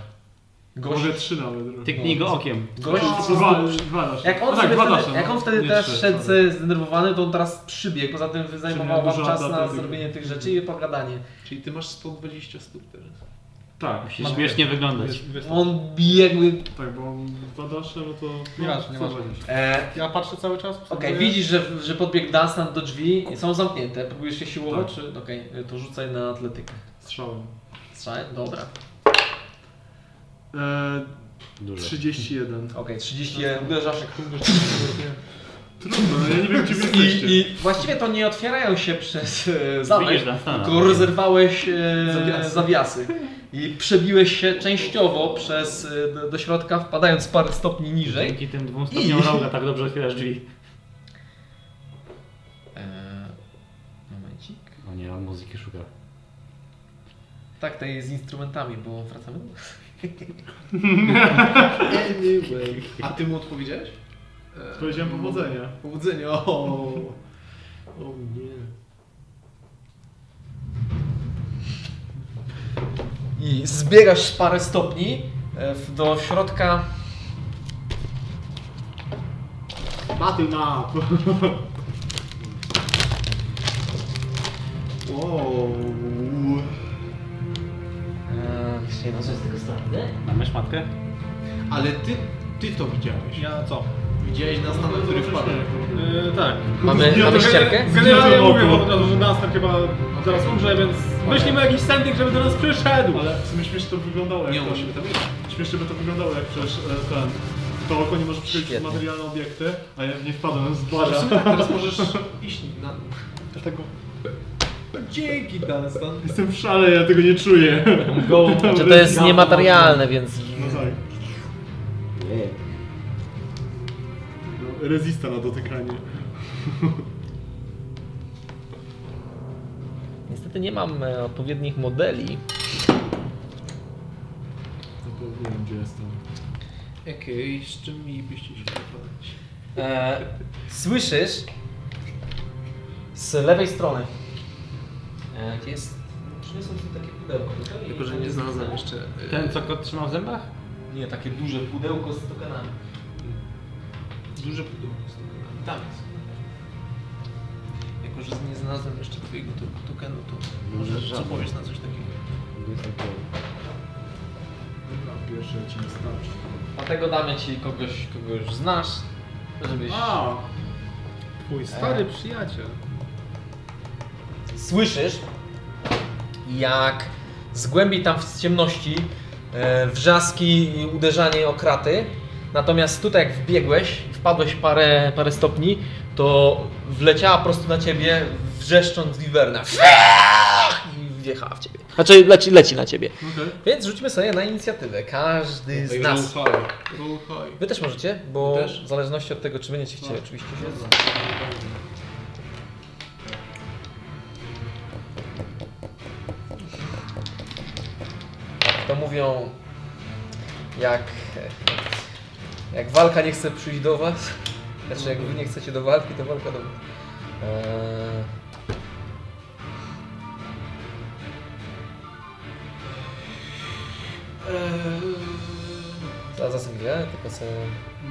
S1: Gość,
S6: Może trzy nawet. Tak,
S5: Tyknij go okiem.
S1: gość
S6: Dwa, dwa nasze.
S1: jak on,
S6: A tak,
S1: sobie
S6: dwa
S1: wtedy,
S6: nasze, no.
S1: jak on wtedy
S6: Nie
S1: też
S6: trzy, tak,
S1: szedł
S6: sorry.
S1: sobie zdenerwowany, to on teraz przybiegł, poza tym zajmował
S6: miał
S1: wam
S6: dużo
S1: czas na
S6: adaptacji.
S1: zrobienie tych rzeczy i pogadanie.
S3: Czyli ty masz 120 stóp teraz.
S6: Tak,
S5: Musi śmiesznie wyglądać.
S1: No On biegł.
S6: tak, bo on dwa nasze, no to...
S4: Nieważne,
S6: co
S4: nieważne.
S6: zrobisz?
S1: E,
S4: Ja patrzę cały czas.
S1: Okej,
S4: obserwuję.
S1: widzisz, że, że podbiegł Dunstan do drzwi, są zamknięte, próbujesz się siłować, czy... Okej, e, to rzucaj na atletykę.
S6: Strzałem.
S1: Strzałem? Dobra.
S6: E,
S5: Dużo.
S1: <laughs>
S6: 31.
S1: Okej, 30 uderzasz jak
S6: Trudno, no ja nie wiem, gdzie wy
S1: I,
S6: jesteście.
S1: I właściwie to nie otwierają się przez e, zamek,
S5: Widzisz Dunstana.
S1: tylko rozerwałeś e, zawiasy.
S3: Zawiasy.
S1: i przebiłeś się częściowo przez, e, do, do środka, wpadając parę stopni niżej.
S5: Dzięki tym dwóm stopniom
S1: I-
S5: roga tak dobrze otwierasz drzwi.
S1: Eee, momencik.
S5: O nie, on muzyki szuka.
S1: Tak, tej z instrumentami, bo wracamy.
S3: Anyway. A ty mu odpowiedziałeś? Eee,
S6: Powiedziałem powodzenia.
S3: Powodzenia, o, o nie.
S1: I zbiegasz parę stopni e, w- do środka
S6: Battle map! wow.
S1: Eee, no co jest tego strony?
S2: Mamy szmatkę?
S3: Ale ty, ty to widziałeś.
S4: Ja co?
S3: Widziałeś na stan, na który wpadłem.
S4: Yy, tak.
S1: Mamy,
S6: Ja
S1: mamy
S6: to
S1: ścierkę?
S6: Generalnie
S4: Zgniotłem
S6: mówię
S4: oko.
S6: od razu, że Dunstan chyba zaraz umrze, więc myślimy jakiś sending, żeby do nas przyszedł! Ale w sumie śmiesznie to wyglądało jak
S3: Nie,
S6: to,
S3: on musi tam iść.
S6: Śmiesznie by to wyglądało jak przecież e, ten... To oko nie może przychodzić w
S1: Świetnie.
S6: materialne obiekty, a ja w nie wpadłem z
S3: W
S1: <laughs>
S6: barza.
S3: sumie tak, teraz możesz iść na...
S6: Dlatego
S3: Dzięki, Dunstan.
S6: jestem w szale, ja tego nie czuję.
S2: Go!
S1: Znaczy to jest niematerialne, więc
S6: No tak. No, Rezista na dotykanie.
S1: niestety nie mam e, odpowiednich modeli.
S6: Zapomniałem gdzie jestem.
S3: Okej, z czym mielibyście się wypadać?
S1: E, słyszysz z lewej strony. E, gdzie jest. Przyniosą sobie takie pudełko. tutaj i-
S3: Tylko, że nie znalazłem jeszcze... y,
S2: Ten, co kot trzymał w zębach?
S1: Nie, takie duże pudełko z tokenami.
S3: Duże pudełko z tokenami. Tam jest. Jako, że nie znalazłem jeszcze twojego to- tokenu, to
S1: No,
S3: może co powiesz na coś takiego?
S6: Pierwsze ci nie starczy.
S1: Dlatego damy ci kogoś, kogo już znasz, żebyś.
S6: A! Twój stary
S5: E.
S6: przyjaciel.
S1: Słyszysz, jak z głębi tam w ciemności e, wrzaski i uderzanie o kraty. Natomiast tutaj, jak wbiegłeś, wpadłeś parę, parę stopni, to wleciała prosto na ciebie, wrzeszcząc wiwerna. I wjechała w ciebie. Znaczy, leci, leci na ciebie.
S6: Okej.
S1: Więc rzućmy sobie na inicjatywę. Każdy z nas.
S3: Roll high.
S1: Wy też możecie, bo
S3: Też?
S1: w zależności od tego, czy będziecie chcieli, oczywiście się Jak Tak, To mówią, jak, jak walka nie chce przyjść do was, znaczy jak wy nie chcecie do walki, to walka do was. Eee,
S3: Eee,
S1: zaraz zasęglia, tylko sobie...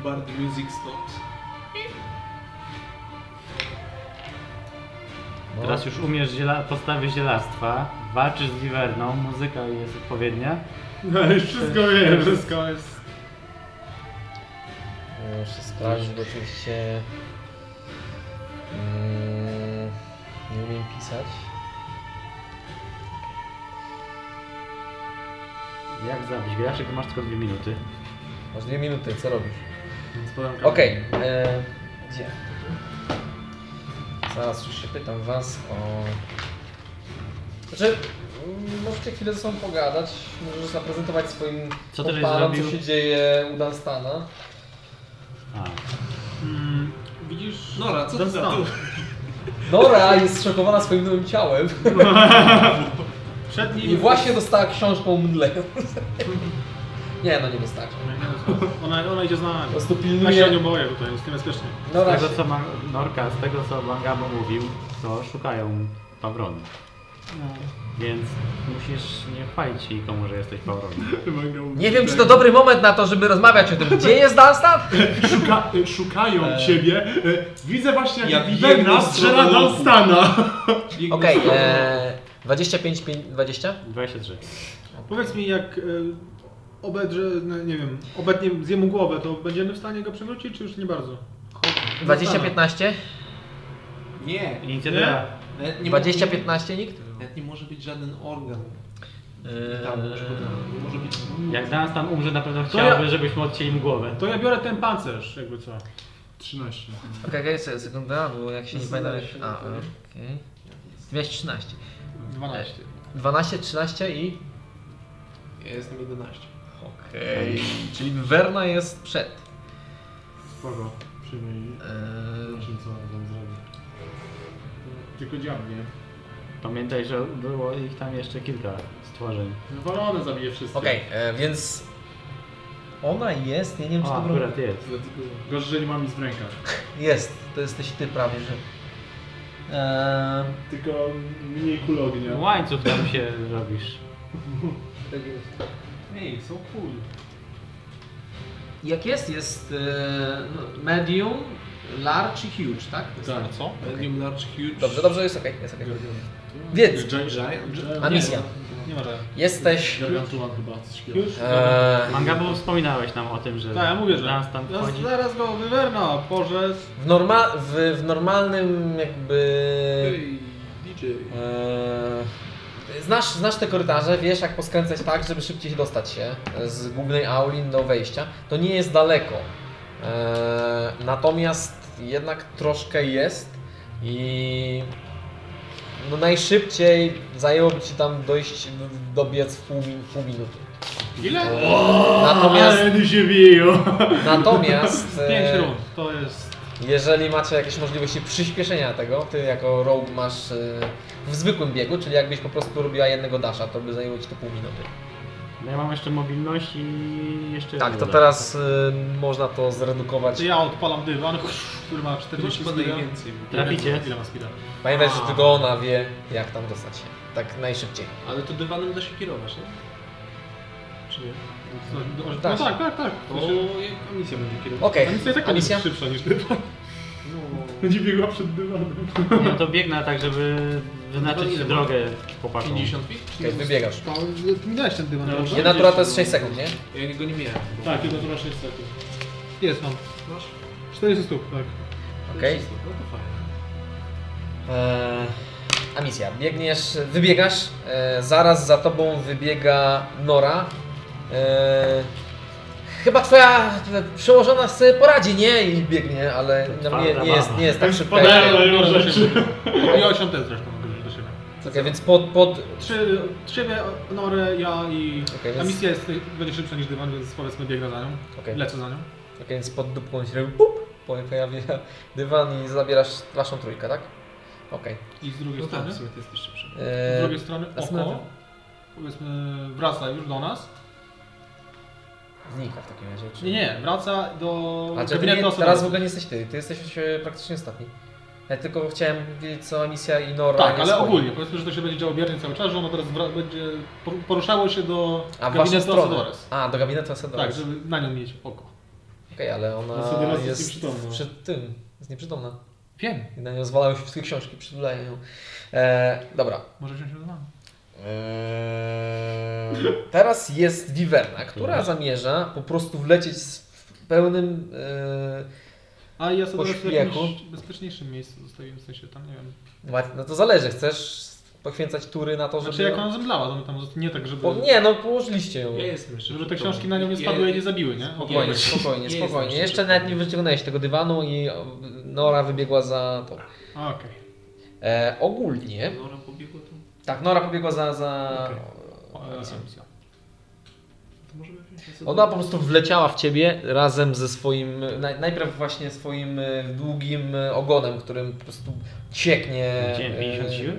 S3: Bard Music Stops.
S1: no.
S2: Teraz już umiesz ziela- postawy zielarstwa, walczysz z wiwerną, muzyka jest odpowiednia.
S6: No już wszystko wiem, wszystko jest.
S1: Muszę sprawdzić, bo oczywiście mm, nie umiem pisać.
S2: Jak zabić graczy, masz tylko dwie minuty.
S1: Masz dwie minuty, co robisz? Okej, e, gdzie? Zaraz już się pytam was o... Znaczy, mm, możecie chwilę ze sobą pogadać, możesz zaprezentować swoim
S2: Co ty żeś
S1: kompanom, co
S2: zrobił?
S1: się dzieje u Dunstana.
S2: A,
S6: Widzisz?
S3: Nora, co ty za
S6: Dunstan.
S3: tu?
S1: Nora jest zszokowana swoim nowym ciałem
S6: Przed nim...
S1: i właśnie dostała książkę o mdle. <laughs> Nie, no nie dostała książki.
S6: Ona, ona idzie z
S1: Po
S6: nami.
S1: prostu
S6: Ja się o
S1: pilnuje...
S6: nią boję tutaj, jest niebezpiecznie.
S1: Nora
S2: z
S1: się...
S2: tego co Ma- Norka, z tego co Mangabo mówił, to szukają pawronu. Więc musisz nie chwalić się nikomu, że jesteś pawronem.
S1: Nie wiem, czy to dobry moment na to, żeby rozmawiać o tym, gdzie jest Dunstan?
S6: Szuka, e, szukają ciebie. E, widzę właśnie
S3: Ja
S6: jak
S3: biegnę
S6: Wegna
S3: w
S6: strzela
S3: stronę
S6: do
S3: lochu.
S6: Stana.
S1: Okej, e, okay, 25, 5, 20?
S2: 23.
S6: Powiedz mi, jak e, obedrze, no, nie wiem, obetnie zjemu głowę, to będziemy w stanie go przywrócić, czy już nie bardzo?
S1: 20,
S6: Zostaną.
S1: 15?
S3: Nie,
S2: Inicjatywa.
S3: nawet nie,
S1: 20,
S3: nie-
S1: 15 nikt? Eee,
S3: Nawet nie może być żaden organ. Tam uszkodzony. Nie może być...
S2: Jak Dans tam umrze, na pewno
S6: ja-
S2: chciałby, żebyśmy odcięli mu głowę.
S6: To ja biorę ten pancerz, jakby co. 13.
S1: Okej, okay, okay, sekunda, bo jak się nie pamiętam... jak- A, okej. Miałeś 13.
S6: 12.
S1: 12, 13 i...
S3: Ja jestem 11.
S1: Okej. Czyli Werna jest przed.
S6: Spoko, przyjmij.
S1: Eee,
S6: Zobaczymy, co on tam zrobi. Tylko dziabnie.
S5: Pamiętaj, że było ich tam jeszcze kilka stworzeń.
S10: Walone zabije wszystko.
S1: Okej, e, więc ona jest, ja nie wiem czy
S5: O,
S1: to było-
S5: akurat jest.
S10: Gorzej, że nie mam nic w rękach.
S1: Jest, to jesteś ty prawie, że... Eee,
S6: Tylko mniej kul ognia.
S5: Łańcuch tam się robisz.
S6: Ej, są kul.
S1: jak jest, jest e, no, medium, large i huge, tak? To jest
S10: Tak.
S1: to, co?
S3: Medium, large, huge.
S1: Dobrze, dobrze, jest okej, jest okej. Więc,
S6: Giant.
S3: Giant.
S1: a misja.
S4: Nie ma żadnego.
S1: Jesteś...
S10: Gargantuan chyba coś takiego.
S4: Już?
S1: Eee,
S5: Mangabu, wspominałeś nam o tym, że
S4: Tak, ja mówię, że-
S5: nas tam
S4: Zaraz,
S5: wchodzi.
S4: zaraz go wywerna, porze.
S1: w, norma, w, w normalnym jakby...
S3: Ej, DJ.
S1: Eee, Znasz, znasz te korytarze, wiesz jak poskręcać tak, żeby szybciej dostać się z głównej auli do wejścia. To nie jest daleko. Eee, Natomiast jednak troszkę jest i no najszybciej zajęłoby ci tam dojść, w- dobiec w pół, min- pół minuty.
S4: Ile?
S1: Natomiast,
S10: Ale się wieją.
S1: natomiast
S4: <laughs> Pięć
S1: eee,
S4: rund, to jest...
S1: jeżeli macie jakieś możliwości przyspieszenia tego, ty jako rogue masz y, w zwykłym biegu, czyli jakbyś po prostu robiła jednego dasha, to by zajęło ci to pół minuty.
S5: No ja mam jeszcze mobilność i jeszcze...
S1: Tak, to
S5: rudę.
S1: teraz y, można to zredukować.
S4: To ja odpalam dywan, który ma
S3: To już
S4: 40
S3: chyba
S4: speeda.
S3: najwięcej. w ogóle.
S5: Traficie.
S4: Ile ma speeda?
S1: Pamiętaj, że tylko ona wie, jak tam dostać się. Tak najszybciej.
S3: Ale to dywanem da się kierować, nie? Czy nie?
S4: No, no
S1: Da się.
S4: tak, tak, tak.
S3: To jak komisja będzie kierować.
S1: Okej,
S4: Misja i tak
S1: Alicja?
S4: będzie szybsza niż ty.
S6: Będzie biegła przed dywanem.
S5: Nie, to biegnę tak, żeby wyznaczyć
S3: Ile
S5: drogę chłopakom.
S3: 50 feet?
S1: okay, wybiegasz.
S8: To, ty mi dałeś ten dywan.
S10: No,
S8: proszę.
S1: Jedna tura to jest 6 sekund, nie?
S3: Ja go nie miałem. bo-
S10: Tak, tylko to na 6 sekund.
S8: Jest mam.
S3: Masz?
S8: 40 stóp, tak.
S1: Okej.
S3: No to fajnie.
S1: Eee, a misja, biegniesz, wybiegasz, e, zaraz za tobą wybiega Nora. E, chyba twoja przełożona sobie poradzi, nie? I biegnie, ale no, nie, nie, jest, nie jest tak szybko.
S10: Padają na
S1: jak-
S10: nią rzeczy.
S4: I osiądę też zresztą do siebie.
S1: Okej, więc pod, pod...
S4: Trzy, ciebie, Norę, ja i...
S1: Okej,
S4: Ta
S1: więc,
S4: misja jest, będzie szybsza niż dywan, więc powiedzmy biegnę za nią.
S1: okej.
S4: Lecę za nią.
S1: Okej, więc pod dupką się robi pup, po- pojawia dywan i zabierasz waszą trójkę, tak? Okej.
S4: I z drugiej
S3: No tak,
S4: strony.
S3: w sumie to jest jeszcze szybsze.
S4: Z
S1: Eee,
S4: drugiej strony
S1: a
S4: oko.
S1: smywa?
S4: Powiedzmy, wraca już do nas.
S1: znika w takim razie. Czy...
S4: Nie, nie, wraca do
S1: A czy ty Znaczy, nie,
S4: gabinetu
S1: teraz w
S4: osoby.
S1: ogóle nie jesteś ty, ty jesteś e, praktycznie ostatni. Ja tylko chciałem wiedzieć co misja i Nora
S4: Tak,
S1: nie
S4: ale
S1: swoje.
S4: ogólnie. Powiedzmy, że to się będzie działo biernie cały czas, że ono teraz wra- będzie por- poruszało się do
S1: A w waszą
S4: gabinetu
S1: stronę.
S4: Asadores.
S1: A, do gabinetu Asadores.
S4: Tak, No, żeby na nią mieć oko.
S1: Okej, ale ona
S6: Asadores
S1: jest,
S6: jest nieprzytomna.
S1: przy tym, jest nieprzytomna.
S4: Wiem.
S1: I na nią zwalały się wszystkie książki, przytulają ją. E, dobra.
S4: Może wziąć się do nami.
S1: Eee, Teraz jest Wiwerna, która
S4: Mhm.
S1: zamierza po prostu wlecieć z w pełnym. Eee...
S4: A ja sobie
S1: Po
S4: w jakimś
S1: szpilku.
S4: bezpieczniejszym miejscu zostawiłem, w sensie tam, nie wiem.
S1: No to zależy, chcesz poświęcać tury na to, żeby.
S4: Znaczy jak ona zemdlała, to my tam zost- nie tak, żeby,
S1: Po... Nie, no położyliście ją.
S3: Ja jestem jeszcze
S4: żeby te
S3: przed
S4: książki
S3: tobą.
S4: na nią nie
S3: Ja-
S4: spadły i nie zabiły, nie? O to
S1: Spokojnie,
S4: chodzi.
S1: spokojnie,
S3: Nie
S1: spokojnie.
S3: jestem
S1: Jeszcze nawet nie wyciągnęłeś tego dywanu i o, Nora wybiegła za to.
S4: A, Okej.
S1: E, ogólnie.
S3: Nora pobiegła tam.
S1: Tak, Nora pobiegła za. za...
S4: Okay. Misja.
S3: To możemy wziąć na
S1: Ona po prostu wleciała w ciebie razem ze swoim, naj, najpierw właśnie swoim e, długim e, ogonem, którym po prostu cieknie.
S5: Gdzie? 50
S1: e,
S5: siły?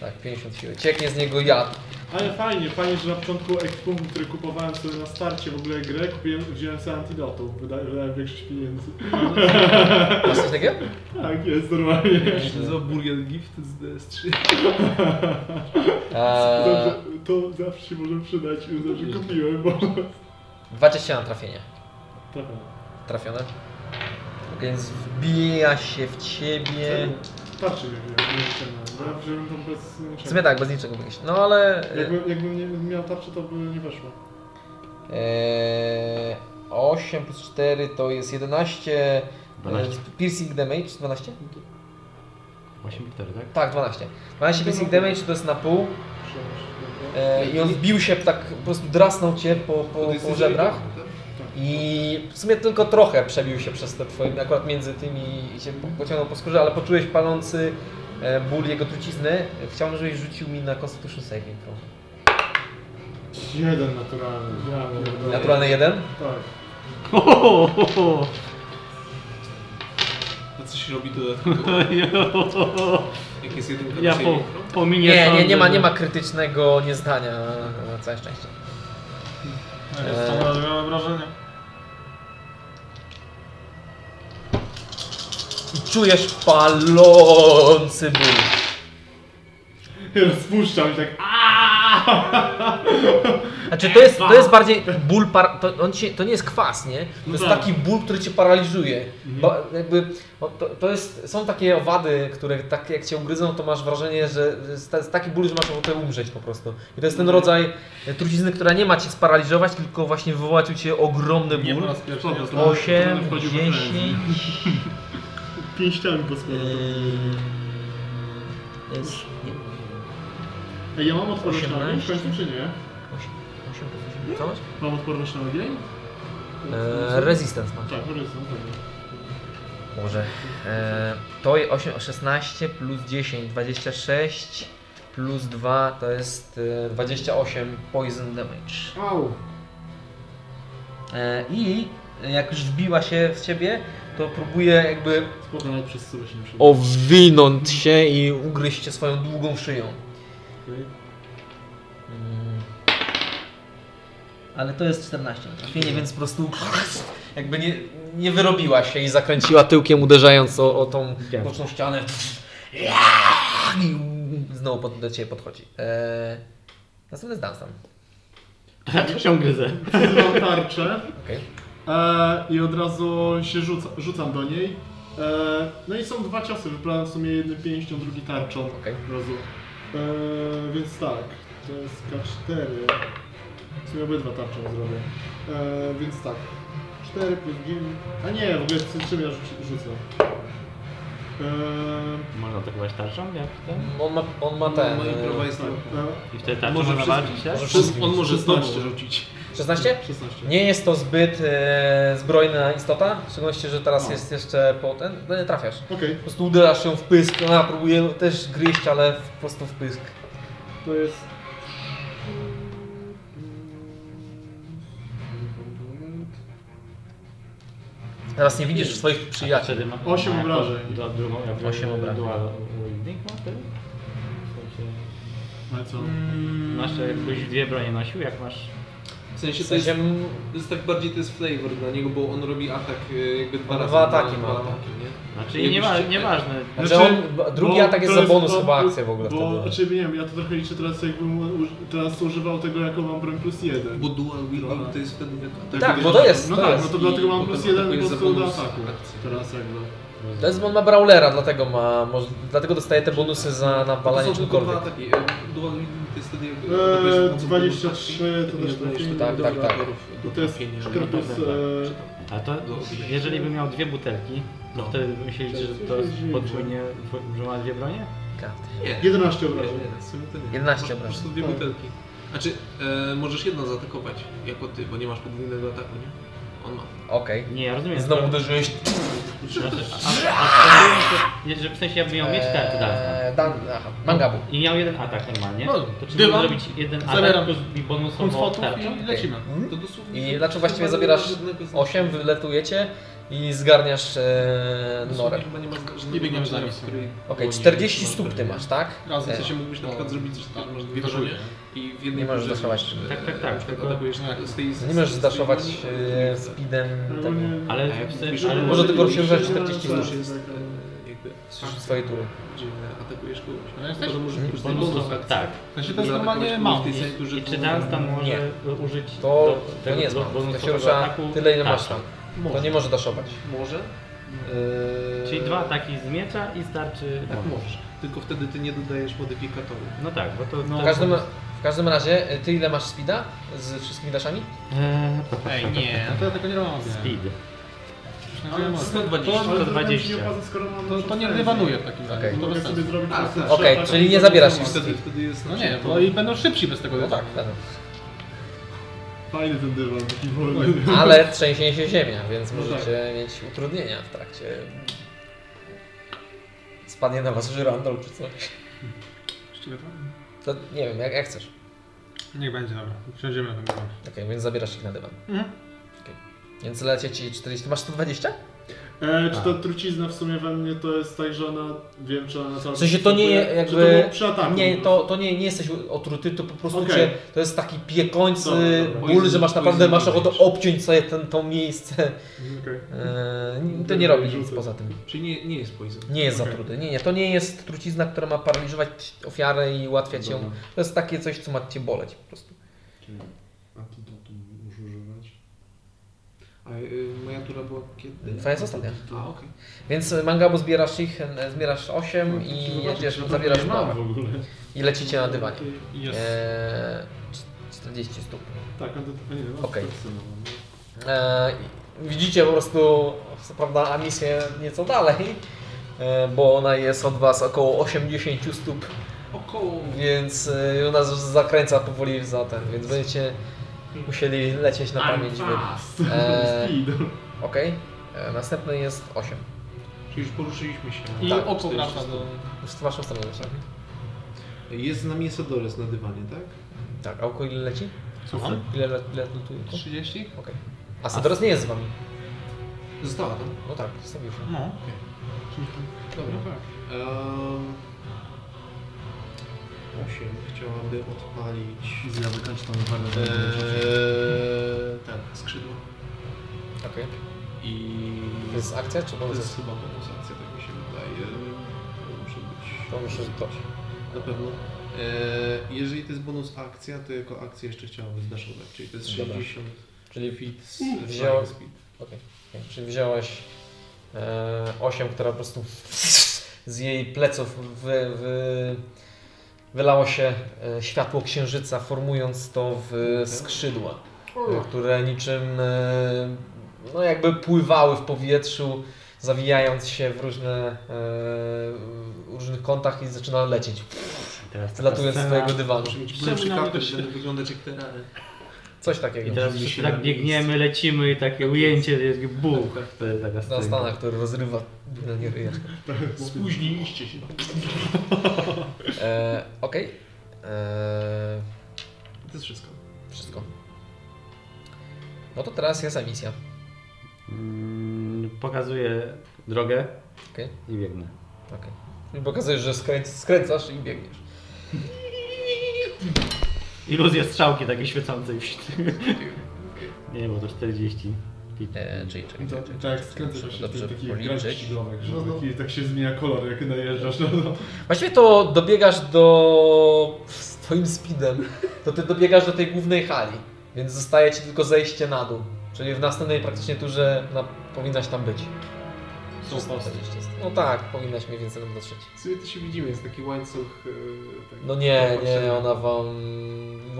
S1: Tak, 50 siły. Cieknie z niego jad.
S6: Ale fajnie, fajnie, że na początku ekwipunku, który kupowałem sobie na starcie w ogóle grę, kupiłem, wziąłem sobie antidotum, wydaje, wydałem większość pieniędzy.
S1: Masz coś takiego?
S6: Tak, jest normalnie.
S3: To się nazywa Burger Gift z DS3.
S1: Eee, E,
S6: Dobrze, to zawsze się może przydać, już zawsze kupiłem, bo...
S1: 20 na trafienie.
S6: Tak.
S1: Trafione. Ok, Więc wbija się w ciebie.
S6: Tarczy nie wiem, nie wyciągnąłem, bo ja wziąłem tam bez
S1: W sumie
S6: niczego.
S1: tak, bez niczego wyjść. No ale. e,
S6: Jakby, jakbym nie miał tarczy, to by nie weszło.
S1: Eee, 8 plus 4 to jest 11.
S5: 12.
S1: e, Piercing damage 12?
S5: 8 4, tak? <laughs>
S1: Tak, 12. 12 piercing damage to jest na pół. E, I on wbił się tak, po prostu drasnął cię po, po, po żebrach.
S3: Tak.
S1: I w sumie tylko trochę przebił się przez te twoje, akurat między tymi i cię po- pociągnął po skórze, ale poczułeś palący e, ból jego trucizny. Chciałbym, żebyś rzucił mi na Constitution Saving Throw.
S6: Jeden naturalny. Ja pierdolę.
S1: Naturalny 1?
S6: Tak.
S3: A co się robi dodatkowo? Jak jest jedynka, to
S2: Ja
S3: się
S2: po,
S3: mikro?
S2: pominię
S1: Nie, nie,
S2: sądy,
S1: nie ma, nie
S2: że-
S1: ma krytycznego niezdania, na całe szczęście.
S4: Jest to moje wrażenie.
S1: Czujesz palący ból.
S10: Rozpuszczam się tak.
S1: Znaczy to jest, to jest bardziej ból, par... to, on się, to nie jest kwas, nie? To jest
S10: tak. Mhm.
S1: taki ból, który cię paraliżuje. Bo jakby, o, to, to jest, są takie owady, które tak jak cię ugryzą, to masz wrażenie, że że jest ta- jest taki ból, że masz ochotę umrzeć po prostu. I to jest
S10: Mhm.
S1: ten rodzaj trucizny, która nie ma cię sparaliżować, tylko właśnie wywołać u ciebie ogromny
S10: Nie po
S1: ból.
S10: raz pierwszy. ja to- to
S1: Osiem,
S10: będę wchodził we frenzy.
S1: 10,
S6: Pięściami poskładam.
S1: jest, nie,
S6: Ej, ja mam odporność na ogień w
S1: 18?
S6: końcu, czy nie?
S1: 8, 8 plus 8, coś?
S6: Mam odporność na ogień?
S1: Eee, resistance masz.
S6: Tak, może jest, no pewnie.
S1: Może. E, to je 8, 16 plus 10, 26 plus 2 to jest e, 28 poison damage.
S6: Au!
S1: E, I jak już wbiła się w ciebie, to próbuje jakby
S6: Spoko, nawet przez sobie się nie przyda.
S1: owinąć się i ugryźć cię swoją długą szyją.
S6: Okej.
S1: Mm. Ale to jest 14 na trafienie, więc po prostu <laughs> jakby nie, nie wyrobiła się i zakręciła tyłkiem uderzając o, o tą
S5: Wiem.
S1: boczną ścianę. I znowu pod, do Ciebie podchodzi. Eee, następny jest Dunstan.
S5: Ja też ją gryzę.
S6: Wzywam tarczę
S1: Okej.
S6: e, i od razu się rzuca, rzucam do niej. E, no i są dwa ciosy, wyprawam w sumie jednym pięścią, drugi tarczą.
S1: Okej.
S6: Od razu. E, więc tak, to jest K4. W sumie obydwa tarczą zrobię. E, więc tak, 4 plus 9. A nie, w ogóle z czym ja rzuc- rzucę? E,
S5: Można atakować tarczą, jak ten?
S1: On ma, on ma ten. e,
S3: No, improwa jest
S6: tak,
S5: I wtedy tarczą
S3: Może
S5: można
S3: wszystko-
S5: walczyć, tak?
S1: może
S3: Przez, on może
S6: 16.
S3: znowu rzucić.
S1: e, 16?
S6: e, 16.
S1: Nie jest to zbyt e, zbrojna istota, w szczególności, że teraz jest jeszcze po ten. No nie trafiasz.
S6: Okej,
S1: Po prostu uderzasz ją w pysk, ona próbuje też gryźć, ale w- po prostu w pysk.
S6: to jest...
S1: Teraz nie widzisz swoich przyjaciół.
S5: Wtedy ma...
S6: Osiem
S5: ma jako-
S6: obrażeń.
S5: Do drugą, jak
S1: Osiem obrażeń.
S5: Dual wielding ma wtedy? W sensie-
S6: Ale co?
S5: Masz jakbyś dwie bronie nosił, jak masz...
S3: W sensie
S1: W
S3: to jest,
S1: sensie
S3: to jest tak bardziej to jest flavor dla niego, bo on robi atak e, jakby dwa
S1: On
S3: razy.
S1: dwa ataki
S3: dwa
S1: ma.
S3: ataki, nie?
S5: Znaczy nie ma,
S3: Jakbyś-
S5: nieważne.
S1: Znaczy, on, b- drugi
S6: bo
S1: atak jest
S6: to
S1: za bonus
S6: bo-
S1: chyba akcja w ogóle
S6: bo,
S1: wtedy.
S6: Znaczy, nie wiem, ja to trochę liczę teraz jakbym uż- teraz używał tego jako mam broń plus jeden.
S3: Bo dual wielding to jest wtedy jak atak.
S1: Tak,
S6: jakby
S1: bo
S6: to-
S1: to jest,
S6: No
S1: to
S6: tak,
S1: jest.
S6: no to dlatego mam
S3: I
S6: plus
S3: potem
S6: jeden po
S3: atakuje za
S6: prostu do
S3: bonus
S6: ataku.
S3: akcji.
S6: Teraz jakby.
S1: To jest, bo on ma Brawlera, dlatego ma, moż- dlatego dostaje te bonusy za
S3: To
S1: napalanie
S3: są tylko dwa
S1: czegokolwiek.
S3: ataki. e, Dual wielding to jest wtedy jak...
S6: Eee,
S3: jak-
S6: 23 to
S3: jak-
S6: też
S3: jak- jak-
S6: trafienie.
S1: Tak, tak,
S3: dobra,
S1: tak.
S3: do- do
S6: To jest
S3: trafienia,
S6: cztery
S3: nie?
S6: plus,
S3: Dobra,
S6: eee,
S3: czy tam.
S5: A to, jeżeli bym miał dwie butelki, to
S3: No.
S5: wtedy bym się liczył, że to jest podwójnie, że ma dwie bronie?
S3: Nie.
S6: 11
S3: Nie,
S6: obrażeń.
S3: nie, w sumie to nie.
S1: 11
S3: Masz Po
S1: obrażeń.
S3: prostu dwie
S6: Tak.
S3: butelki. Znaczy, e, możesz jedno zaatakować jako ty, bo nie masz podwójnego ataku, nie? On ma.
S1: Okej.
S5: Nie, ja rozumiem.
S1: Znowu
S5: to-
S1: uderzyłeś.
S5: Znaczy, a, a, a, że w sensie ja bym miał mieć karty tak, dalej.
S1: Eee, Dan, aha, Mangabu.
S5: I miał jeden atak normalnie.
S4: No,
S5: to czy
S4: dymam,
S5: mogę zrobić jeden atak
S4: zabieram
S5: plus i
S4: Punkt
S5: bonusowo
S4: fotów
S5: tarczą?
S4: i lecimy.
S3: To dosłownie.
S1: I znaczy właściwie zabierasz 8, wyletujecie i zgarniasz e, norę.
S3: Chyba nie ma
S4: I biegniemy za misją.
S1: Okej, 40 stóp ty masz, tak?
S4: Razem
S3: W
S1: E,
S4: coś
S3: sensie mógłbyś na przykład zrobić coś, No. że tak, masz dwie
S4: Daszuję.
S3: bronie i w jednej
S1: Nie możesz
S3: broni,
S1: daszować.
S3: e,
S5: Tak, tak, tak,
S3: na przykład
S5: tylko-
S3: atakujesz z tej
S1: Nie możesz
S3: z tej
S1: zdaszować
S3: broni, a
S1: e,
S3: drugi-
S1: speedem tego.
S6: Ogólnie-
S5: Ale,
S3: A jak
S5: w sensie-
S3: mówisz,
S5: ale
S3: że-
S1: Może tylko się użyć
S3: że-
S1: 40
S3: że-
S1: minut.
S3: że jest, e, jakby
S1: Słyszysz
S3: fakt,
S1: swoje tury.
S3: że atakujesz kogoś.
S4: No jesteś-
S3: To, że możesz
S1: Mhm.
S3: wykorzystać bonus znaczy,
S5: bonusowo,
S3: akcji.
S5: tak.
S4: W sensie to jest
S3: Żeby
S4: normalnie
S3: atakować
S4: mam.
S3: kogoś w tej sali, że-
S5: I czy Dunstan może
S1: Nie.
S5: użyć
S1: To,
S5: do
S1: to
S5: tego
S1: nie jest
S5: do
S1: mam. To się
S5: bonusowego
S1: rusza
S5: ataku Tak,
S1: tyle ile masz
S5: tarczą?
S1: tam. To nie może daszować.
S3: Może?
S1: Eee,
S5: Czyli dwa ataki z miecza i starczy.
S3: E, Tak możesz. Tylko wtedy ty nie dodajesz modyfikatorów.
S5: No tak, bo to.
S1: W
S5: to
S1: każdym, w każdym razie, e, ty ile masz speeda z wszystkimi daszami?
S5: Eee,
S4: Ej, nie, no to ja tego nie robię.
S5: Speed.
S4: No, ja mogę.
S3: 120.
S6: Ale to
S5: 120.
S6: się nie okaże, skoro mam
S4: To, to nie
S6: rewelację.
S4: dywanuję w takim razie.
S1: Okej.
S4: To
S6: Mogę
S4: bez
S6: sobie
S4: sensu.
S6: zrobić po prostu
S3: tak.
S6: trzy
S1: Okej,
S6: ataki
S1: czyli nie
S6: i
S1: zabierasz
S6: zrobić
S1: nic.
S3: Wtedy, wtedy jest
S4: No
S3: znaczy,
S4: nie,
S3: to-
S4: bo i będą szybsi bez tego.
S1: No tak, tak. <laughs>
S6: Fajny ten dywan, taki wolny.
S1: Ale trzęsie się ziemia, więc
S6: No
S1: możecie
S5: tak.
S1: mieć utrudnienia w trakcie. Spadnie na was żyrandol czy coś.
S4: Właściwie to-
S1: To nie wiem, jak, jak chcesz.
S4: Niech będzie, dobra. Wsiądziemy na ten dywan.
S1: Okej, więc zabierasz ich na dywan.
S4: Mhm.
S1: Okej. Więc lecie ci 40. Masz 120?
S6: E, czy ta trucizna w sumie we mnie to jest tak, że ona, wiem czy ona cały
S1: W sensie to nie
S6: występuje,
S1: je- jakby-
S6: Czy to było przy ataku? no.
S1: Nie, to, to nie, nie jesteś otruty, to po prostu
S6: Okej.
S1: cię, to jest taki piekący
S6: Dobra, dobra.
S1: ból, że masz naprawdę
S3: Poison
S1: masz ochotę obciąć sobie ten, to miejsce.
S6: Okej.
S1: Eee, to nie robi nic poza tym.
S3: Czyli nie, nie jest poison.
S1: Nie jest
S6: Okej.
S1: zatruty. Nie, nie, to nie jest trucizna, która ma paraliżować ofiarę i ułatwiać ją.
S5: Dobra.
S1: To jest takie coś, co ma cię boleć po prostu.
S9: Czyli antidotum już używać?
S3: A y, moja tura była kiedy?
S1: Twoja jest ostatnia.
S3: A, okej.
S1: Więc mangabo zbierasz ich, e, zbierasz
S6: No,
S1: 8 i jedziesz, zabierasz
S10: nie mam
S1: małe.
S10: w ogóle.
S1: I lecicie na dywanie.
S4: Jest.
S1: Eee, 40 stóp.
S6: E, Tak, antidotum, nie no. wiem.
S1: Okej. E, widzicie po prostu, co prawda, misję nieco dalej, e, bo ona jest od Was około 80 stóp,
S3: Około.
S1: więc e, ona z- zakręca powoli za ten, więc będziecie musieli lecieć na pamięć. wy.
S6: fast.
S1: Eee,
S6: Speed.
S1: Okej, E, następny jest 8.
S3: Czyli już poruszyliśmy się.
S4: I
S1: Tak,
S4: oko wraca do...
S1: W Waszą stronę leci.
S3: Jest z nami Esadores na dywanie, tak?
S1: Tak, a oko ile leci?
S2: Słucham?
S1: Ile, ile, ile lutuje?
S3: 30?
S1: A Sedoros nie jest z Wami.
S3: Została tam.
S1: No tak, sobie już.
S4: No.
S3: Dobra. Ehm, 8 chciałaby odpalić.
S9: Ja wykończę tą walę.
S3: Eee, tak, skrzydło.
S1: Okej.
S3: I.
S1: To jest akcja czy
S3: to
S1: bonus?
S3: jest chyba bonus akcja, tak mi się wydaje. To muszę być.
S1: To muszę zdać.
S3: Na pewno. Eee, jeżeli to jest bonus akcja, to jako akcję jeszcze chciałabym dashować, czyli to jest
S1: Dobra.
S3: 60
S1: Czyli
S3: feet z
S1: Wziął-
S3: flying speed.
S1: Okej. Okay. Czyli wziąłeś e, 8, która po prostu z jej pleców wy, wy, wylało się e, światło księżyca, formując to
S5: Mhm.
S1: w skrzydła, e, które niczym e, no jakby pływały w powietrzu, zawijając się w różne, e, w różnych kątach i zaczyna lecieć,
S5: Teraz taka
S1: zlatując z
S5: scena-
S1: twojego dywanu.
S3: Muszę mieć
S2: Czemu
S3: przy
S2: na mnie
S3: kartę,
S2: to się-
S3: będę wyglądać jak terrary.
S1: Coś
S5: I
S1: takiego.
S5: teraz wszyscy tak biegniemy, lecimy i takie ujęcie, jest buch. To jest taka
S1: Tak, Na
S5: scena.
S1: Stanach, który rozrywa na nie ryja.
S3: <laughs> Spóźniliście się.
S1: E, Okej. E,
S3: To jest wszystko.
S1: Wszystko. No to teraz jest emisja.
S5: Mm, Pokazuję drogę
S1: Okej.
S5: i biegnę.
S1: Okay. I pokazujesz, że skręc, skręcasz i biegniesz.
S5: Iluzja strzałki takiej świecącej. <laughs> Nie, bo to 40.
S1: E, czyli, czyli,
S6: To,
S1: czyli,
S6: tak, skręca się
S1: Dobrze
S6: w takich
S1: policzyć.
S6: graficznych domek, że
S9: No, no.
S6: taki, tak się zmienia kolor, jak najeżdżasz. <laughs> No, no.
S4: Znaczy,
S1: Właściwie to dobiegasz do... z twoim speedem, to ty dobiegasz do tej głównej hali, więc zostaje ci tylko zejście na dół. Czyli w następnej praktycznie turze na, powinnaś tam być.
S10: Są posty.
S1: No tak, powinnaś mniej więcej tam dotrzeć.
S3: W sumie to się widzimy, jest taki łańcuch. e, tak-
S1: No nie, nie,
S3: popatrzenia.
S1: ona wam...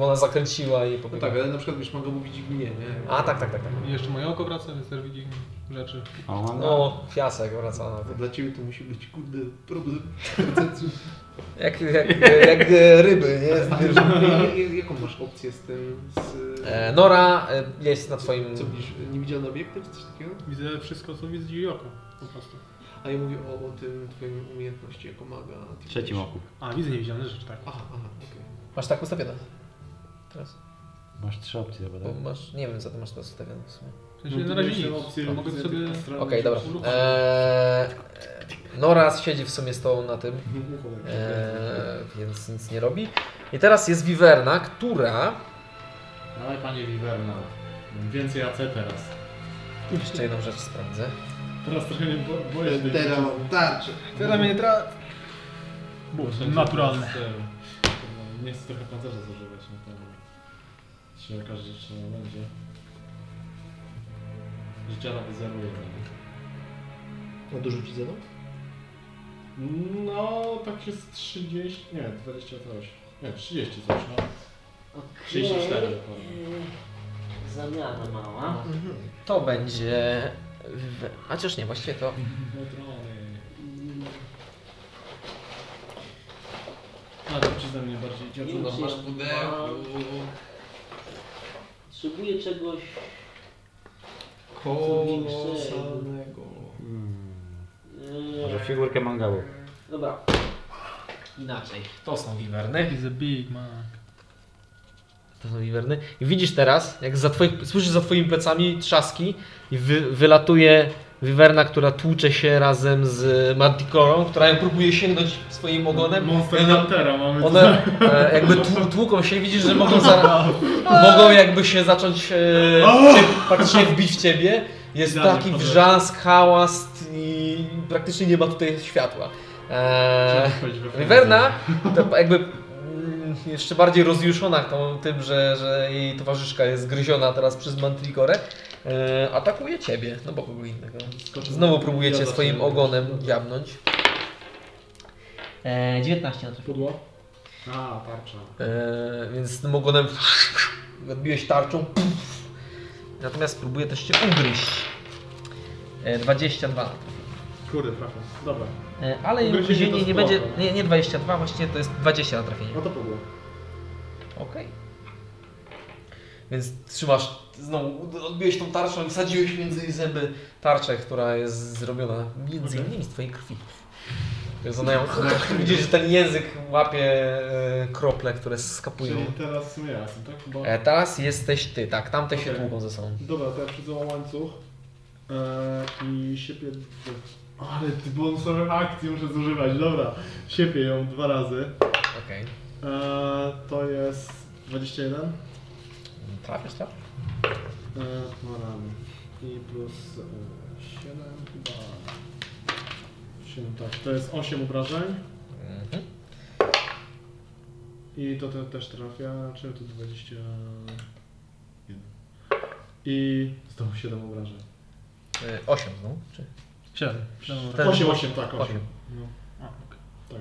S1: ona zakręciła i
S3: No
S1: pobiegła.
S3: tak, ale na przykład wiesz, mogę mówić mnie, nie?
S1: A tak, tak, tak. tak.
S4: I jeszcze moje oko wraca, więc też widzi rzeczy.
S5: O, mam no.
S1: No, piasek wraca na
S3: Dla ciebie to musi być kurde problem.
S1: Jak, jak, <laughs> jak e, ryby,
S3: A
S1: nie?
S3: ty, Znaczy, że- ja- ja- jaką masz opcję z tym? Z, e,
S1: E, Nora e, jest na twoim...
S3: co widzisz? Niewidzialne obiekty czy coś takiego?
S4: Widzę wszystko, co widzi oko. Po prostu.
S3: A ja mówię o, o tym twoim umiejętności jako maga.
S5: W trzecim oku.
S4: A, widzę niewidzialne rzeczy, tak.
S3: Aha, aha, okej.
S1: Masz tak ustawione? Teraz?
S5: Masz trzy opcje chyba,
S1: Bo
S5: tak?
S1: masz... Nie wiem, co ty masz teraz ustawione w sumie.
S4: W sensie na razie nic. A mogę
S6: No, opcje
S4: sobie...
S6: astralne.
S1: Okej, dobra. E, Nora siedzi w sumie z tobą na tym,
S6: <laughs>
S1: e, więc nic nie robi. I teraz jest Wiwerna, która...
S10: Dawaj panie Wiwerna. Więcej AC teraz.
S1: Jeszcze jedną rzecz sprawdzę.
S6: Teraz trochę nie bo, boję się. tej
S3: Teraz
S6: trucizny.
S3: tarczę.
S4: Teraz mnie tra... Bóg, naturalne.
S10: Nie chcę trochę pancerza zużywać na pewno. Się okaże, że trzeba będzie. Życia nawet zeruje.
S3: A dużo ci zero?
S6: No, tak jest 30, nie, 28. Nie, 30 coś, no. 34 dokładnie.
S5: Zamiana mała.
S1: To będzie... Wiwe- A chociaż nie, właściwie to...
S10: Neutrony. A to czy ze mnie bardziej dziadzi?
S3: No masz pudełko.
S5: Potrzebuję czegoś.
S3: Kolosalnego.
S5: Mm. Może figurkę mangabu.
S1: Dobra. Inaczej. To są Wiwerny.
S4: He's a big man.
S1: To są wiwerny. I widzisz teraz, jak za twoich, słyszysz za twoimi plecami trzaski i wy, wylatuje Wiwerna, która tłucze się razem z Manticorą, która ją próbuje sięgnąć swoim ogonem.
S10: Monster
S1: Ona-
S10: Huntera mamy
S1: One e, jakby tłu- tłuką się, widzisz, że mogą, za, mogą jakby się zacząć e, w ciebie, praktycznie wbić w ciebie. Jest
S10: Idealnie
S1: taki
S10: podeszło.
S1: wrzask, hałas i praktycznie nie ma tutaj światła. E,
S10: Chciałem wchodzić we
S1: Werna to jakby mm, jeszcze bardziej rozjuszona tą, tym, że, że jej towarzyszka jest gryziona teraz przez Mantricorę, e, atakuje ciebie, no bo kogo innego. Znowu próbujecie swoim ogonem dziabnąć. E, 19 na
S6: Pudło? A, tarcza.
S1: Eee, więc tym ogonem odbiłeś tarczą. Natomiast próbuję też cię ugryźć. Eee, 22.
S6: Kurde, trafiam. Dobra.
S1: Eee, ale
S6: Ugryzienie to
S1: ugryzienie nie
S6: spoko.
S1: będzie. Nie, nie 22, właściwie to jest 20 na trafienie.
S6: No to pudło.
S1: Okej. Więc trzymasz, znowu odbiłeś tą tarczą, wsadziłeś między jej zęby tarczę, która jest zrobiona między innymi z twojej krwi. Więc ona ją, <laughs> widzisz, że ten język łapie e, krople, które skapują.
S6: Czyli teraz ja jestem, tak? Bo...
S1: E, teraz jesteś ty, tak, tamte się
S6: Okej.
S1: tłuką ze sobą.
S6: Dobra, to ja przydzałam łańcuch eee, i siepię... Ale ty bonusowe akcje muszę zużywać, dobra. Siepię ją dwa razy.
S1: Okej.
S6: Eee, to jest 21. Eee,
S1: Trafisz, tak? trafisz?
S6: dwa razy. I plus eee, 7 chyba... 7, tak. To jest 8 obrażeń.
S1: Mhm.
S6: I to te, też trafia, czyli to 21. I znowu 7 obrażeń.
S1: E, 8 znowu, czy?
S4: Siedem.
S1: Ten-
S6: 8, 8, tak, 8.
S1: Osiem.
S6: No. Tak, 8.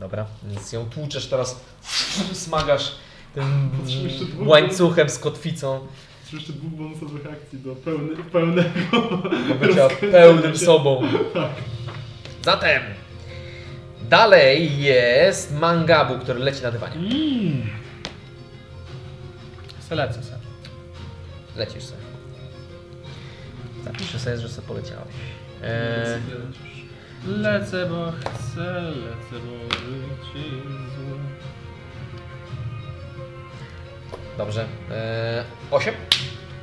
S1: Dobra, więc ją tłuczesz teraz, <laughs> smagasz tym
S6: Patrzymy jeszcze dwóch.
S1: łańcuchem z kotwicą,
S6: Czy jeszcze dwóch bonusowych akcji do pełny, pełnego.
S1: bo bycia
S6: rozkręcenia
S1: pełnym
S6: się.
S1: sobą. Zatem, dalej jest Mangabu, który leci na dywanie.
S4: Mmm. Se lecę se.
S1: Lecisz sobie. Zapiszę sobie, że sobie poleciałeś. E,
S4: Lecę, bo chcę, lecę, bo życie jest złe.
S1: dobrze, e, 8?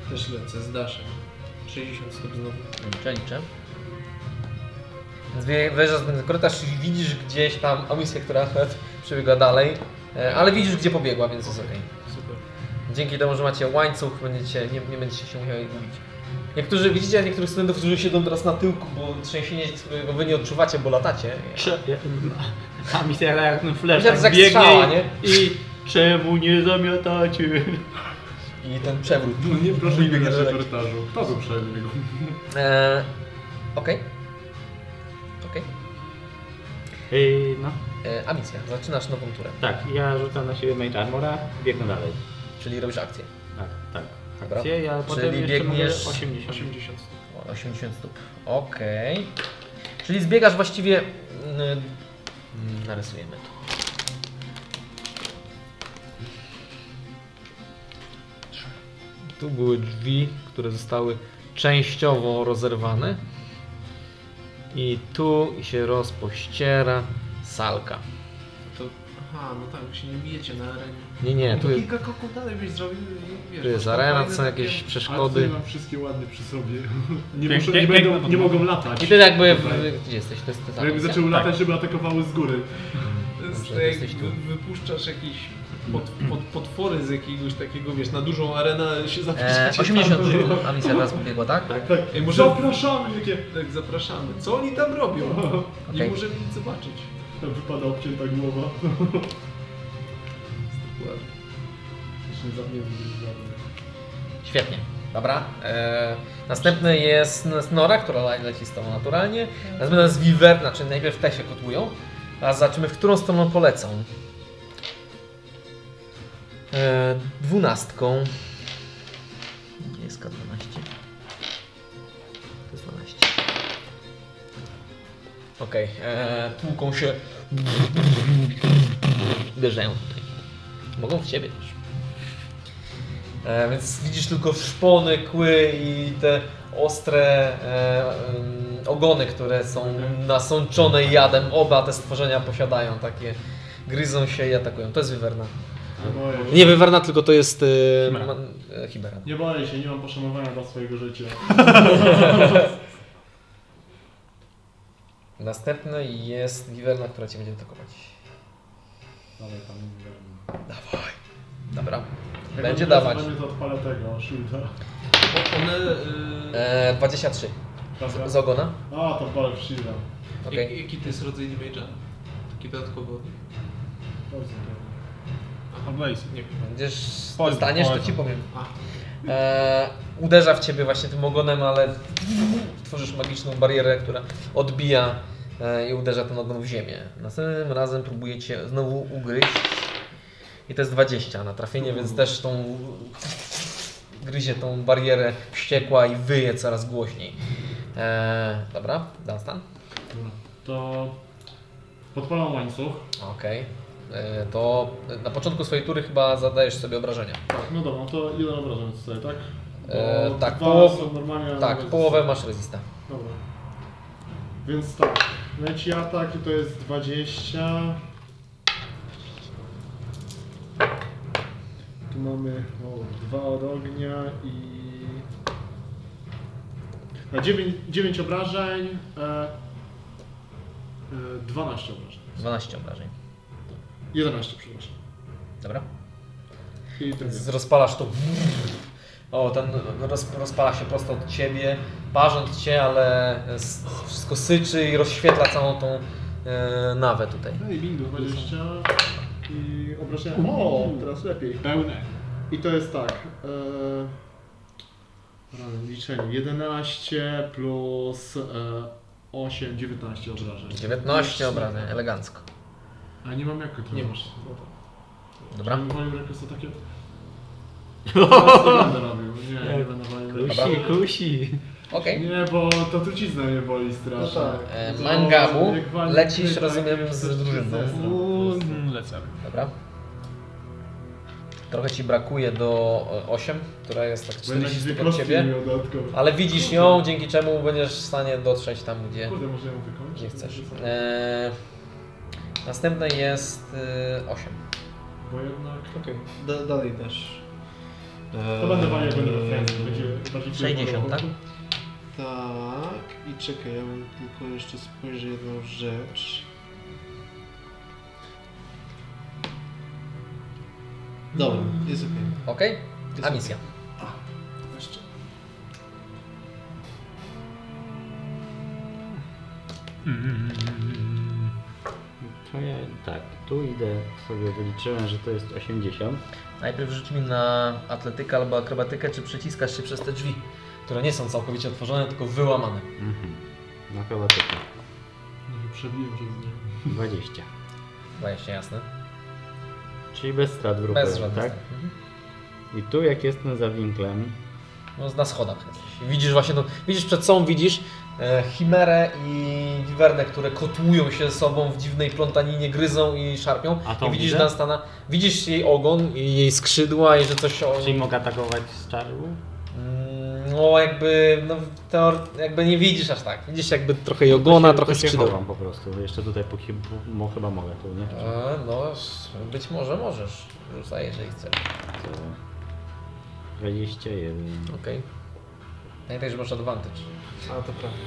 S3: Też lecę z daszem. 60 stóp znowu.
S1: Liczę, liczę. Więc wie- wyjeżdżasz na ten korytarz i widzisz gdzieś tam amisję, która akurat przebiegła dalej, e, ale widzisz gdzie pobiegła, więc jest okej.
S3: Super.
S1: Dzięki temu, że macie łańcuch, będziecie, nie, nie będziecie się musieli gubić. Niektórzy widzicie niektórych studentów, którzy siedzą teraz na tyłku, bo trzęsienie, którego wy nie odczuwacie, bo latacie.
S5: <laughs> A mi się jak ten
S1: Tak
S5: flash
S1: jak
S5: tak
S1: jak strzała,
S5: biegnie
S1: nie?
S5: i czemu nie zamiatacie? <laughs>
S1: I ten przewrót.
S10: No nie, proszę nie biegać na
S1: Dalej.
S10: korytarzu. Kto był przebiegł?
S1: E, okej. Okej.
S5: Yy, no,
S1: E, Amicja, zaczynasz nową turę,
S5: tak, ja rzucam na siebie Mage Armora, biegnę dalej.
S1: czyli robisz akcję.
S5: Tak, tak.
S1: Dobra.
S5: Akcję, ja
S1: Czyli
S5: potem jeszcze
S1: biegniesz-
S5: mogę 80.
S3: 80 stóp.
S1: O, 80 stóp. Okej. Czyli zbiegasz właściwie. mm, mm, Narysujemy to. Tu były drzwi, które zostały częściowo rozerwane. I tu się rozpościera salka.
S3: To, aha, no tak, wy się nie bijecie na arenie.
S1: Nie, nie, tu,
S3: To kilka kroków dalej byś zrobił i wiesz...
S1: tu jest
S3: masz
S1: arena,
S3: fajne
S1: są
S3: takie-
S1: jakieś
S6: Ale tutaj
S1: przeszkody.
S6: mam wszystkie ładnie przy sobie. <laughs> Nie,
S4: Pięk-
S6: muszę, nie,
S4: piękna
S6: będą,
S4: podmiana.
S6: nie mogą latać.
S1: I ty jakby... Gdzie jesteś? To jest ta
S6: Bo Jakby
S1: akcja.
S4: tak.
S6: zaczęły latać, żeby atakowały z góry.
S1: Dobrze,
S3: To jest
S1: jesteś
S3: e, jak
S1: tu.
S3: wy- wypuszczasz jakieś pod, pod, potwory z jakiegoś takiego, wiesz, na dużą arenę się
S1: E,
S3: zapuszczacie.
S1: 80
S3: tam.
S1: a misja teraz pobiegła, tak?
S6: Tak.
S3: Ej, może-
S6: Zapraszamy takie.
S3: Tak, zapraszamy. Co oni tam <laughs> robią?
S1: Okej.
S3: Nie możemy nic zobaczyć.
S6: Tam wypada obcięta głowa.
S4: Tak.
S3: Dokładnie.
S6: Jeszcze zabijemy
S1: Świetnie. Dobra. E, następny jest Nora, która le- leci z tobą naturalnie. Następny jest Wiwer, znaczy najpierw te się kotłują. A zobaczymy, w którą stronę polecą. E, dwunastką. Gdzie jest K12? To jest 12. Okej. E, tłuką się. Uderzają tutaj. Mogą w ciebie też. E, więc widzisz tylko szpony, kły i te ostre e, em, ogony, które są nasączone jadem. Oba te stworzenia posiadają takie. Gryzą się i atakują. To jest wywerna.
S6: Nie boję się.
S1: Nie wywerna, tylko to jest e, ma- e, Chimera.
S6: Nie boję się, nie mam poszanowania dla swojego życia.
S1: Następny jest Wiwerna, która cię będzie atakować.
S10: Dalej tam
S1: Dawaj. Dobra.
S6: Jak
S1: Będzie
S6: on teraz
S1: dawać.
S6: Będzie to odpalę tego, shielda.
S3: O, One... y,
S1: E, 23.
S6: Dobra.
S1: Z ogona?
S6: A, to palę w shielda.
S1: Okej. Mhm.
S3: jak- Jaki to jest rodzaj damage'a? Taki dodatkowy od nich?
S6: Bardzo dobrze.
S4: Blaze.
S3: Nie wiem.
S1: Będziesz
S4: Poison,
S1: dostaniesz, to
S4: poison.
S1: ci powiem.
S3: A.
S1: E, uderza w ciebie właśnie tym ogonem, ale tworzysz magiczną barierę, która odbija e, i uderza ten ogon w ziemię. Następnym razem próbuje cię znowu ugryźć. I to jest 20 na trafienie, więc też tą gryzie tą barierę wściekła i wyje coraz głośniej. E, dobra, Dunstan.
S6: Dobra. To podpalam łańcuch.
S1: Okej. E, To na początku swojej tury chyba zadajesz sobie obrażenia.
S6: Tak, no dobra, to jeden obrażeń zostaje, tak? Bo
S1: E, tak,
S6: dwa
S1: połow-
S6: są normalnie na
S1: Tak,
S6: bez-
S1: połowę masz rezista.
S6: Dobra. Więc tak, leci atak i to jest 20. Tu mamy o, dwa od ognia i... A 9, obrażeń, e, e, 12 obrażeń.
S1: 12 obrażeń.
S6: 11, przepraszam.
S1: Dobra.
S6: I drugie.
S1: Z- Rozpalasz to. O, ten roz, rozpala się prosto od ciebie, parząc cię, ale s- wszystko syczy i rozświetla całą tą e, nawę tutaj.
S6: Ej, bingo, 20 i obrażenia. O, teraz lepiej.
S10: Pełne.
S6: I to jest tak. E... Rany, liczenie. 11 plus e, 8, 19 obrażeń.
S1: 19 obrażeń, elegancko.
S6: A nie mam jak kontrolować.
S3: Nie masz.
S1: Dobra.
S6: Nie walił rekord
S9: <laughs>
S6: takie. Teraz nie będę robił. Nie, nie będę walił rekord.
S5: Kusi, kusi.
S1: Okej.
S6: Nie, bo to trucizna mnie boli strasznie.
S9: No tak.
S1: E,
S6: To
S1: Mangabu,
S6: jak wali
S1: lecisz
S6: kryta,
S1: rozumiem
S6: jak
S1: z
S6: ktoś
S1: drużyną.
S6: zesra.
S4: Mm, Lecę.
S1: Dobra. Trochę ci brakuje do 8, która jest tak
S6: Bo jednak
S1: 40
S6: dwie
S1: stóp od
S6: kostki
S1: ciebie.
S6: miał dodatkowo.
S1: Ale widzisz ją, dzięki czemu będziesz w stanie dotrzeć tam, gdzie,
S6: Kurde, może ją wykończyć?
S1: gdzie chcesz. Eee, następne jest e, 8.
S6: Bo jednak...
S3: Okej, da, dalej też.
S6: To będę walił, jak będę we Francji. Będzie bardziej
S1: 60, tak?
S3: Tak, i czekaj, ja mam tylko jeszcze spojrzę jedną rzecz. Dobra, jest okej.
S1: Ok? Hmm. A
S3: Jest
S1: misja.
S3: Jeszcze.
S4: mm,
S1: No
S5: To ja tak, tu idę, sobie wyliczyłem, że to jest 80.
S1: Najpierw rzuć mi na atletykę albo akrobatykę, czy przeciskasz się przez te drzwi, które nie są całkowicie otworzone, tylko wyłamane.
S5: Mhm. No chyba tylko.
S6: Może No przebiłem się z nim.
S5: 20.
S1: Właśnie jasne.
S5: Czyli bez strat grupy,
S1: Bez żadnych.
S5: tak?
S1: Tak?
S5: I tu jak jestem za winklem,
S1: No, na schodach jesteś. Widzisz właśnie, no, widzisz przed sobą, widzisz e, Chimerę i Wiwernę, które kotłują się ze sobą w dziwnej plątaninie, gryzą i szarpią.
S5: A tą
S1: I widzisz
S5: widzę?
S1: Dunstana, widzisz jej ogon i jej skrzydła i że coś o...
S5: czyli mogę atakować z czaru?
S1: Mm, No jakby, no teor- jakby nie widzisz aż tak. Widzisz jakby trochę jej ogona, trochę
S5: No To się
S1: skrzydeł.
S5: chowam po prostu, jeszcze tutaj póki, bo chyba mogę tu, nie?
S1: E, no, s- być może możesz. Rzucaj, jeżeli chcesz.
S5: Tak, To 21.
S1: Okej. Pamiętaj, że masz advantage.
S3: A, to prawda.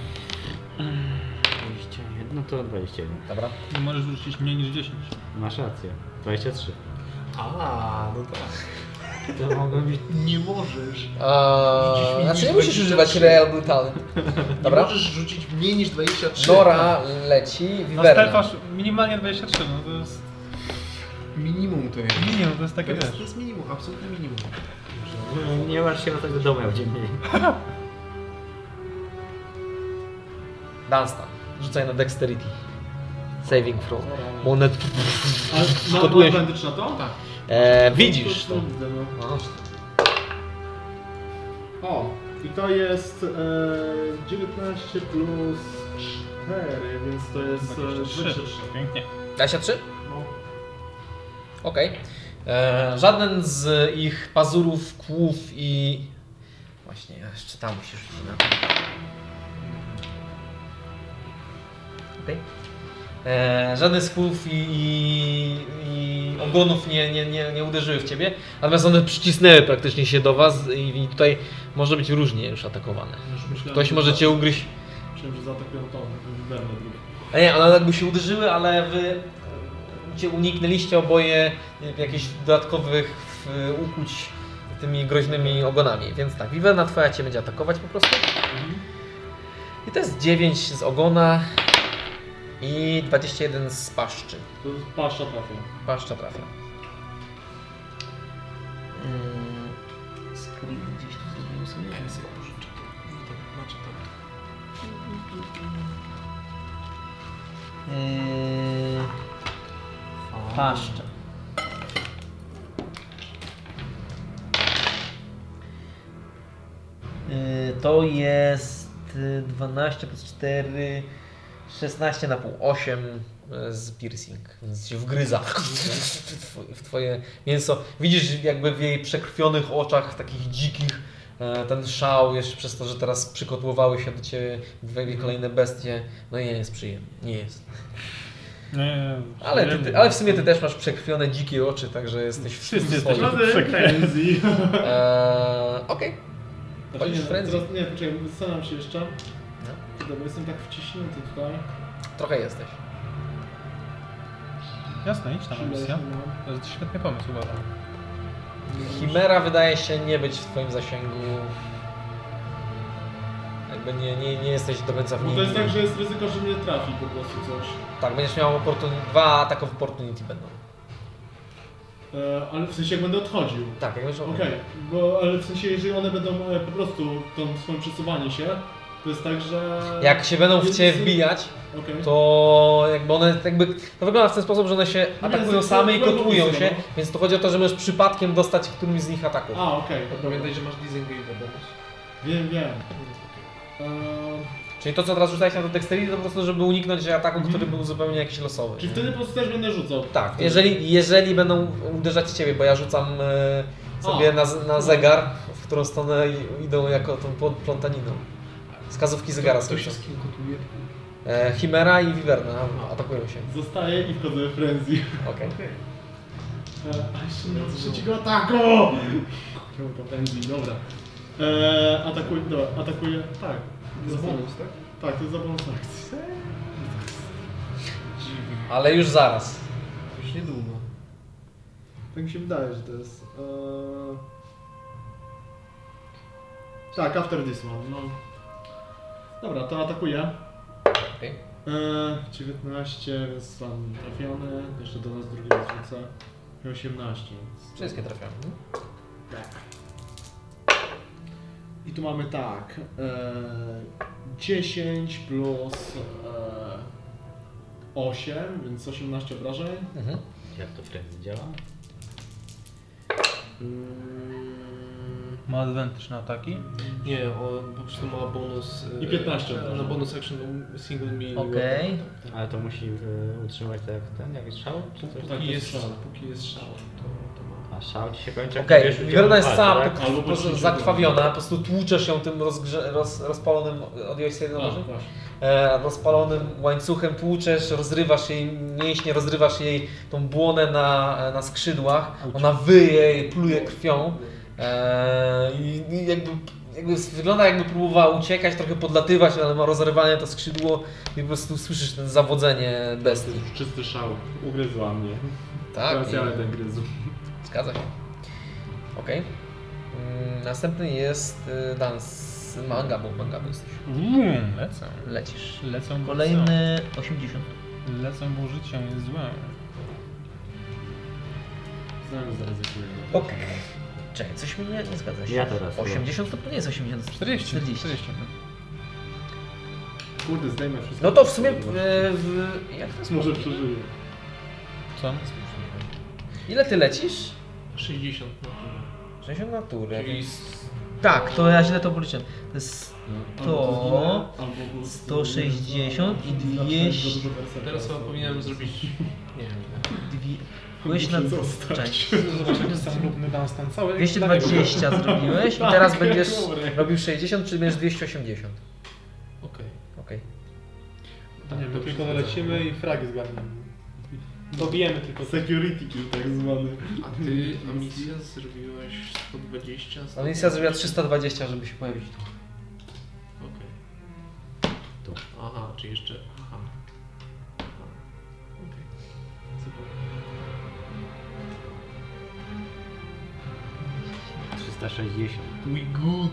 S5: 21, no to 21.
S1: Dobra?
S4: Nie możesz rzucić mniej niż 10.
S5: Masz rację, 23.
S3: A, no tak.
S5: To mogę być...
S3: Nie możesz. Rzucić
S1: Eee,
S3: mi
S1: znaczy nie
S3: niż
S1: musisz
S3: 23.
S1: używać Real Brutalny.
S3: Nie
S1: Dobra?
S3: możesz rzucić mniej niż 23.
S1: Dora leci,
S4: Na
S1: Wiwerna.
S4: No, stefasz minimalnie 23, no to jest...
S3: Minimum to jest.
S4: Minimum, to jest takie
S3: Tak, To jest, to
S4: wiesz.
S3: jest minimum, absolutne minimum.
S5: no, Nie masz się o tego domu gdzie mniej.
S1: Dunstan. Rzucaj na Dexterity. Saving throw. Monet.
S6: Ale ma
S1: Kotłujesz.
S6: advantage na to? Tak.
S1: Eee, widzisz
S6: To,
S1: to.
S6: to widzę, no.
S1: No,
S6: O, i to jest e, 19 plus 4, więc to jest e,
S4: 23.
S6: 23.
S4: Pięknie.
S1: 23?
S6: No.
S1: Okej. Eee, Żaden z ich pazurów, kłów i... Właśnie, ja jeszcze tam musisz rzucić na to. Okej. Eee, Żaden z kłów i, i, i ogonów nie, nie, nie, nie uderzyły w ciebie, natomiast one przycisnęły praktycznie się do was i, i tutaj może być różnie już atakowane.
S6: Już myślałem,
S1: Ktoś
S6: że
S1: może
S6: za-
S1: cię ugryźć
S6: Myślałem, że zaatakują tą, Werner drugi.
S1: A E, nie, one jakby się uderzyły, ale wy e, cię uniknęliście oboje jakichś dodatkowych e, ukłuć tymi groźnymi ogonami. Więc tak, Vivena twoja cię będzie atakować po prostu.
S6: Mhm.
S1: I to jest 9 z ogona i 21 z paszczy.
S6: To jest paszcza trafia.
S1: Paszcza trafia. Mm, Screen gdzieś tu zrobiłem sobie.
S3: Ja sobie pożyczę to. Tak, macie to.
S1: Yy, paszczę. Yy, To jest y, 12 plus 4, 16 na pół, 8 z piercing, więc się wgryza <laughs> w twoje- w twoje mięso. Widzisz jakby w jej przekrwionych oczach, takich dzikich, e, ten szał jeszcze przez to, że teraz przykotłowały się do Ciebie dwie kolejne bestie. No i nie jest przyjemnie, nie jest.
S4: Nie, nie,
S1: Ale, ty, ty, ale w sumie ty też masz przekrwione dzikie oczy, także jesteś w
S4: Wszyscy
S1: swoim.
S4: jesteśmy.
S6: Frenzy.
S1: Eee, Okej.
S6: Znaczy,
S1: Polisz
S6: nie,
S1: frenzy?
S6: teraz, nie, poczekaj, wystaram się jeszcze. Kurde, bo jestem tak wciśnięty tutaj.
S1: Trochę jesteś.
S4: Jasne, idź tam,
S6: Chwilę,
S4: misja.
S6: no.
S4: To jest świetny pomysł, uważam.
S1: Chimera wydaje się nie być w twoim zasięgu. Jakby nie, nie, nie jesteś do końca w
S6: Bo
S1: niej.
S6: to jest tak, że jest ryzyko, że mnie trafi po prostu coś.
S1: Tak, będziesz miał oportun... dwa ataki opportunity będą.
S6: E, ale w sensie jak będę odchodził.
S1: Tak, jak będziesz
S6: Okej, bo ale w sensie jeżeli one będą e, po prostu tą swoją przesuwanie się, to jest tak, że...
S1: Jak się będą w ciebie
S6: Jest-
S1: wbijać,
S6: Okej.
S1: to jakby one jakby... To wygląda w ten sposób, że one się
S6: No nie,
S1: atakują
S6: z-
S1: same i
S6: z- z-
S1: kotłują
S6: z-
S1: się, więc to chodzi o to, że możesz przypadkiem dostać którymś z nich ataków.
S6: A, okej,
S3: Pamiętaj, że masz disengage'a teraz.
S6: wiem, wiem. E,
S1: Czyli to, co teraz rzucałeś na to dexterity, to po prostu, żeby uniknąć ataku,
S3: Mhm.
S1: który był zupełnie jakiś losowy.
S6: czyli wtedy po prostu też będę rzucał.
S1: Tak, jeżeli, jeżeli będą uderzać ciebie, bo ja rzucam e, sobie
S6: O.
S1: na, z- na zegar, w którą stronę i- idą jako tą pl- plątaniną. Wskazówki zegara
S3: To
S1: słyszę.
S3: się z kim kotuje?
S1: E, Chimera i Wiwerna atakują się.
S6: Zostaję i wchodzę w frenzy.
S1: Okej.
S6: E, A jeszcze nie od trzeciego ataku! Piąta pędzi, dobra. E, atakuje, dobra, atakuje, tak.
S3: Za bonus, tak?
S6: Tak, to jest za bonus akcji.
S3: Dziwi.
S1: Ale już zaraz.
S3: Już niedługo.
S6: Tak mi się wydaje, że to jest. E... Tak, after this one, no. Dobra, to atakuje.
S1: Okej.
S6: E, 19, więc tam trafiony. Jeszcze do nas drugi raz rzucę. I 18, więc...
S1: Wszystkie trafiają.
S6: I tu mamy tak. E, 10 plus e, 8, więc 18 obrażeń.
S1: Mhm.
S5: Jak to Frenzy działa?
S6: Mm,
S4: Ma advantage na ataki.
S3: Nie, on po prostu ma bonus.
S6: I 15
S3: e, Na
S6: obrażeń.
S3: bonus action single meal.
S1: Okej.
S5: Ale to musi y, utrzymać tak jak ten, jak strzał? Czy coś?
S6: Tak, to
S3: Póki
S6: jest
S3: jest,
S6: strzał.
S3: póki jest strzał, to, to ma.
S5: A strzał ci się kończy? jak
S1: Okej,
S5: będziesz tak?
S1: Wiwerna jest
S5: udział-
S1: cała
S5: A,
S1: po-
S6: Albo
S1: Tak, po prostu
S6: potrzebujesz
S1: zakrwawiona, po prostu tłuczesz ją tym rozgrze- roz, rozpalonym, odjąłeś sobie
S6: A,
S1: noży?
S6: właśnie.
S1: e, rozpalonym łańcuchem tłuczesz, rozrywasz jej mięśnie, rozrywasz jej tą błonę na, na skrzydłach. Ona wyje, pluje krwią e, i i jakby, jakby wygląda jakby próbowała uciekać, trochę podlatywać, ale ma rozerwane to skrzydło i po prostu słyszysz ten zawodzenie bestii.
S10: Czysty szał. Ugryzła mnie.
S1: Tak,
S10: Teraz
S1: i-
S10: ja będę gryzł.
S1: zgadza się. Okej. Mm, Następny jest y, dans manga, bo manga jesteś.
S4: Uuu, lecę.
S1: Lecisz.
S4: Lecę, bo życiem.
S1: Kolejny 80.
S4: Lecę, bo życie jest złe.
S6: Znowu zaryzykuję.
S1: Okej. Czekaj, coś mi nie, nie zgadza się.
S5: Ja teraz.
S1: 80 to nie jest 80.
S4: 40. 40.
S6: Kurde, zdejmę wszystko.
S1: No to w sumie. E, w, jak to jest?
S6: Może
S1: możliwe?
S6: przeżyję.
S4: Co?
S1: Ile ty lecisz?
S3: 60 na tyle.
S1: 60 natury.
S3: Czyli s-
S1: Tak, to ja źle to policzyłem. To jest
S6: Albo zginę,
S1: to.
S6: albo po prostu-
S1: 160 i
S6: Zaczynam
S1: 200.
S6: dużo berserka.
S3: teraz chyba powinienem zrobić. Nie wiem.
S1: Dwie, byłeś na.
S6: Muszę zostać.
S1: Cześć.
S4: Zobaczymy, sam równy dans ten cały.
S1: 220 zrobiłeś i
S6: Tak,
S1: teraz będziesz
S6: góry.
S1: robił 60, czyli będziesz 280.
S3: Okej.
S1: Okej.
S4: Nie
S3: Tak,
S4: wiem,
S3: to
S4: tylko
S3: już
S4: dolecimy i fragi zgarniemy. Dobijemy tylko.
S6: Security kill tak zwany.
S3: A ty, Amicia, zrobiłeś 120?
S1: No więc ja zrobię 320, żeby się pojawić tu.
S3: Okej.
S5: Tu.
S3: Aha, czy jeszcze. Aha.
S5: 360.
S4: We good.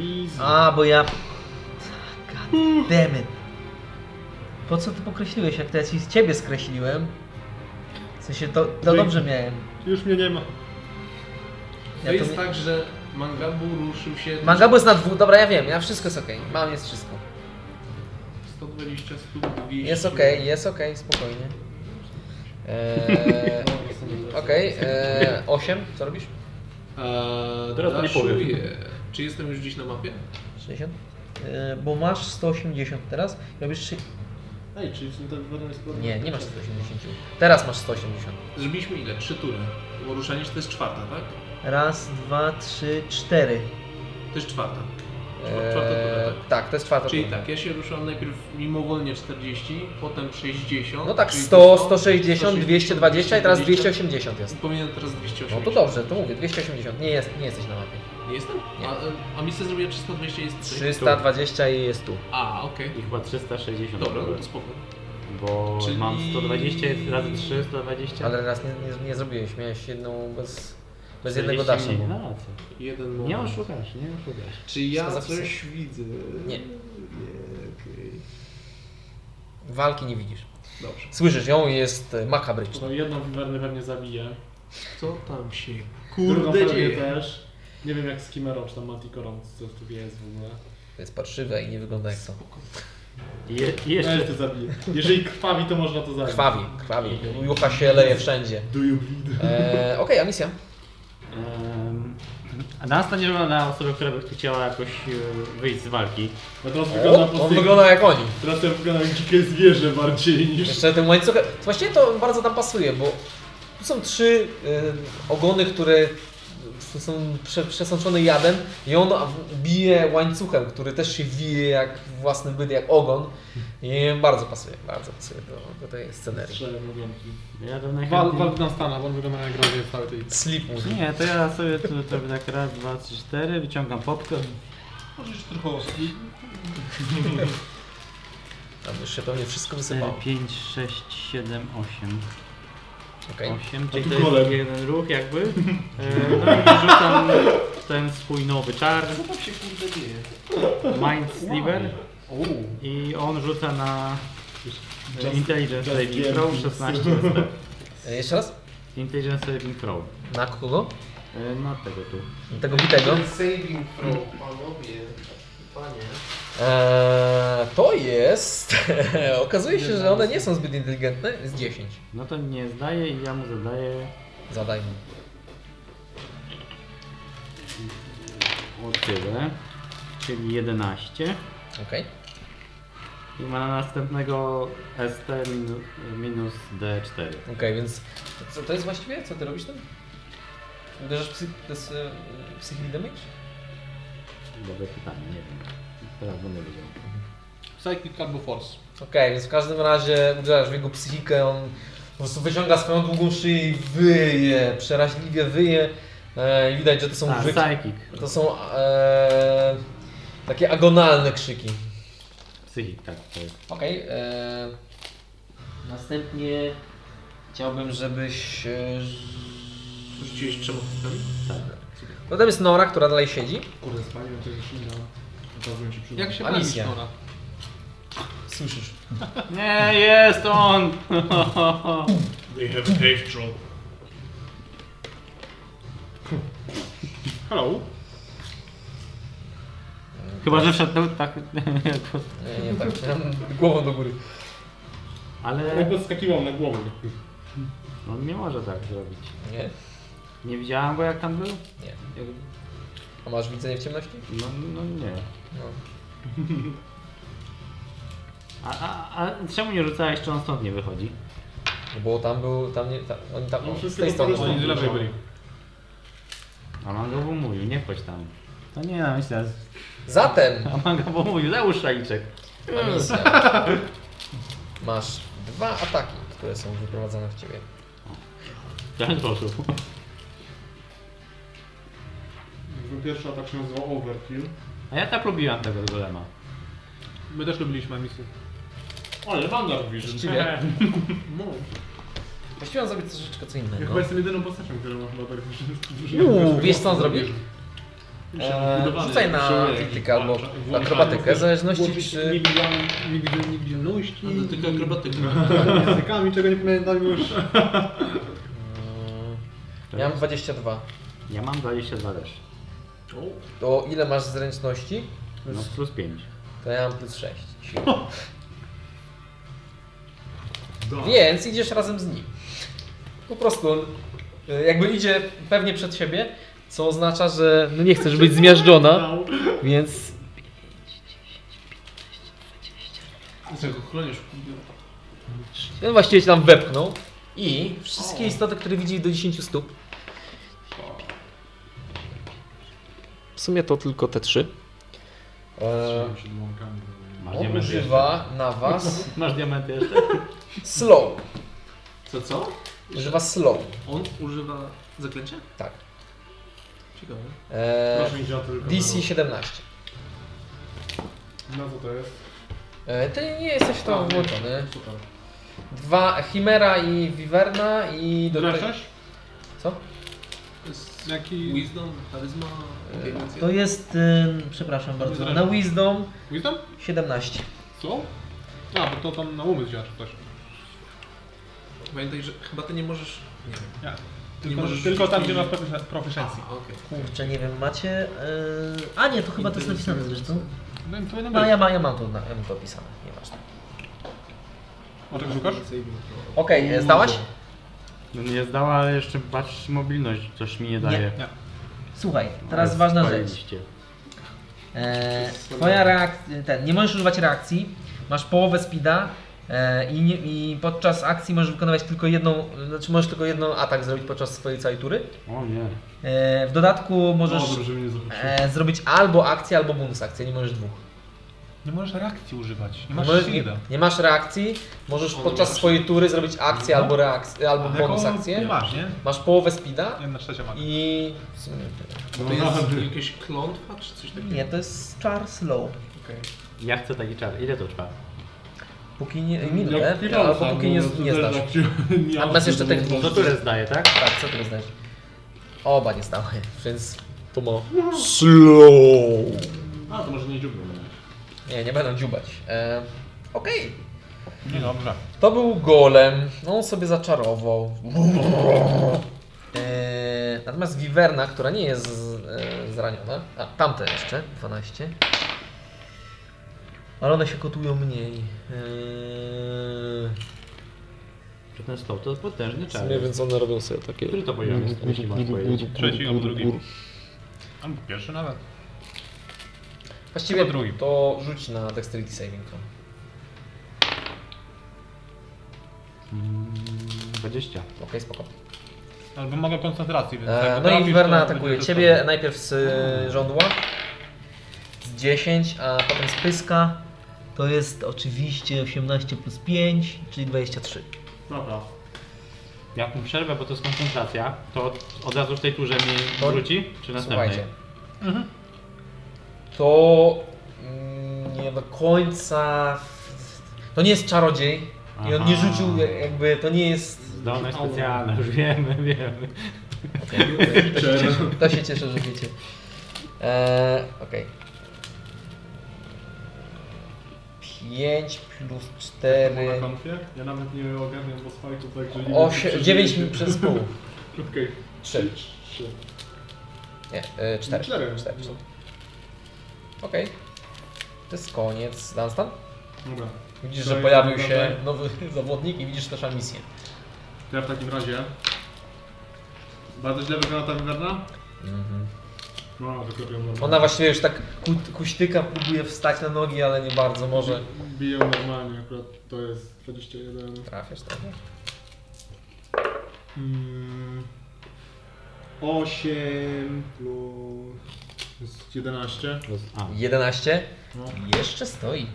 S4: Easy.
S1: A, bo ja... God damn it. Po co ty pokreśliłeś, jak to ja ci z ciebie skreśliłem? W sensie, to, to dobrze miałem.
S6: Już mnie nie ma.
S1: Ja
S3: to
S1: to
S3: jest
S1: mi-
S3: tak, że Mangabu ruszył się...
S1: Mangabu jest na dwóch, dobra, ja wiem, ja wszystko jest okej. Mam jest wszystko.
S3: 120 stóp, 200.
S1: Jest okej, jest okej, spokojnie. Eee, okej, eee, 8, co robisz?
S3: Eee,
S2: Teraz to nie
S3: daszuję.
S2: powiem.
S3: Czy jestem już gdzieś na mapie?
S1: 60? Eee, bo masz 180 teraz, robisz 3...
S6: Ej, czyli w sumie tak wygląda jest podobnie.
S1: Nie, nie masz 180. Teraz masz 180.
S3: Zrobiliśmy ile? Trzy tury. Bo ruszanie się to jest czwarta, tak?
S1: Raz, dwa, trzy, cztery.
S3: To jest czwarta. Czwar- Czwarta
S1: Eee,
S3: tura, tak?
S1: tak, to jest czwarta
S3: Czyli
S1: tura.
S3: tak, ja się ruszam najpierw mimowolnie 40, potem 60.
S1: No tak,
S3: czyli
S1: 100,
S3: to
S1: 160, 220 i teraz 280 jest.
S3: I Powinienem teraz
S1: No
S3: 280.
S1: to dobrze, to mówię, 280, nie, jest, nie jesteś na mapie.
S3: Nie jestem?
S1: Nie.
S3: A, e, a misja zrobiła 320 jest tutaj?
S1: 320 i jest tu.
S3: A, okej.
S5: I chyba 360.
S3: Dobra,
S5: były,
S3: no to spoko.
S5: Bo
S3: Czyli-
S5: mam 120 razy 3, 120.
S1: Ale raz nie, nie, nie zrobiłeś, miałeś jedną bez, bez
S5: 40
S1: jednego dasza.
S5: mniej. No racja.
S3: Jeden moment.
S5: Nie oszukasz, nie oszukasz.
S3: Czy ja
S1: Wszystko zapisane.
S3: coś widzę?
S1: Nie.
S3: okej.
S1: Walki nie widzisz.
S3: Dobrze.
S1: Słyszysz ją i jest e, makabryczna.
S10: No jedną wiwernę pewnie zabije.
S3: Co tam się
S10: Drugą
S3: kurde
S10: pewnie
S3: dzieje?
S10: też. Nie wiem jak z Kimerą, czy tam Manticorą, co tu jest w ogóle.
S1: To jest parszywe i nie wygląda jak to.
S5: I Je, i
S10: Jeszcze
S5: jeszcze
S10: to zabiję. Jeżeli krwawi, to można to zabić.
S1: Krwawi, krwawi. Jucha się leje
S3: <laughs>
S1: wszędzie.
S6: Do you bleed?
S1: E, Okej, a misja?
S5: Em, A nas to nie wygląda na osobę, która by chciała jakoś e, wyjść z walki.
S10: No teraz wygląda po
S1: O, on
S10: prostu...
S1: wygląda jak oni.
S10: Teraz to wygląda jak dzikie zwierzę bardziej niż...
S1: Jeszcze tym łańcuchem. Właściwie to bardzo tam pasuje, bo tu są trzy e, ogony, które są prze, przesączone jadem i on bije łańcuchem, który też się wije jak własny byt, jak ogon. I bardzo pasuje, bardzo pasuje do, do tej scenerii.
S10: Strzelają na gąbki.
S5: Ja to
S4: Wal,
S5: najchętniej...
S4: walk na Stana, bo on wygląda jak grozie w całej tej...
S1: Sleep mówi.
S5: Nie, to ja sobie tu to tak raz, dwa, trzy, cztery, wyciągam popcorn.
S6: Możesz trochę ostry.
S1: Tam już się pewnie wszystko
S5: Cztery,
S1: wysypało.
S5: pięć, sześć, siedem, osiem.
S1: Okej.
S5: Osiem, czyli
S6: tu
S5: to jest
S6: golem.
S5: jeden ruch jakby. E, No i rzucam ten swój nowy czar,
S3: Co tam się kurde dzieje?
S5: Mind Sliver. I on rzuca na e,
S10: just
S5: Intelligence Saving
S10: give
S5: Throw
S10: me
S5: 16 SP.
S1: E, Jeszcze raz?
S5: Intelligence Saving Throw.
S1: Na kogo?
S5: E, Na tego tu.
S1: Tego bitego.
S3: Saving throw, panowie. Panie.
S1: Eee, to jest. <laughs> Okazuje się, że one nie są zbyt inteligentne. Jest 10.
S5: No to nie zdaje i ja mu zadaję
S1: Zadaj mu.
S5: o tyle, czyli 11.
S1: Okej.
S5: I ma na następnego ST minu- minus D4.
S1: Okej, więc co to jest właściwie? Co ty robisz tam? Uderzasz psy, to jest, e, psychic damage?
S5: Dobre pytanie, nie wiem. Teraz będę wiedział.
S4: Psychic albo Force.
S1: Okej, więc w każdym razie uderzasz w jego psychikę, on po prostu wyciąga swoją długą szyję i wyje, przeraźliwie wyje e, i widać, że to są
S5: A,
S1: wy-
S5: Tak, psychic.
S1: to są e, takie agonalne krzyki.
S5: Psychic, tak. To jest.
S1: Okej. e, Następnie chciałbym, żebyś... E, Tak.
S3: Rzuciłeś trzema kostkami?
S1: Potem jest Nora, która dalej siedzi.
S6: Kurde, spaliłem tego szynda. Chciałbym ci przyda.
S4: Jak się
S1: Alicja.
S4: bawisz, Stona?
S1: Słyszysz.
S5: Nie, jest on!
S10: They have a cave troll. Hello.
S5: Chyba, że wszedł tak.
S1: <laughs> Nie, nie tak. Głową do góry.
S5: Ale
S10: Jakby skakiwał na głowę.
S5: on nie może tak zrobić.
S1: Nie?
S5: Nie widziałem go jak tam był?
S1: Nie.
S5: Jak-
S1: A masz widzenie w ciemności?
S5: No, no nie.
S1: No.
S5: A, a, a czemu nie rzucałeś, czy on stąd nie wychodzi?
S1: No Bo tam był, tam nie, tam, oni tam,
S10: No,
S1: z
S10: wszyscy
S1: tej
S10: po
S1: strony.
S10: prostu
S1: są.
S10: z lewej byli.
S5: A Mangobu mówił, nie wchodź tam. To nie na myślę.
S1: Zatem,
S5: A Mangobu mówił, załóż szaliczek.
S1: Amicia, masz dwa ataki, które są wyprowadzane w ciebie.
S5: W ten sposób.
S6: Jakby Pierwszy atak się nazywał Overkill.
S5: A ja tak lubiłam tego golema.
S4: My też lubiliśmy misję.
S10: <laughs> Ale Wanda mówi, że...
S1: Właściwie. Właściwie mam zrobić troszeczkę co
S10: Ja
S1: innego.
S10: chyba jestem jedyną postacią, którą ma chyba tak <laughs>
S1: Uuu, wiesz co on zrobił? Eee, rzucaj na atletykę albo akrobatykę, w zależności
S6: Włączyć
S1: czy...
S6: niewidzialność- niewidzia- Niewidzialności.
S3: No to tylko akrobatyka.
S6: Językami, czego nie pamiętam już.
S1: Eee, Ja mam 22.
S5: Ja mam 22 też.
S1: To ile masz zręczności?
S5: No plus 5.
S1: To ja mam plus 6. Więc idziesz razem z nim. Po prostu on e, jakby idzie pewnie przed siebie, co oznacza, że no nie chcesz być zmiażdżona, więc
S3: Dlaczego chronisz?
S1: on no właściwie się tam wepchnął i wszystkie istoty, które widzieli do 10 stóp. W sumie to tylko te trzy. E,
S5: Masz
S1: on
S5: diamenty
S1: używa na was
S5: jeszcze? <laughs> Masz diamenty jeszcze?
S1: slow.
S3: Co, co?
S1: Używa slow,
S3: On używa zaklęcia?
S1: tak.
S3: Ciekawe.
S1: E,
S10: Proszę mieć na to tylko
S1: DC 17.
S10: Na co to jest?
S1: E, Ty nie jesteś w
S10: A,
S1: to
S10: nie.
S1: włączony.
S10: Super.
S1: Dwa Chimera i Wiwerna i do te-
S6: Wreszcie?
S1: Co?
S3: To jest
S6: Jaki...
S3: wisdom, charyzma, e, inteligencja.
S1: E, To jest, ym, przepraszam bardzo, na Wisdom
S6: Wisdom?
S1: 17.
S6: Co? A, bo to tam na umysł działa czy coś.
S3: Pamiętaj, że chyba ty nie możesz... Nie wiem.
S4: Ja.
S3: Nie
S4: Tylko,
S3: możesz
S4: tylko tam,
S3: rzucić
S4: gdzie
S3: i-
S4: masz profes- profesjonalizm.
S3: A, okej.
S1: Kurczę, nie wiem, macie... Yy... A nie, to chyba to jest napisane zresztą.
S4: No i to będą
S1: No
S4: być.
S1: ja, ma, ja mam to, na, ja mam to opisane, nieważne.
S4: O czego szukasz?
S1: Okej, e, zdałaś?
S5: No nie zdała, ale jeszcze patrz mobilność, coś mi nie daje.
S1: Nie.
S4: Nie.
S1: Słuchaj,
S5: Ale
S1: teraz ważna rzecz.
S5: spaliliście.
S1: E, twoja reakcja, ten, nie możesz używać reakcji, masz połowę speeda e, i, nie, i podczas akcji możesz wykonywać tylko jedną, znaczy możesz tylko jedną atak zrobić podczas swojej całej tury.
S5: O nie.
S1: E, w dodatku możesz
S10: O, dobrze mnie nie zobaczył.
S1: e, zrobić albo akcję, albo bonus akcję, nie możesz dwóch.
S4: Nie możesz reakcji używać. Nie
S11: No
S1: Nie
S4: masz
S1: możesz-
S4: shielda.
S1: nie, nie masz reakcji, możesz
S3: O,
S1: podczas
S3: masz.
S1: swojej tury zrobić akcję
S4: No.
S1: albo, reakcję, albo
S4: Ale
S1: bonus
S4: jaką
S1: akcję.
S4: Nie masz, nie?
S1: Masz połowę speeda
S4: Jedna trzecia ma.
S1: i...
S4: No,
S3: Bo to jest jakieś klątwa czy coś takiego?
S1: Nie, to jest czar slow.
S3: Okej.
S5: Ja chcę taki czar. Ile to trwa?
S1: Póki nie...
S10: Jak
S1: Minutę,
S10: pirata,
S1: albo póki nie,
S10: no, to
S1: nie
S10: też
S1: zdasz.
S10: tak się- <laughs> nie
S1: A masz jeszcze
S10: absolutnie.
S1: tych
S5: To tyle zdaje, tak?
S1: Tak, co ty zdajesz? Oba nie stały, więc to ma... Slow!
S10: A, to może nie no. dziubnę.
S1: Nie, nie będą dziubać. E, Okej.
S4: Nie dobrze.
S1: To był golem. No, On sobie zaczarował. E, natomiast Wiwerna, która nie jest z, e, zraniona. A, tamte jeszcze. 12. Ale one się kotują mniej. E,
S5: Że ten stoł to potężny
S1: E,
S5: czar.
S1: nie więc one robią sobie takie.
S5: Który to poziom jest, jeśli masz powiedzieć?
S4: Trzeci albo drugi. Albo pierwszy nawet.
S1: Właściwie
S4: Chyba drugi.
S1: to rzuć na Dexterity Saving Throw.
S5: Mm, 20.
S1: Okej, spoko.
S4: Albo mogę koncentracji, więc
S1: E,
S4: jak
S1: no i
S4: trafisz,
S1: Wiwerna
S4: tak, to
S1: atakuje
S4: będzie
S1: ciebie
S4: testował.
S1: najpierw z e, żądła. Z 10, a potem z pyska. To jest oczywiście 18 plus 5, czyli 23.
S5: Dobra. Jak mu przerwę, bo to jest koncentracja, to od, od razu w tej turze mi
S1: To-
S5: wróci? Czy następnej?
S1: Słuchajcie.
S4: Mhm.
S1: To mm, nie do końca. To nie jest czarodziej. I on nie
S5: Aha.
S1: rzucił jak- jakby to nie jest.
S5: Zdolność specjalna, już wiemy, <laughs> wiemy.
S1: To się cieszę, to się cieszę że wiecie. Eee, Okej. 5 plus 4.
S10: Na konfie? Ja nawet nie ogarniam bo spajków, także nie wiem, czy
S1: 8,
S10: przeżyję
S1: 9
S10: się.
S1: przez pół.
S10: <laughs> Okej.
S1: 3.
S10: Trzy.
S1: Nie, e, 4. 4.
S10: Cztery. No.
S1: Okej. To jest koniec. Dunstan?
S10: Dobra.
S1: Widzisz,
S10: To
S1: że
S10: ja
S1: pojawił
S10: będę-
S1: się nowy <laughs> zawodnik i widzisz też misję.
S10: To ja w takim razie... Bardzo źle wygląda ta wiwerna? No, wykropią normalnie.
S1: Ona właściwie już tak ku, kuśtyka próbuje wstać na nogi, ale nie bardzo może.
S10: Biją normalnie, akurat to jest 21.
S1: Trafiasz trochę.
S10: Mm, 8 plus... to jest 11.
S5: Plus, a,
S1: 11.
S10: No.
S1: Jeszcze stoi.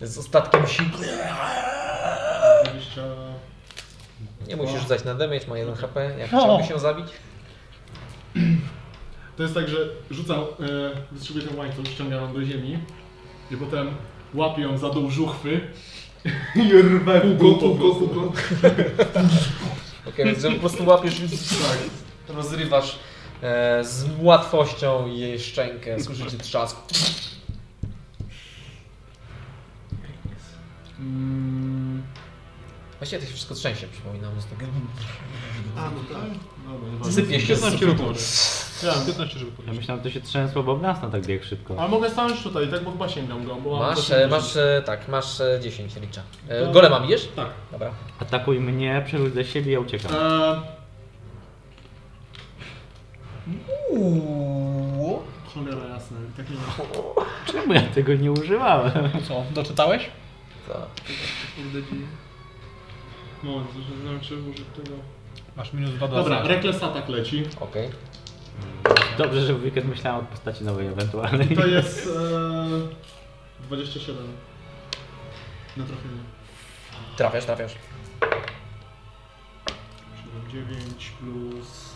S1: Z ostatkiem sił.
S10: 20...
S1: Nie
S10: No.
S1: musisz rzucać na damage, ma 1 HP. Jak
S4: No.
S1: chciałby się zabić?
S10: To jest tak, że rzucam, e, wystrzeluję ten łańcuch, ściągam ją do ziemi i potem łapię ją za dół żuchwy I rwę w
S6: Hugo,
S10: dół po
S6: Hugo,
S10: prostu.
S6: Hugo.
S1: Okej, więc po prostu łapiesz i rozrywasz e, z łatwością jej szczękę. Słyszycie trzask.
S4: Mm,
S1: Właściwie to się wszystko trzęsie, przypominam. Że tak...
S3: A, no tak.
S1: Sypie się z
S4: 15 ruchu. Ja, 15 żeby
S5: Ja
S4: podnieść.
S5: myślałem, to się trzęsło, bo Blasna tak biegł szybko.
S10: Ale mogę stanąć tutaj, tak bo chyba sięgam go. Bo mam
S1: Masz,
S10: dosyć
S1: e,
S10: duży-
S1: masz, e, tak, masz e, 10 licza. E,
S10: To-
S1: golema bijesz?
S10: Tak.
S1: Dobra.
S5: Atakuj mnie, przerzuć dla siebie, ja uciekam.
S10: Eee,
S4: Uuu.
S6: Cholera jasna, tak nie ma.
S5: Czemu ja tego nie <laughs> używałem?
S4: Co, doczytałeś?
S10: Tak.
S1: To.
S9: Kurde dzieje.
S6: Moment, że znam czy może tego.
S4: Masz minus 2 do
S6: Dobra,
S4: ataku.
S6: Reckless Attack leci.
S1: Okej.
S5: Dobrze, że w weekend myślałem o postaci nowej ewentualnej.
S6: To jest e, 27. Na trafienie.
S1: Trafiasz, trafiasz.
S6: 7, 9 plus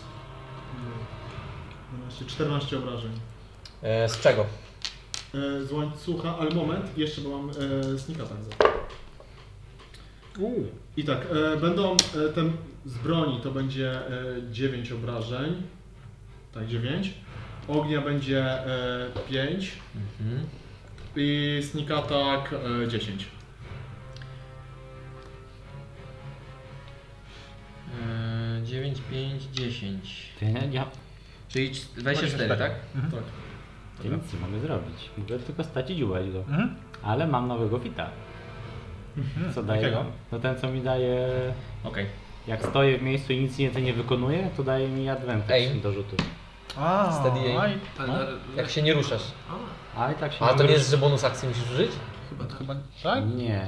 S6: nie, 12, 14 obrażeń.
S1: E, z czego?
S6: E, z łańcucha, ale moment, jeszcze bo mam e, sneak attack za. I tak, e, będą e, ten z broni to będzie e, 9 obrażeń. Tak, 9. Ognia będzie e, 5
S1: Mhm.
S6: i sneak attack e, 10.
S7: Eee, 9, 5, 10.
S5: Ty, ja, ja
S7: Czyli cz- 24, tak?
S6: Tak.
S5: nic nie mogę zrobić. Mogę tylko stać i dziubać go.
S4: Mhm.
S5: Ale mam nowego fita. Co daje?
S4: jakiego?
S5: No ten, co mi daje...
S7: Okej.
S5: Jak stoję w miejscu i nic więcej nie wykonuję, to daje mi advantage
S1: Aim.
S5: do rzutu.
S4: A,
S1: Steady aim.
S4: aj,
S3: Ale na-
S1: Jak się nie ruszasz.
S3: A,
S5: Ale tak się
S1: A to nie
S5: mogę-
S1: jest, że bonus akcji musisz użyć?
S3: chyba tak.
S4: Chyba tak?
S5: Nie.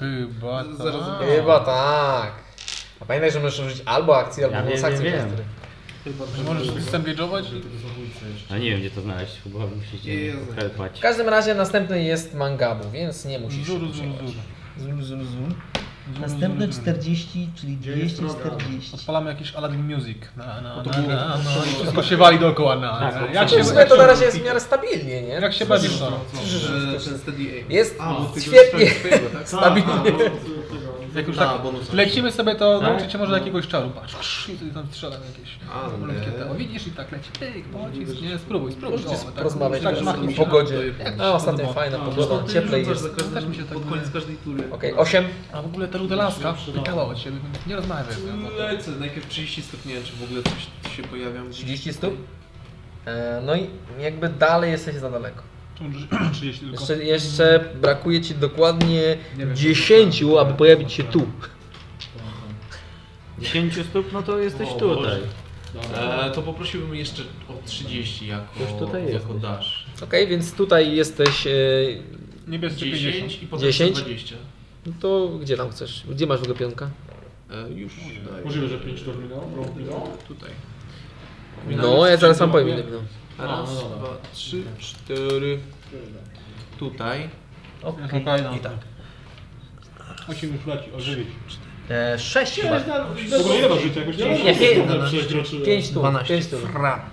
S4: Chyba
S3: Z- zaraz
S4: tak.
S1: Chyba tak. A pamiętaj, że możesz użyć albo akcji, albo
S5: Ja
S1: bonus
S5: wiem,
S1: akcji.
S5: wiem,
S1: teraz,
S5: wiem.
S4: Możesz disengage'ować i
S5: No nie wiem, gdzie to znaleźć, chyba musicie
S3: Jezu.
S1: W
S5: helpać.
S1: każdym razie następny jest Mangabu, więc nie musisz
S4: Zur, zur,
S1: Zuru,
S4: zur.
S11: Zoom, zoom, zoom.
S4: Zur,
S11: Następne
S4: zur, zur.
S11: 40, czyli
S6: Gdzie jest droga?
S11: 240.
S4: Odpalamy jakiś Aladdin Music.
S1: No
S4: Na, na,
S6: to
S4: na,
S6: było-
S4: na, na. I wszystko się wali dookoła. Na,
S5: Tak,
S4: na.
S5: tak.
S4: Jak
S1: Znaczy,
S4: się,
S1: w sumie
S4: jak
S1: to
S4: się,
S1: na razie jest w miarę stabilnie, nie?
S4: jak się bawisz no? to?
S3: Że ten steady aim.
S1: Jest
S3: A, bo ty go
S1: świetnie.
S3: dostałeś swojego, tak?
S6: A,
S1: Stabilnie.
S6: bo, tego,
S4: <laughs> Jak już
S3: A,
S4: tak
S3: bonus.
S4: lecimy sobie, to
S5: Tak?
S4: nauczycie
S10: No.
S4: może jakiegoś czaru. Patrz, krz, i tam strzelam jakieś.
S3: Ale-
S4: malutkie te. O, widzisz i tak leci. Pyk, pocisk, nie, spróbuj, spróbuj.
S1: Możecie
S4: O, tak,
S1: porozmawiać
S4: tak,
S1: teraz
S4: machnij
S1: o
S4: się.
S1: pogodzie.
S4: Tak,
S1: No, ostatnio
S4: podoba.
S1: fajna
S6: A,
S3: No
S1: pogoda,
S3: ty
S1: cieplej
S3: rzucasz
S1: jest.
S3: za każdym-
S4: Też mi się tak
S3: Pod
S4: nie-
S3: koniec każdej tury.
S1: Okej, 8.
S4: A w ogóle ta rudelaska pykała od siebie, nie rozmawiaj.
S3: No Lecę, najpierw 30 stopni, nie wiem, czy w ogóle coś tu się pojawia.
S1: 30 stóp. E, No i jakby dalej jesteś za daleko.
S4: Czemu <clears throat> 30 tylko?
S1: Jeszcze, jeszcze brakuje ci dokładnie 10, aby pojawić się tu.
S5: 10 stóp, no to jesteś
S3: O
S5: tutaj.
S3: Boże. E, to poprosiłbym jeszcze o 30 jako,
S5: Już tutaj
S3: jako
S5: jesteś.
S3: dasz.
S1: Okej, więc tutaj jesteś. e,
S4: Niebieskie 50.
S3: 10 i potem
S1: 10?
S3: 20.
S1: No to gdzie tam chcesz? Gdzie masz w ogóle pionka?
S3: E, już daję.
S6: Możliwe, że 5 tur minęło, rok minął.
S3: Tutaj.
S1: No, ja zaraz wam powiem ile minut.
S3: Raz,
S6: No, no, no.
S3: dwa, trzy, cztery. Tutaj.
S4: Okay. I tak. 8 już leci, o 9.
S1: 6 chyba.
S6: W ogóle ile masz życia? Jakoś
S1: Nie, pięć.
S6: Pięć.
S1: 5 tu, 5 tu.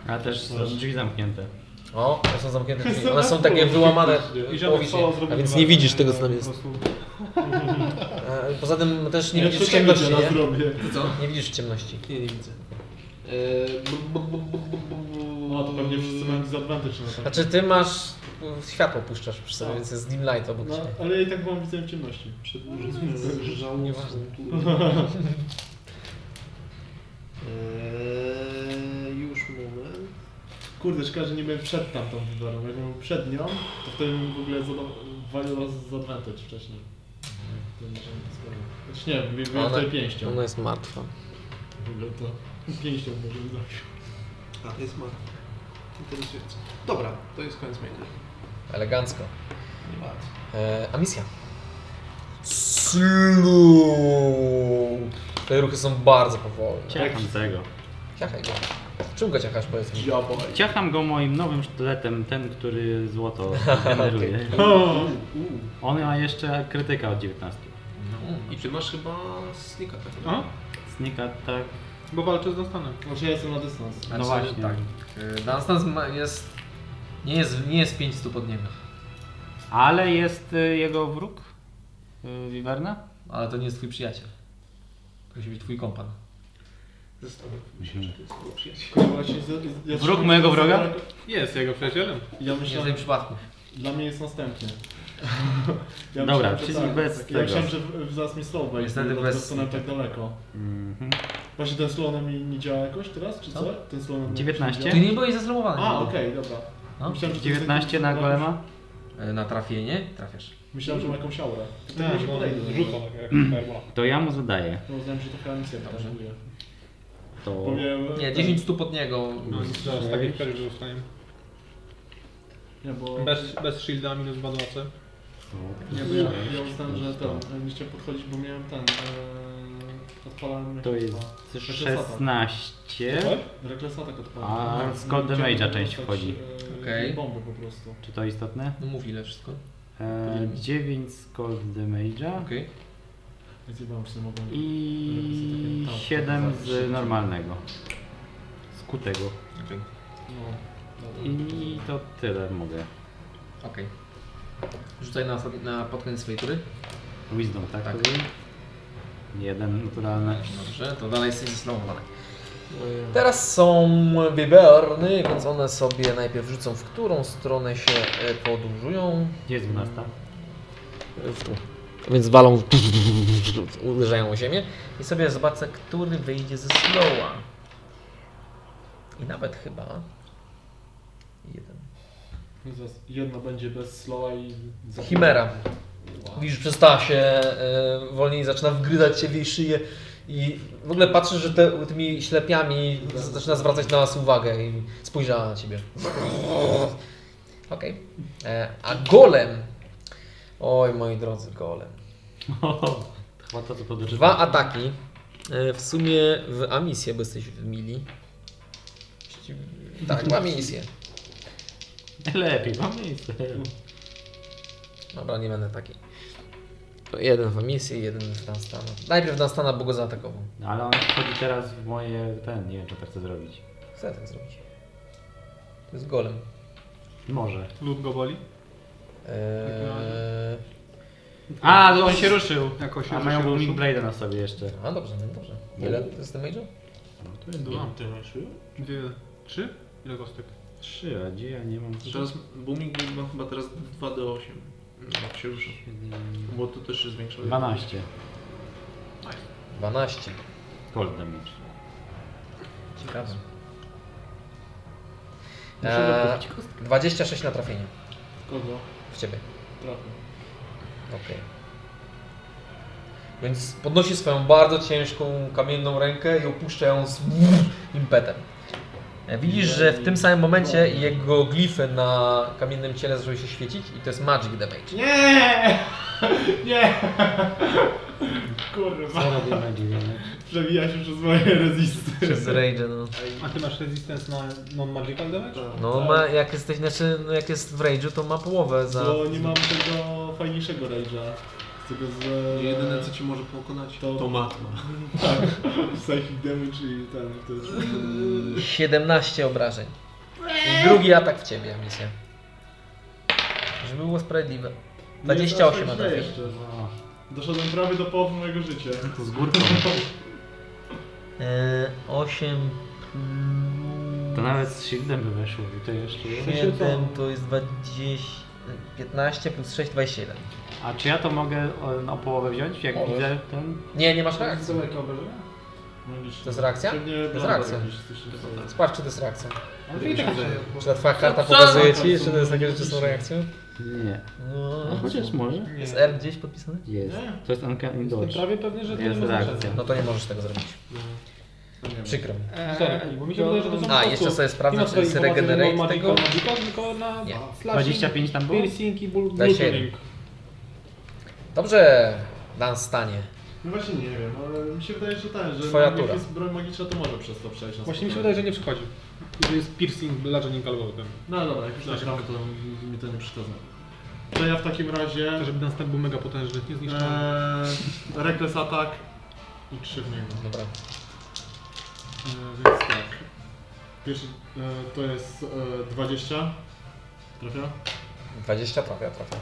S5: A też są drzwi zamknięte.
S1: O, to są zamknięte drzwi. One są takie wyłamane połowicznie, a więc nie widzisz tego, co tam jest. E, Poza tym też nie widzisz w ciemności,
S6: no,
S1: nie?
S6: zrobię.
S3: Co?
S1: Nie widzisz w ciemności.
S3: Nie, nie widzę.
S6: No to pewnie wszyscy mają disadvantage na tak.
S1: Znaczy ty masz... y, Światło puszczasz przy sobie, więc jest dim light obok
S6: No,
S1: ciebie.
S6: ale ja i tak byłam widzę w ciemności.
S1: Nieważne.
S3: Eee, już moment.
S6: Kurde, szkoda, że nie byłem przed tamtą wyborą. Jak byłem przed nią, to wtedy bym w ogóle zadał dwa razy z advantage wcześniej. To nie wiem, skoro- Znaczy nie, wiem, byłem
S1: Ona-
S6: wtedy pięścią.
S1: Ona jest martwa.
S6: W ogóle to pięścią może bym zabił.
S3: A, to jest ma. Interesujące. Dobra, to jest koniec mojego.
S1: Elegancko.
S3: Nie bardzo.
S1: E, a misja? Slow. Te ruchy są bardzo powolne.
S5: Ciacham tego.
S1: Ciachaj go. Czym go ciachasz powiedz mi?
S5: Ciacham go moim nowym sztyletem, ten, który
S1: <laughs>
S5: złoto generuje. <laughs> On ma jeszcze krytyka od 19.
S3: I ty masz chyba snika tak?
S4: A?
S5: Snika tak.
S4: Bo walczę z dostanem.
S6: Znaczy ja jestem na dystans.
S5: No właśnie.
S1: Tak. Y, Dastans ma- jest... Nie jest, nie jest 5 stóp od niego.
S5: Ale jest y, jego wróg?
S2: y, Wiwerna?
S1: Ale to nie jest twój przyjaciel. To musi być twój kompan.
S6: Zastanawiam się, czy to jest mój przyjaciel.
S2: Wróg mojego wroga?
S10: Jest jego przyjacielem.
S6: Ja
S1: Nie
S6: myślałem,
S1: jest przypadku.
S6: Dla mnie jest następny.
S2: Dobra,
S6: myślałem, że
S2: wszystkich bez
S6: tak,
S2: tego.
S6: Ja myślałem, że w- w- zaraz mi slow base,
S1: Niestety
S6: dlatego
S1: bez-
S6: stanąłem tak daleko.
S2: Mhm.
S6: Właśnie ten slow na mi nie działa jakoś teraz, czy co? Ten slow na mnie
S2: 19?
S6: nie
S1: Ty
S6: działa?
S1: nie byłeś zaslomowany.
S6: A, okej, dobra.
S1: No.
S6: Myślałem, że to jest
S2: 19 na
S6: jakiś-
S2: golema?
S1: E, Na trafienie trafiasz.
S6: Myślałem, że ma jakąś aurę. To
S10: Tak,
S6: tak, nie
S10: bo
S6: podejdę.
S10: rzuca tak jak fireball.
S2: To ja mu zadaję.
S6: No, uznałem, że to chyba nic nie atakuje.
S2: To
S6: Bo miałem...
S1: Nie, 10 stóp od niego.
S10: No, nic, teraz takich też już dostaniemy.
S6: Nie, bo...
S10: Bez, bez shielda minus 2 do AC.
S6: Nie, bo ja, ja uznałem, że ten, nie chciałem podchodzić, bo miałem ten, e, odpalałem...
S5: To
S6: jakiś-
S5: jest
S6: Reckless attack.
S5: 16.
S6: Reckless attack odpalałem.
S5: A
S6: No,
S5: z
S6: chciałem
S5: Cold Damage'a
S6: dostać,
S5: część
S6: e,
S5: wchodzi.
S1: Okej.
S6: Bomby po prostu.
S5: Czy to istotne?
S1: No mów ile wszystko.
S5: E, 9 z Cold Damage'a
S1: Okej.
S6: Więc nie wiem, czy mogą...
S5: i 7 z normalnego. Skutego.
S1: Okej.
S6: No, dobra.
S5: I to tyle mogę.
S1: Okej. Rzucaj na, ostat- na pod koniec swojej tury.
S5: Wisdom, tak?
S1: Tak.
S5: to był? Jeden naturalny.
S1: Dobrze, to dalej jesteś zaslomowany. Teraz są wieberny, więc one sobie najpierw rzucą, w którą stronę się e, podróżują.
S5: Gdzie jest 12?
S1: W tu. Więc walą, uderzają o ziemię i sobie zobaczę, który wyjdzie ze slowa. I nawet chyba jeden.
S6: Zaraz Jedna będzie bez slowa i...
S1: Chimera. Widzisz, przestała się e, wolniej, zaczyna wgryzać się w jej szyję i w ogóle patrzysz, że te, tymi ślepiami z, zaczyna zwracać na was uwagę i spojrzała na ciebie. Okej. E, A golem. Oj, moi drodzy, golem.
S5: To Chyba to, co podróżuje.
S1: Dwa ataki. E, W sumie w Amisję, bo jesteś w Mili. Tak, w Amisję.
S5: Lepiej, mam miejsce.
S1: Dobra, nie będę taki. To jeden w Amisję, jeden w Dunstana. Najpierw Dunstana, bo go zaatakował.
S5: No, ale on wchodzi teraz w moje. ten, nie wiem, czy to chcę zrobić.
S1: Chcę tak zrobić. To jest golem.
S5: Może.
S10: Lud go boli.
S1: Eee...
S5: A, to on się ruszył.
S10: Jakoś
S5: A
S10: już
S5: mają
S10: się
S5: Booming
S10: ruszył.
S5: Blade'a na sobie jeszcze.
S1: A dobrze, no dobrze. Ile to jest damage'u?
S5: No,
S10: Dwa.
S3: Ty masz już?
S10: Dwie, trzy? Ile kostek?
S5: Trzy, a gdzie ja nie mam.
S3: Teraz booming Blade ma chyba teraz 2 do 8. Jak się rusza. Bo to też się zwiększa.
S5: 12.
S1: 12.
S5: Cold damage.
S1: Ciekawe.
S5: Muszę
S1: Eee,
S5: dokupić kostkę.
S1: 26 na trafienie.
S6: Kogo?
S1: W ciebie.
S6: Trafię.
S1: Okej. Więc podnosi swoją bardzo ciężką kamienną rękę i opuszcza ją z impetem. E, Widzisz, że w tym samym momencie jego glify na kamiennym ciele zaczęły się świecić i to jest magic damage.
S6: Nie! Nie! Kurwa,
S5: Co robię na dziewięć?
S6: przewija się przez moje rezisty.
S1: <laughs> Przez rage, no.
S10: A ty masz resistance na non-magical damage?
S1: No ma, jak jesteś, znaczy, no jak jest w rage'u, to ma połowę za...
S6: Bo nie mam tego fajniejszego rage'a. Z tego z...
S3: Jedyne co ci może pokonać
S6: To-
S3: to, to matma.
S6: Tak, psychic damage i ten, to jest...
S1: No. 17 obrażeń. I drugi atak w ciebie, misja. Żeby było sprawiedliwe. 28
S6: Nie,
S1: ma
S6: aż tak źle
S1: trafienie.
S6: jeszcze. Doszedłem prawie do połowy mojego życia.
S5: To z górką.
S1: E, 8
S5: To nawet z shieldem by weszło i to jeszcze.
S1: 7 to jest 20... 15 plus 6, 27.
S5: A czy ja to mogę o, o połowę wziąć? Jak
S1: Możesz.
S5: widzę ten.
S1: Nie, nie masz
S6: Tak,
S1: reakcji.
S6: Magiczne.
S1: To jest reakcja?
S6: Pewnie
S1: To jest
S6: bomba
S1: reakcja.
S6: jakieś, coś takiego.
S1: Sprawdź, czy to jest reakcja.
S10: No, Nie,
S1: Czy ta twoja karta pokazuje ci, czy to jest takie rzeczy są reakcją?
S5: Nie.
S1: No.
S5: A chociaż może.
S1: Jest R gdzieś podpisany?
S5: Jest. To jest Uncanny Dodge.
S10: prawie pewny, że to
S5: Jest
S10: nie ma
S5: reakcja.
S10: znaczenia.
S1: No to nie możesz tego zrobić. Przykro mi.
S10: Eee, Sorry, bo mi się wydaje, że to są No, po
S1: Eee, A,
S10: prostu-
S1: jeszcze sobie sprawdzę,
S10: nie ma
S1: czy
S10: swojej
S1: jest
S10: pomocy, że
S1: regenerate
S10: non-magical,
S1: tego?
S10: magical, Tylko na
S1: Nie.
S10: slashing,
S5: 25 tam było?
S10: piercing i ból
S1: Da się.
S10: bludgeoning.
S1: Dobrze, Dan stanie.
S6: No właśnie nie wiem, ale mi się wydaje, że ten, że
S1: Twoja
S6: jak
S1: tura.
S6: jest broń magiczna, to może przez to przejść na
S10: Właśnie mi się
S6: spokojnie.
S10: wydaje, że nie przychodzi. I że jest piercing, bludgeoning albo ten.
S6: No dobra, jak już nagramy, to mi to nie przeszkadza. To ja w takim razie... e,
S10: To, żeby następny był mega potężny, nie zniszczony.
S6: Eee, reckless atak i trzy w niego.
S1: No Dobra.
S6: Eee, więc tak. Pierwszy eee, to jest eee, 20. Trafia?
S1: 20 trafia, trafia.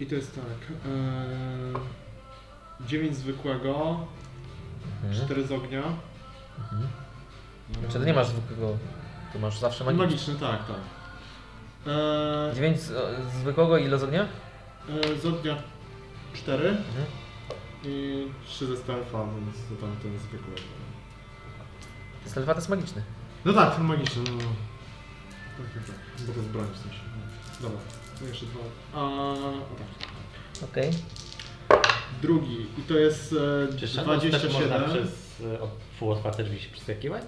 S6: I to jest tak. Eee, 9 zwykłego,
S5: Mhm.
S1: Mhm.
S6: 4 z ognia. E,
S1: Czy ty nie masz zwykłego, ty masz
S10: No
S1: zawsze magiczny.
S6: Magiczny, tak, tak. Eee,
S1: Dziewięć z- o, zwykłego i ile z ognia?
S6: eee, z ognia 4
S5: Mhm.
S6: i 3 ze stealtha, więc to tam ten zwykły.
S1: Stelfat jest magiczny.
S6: No tak, ten magiczny, no. Tak, tak, tak. Bo to jest broń w sensie. No. Dobra, no jeszcze dwa. A, o tak.
S1: Okej.
S6: Drugi i to jest e,
S5: Czy Shadows Step można
S6: 27.
S5: przez e, od- pół otwarte drzwi się przeskakiwać?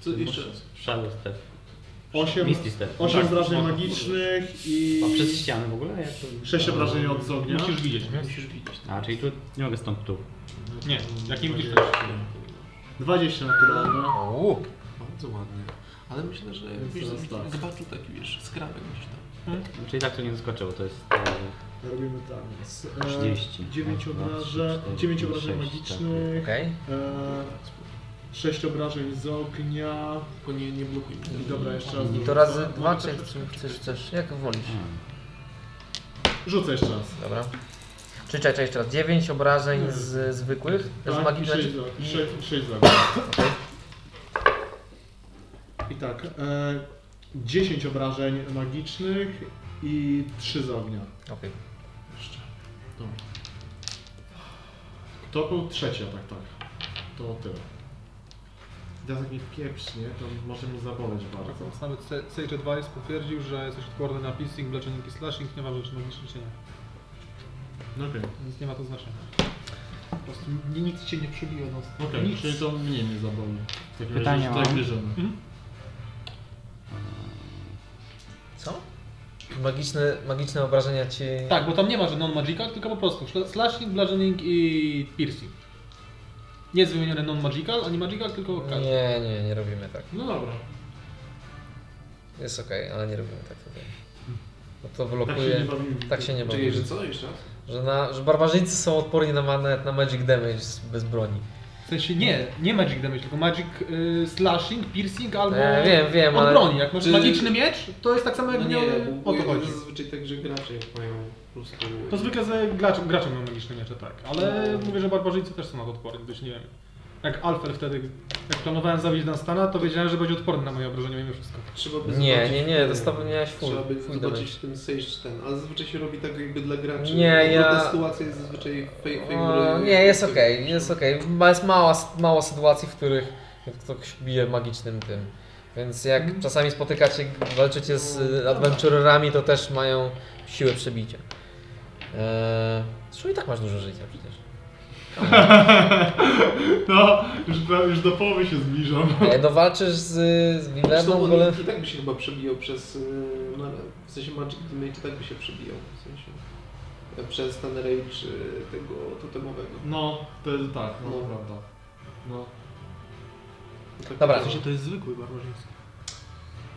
S3: Co, jeszcze raz?
S5: Shadow Step.
S6: 8,
S5: Misty Step.
S6: osiem
S5: Tak,
S6: obrażeń
S5: można.
S6: magicznych i.
S5: A przez ścianę w ogóle? Jak to...
S6: 6 obrażeń od z ognia.
S5: Musisz widzieć.
S10: Musisz widzieć.
S5: A, czyli tu nie mogę stąd tu.
S10: Nie, jak nie widzisz
S6: 20 naturalne.
S1: Uuu.
S3: Bardzo ładnie. Ale myślę, że wiesz,
S6: tak.
S3: zobaczył taki wiesz, skrawek gdzieś tam.
S5: Czyli tak to nie zaskoczę, bo to jest... e,
S6: Robimy tak. więc, e,
S5: 30.
S6: 9
S5: Raz, Tak, dwa,
S6: obrażeń,
S5: trzy, cztery,
S6: 9 obrażeń
S5: sześć, tak.
S6: magicznych.
S1: Okej.
S6: E, 6 obrażeń z ognia.
S3: Tylko nie, nie blokuj mnie.
S6: I dobra, jeszcze raz.
S1: I to razy dwa, czy czy chcesz, chcesz, jak wolisz.
S5: hmm.
S6: Rzucę jeszcze raz.
S1: Dobra. Czy czekaj, czekaj, jeszcze raz. Dziewięć obrażeń z zwykłych, z
S6: Tak, i
S1: magicznych.
S6: 6
S1: znaczy- i-
S6: z ognia. I tak. E, 10 obrażeń magicznych i 3 z ognia.
S1: Okej.
S6: Jeszcze. Dobra. To był trzeci atak, tak. To tyle. Teraz jak mnie wpieprznie, to może mnie zaboleć bardzo.
S4: Tak, nawet Se- Sage Advice potwierdził, że jesteś odporny na piercing, bludgeoning i slashing, nie ma rzeczy magicznych cienia.
S6: No okej.
S4: Więc nie ma to znaczenia. Po prostu ni- nic cię nie przybiło no.
S6: Okej,
S4: nic.
S6: czyli to mnie nie zaboli. Tak
S5: Pytania
S6: że tak
S5: mam?
S6: bierzemy.
S1: Co? Magiczne, magiczne obrażenia ci.
S4: Tak, bo tam nie ma, że non-magical, tylko po prostu szla- slashing, bludgeoning i piercing. Nie jest wymienione non-magical, ani magical, tylko każdy.
S1: Nie, nie, nie robimy tak.
S6: No dobra.
S1: Jest okej, ale nie robimy tak tutaj. Bo to
S6: Tak się nie
S1: blokuje.
S6: bawimy.
S1: Tak się nie
S3: Czyli,
S1: bawimy.
S3: że co jeszcze raz?
S1: Że, na, że barbarzyńcy są odporni na, ma- nawet na magic damage z- bez broni.
S4: W sensie nie, nie magic damage, tylko magic y, slashing, piercing
S6: No,
S4: albo
S1: E, wiem, wiem,
S4: od
S1: ale-
S4: broni. Jak masz
S1: Czy-
S4: magiczny miecz, to jest tak samo jak
S3: No
S4: no
S3: nie,
S4: o to
S3: bo
S4: chodzi.
S3: jest zazwyczaj tak, że gracze jak mają po prostu...
S4: To zwykle z graczem, graczem mają magiczne miecze, tak. Ale mówię, że barbarzyńcy też są na to odporni, gdyż nie wiem. Jak Alfer wtedy, jak planowałem zabić Dunstana, to wiedziałem, że będzie odporny na moje obrażenia mimo wszystko.
S3: Trzeba by
S1: Nie,
S3: zobaczyć,
S1: nie, nie,
S3: wiem,
S1: dostawę miałeś full-
S3: Trzeba by
S1: full
S3: zobaczyć ten sage ten, ale zazwyczaj się robi tak jakby dla graczy.
S1: Nie, ja-
S3: Ta sytuacja jest zazwyczaj fake,
S1: O, nie, jest okej, jest okej. Ma- Jest mało, mało sytuacji, w których ktoś bije magicznym tym. Więc jak czasami spotykacie, walczycie z y, adventurerami, to też mają siłę przebicia. Eee, zresztą i tak masz dużo życia przecież.
S6: No, już, pra- już do połowy się zbliżam.
S1: Eee, no walczysz z, z Willerną,
S3: Zresztą
S1: w
S3: on
S1: ogóle...
S3: i tak by się chyba przebijał przez... y, No, w sensie Magic Teammate i tak by się przebijał. W sensie... y, Przez ten rage y, tego totemowego.
S6: No, to jest tak, no,
S3: No.
S6: prawda. No.
S3: Tak
S1: Dobra.
S3: w sensie
S10: To jest zwykły barbarzyński.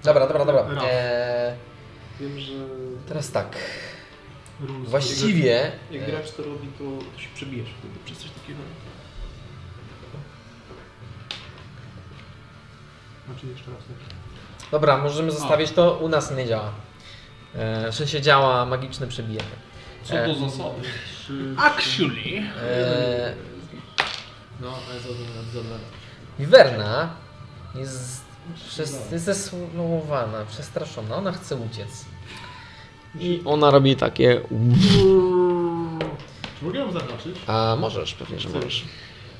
S1: Dobra, dobra, dobra.
S10: Raf.
S1: Eee,
S3: Wiem, że...
S1: teraz tak.
S10: Rules.
S1: Właściwie...
S3: Jak gracz to robi, to, to się przebijesz wtedy przez coś takiego.
S10: Znaczy jeszcze raz. tak.
S1: Dobra, możemy zostawić to, u nas nie działa. Eee, w sensie działa magiczne przebijanie.
S10: Co to za osoby?
S4: Actually...
S1: Eee,
S3: No, ale za
S1: Wiwerna jest, przez, jest zesłowana, przestraszona, ona chce uciec. I ona robi takie...
S6: Czy mogę ją zaznaczyć?
S1: A możesz, pewnie, że możesz.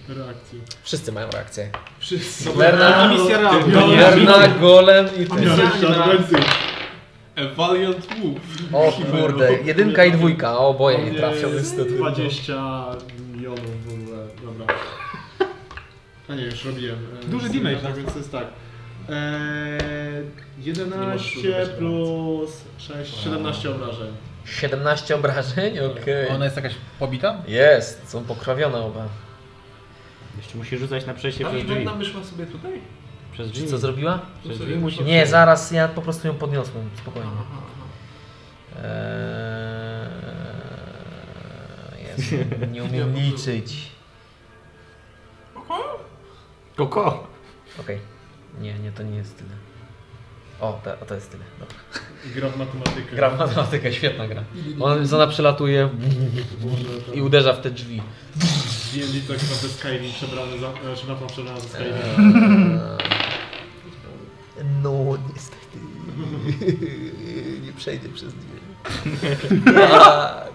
S6: Reakcji.
S1: Wszyscy mają reakcję.
S6: Wszyscy.
S1: Werna,
S10: Misja
S1: Werna, Golem i ty.
S10: A Valiant Move.
S1: O kurde, jedynka i dwójka, o oboje nie trafią niestety. no.
S6: 20 milionów w ogóle, dobra. A nie, już robiłem. e,
S4: Duży
S6: z-
S4: damage,
S6: tak, więc jest tak. Eee,
S3: Nie możesz
S6: 11
S3: używać
S6: plus 6, 17 obrażeń.
S1: 17 obrażeń? Okej.
S4: Ona jest jakaś pobita?
S1: Jest, są pokrawione oba.
S5: Jeszcze musi rzucać na przejście
S3: A
S5: przez drzwi.
S3: Wiwerna wyszła sobie tutaj?
S5: Przez
S1: Czy
S5: drzwi.
S1: co zrobiła?
S5: Przez
S3: Co
S5: drzwi
S3: zrobiła?
S5: musi
S1: Nie, zaraz, ja po prostu ją podniosłem, spokojnie.
S3: Aha, aha.
S1: Eee, Jezu, nie umiem liczyć.
S5: Koko!
S1: Okej. Nie, nie, to nie jest tyle. O, te, o to jest tyle. Dobra.
S6: Gra w matematykę.
S1: Gra w matematykę, świetna gra. On, ona przelatuje i uderza w te drzwi.
S6: D&D to jak naprawdę Skyrim przebrany za... Znaczy mapa przebrana za Skyrim.
S1: No, niestety. <laughs> Nie przejdę przez dwie. tak.
S6: Ale...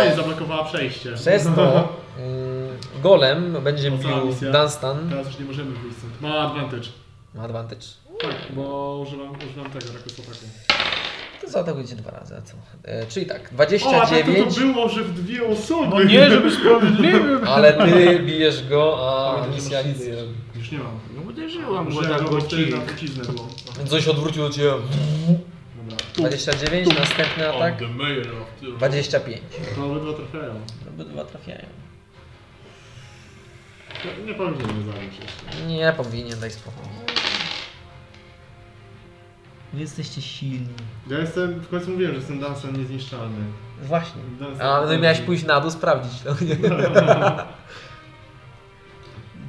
S1: Ale
S6: No zablokowała przejście.
S1: przez to mm, golem będzie
S6: Pozwała
S1: bił
S6: misja.
S1: Dunstan.
S6: <laughs> Teraz już nie możemy wyjść stąd. Ma advantage.
S1: Ma advantage.
S6: Tak, bo używam, używam tego, rakosotaku.
S1: To zaatakujcie dwa razy, a co? E, czyli tak,
S6: O, a tak to,
S1: 29,
S6: to było, że w dwie osoby.
S4: No nie, żeby sprawiedliwy.
S1: ale
S6: <laughs>
S1: ty bijesz go, a
S6: Ale nie
S1: misja
S6: masz
S1: nic
S6: nic.
S1: nie robi.
S6: Już nie mam.
S2: No uderzyłam go
S6: Użyłem
S2: tak
S6: go bo wtedy na
S2: godzinie.
S6: truciznę było.
S1: Więc Coś odwróciło cię.
S6: Dobra.
S1: 29, następny atak. 25.
S6: To obydwa trafiają.
S1: Obydwa trafiają.
S6: To Nie powinienem zabić jeszcze.
S1: Nie powinien, daj spokój. Wy jesteście silni.
S6: Ja jestem, w końcu mówiłem, że jestem dansem niezniszczalny.
S1: Właśnie.
S6: Dunstan-
S1: A no i miałeś pójść na dół sprawdzić. No.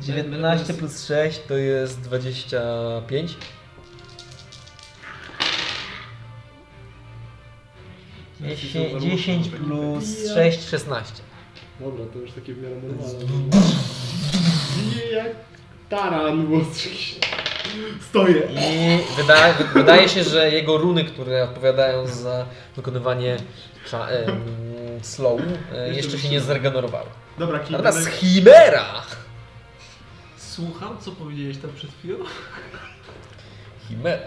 S1: 19 plus 6 to jest 25. Dziesię- 10 plus 6, 16.
S6: <laughs> Dobra, to już takie w miarę normalne. Bije jak taran, bo stoję.
S1: I wydaje, wy- wydaje się, że jego runy, które odpowiadają za wykonywanie cza, em, slow, e, jeszcze się nie zregenerowały.
S6: Dobra, kij
S1: Natomiast
S6: dalej.
S1: Chimera!
S3: Słucham, co powiedziałeś tam przed chwilą?
S1: Chimera.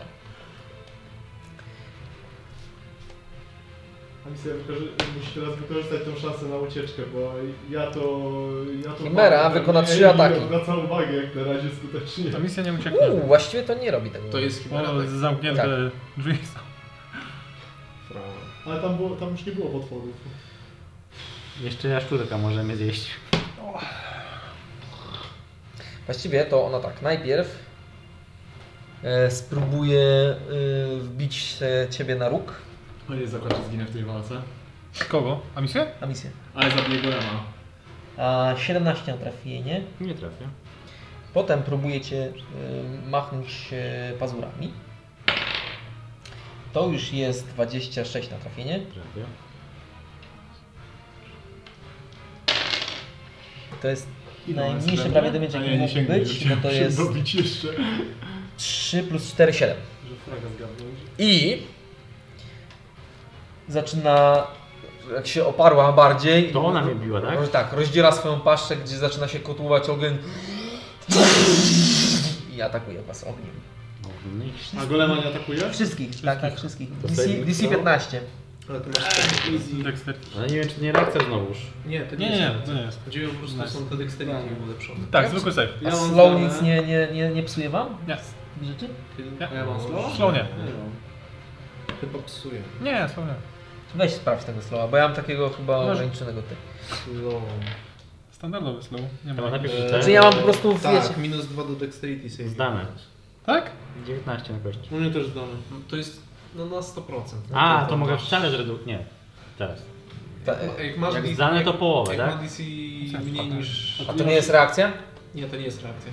S6: A mi sobie wykorzy- musi teraz wykorzystać tą szansę na ucieczkę, bo ja to... Ja to
S1: Chimera
S6: mam-
S1: wykona
S6: ja-
S1: trzy
S6: ja
S1: ataki.
S6: Nie odwraca uwagę jak na razie skutecznie.
S4: Ta misja nie ucieknie.
S1: Uuu, Hmm, właściwie to nie robi tego.
S3: To jest chimera.
S4: O,
S3: Tak.
S4: zamknięte
S1: Tak.
S4: drzwi są.
S6: Ale tam, było, tam już nie było potworów.
S5: Jeszcze jaszczurka możemy zjeść.
S1: Właściwie to ona tak, najpierw e, spróbuje e, wbić e, ciebie na róg
S6: No nie zakładam, że zginę w tej walce.
S4: Kogo? A misję?
S1: na misję.
S6: Ale zabiję Golema.
S1: A 17 na trafienie.
S2: Nie trafię.
S1: Potem próbujecie y, machnąć y, pazurami. To już jest 26 na trafienie.
S2: Trafię.
S1: To jest
S6: Ile ona jest
S1: najmniejszy
S6: ode
S1: prawie
S6: mnie?
S1: damage,
S6: A
S1: jaki
S6: ja nie
S1: mógł
S6: sięgnę,
S1: być,
S6: żeby
S1: bo to
S6: się
S1: jest
S6: dobić jeszcze.
S1: 3 plus 4, 7.
S6: Że fraga zgarnął.
S1: I zaczyna, jak się oparła bardziej...
S2: To ona mnie biła, tak?
S1: Roz- Tak, rozdziela swoją paszczę, gdzie zaczyna się kotłować ogień. I atakuje was ogniem.
S5: No,
S6: A Golema nie atakuje?
S1: Wszystkich, tak, tak, wszystkich.
S5: To
S1: DC,
S5: saving
S1: DC
S5: throw?
S1: 15.
S3: Ale ty masz ten easy.
S4: Dexter.
S5: Ale nie wiem, czy to nie reakcja znowuż.
S3: Nie, to
S4: Nie,
S3: nie,
S4: nie,
S3: jest.
S4: to nie jest.
S3: Chodziło po prostu, są te dexterity ulepszone.
S4: Tak, zwykły save.
S1: A
S6: Ja mam
S1: slow
S6: zdane.
S1: nic nie, nie, nie, nie psuje wam?
S4: Nie.
S1: Rzeczy?
S3: A ja mam slow?
S4: Slow nie.
S3: Chyba psuję.
S4: Nie, slow nie.
S1: Weź sprawdź tego slowa, bo ja mam takiego chyba
S4: Może-
S1: ograniczonego typu.
S3: Slow.
S4: Standardowy slow. Nie
S5: Chyba
S4: ma.
S5: najpierw
S3: Eee,
S1: Znaczy
S5: rzucę.
S1: ja mam po prostu, wiecie...
S3: Tak, minus 2 do dexterity save.
S5: Zdane.
S4: Tak?
S5: 19 na kości.
S6: U mnie też zdane.
S3: No, to jest no, na 100%. No,
S5: A, to
S3: masz-
S5: mogę w challenge redukować. Nie. Teraz.
S1: Ta, e,
S3: e, Jak masz
S5: Jak
S3: DC
S5: zdane, to połowę,
S3: jak
S5: tak?
S3: Jak ma DC mniej niż...
S1: a to nie jest reakcja?
S3: Nie, to nie jest reakcja.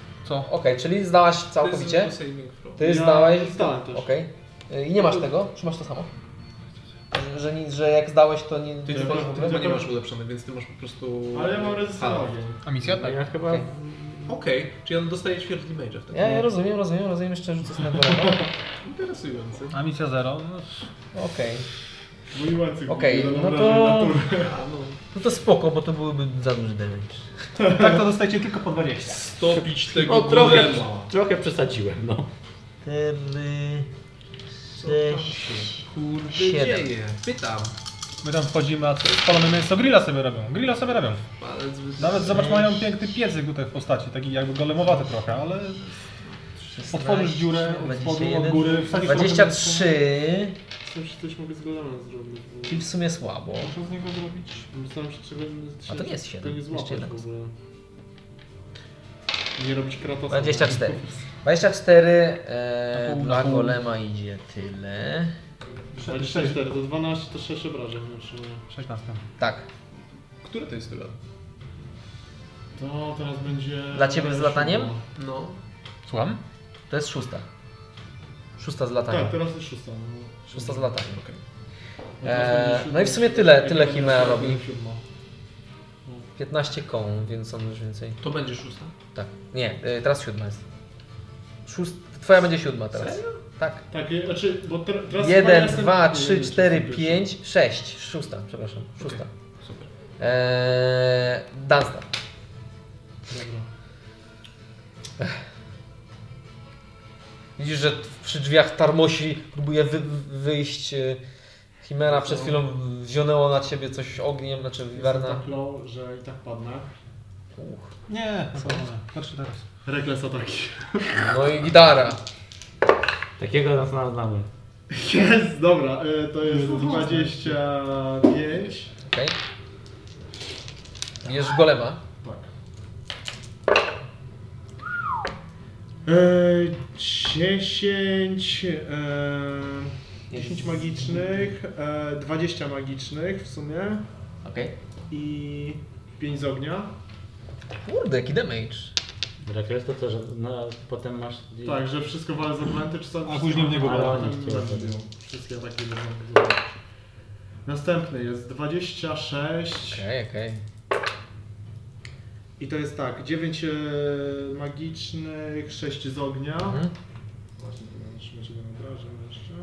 S1: Okej, czyli zdałaś
S3: To jest
S1: całkowicie.
S3: zwykły saving throw.
S1: Ty
S6: Ja
S1: zdałeś...
S6: zdałem też.
S1: Okej. Y, I nie masz tego? Czy masz to samo? Że, że, nic- że jak zdałeś to nie...
S3: Ty
S1: nie
S3: nie,
S1: masz
S3: masz,
S1: w
S3: ty
S1: ogóle?
S3: chyba nie masz ulepszonych, więc ty masz po prostu...
S6: Ale ja mam rezystę na
S3: Halo.
S6: ogień.
S4: A misja tak.
S5: Ja chyba...
S1: Okej.
S3: Okej, czyli on dostaje ćwierć damage'a wtedy.
S1: Ja, ja rozumiem, rozumiem, rozumiem, jeszcze rzucę sobie na kolego.
S3: Interesujące. <laughs>
S4: A misja zero. No,
S1: <laughs> Okej.
S6: Mój łańcuch.
S1: Okej,
S6: był
S1: no
S6: na
S1: to-
S6: naturę.
S3: A, no.
S1: No to spoko, bo to byłoby za duży damage.
S4: tak to dostajecie tylko po 20.
S3: Stopić tego
S5: No trochę,
S3: golema.
S5: trochę przesadziłem, no.
S1: 4...
S3: Co tam
S1: 6...
S3: się, kurde,
S1: siedem.
S3: dzieje? Pytam.
S4: My tam wchodzimy, a co? Spalone mięso grilla sobie robią. Grilla sobie robią.
S3: Palec wy-
S4: Nawet zobacz, mają piękny piecyk tutaj w postaci, taki jakby golemowaty trochę, ale otworzysz dziurę od spodu, od góry, wsadzisz
S1: 23,
S6: Myślę, że coś mogę z Golemem zrobić. bo-
S1: czyli w sumie słabo.
S4: Co z niego zrobić?
S6: Myślałem, że trzeba
S1: A to nie jest siedem,
S6: tego nie
S1: jeszcze
S6: złapać
S1: jeden.
S6: w ogóle. Nie robić kratosa.
S1: 24. 24
S4: Na
S1: e,
S4: pół,
S1: dla
S4: na pół.
S1: golema idzie tyle.
S6: 24 to 12 to 6 obrażeń. znaczy nie.
S4: 16.
S1: Tak,
S3: Który to jest tylan?
S6: To teraz będzie...
S1: Dla ciebie z lataniem?
S3: No.
S4: Słucham?
S1: to jest szósta. Szósta z latami.
S6: Tak, teraz jest szósta. no.
S1: Szósta z latami.
S6: Okej.
S1: E, no i w sumie tyle, tyle Chimera robi. 15 kon, więc on już więcej.
S3: To będzie szósta?
S1: Tak. Nie, y, teraz siódma jest. Szóst... Twoja będzie siódma teraz. Tak.
S6: Tak, y, znaczy, bo ter, teraz chyba ja
S1: Jeden,
S6: jestem-
S1: dwa,
S6: nie,
S1: trzy,
S6: nie,
S1: cztery,
S6: jestem pierwszy.
S1: pięć, sześć. Szósta, przepraszam. Szósta.
S3: Super.
S1: Eee, Dunstan.
S6: Dobra.
S1: Widzisz, że t- przy drzwiach tarmosi próbuje wy, wyjść e, Chimera. Przed chwilą wzionęło na ciebie coś ogniem, znaczy
S6: Jestem
S1: Werna.
S6: tak low, że i tak padnę.
S8: Nie, co? Patrzcie teraz.
S6: Rekles ataki.
S1: No i gitara.
S5: Takiego nas znamy.
S6: Jest, dobra, y, to jest 25.
S1: Okej. Bierz golema.
S6: Tak. Eee, 10, eee, 10 magicznych, eee, 20 magicznych w sumie
S1: Okej.
S6: i 5 z ognia.
S1: Kurde, jaki damage.
S5: Rekres to co, że na, potem masz...
S6: Tak, że wszystko walę z obręty, czy co?
S5: A później w niego Tak.
S6: Ale
S5: walę.
S6: nie chciałem
S5: Chciałem.
S6: tego. tak. Wszystkie ataki będą zdobyć. Następny jest 26
S1: Okej, okej.
S6: i to jest tak, 9 e, magicznych, 6 z ognia.
S1: Mhm.
S6: Właśnie, to trzymać się na obrażę jeszcze.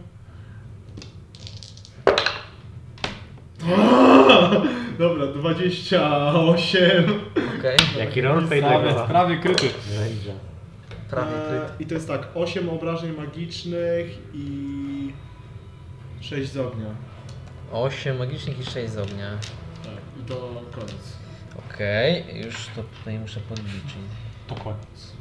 S6: <laughs> Dobra, 28.
S1: Okej.
S5: Jaki roleplay
S4: Prawie,
S5: tego?
S4: prawie kryty.
S5: Rage'a.
S1: Prawie
S6: E,
S1: kryt.
S6: I to jest tak, 8 obrażeń magicznych i 6 z ognia.
S1: 8 magicznych i 6 z ognia.
S6: Tak, i to koniec.
S1: Okej, już to tutaj muszę podliczyć.
S4: To koniec.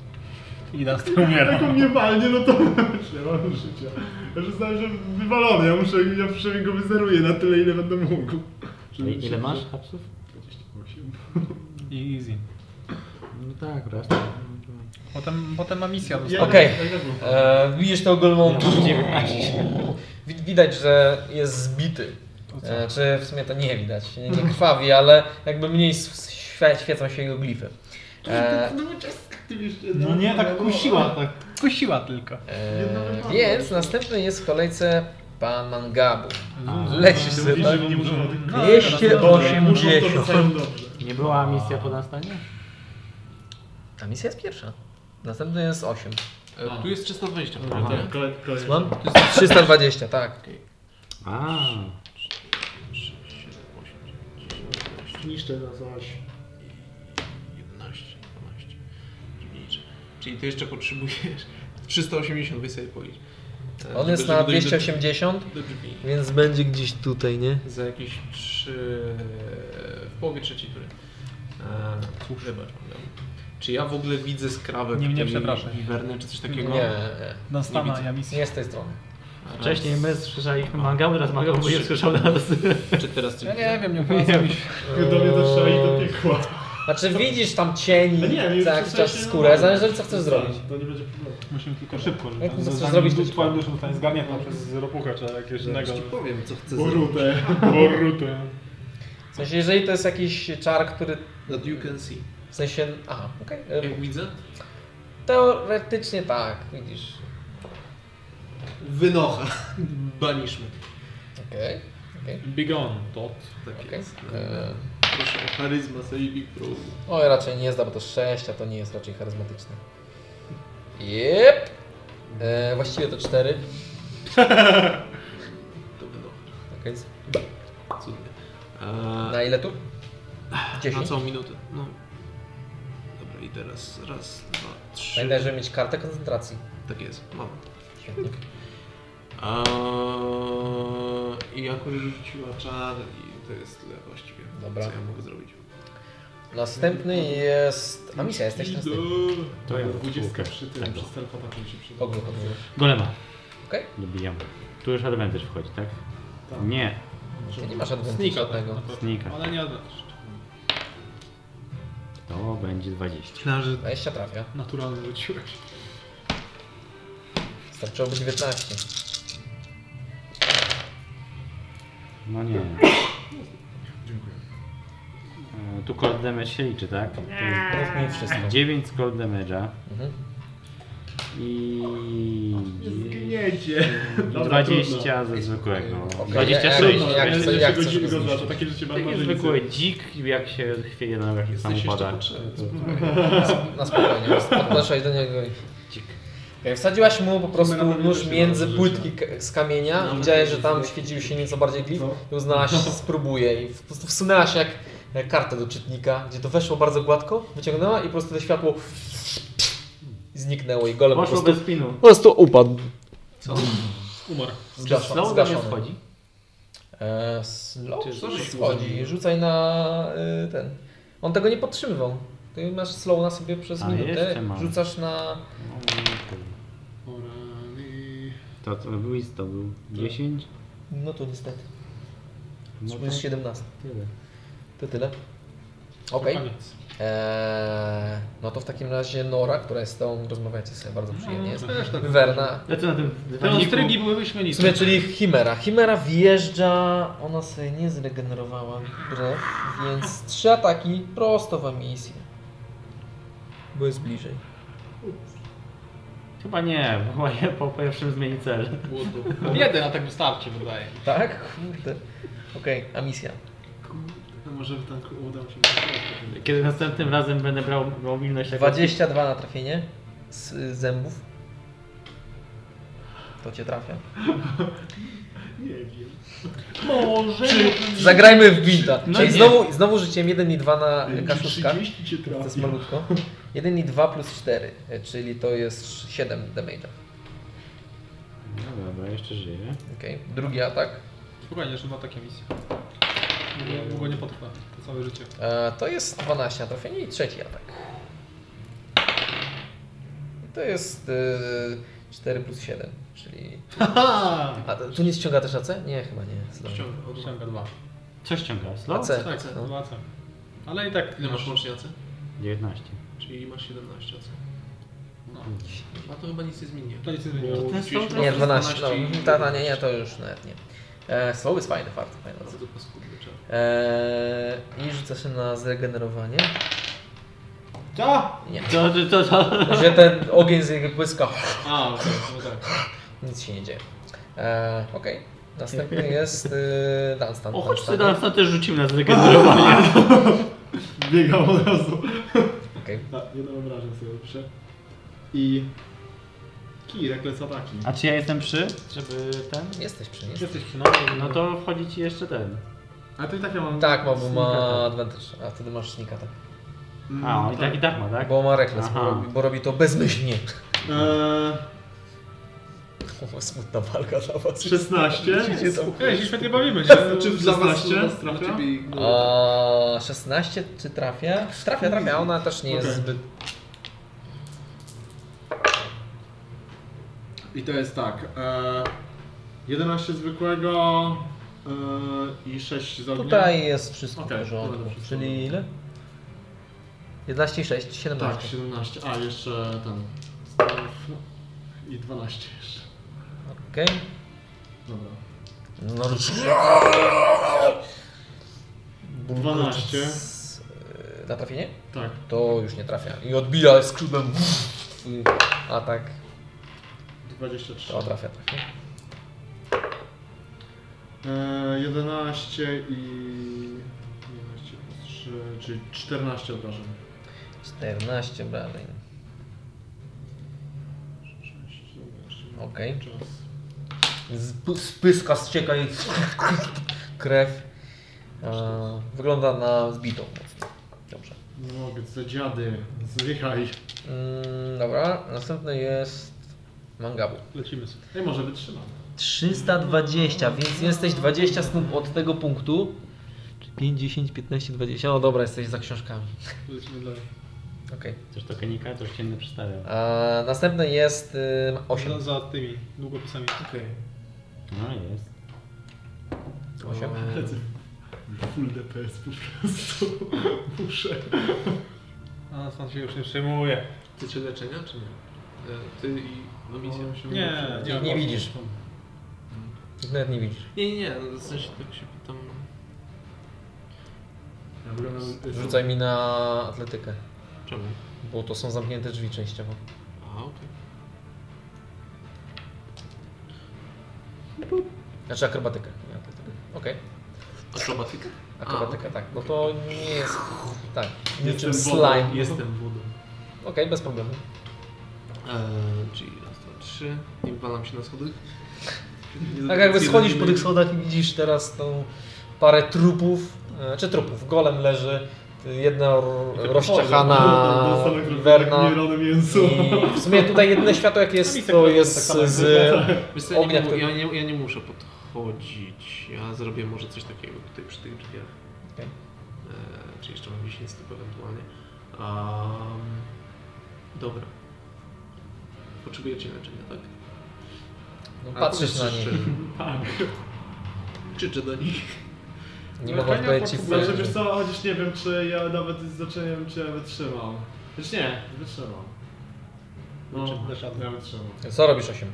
S4: I nas to umiera.
S6: Jak on mnie walnie, no to nie mam życia. Ja już znałem, że wywalony, ja muszę, ja przynajmniej go wyzeruję na tyle, ile będę mógł.
S5: Ile,
S6: Żeby
S5: ile
S6: się-
S5: masz hapsów?
S6: 28.
S4: I easy.
S5: No tak, raz.
S4: Potem, potem ma misja.
S6: Ja-
S1: Okej.
S6: ja tak mam.
S1: E, Widzisz tego golmą.
S5: Ja mam 19.
S1: Wi- Widać, że jest zbity.
S4: No
S1: E, Czy w sumie to nie widać, nie, nie krwawi, ale jakby mniej s- świe- świecą się jego glify. E,
S6: No czeska, ty wiesz,
S4: No nie, tak
S6: no,
S4: kusiła, tak. Kusiła tylko.
S1: e, więc następny jest w kolejce pan Mangabu.
S5: A,
S1: Lecisz sobie.
S6: Widzisz,
S1: tak?
S6: że mu nie muszę chodzić.
S4: No,
S1: 280.
S6: Muszą to rzucają dobrze.
S5: Nie była misja po nastanie?
S1: A misja jest pierwsza. Następny jest 8.
S3: E,
S6: Tak.
S3: Tu jest 320,
S5: Aha.
S3: prawda?
S6: Kolej, kolej.
S1: Mam? 320, tak.
S5: A,
S6: Niszczę na zaś.
S3: 11, 12, 9. Czyli ty jeszcze potrzebujesz <laughs> 380, wy sobie policz. E,
S1: On jest
S3: żeby
S1: na
S3: dojść do-
S1: 280,
S3: Do drzwi.
S1: więc będzie gdzieś tutaj, nie?
S3: Za jakieś 3... w połowie trzeciej tury. E, Cóż. Wybacz, Magda. Czy ja w ogóle widzę skrawę
S4: Nie, nie, przepraszam.
S3: Wernę czy coś takiego?
S1: Nie, nie.
S4: Nastana,
S3: widzę.
S4: ja misja.
S1: Nie z tej strony.
S6: Tak.
S3: Raz,
S5: wcześniej my słyszeliśmy mangał, teraz mangał
S3: Trzy.
S5: nie słyszał nas.
S3: Czy teraz coś
S4: Ja
S3: widzę?
S4: nie wiem, nie opłaca mi się.
S6: Do mnie też trzeba iść do piekła.
S1: Yy, Znaczy widzisz tam cień,
S6: No nie, no. nie,
S1: co jakiś Tak, czas skórę, zależy co chcesz zrobić.
S6: To nie będzie problemu.
S4: Musimy tylko szybko, żeby
S1: Jak
S4: tam
S1: to chcesz
S4: zanim
S1: zrobić, to
S4: duch
S1: ci
S4: twoim
S1: powiem.
S4: duszą zostanie zgarnięta przez ropucha czy jakiegoś innego.
S3: Ci powiem, co chcę zrobić.
S6: Borutę.
S4: Boruty.
S1: W sensie, jeżeli to jest jakiś czar, który
S3: That you can see.
S1: w sensie... Aha, okej. E,
S3: Jak widzę?
S1: Teoretycznie tak, widzisz.
S3: Wynocha. Baniszmy.
S1: Okej, okej,
S4: Big on, tot.
S3: Tak
S1: okej.
S3: jest.
S1: Eee,
S3: Proszę o charyzma saving throw.
S1: Oj, raczej nie zda, bo to 6, a to nie jest raczej charyzmatyczne. Jep. Eee, właściwie to 4.
S3: To wynocha.
S1: Okej.
S3: Cudnie. Eee,
S1: Na ile tu?
S3: Na
S1: 10.
S3: całą minutę. No. Dobra, i teraz raz, dwa, trzy.
S1: Pamiętaj, żeby mieć kartę koncentracji.
S3: Tak jest, mam.
S1: Świetnie.
S3: A, I jako już rzuciła czar i to jest tyle właściwie.
S1: Dobra.
S3: Co ja mogę zrobić?
S1: Następny jest... A misja, jesteś następny.
S5: To ja
S6: 20
S5: dwójkę.
S6: przy tym,
S5: Tak.
S6: przez telefon tak mi się przyda.
S1: Ogólnie podróż.
S5: Golema.
S1: Okej.
S5: Dobijam. Tu już advantage wchodzi, tak?
S6: Tak.
S5: Nie,
S1: Ty nie masz adwentu
S4: Snika
S1: żadnego.
S5: snika.
S4: Ale nie oddasz.
S5: To będzie 20.
S3: Myślałem, że
S1: 20 trafia.
S4: Naturalnie rzuciłeś.
S1: Starczyłoby 19.
S5: No nie. E, Tu cold damage się liczy, tak? To
S1: Mów mi wszystko.
S5: jest 9 z cold damage'a.
S1: Mhm.
S5: I...
S6: Zgniecie. Dobra,
S5: 20
S6: trudno.
S5: ze zwykłego.
S6: Okej.
S5: 26.
S6: No, Jak- jak-
S5: Będzie-
S6: jak chcesz go zniszczyć? Takie życie ma
S5: Taki
S6: marnicy.
S5: zwykły dzik, jak się chwieje na nogach i sam
S6: jeszcze
S5: upada.
S1: Na spokojnie, podeszłaś do niego i... E, Wsadziłaś mu po prostu nóż między płytki k- z kamienia i widziałeś, że tam świecił się nieco bardziej glif i uznałaś, spróbuję i po prostu wsunęłaś jak jak kartę do czytnika, gdzie to weszło bardzo gładko, wyciągnęła i po prostu to światło zniknęło i golem po
S5: Poszło
S1: prostu,
S5: bez pinu.
S1: po prostu upadł.
S5: Co?
S1: Umarł.
S5: Czy slow
S1: Zgaszony.
S5: nie schodzi?
S1: E, slow
S5: Czy
S1: slow
S5: coś
S1: schodzi, rzucaj na y, ten. On tego nie podtrzymywał. Ty masz slow na sobie przez
S5: A,
S1: minutę,
S5: jeszcze mam.
S1: rzucasz na...
S5: To co był to był
S1: Tak.
S5: 10?
S1: No to niestety.
S5: No
S1: Jest
S5: to
S1: 17.
S5: Tyle.
S1: To tyle. Okej.
S5: koniec.
S1: Eee, no to w takim razie Nora, która jest z tą, rozmawiacie sobie bardzo przyjemnie. Jest
S4: też tak. No
S1: Werna.
S5: Znaczy na tym
S1: Te ostrygi
S4: były
S1: W
S4: wyśmienite.
S1: sumie, czyli Chimera. Chimera wjeżdża, ona sobie nie zregenerowała brew, więc trzy ataki prosto w misję. Bo jest bliżej.
S5: Chyba nie, bo ja po pierwszym zmieni cel.
S4: Jeden atak wystarczy, wydaje.
S1: Tak? Kurde. Okej, a misja.
S6: A może tak uda mi się.
S5: Kiedy następnym razem będę brał mobilność jako-
S1: 22 na trafienie z y, zębów. To cię trafia.
S6: Nie wiem.
S4: Może.
S1: Zagrajmy w Gwinta.
S4: No
S1: Czyli
S4: nie.
S1: znowu, znowu rzuciłem 1 i 2 na
S6: Czy
S1: kaszuszka.
S6: 30 cię
S1: To jest
S6: trafi?
S1: malutko. 1 i 2 plus 4, czyli to jest 7 damage'a.
S5: No dobra, jeszcze żyję.
S1: Okej, drugi atak.
S4: Spokojnie, jeszcze dwa takie misje. Długo- Długo nie potrwa, to całe życie.
S1: E, to jest 12 na trafienie i trzeci atak. I to jest e, 4 plus 7, czyli... A to- tu nie ściąga też AC? Nie, chyba nie. Ściąga.
S4: Ściąga dwa.
S5: Co ściąga? Slow?
S1: AC.
S4: Tak,
S1: No.
S4: dwa AC. Ale i tak
S3: Ile masz łącznie AC?
S5: 19.
S3: Czyli masz 17 AC. No. A to chyba nic nie zmieni.
S4: To nic nie zmieniło.
S3: Bo
S4: To ten
S3: rzuciłeś
S4: slow
S1: Nie,
S3: po
S1: 12. No,
S3: 12 i-
S1: ta, ta, nie, nie, to już nawet nie. E, Slow jest fajny, fart. fajny.
S3: Bardzo paskudny czar.
S1: E, I rzuca się na zregenerowanie.
S6: Co?
S1: Nie.
S5: To, to, to, to.
S1: Że ten ogień z jego błyska.
S6: A, okej, no tak.
S1: Nic się nie dzieje. E, Okej. Następny jest y, Dunstan.
S5: O, choć ty
S1: Dunstan.
S5: teraz to też rzucimy na zregenerowanie.
S6: Biegam od razu.
S1: Okej.
S6: Tak, nie wyobrażam sobie dobrze. I... Kij, rekles ataki.
S5: <laughs> A czy ja jestem przy? Żeby ten?
S1: Jesteś przy nim.
S6: Jesteś przy
S5: No to wchodzi ci jeszcze ten.
S6: A to i tak ja mam...
S1: Tak, bo
S5: Sneak
S1: ma
S5: attack.
S1: advantage, a wtedy masz sneak attack.
S5: A,
S6: Mm,
S5: on i tak i tak ma, tak?
S1: Bo ma reckless, bo
S5: Aha.
S1: robi, bo robi to bezmyślnie. <laughs>
S6: Eee,
S1: O, Smutna walka dla was.
S6: 16.
S1: Widzicie to?
S4: Ej, się świetnie bawimy,
S3: <laughs>
S6: Czy
S4: że...
S6: w 16? Trafia?
S1: A, 16 czy trafia? Trafia, trafia, ona też nie jest
S6: Okej.
S1: zbyt...
S6: I to jest tak. E, 11 zwykłego e, i 6 z ognia.
S1: Tutaj jest wszystko w
S6: Okej,
S1: porządku.
S6: dobra, wszystko.
S1: Czyli ile? 11 i 6, 17.
S6: Tak, 17. A, jeszcze ten. staw I 12 jeszcze. Tak.
S1: Okej.
S6: Dobra.
S1: No rusz.
S6: 12.
S1: Yy, Na trafienie?
S6: Tak.
S1: To już nie trafia. I odbija skrzydłem. Twój Atak.
S6: 23.
S1: To trafia, tak, trafia.
S6: E, 11 i... 11 plus 3, czyli 14 obrażeń.
S1: 14 obrażeń. Okej.
S6: Czas.
S1: Z- Spyska ścieka i <laughs> krew. E, wygląda na zbitą mocno. Dobrze.
S6: Nie mogę, co dziady. Zjechaj.
S1: Mm, dobra, następny jest Mangabu.
S4: Lecimy sobie.
S6: Ej, może wytrzymam.
S1: 320, więc jesteś 20 stóp od tego punktu. Czy 5, 10, 15, 20. No dobra, jesteś za książkami.
S6: Lecimy dalej.
S1: Okej.
S5: Coś to kenika, coś ciemny przystawiam.
S1: E, Następny jest y, 8.
S4: Za, za tymi długopisami.
S6: Okej.
S5: No jest.
S1: 8.
S6: Lecę. Full DPS po prostu. Muszę.
S4: A stąd się już nie przejmuje.
S3: Ty czy leczenia, czy nie? E, Ty i no misja.
S4: Nie,
S1: Nie, nie widzisz. Nawet nie widzisz.
S3: Nie, nie, nie, no, w sensie tak się pytam.
S6: Ja wyglądam...
S1: Rzucaj mi na atletykę,
S3: Czemu?
S1: bo to są zamknięte drzwi częściowo.
S3: Aha, okej.
S1: Znaczy akrobatykę. nie atletykę. Okej.
S3: Akrobatykę?
S1: Akrobatykę, tak. No to nie jest. Tak. Niczym
S3: Jestem wodą,
S1: slime.
S3: Jestem wodą.
S1: Okej, bez problemu.
S3: Eee, czyli raz, dwa, trzy. Nie wywalam się na schody. Nie
S1: Tak jakby
S3: zredukuję
S1: schodzisz
S3: do
S1: po tych
S3: jednego.
S1: schodach i widzisz teraz tą parę trupów, e, czy trupów, golem leży, ty- jedna r- rozczachana
S6: Boże, to same tak
S1: werna
S6: jak mielone mięso.
S1: i w sumie tutaj jedyne światło jakie jest, to jest z
S3: Wiesz co,
S1: z
S3: ja nie
S1: ognia,
S3: mu-
S1: który...
S3: ja, nie, ja nie muszę podchodzić. Ja zrobię może coś takiego tutaj przy tych drzwiach.
S1: Okej.
S3: Eee, czy jeszcze mam 10 stóp ewentualnie. Um, dobra. Potrzebujecie leczenia, tak?
S1: No,
S3: A
S1: patrzysz na
S3: powiedz
S1: nich.
S3: szczerze. Tak. Krzyczę do nich.
S1: Nie
S6: No,
S1: mogę
S6: nie
S1: odpowiedzieć ci w
S6: Znaczy wiesz co, chociaż nie wiem czy ja nawet z znaczy, znaczeniem cię wytrzymam. Wiesz nie, wytrzymam. No,
S1: Znaczy,
S6: ja wytrzymam.
S1: Co robisz 8?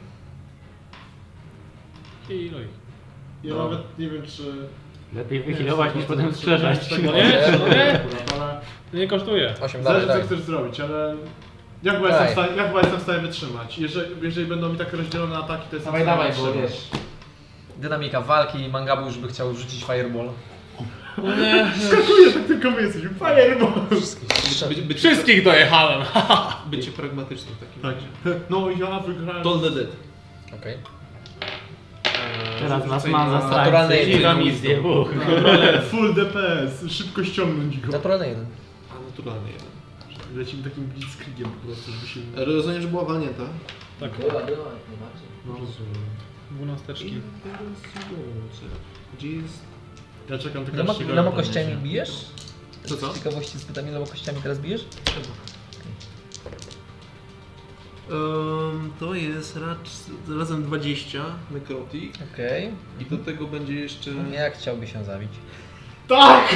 S2: I no i.
S6: Ja nawet nie wiem czy...
S5: Lepiej
S6: Nie,
S5: wychilować
S6: czy-
S5: niż potem
S6: czy-
S5: strzelać.
S6: czy-
S2: No nie, no nie.
S6: Ale
S2: Nie kosztuje.
S1: 8 dalej,
S6: zależy co
S1: dalej.
S6: chcesz zrobić, ale... Ja chyba,
S1: Daj.
S6: jestem w stanie, ja chyba jestem w stanie wytrzymać. Jeżeli, jeżeli będą mi tak rozdzielone ataki, to jestem
S1: Dawaj, dawaj,
S6: w stanie
S1: bo
S6: wytrzymać.
S1: wiesz. Dynamika walki i Mangabu już by chciał rzucić fireball.
S6: Skakuję, tak tylko my jesteśmy. Fireball!
S3: By, by,
S4: Wszystkich dojechałem!
S3: <laughs> bycie pragmatycznym w takim
S6: Tak.
S3: razie.
S6: No ja wygrałem.
S3: Toll the dead.
S1: Okej.
S3: Eee,
S5: Teraz nas
S3: rzucaj
S5: ma
S3: na-
S5: za
S1: naturalne
S5: strajcy i
S1: jedynki.
S5: nam jest dwóch.
S6: Ale Tak. Full DPS, szybko ściągnąć go.
S1: Naturalny jeden.
S3: A, naturalny jeden.
S6: Lecimy takim blitzkriegiem po prostu, żeby się...
S3: E, Rozumiem, że była walnięta.
S4: Tak,
S3: No rozumiem.
S4: dwunasteczki.
S3: Gdzie jest...
S6: Ja czekam tylko
S1: Iloma,
S6: aż się
S1: iloma
S6: go-
S1: kościami bijesz?
S3: Co, co?
S1: Z ciekawości spytam, iloma kościami teraz bijesz?
S3: Ehm, to jest racz, razem 20 nekrotik
S1: Okej.
S3: i
S1: Mhm.
S3: do tego będzie jeszcze...
S1: Jak chciałby się zabić?
S6: Tak!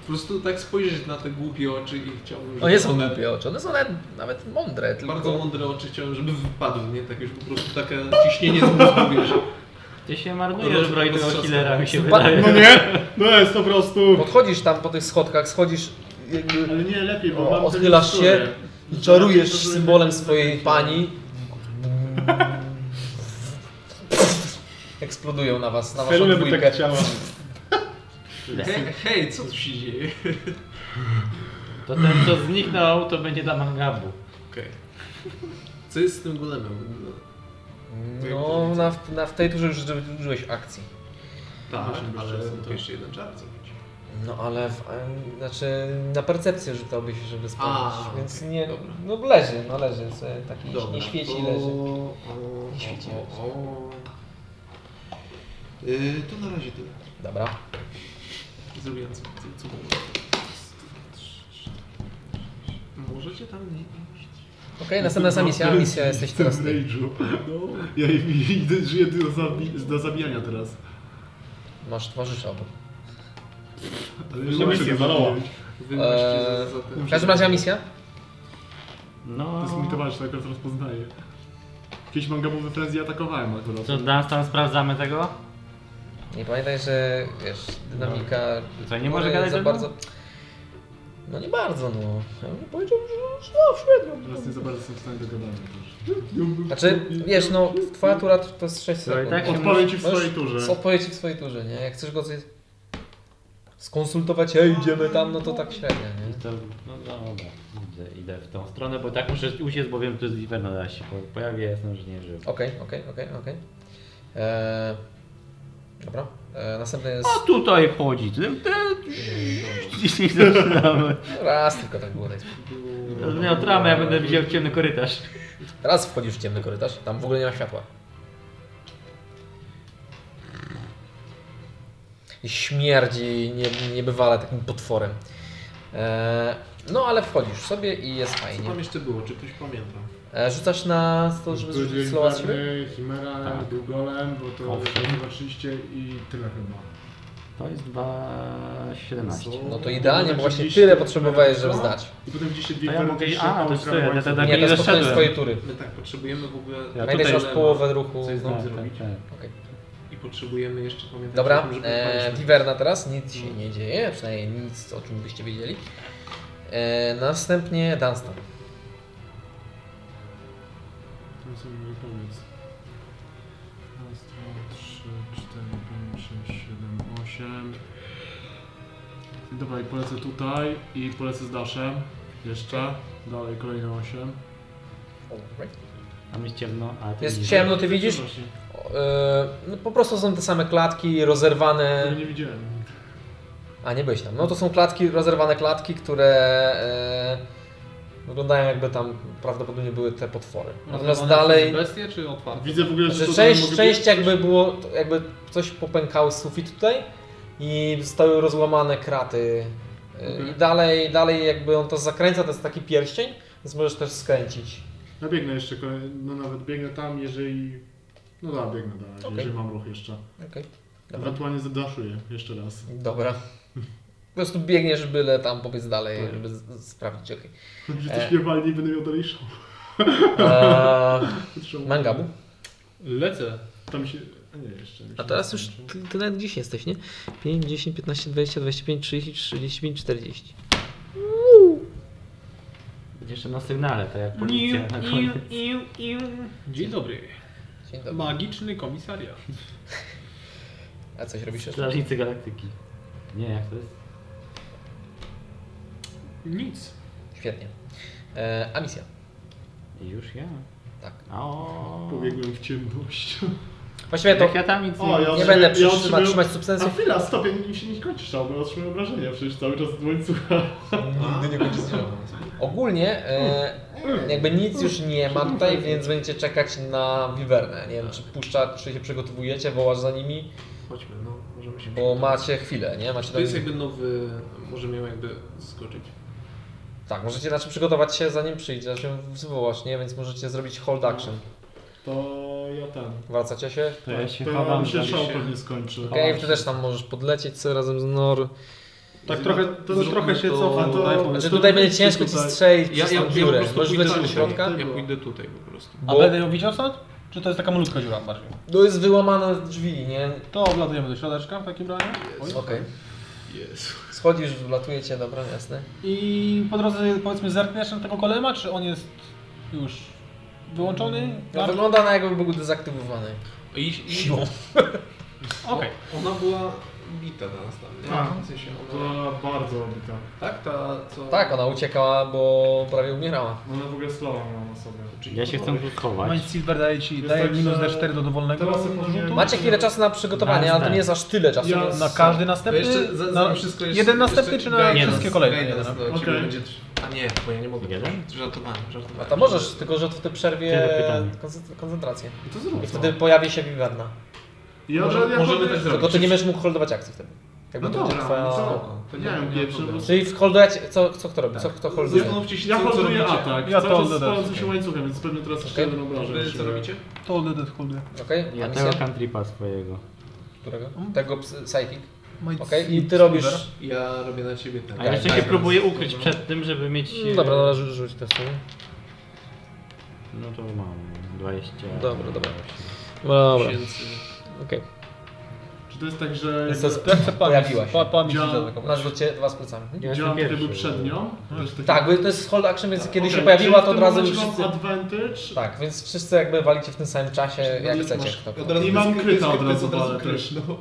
S3: Po prostu tak spojrzeć na te głupie oczy i chciałbym... żeby
S1: O, nie są
S3: one-
S1: głupie oczy, one są nawet, nawet mądre, tylko...
S3: Bardzo mądre oczy chciałem, żeby wypadły, nie? Tak już po prostu takie ciśnienie z mózgu, wiesz.
S5: Ty się
S3: Roz-
S5: marnujesz w rajdu
S3: rozstrzasnę.
S5: killera, mi się
S1: Super.
S5: wydaje.
S6: No nie? No jest po prostu...
S1: Podchodzisz tam po tych schodkach, schodzisz jakby...
S6: Ale nie, lepiej, bo mam
S1: O,
S6: tę
S1: odchylasz się
S6: historię.
S1: i czarujesz symbolem swojej pani. Eksplodują na was, na waszą
S4: Felule by
S1: dwójkę.
S4: tak chciała.
S1: Tak.
S3: Hej, hej, co tu się dzieje?
S5: To ten, co zniknął, to będzie dla mangabu.
S3: Okej. Co jest z tym golemem?
S1: No, na, na, w tej turze już użyłeś akcji.
S3: Tak,
S6: Musimy być
S3: ale
S6: czasem,
S3: to
S6: tak.
S3: jeszcze jeden czar zrobić.
S1: No ale, w, em, znaczy na percepcję rzucałbyś, żeby
S3: A,
S1: sprawdzić, więc
S3: okej,
S1: nie,
S3: dobra.
S1: no leży, no leży, sobie taki nie świeci,
S3: to-
S1: leży.
S3: o,
S1: Nie świeci,
S3: o,
S1: leży.
S3: o. Yy, to na razie tyle.
S1: Dobra.
S3: Zrobiłem co, co, co mogłem. Raz, dwa, trzy, cztery. Możecie tam nie iść.
S1: Okej, następna misja, misja jesteś
S6: Jestem
S1: teraz
S6: w
S1: ty.
S6: rage'u. Ja idę, żyję do, zabi do zabijania teraz.
S1: Masz towarzysza obok.
S6: Ale
S10: Jeszcze misję zalała.
S3: Tak, Wy macie za, za
S1: Eee, W
S3: ten.
S1: każdym razie misja?
S6: To
S5: No,
S6: jest mój towarzysz, tak teraz rozpoznaję. Kiedyś mangabowy frenzy atakowałem akurat.
S5: co Dunstan, sprawdzamy tego?
S1: Nie pamiętaj, że wiesz, dynamika...
S5: Co, nie może gadać
S1: za
S5: ze mną?
S1: bardzo. No nie bardzo, no. Ja bym powiedział, że że no, średnio.
S6: Teraz nie za bardzo jestem w stanie dogadania też.
S1: Znaczy, wiesz, no, twoja tura to to jest 6
S5: To i
S1: sekund.
S5: tak się
S6: Odpowiem ci w
S1: Możesz-
S6: swojej turze.
S1: Z odpowiedzi w swojej turze, nie? Jak chcesz go coś skonsultować, ej, idziemy tam, no to tak średnio, nie?
S5: To, no dobra, idę, idę w tą stronę, bo tak muszę uciec, bo wiem, że z Iverna zaraz się po- pojawi, no ja jestem, że nie żył.
S1: Okej, okej, okej, okej. Eee, Dobra, eee, następny jest...
S5: A tutaj chodzi, ten, ten... I zaczynamy.
S1: Raz tylko tak było, daj spokój.
S5: To Miał tramę, ja będę widział ciemny korytarz.
S1: Raz wchodzisz w ciemny korytarz, tam w ogóle nie ma światła. I śmierdzi nie, niebywale takim potworem. Eee, no ale wchodzisz sobie i jest
S3: Co
S1: fajnie.
S3: tam jeszcze było? Czy ktoś pamięta?
S1: Eee, rzucasz na to, żeby zrzucić slowa z siebie?
S6: Chimera,
S5: Tak.
S6: był golem, bo to
S5: Owszem.
S6: zobaczyliście i tyle chyba.
S5: To jest 2.17.
S1: No to idealnie, bo właśnie tyle potrzebowałeś, żeby zdać.
S6: I potem widzieliście dwie
S5: To ja mogę-
S6: wertycznie,
S5: a, to jest
S6: które
S5: to, tak ja
S6: mają-
S5: to- to-
S1: Nie, to jest pod koniec
S5: zeszedłem.
S1: twojej tury.
S3: My tak, potrzebujemy w ogóle...
S5: Ja
S1: Pamiętaj, że
S5: tutaj
S1: masz połowę ruchu.
S3: Coś z
S5: Tak,
S3: nim
S5: tak,
S3: zrobić.
S5: tak.
S1: Okej.
S3: I potrzebujemy jeszcze pamiętać No, o
S1: Dobra,
S3: tym, żeby
S1: e,
S3: palić.
S1: Wiwerna teraz, nic się nie dzieje, przynajmniej nic o czym byście wiedzieli. E, następnie Dunstan.
S6: To sobie mogę pomóc. Raz, dwa, trzy. Dobra, i polecę tutaj i polecę z Daszem. Jeszcze. Dalej, kolejne 8.
S5: Tam jest ciemno, a ty
S1: Jest
S5: widzisz.
S1: ciemno, ty widzisz?
S6: Właśnie.
S1: E, no, po prostu są te same klatki rozerwane.
S6: No Nie widziałem.
S1: A nie byłeś tam. No to są klatki, rozerwane klatki, które e, wyglądają jakby tam prawdopodobnie były te potwory.
S3: No,
S1: Natomiast
S4: Rozerwane
S1: dalej.
S4: przez Bestie czy otwarte?
S6: Widzę w ogóle,
S1: Znaczy,
S6: że
S1: część, część jakby było, to jakby coś popękało z sufitu tutaj i zostały rozłamane kraty. E,
S6: Okej.
S1: I dalej, dalej jakby on to zakręca, to jest taki pierścień, więc możesz też skręcić.
S6: Ja biegnę jeszcze, kolej- no nawet biegnę tam, jeżeli... No da, biegnę dalej,
S1: Okej.
S6: jeżeli mam ruch jeszcze.
S1: Okej. Dobra.
S6: Ewentualnie zadaszuję jeszcze
S1: <laughs>
S6: raz.
S1: Dobra. Po prostu biegniesz byle tam powiedz dalej, żeby z- z- sprawdzić, okej.
S6: Że
S1: E,
S6: coś mnie walnie będę miał dalej szał. <laughs>
S1: Eee, mangabu.
S4: Lecę.
S6: Tam się... A nie, jeszcze.
S1: A teraz już ty, ty nawet gdzieś jesteś, nie? 5, 10, 15, 20, 25, 30, 35, 40.
S5: Jeszcze na sygnale, tak jak policja na
S4: Iu,
S5: koniec.
S4: iu, iu. Dzień dobry.
S1: Dzień dobry.
S4: Magiczny komisariat.
S1: A coś robisz jeszcze?
S5: Strażnicy Galaktyki. Nie, jak to jest?
S4: Nic.
S1: Świetnie. E, a misja.
S5: Już ja.
S1: Tak.
S5: O.
S6: Pobiegłem w
S1: <laughs>
S6: ciemność.
S1: Właściwie to
S5: Jak ja tam nic
S6: O, ja
S1: nie
S6: otrzymuję-
S1: będę
S6: ja
S1: przytrzymać,
S6: otrzymuję-
S1: trzymać substancji.
S6: A <laughs> chwila, stop, ja nim się nie kończy szał, bo ja otrzymuję obrażenia przecież cały czas z łańcucha.
S3: Nigdy nie będzie strzał.
S1: Ogólnie e, <laughs> jakby nic już nie ma tutaj, więc będziecie czekać na Wiwernę. Nie wiem, czy puszcza, czy się przygotowujecie, wołasz za nimi,
S3: Chodźmy, no, możemy się
S1: bo macie chwilę, nie? Macie
S3: To jest
S1: do-
S3: jakby nowy, możemy ją jakby skoczyć.
S1: Tak, możecie znaczy przygotować się zanim przyjdzie, zanim wywołasz, nie? Więc możecie zrobić hold action.
S6: To ja ten.
S1: Wracacie się?
S5: To ja się
S6: to
S5: chowam.
S6: mi się
S5: za-
S6: szał pewnie skończy.
S1: Okej, ty też tam możesz podlecieć sobie razem z Nor.
S4: Tak trochę, to
S6: zróbmy
S4: trochę się
S6: to-
S4: cofam
S6: to-
S4: tutaj.
S1: Znaczy
S6: to
S1: tutaj
S6: wróćmy
S1: będzie ciężko ci
S6: tutaj.
S1: strzelić przez tą
S3: po
S1: dziurę.
S3: prostu
S1: Możesz
S3: pójdę
S1: wlecieć do
S3: tutaj.
S1: środka?
S3: Ja pójdę tutaj po prostu.
S1: Bo-
S4: A będę ją widział stąd? Czy to jest taka malutka dziura bardziej?
S1: To jest wyłamane drzwi, nie?
S4: To wlatujemy do środeczka w takim razie. Oj.
S1: Okej.
S3: Jezu.
S1: Schodzisz, wlatujecie, dobra, jasne.
S4: I po drodze powiedzmy zerkniesz na tego golema, czy on jest już wyłączony?
S1: No,
S4: Dar-
S1: wygląda na jakby był dezaktywowany.
S3: I, i
S4: Okej.
S3: No, ona była bita na nas tam, nie?
S6: Tak.
S3: W sensie ona...
S6: To bardzo obita.
S3: Tak, ta co...
S1: Tak, ona uciekała, bo prawie umierała.
S6: Ona w ogóle slowa miała na sobie.
S3: Czyli
S5: Ja się chcę tu
S4: Okay.
S5: schować.
S4: Silver daje ci
S6: Jest
S4: daje
S6: tak,
S4: minus
S6: że
S4: D4 do dowolnego.
S6: teraz sobie powinien-
S1: Macie chwilę czasu na przygotowanie, ale to nie jest aż tyle czasu.
S6: Ja-
S1: więc-
S4: Na każdy następny?
S3: Jeszcze, za, za,
S4: na,
S3: wszystko jeszcze,
S4: jeden następny
S3: jeszcze
S4: czy na
S3: guide
S4: wszystkie
S3: nas-
S4: kolejne?
S3: guide nas
S4: Jeden,
S3: do ciebie
S6: Okej.
S3: będzie trz- A nie, bo ja nie mogę.
S5: Jeden?
S3: Żartowałem, żartowałem.
S1: A to możesz, tylko że w tej przerwie
S5: Tyle pytań.
S1: koncent- koncentrację.
S6: To
S3: No.
S6: zrób
S1: I
S6: to.
S1: wtedy pojawi się Viverna.
S6: Ja,
S3: Może-
S6: ja
S3: możemy
S6: powiem-
S3: tak zrobić.
S1: Tylko ty nie będziesz mógł holdować akcji wtedy. Jakby
S6: No
S1: to będzie
S6: dobra,
S1: twoja...
S6: no co?
S3: O, to Tak.
S6: Nie wiem, pierwszy
S3: problemu.
S6: raz.
S1: Czyli w holdować, co, co kto robi? Co kto holduje?
S3: Zastanówcie się,
S6: Ja
S3: co- co
S6: holduję
S3: robicie.
S6: atak.
S4: Ja
S6: Ja
S4: to
S6: to
S4: oddaję.
S6: spalący się łańcuchem, więc pewnie teraz jeszcze
S1: Okej.
S6: jeden obrażeń.
S3: Wy co
S6: przyjmę.
S3: robicie?
S4: To Dead Holder.
S1: Okej, a
S5: Ja
S1: misja?
S5: tego cantripa swojego.
S1: Którego? Tego ps- psychic.
S4: Might
S1: Okej, i
S4: Silver.
S1: ty robisz...
S3: Ja robię na ciebie
S1: Tak,
S3: ten.
S5: A jeszcze się próbuję ukryć przed tym, żeby mieć...
S1: Mm, Dobra, należy rzuć to sobie.
S5: No to mam 20.
S1: Dobra, dobra. Dobra, okej.
S6: Czy to jest tak, że
S1: Jest to
S6: jakby <clears throat>
S1: sp- pojawiła się.
S4: Pa, pa mi się
S6: Działa-
S4: zaatakował.
S1: Nasz do ciebie dwa z plecami.
S5: Ja jestem
S6: działam kiedy
S5: pierwszy.
S6: był przed nią? Że taki-
S1: Tak, bo to jest hold action, więc kiedy się
S6: Okej,
S1: pojawiła,
S6: czyli
S1: to
S6: w
S1: od
S6: tym
S1: razu
S6: momencie
S1: wszyscy...
S6: mam advantage
S1: Tak, więc wszyscy jakby walicie w tym samym czasie, E, jak chcecie. Kto,
S3: Od
S1: kto.
S3: razu
S6: I mam
S3: dyskret-
S6: kryta
S3: dyskret-
S6: od razu
S3: od razu
S6: walę
S3: krysz,
S6: też.
S3: no.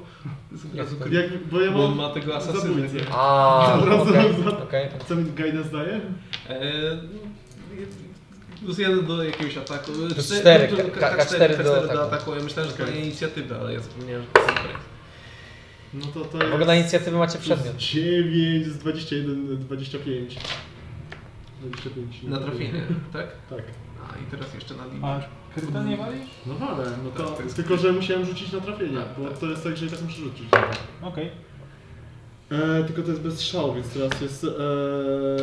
S3: Od razu krysz.
S6: Jak, bo <laughs> ja
S3: Bo
S6: mam...
S3: on ma tego asasynę.
S6: zabójcę.
S1: A,
S6: <laughs> Od razu-
S1: okej,
S6: od razu-
S1: okej.
S6: Co mi guidance daje?
S3: Eee, Plus jeden do jakiegoś ataku.
S1: Plus
S3: Cztery- no,
S1: cztery,
S3: plus-
S1: K- K- K4 do
S3: do
S1: ataku.
S3: ataku. Ja myślałem, że to
S6: Okej.
S3: nie inicjatywa, ale ja zapomniałem, że to jest break.
S6: No to to
S1: W
S6: jest...
S1: ogóle na inicjatywę macie przedmiot.
S6: Przez 9 z 21, 25. 25.
S3: Na trafienie, tak?
S6: Tak.
S3: A i teraz jeszcze na linii.
S4: A kryta nie walisz?
S6: No walę, no to,
S3: Tak, to jest-
S6: tylko że musiałem rzucić na trafienie,
S3: Tak,
S6: bo
S3: tak.
S6: to jest tak, że i tak muszę rzucić.
S4: Okej.
S6: E, tylko to jest bez szału, więc teraz jest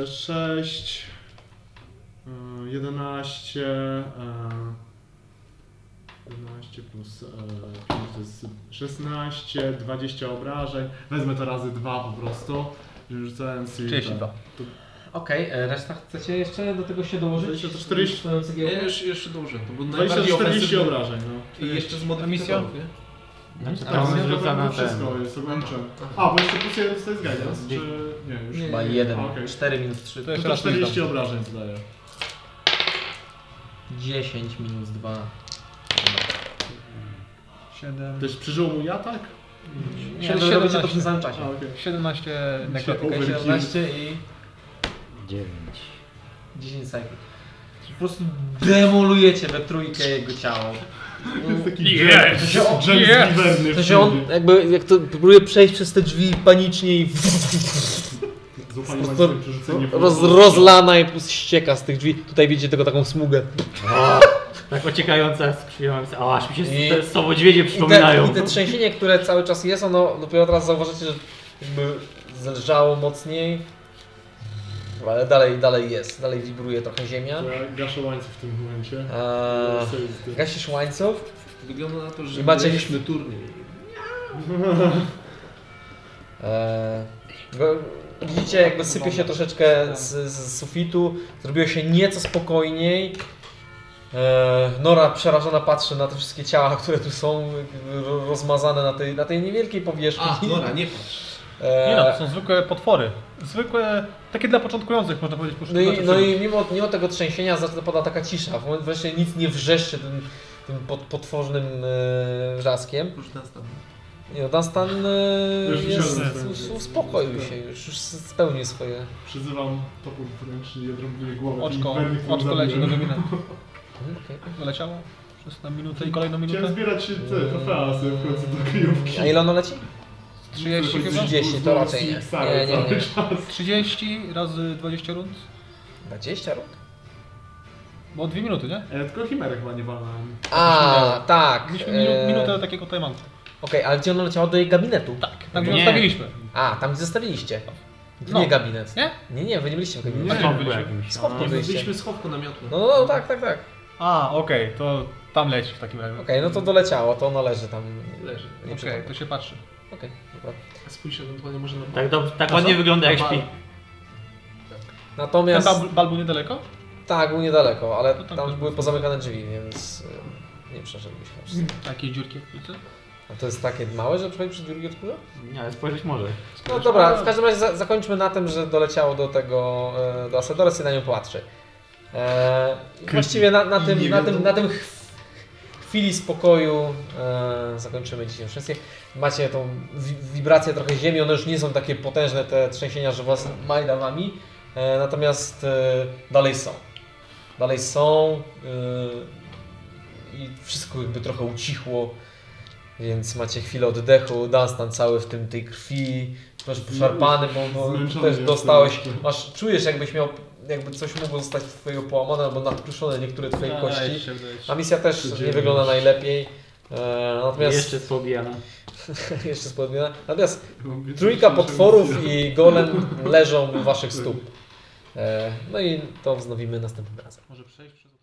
S6: e, 6, e, 11, e, 11 plus e, 5 to jest 16, 20 obrażeń. Wezmę to razy 2 po prostu. że Rzucałem sobie.
S4: 32.
S1: Okej, e, reszta chcecie jeszcze do tego się dołożyć?
S6: 24.
S1: Swoją cegiełkę?
S3: Ja już, jeszcze dłużej, to był
S6: 20
S3: najbardziej
S6: 40
S3: ofensywny.
S6: obrażeń, no.
S3: I jeszcze z modyfikatorów, nie?
S5: Znaczy
S1: A
S5: to
S1: misja
S5: on
S6: to
S5: rzuca na ten.
S6: wszystko jest łączę. A, bo jeszcze plus jeden to jest guidance, czy... Nie, już.
S1: Ma jeden,
S6: A, okej.
S1: 4 minus 3,
S4: To jeszcze
S6: No to
S4: raz mi
S6: 40
S4: tam.
S6: obrażeń zdaję.
S1: 10 minus 2.
S4: 7.
S6: Też przeżył mój atak?
S1: Nie, no, robicie to w tym samym czasie.
S6: A, okej.
S4: 17 nekrotyka. i
S6: Overkill.
S1: 17 i
S5: 9.
S6: No.
S1: 10 sekund. Po prostu demolujecie we trójkę jego
S6: <laughs>
S1: ciało.
S6: taki Jack- Jack z Giverny
S1: To się on
S6: wtedy.
S1: jakby jak to próbuje przejść przez te drzwi panicznie i
S6: Złapali
S1: Po prostu
S6: magiczne przerzucenie
S1: roz,
S6: furtką.
S1: rozlana i plus ścieka z tych drzwi. Tutaj widzicie tylko taką smugę.
S2: Tak ociekająca z krwią. O, aż mi się
S1: I-
S2: te sowodźwiedzie przypominają.
S1: I te, I te trzęsienie, które cały czas jest, ono dopiero teraz zauważycie, że jakby zelżało mocniej. Ale dalej, dalej jest, dalej wibruje trochę ziemia.
S6: Ja Gaszę łańcuch w tym momencie.
S1: Eee,
S6: Safety.
S1: gasisz łańcuch.
S3: Wygląda na to, że
S1: I macie-
S3: mieliśmy turniej.
S1: Eee, go- widzicie, jakby sypie się troszeczkę z, z sufitu. Zrobiło się nieco spokojniej. Eee, Nora przerażona patrzy na te wszystkie ciała, które tu są jakby ro- rozmazane na tej, na tej niewielkiej powierzchni.
S3: A, Nora, nie patrz.
S1: Eee,
S4: Nie no, to są zwykłe potwory. Zwykłe, takie dla początkujących można powiedzieć.
S1: No i,
S4: poszukiwaczy
S1: no
S4: przygód.
S1: i mimo, mimo tego trzęsienia zaczyna pada taka cisza. W momencie właśnie nic nie wrzeszczy tym, tym pot, potwornym e, wrzaskiem.
S3: Oprócz nas tam.
S1: Nie, no, Dunstan e,
S6: Już
S1: jest,
S6: wziąłem.
S1: us- uspokoił się, już, już spełnił swoje.
S6: Przyzywam topór wręcz i odrąbuję głowę.
S4: Oczko,
S6: Giverny, którą
S4: oczko leci do
S6: zabiłem.
S4: domina.
S1: Mhm, okej.
S4: Doleciało przez na minutę i kolejną
S6: Chciałem
S4: minutę.
S6: zbierać się te trofea sobie w końcu do kryjówki.
S1: A ile ono leci?
S4: 30 chyba?
S1: 30, to raczej nie. Nie, nie, nie.
S4: 30 razy 20 rund?
S1: 20 rund?
S4: Bo 2 minuty, nie?
S6: E, tylko Chimerę chyba nie walałem.
S1: A, tak.
S4: Mieliśmy minu-
S1: e,
S4: minutę takiego timeoutu.
S1: Okej, ale gdzie ono leciało? Do jej gabinetu?
S4: Tak, gdzie
S2: Nie.
S4: zostawiliśmy.
S1: A, tam gdzie zostawiliście. To
S4: No.
S1: nie gabinet.
S4: Nie? No,
S1: Nie, nie, wy nie byliście w gabinecie.
S2: Tak, byliśmy. jakimś.
S1: Skąd to
S3: Nie,
S1: byliście?
S3: byliśmy schowku namiotu.
S1: No, no, tak, tak, tak.
S4: A, okej, to tam leci w takim razie.
S1: Okej, no to doleciało, to ono leży tam.
S3: Leży.
S1: Nie
S4: Okej,
S1: przytomne.
S4: to się patrzy.
S1: Okej, dobra.
S3: A spójrz ewentualnie może na
S2: Tak, dobrze, tak
S1: To
S2: ładnie
S1: są-
S2: wygląda jak
S1: Dobra.
S2: śpi.
S4: Ten
S1: Natomiast.
S4: bal, bal był niedaleko?
S1: Tak, był niedaleko, ale
S4: To tam
S1: tam
S4: też
S1: były pozamykane drzwi, więc y, nie przeszedłbyś chyba.
S3: Tá
S4: Takie dziurki
S3: é
S4: jak widzę.
S1: A to jest takie małe, że przechodzi przez drugi odpływa?
S2: Nie, ale spojrzeć może.
S1: No dobra, w każdym razie za, zakończmy na tym, że doleciało do tego, e, do Asedoras i na nią patrzy. E, i właściwie na, na tym, na tym, na tym chw- chwili spokoju e, zakończymy dzisiaj wszystkie. Macie tą wi- wibrację trochę ziemi, one już nie są takie potężne te trzęsienia, że was majda wami, e, natomiast e, dalej są. Dalej są e, i wszystko jakby trochę ucichło, więc macie chwilę oddechu, Dunstan cały w tym tej krwi, też poszarpany, bo, bo
S6: Zmęczony
S1: też
S6: jestem
S1: dostałeś,
S6: jeszcze.
S1: masz, czujesz jakbyś miał, jakby coś mogło zostać twojego połamane albo nadkruszone niektóre twoje kości. A misja też nie wygląda najlepiej, e, natomiast
S2: Jeszcze jest pobijana.
S1: <laughs> jeszcze spodmiana. Natomiast
S6: Mówię,
S1: trójka
S6: że
S1: potworów i golem leżą u waszych stóp. E, No i to wznowimy następnym razem.
S4: Może przejść przez...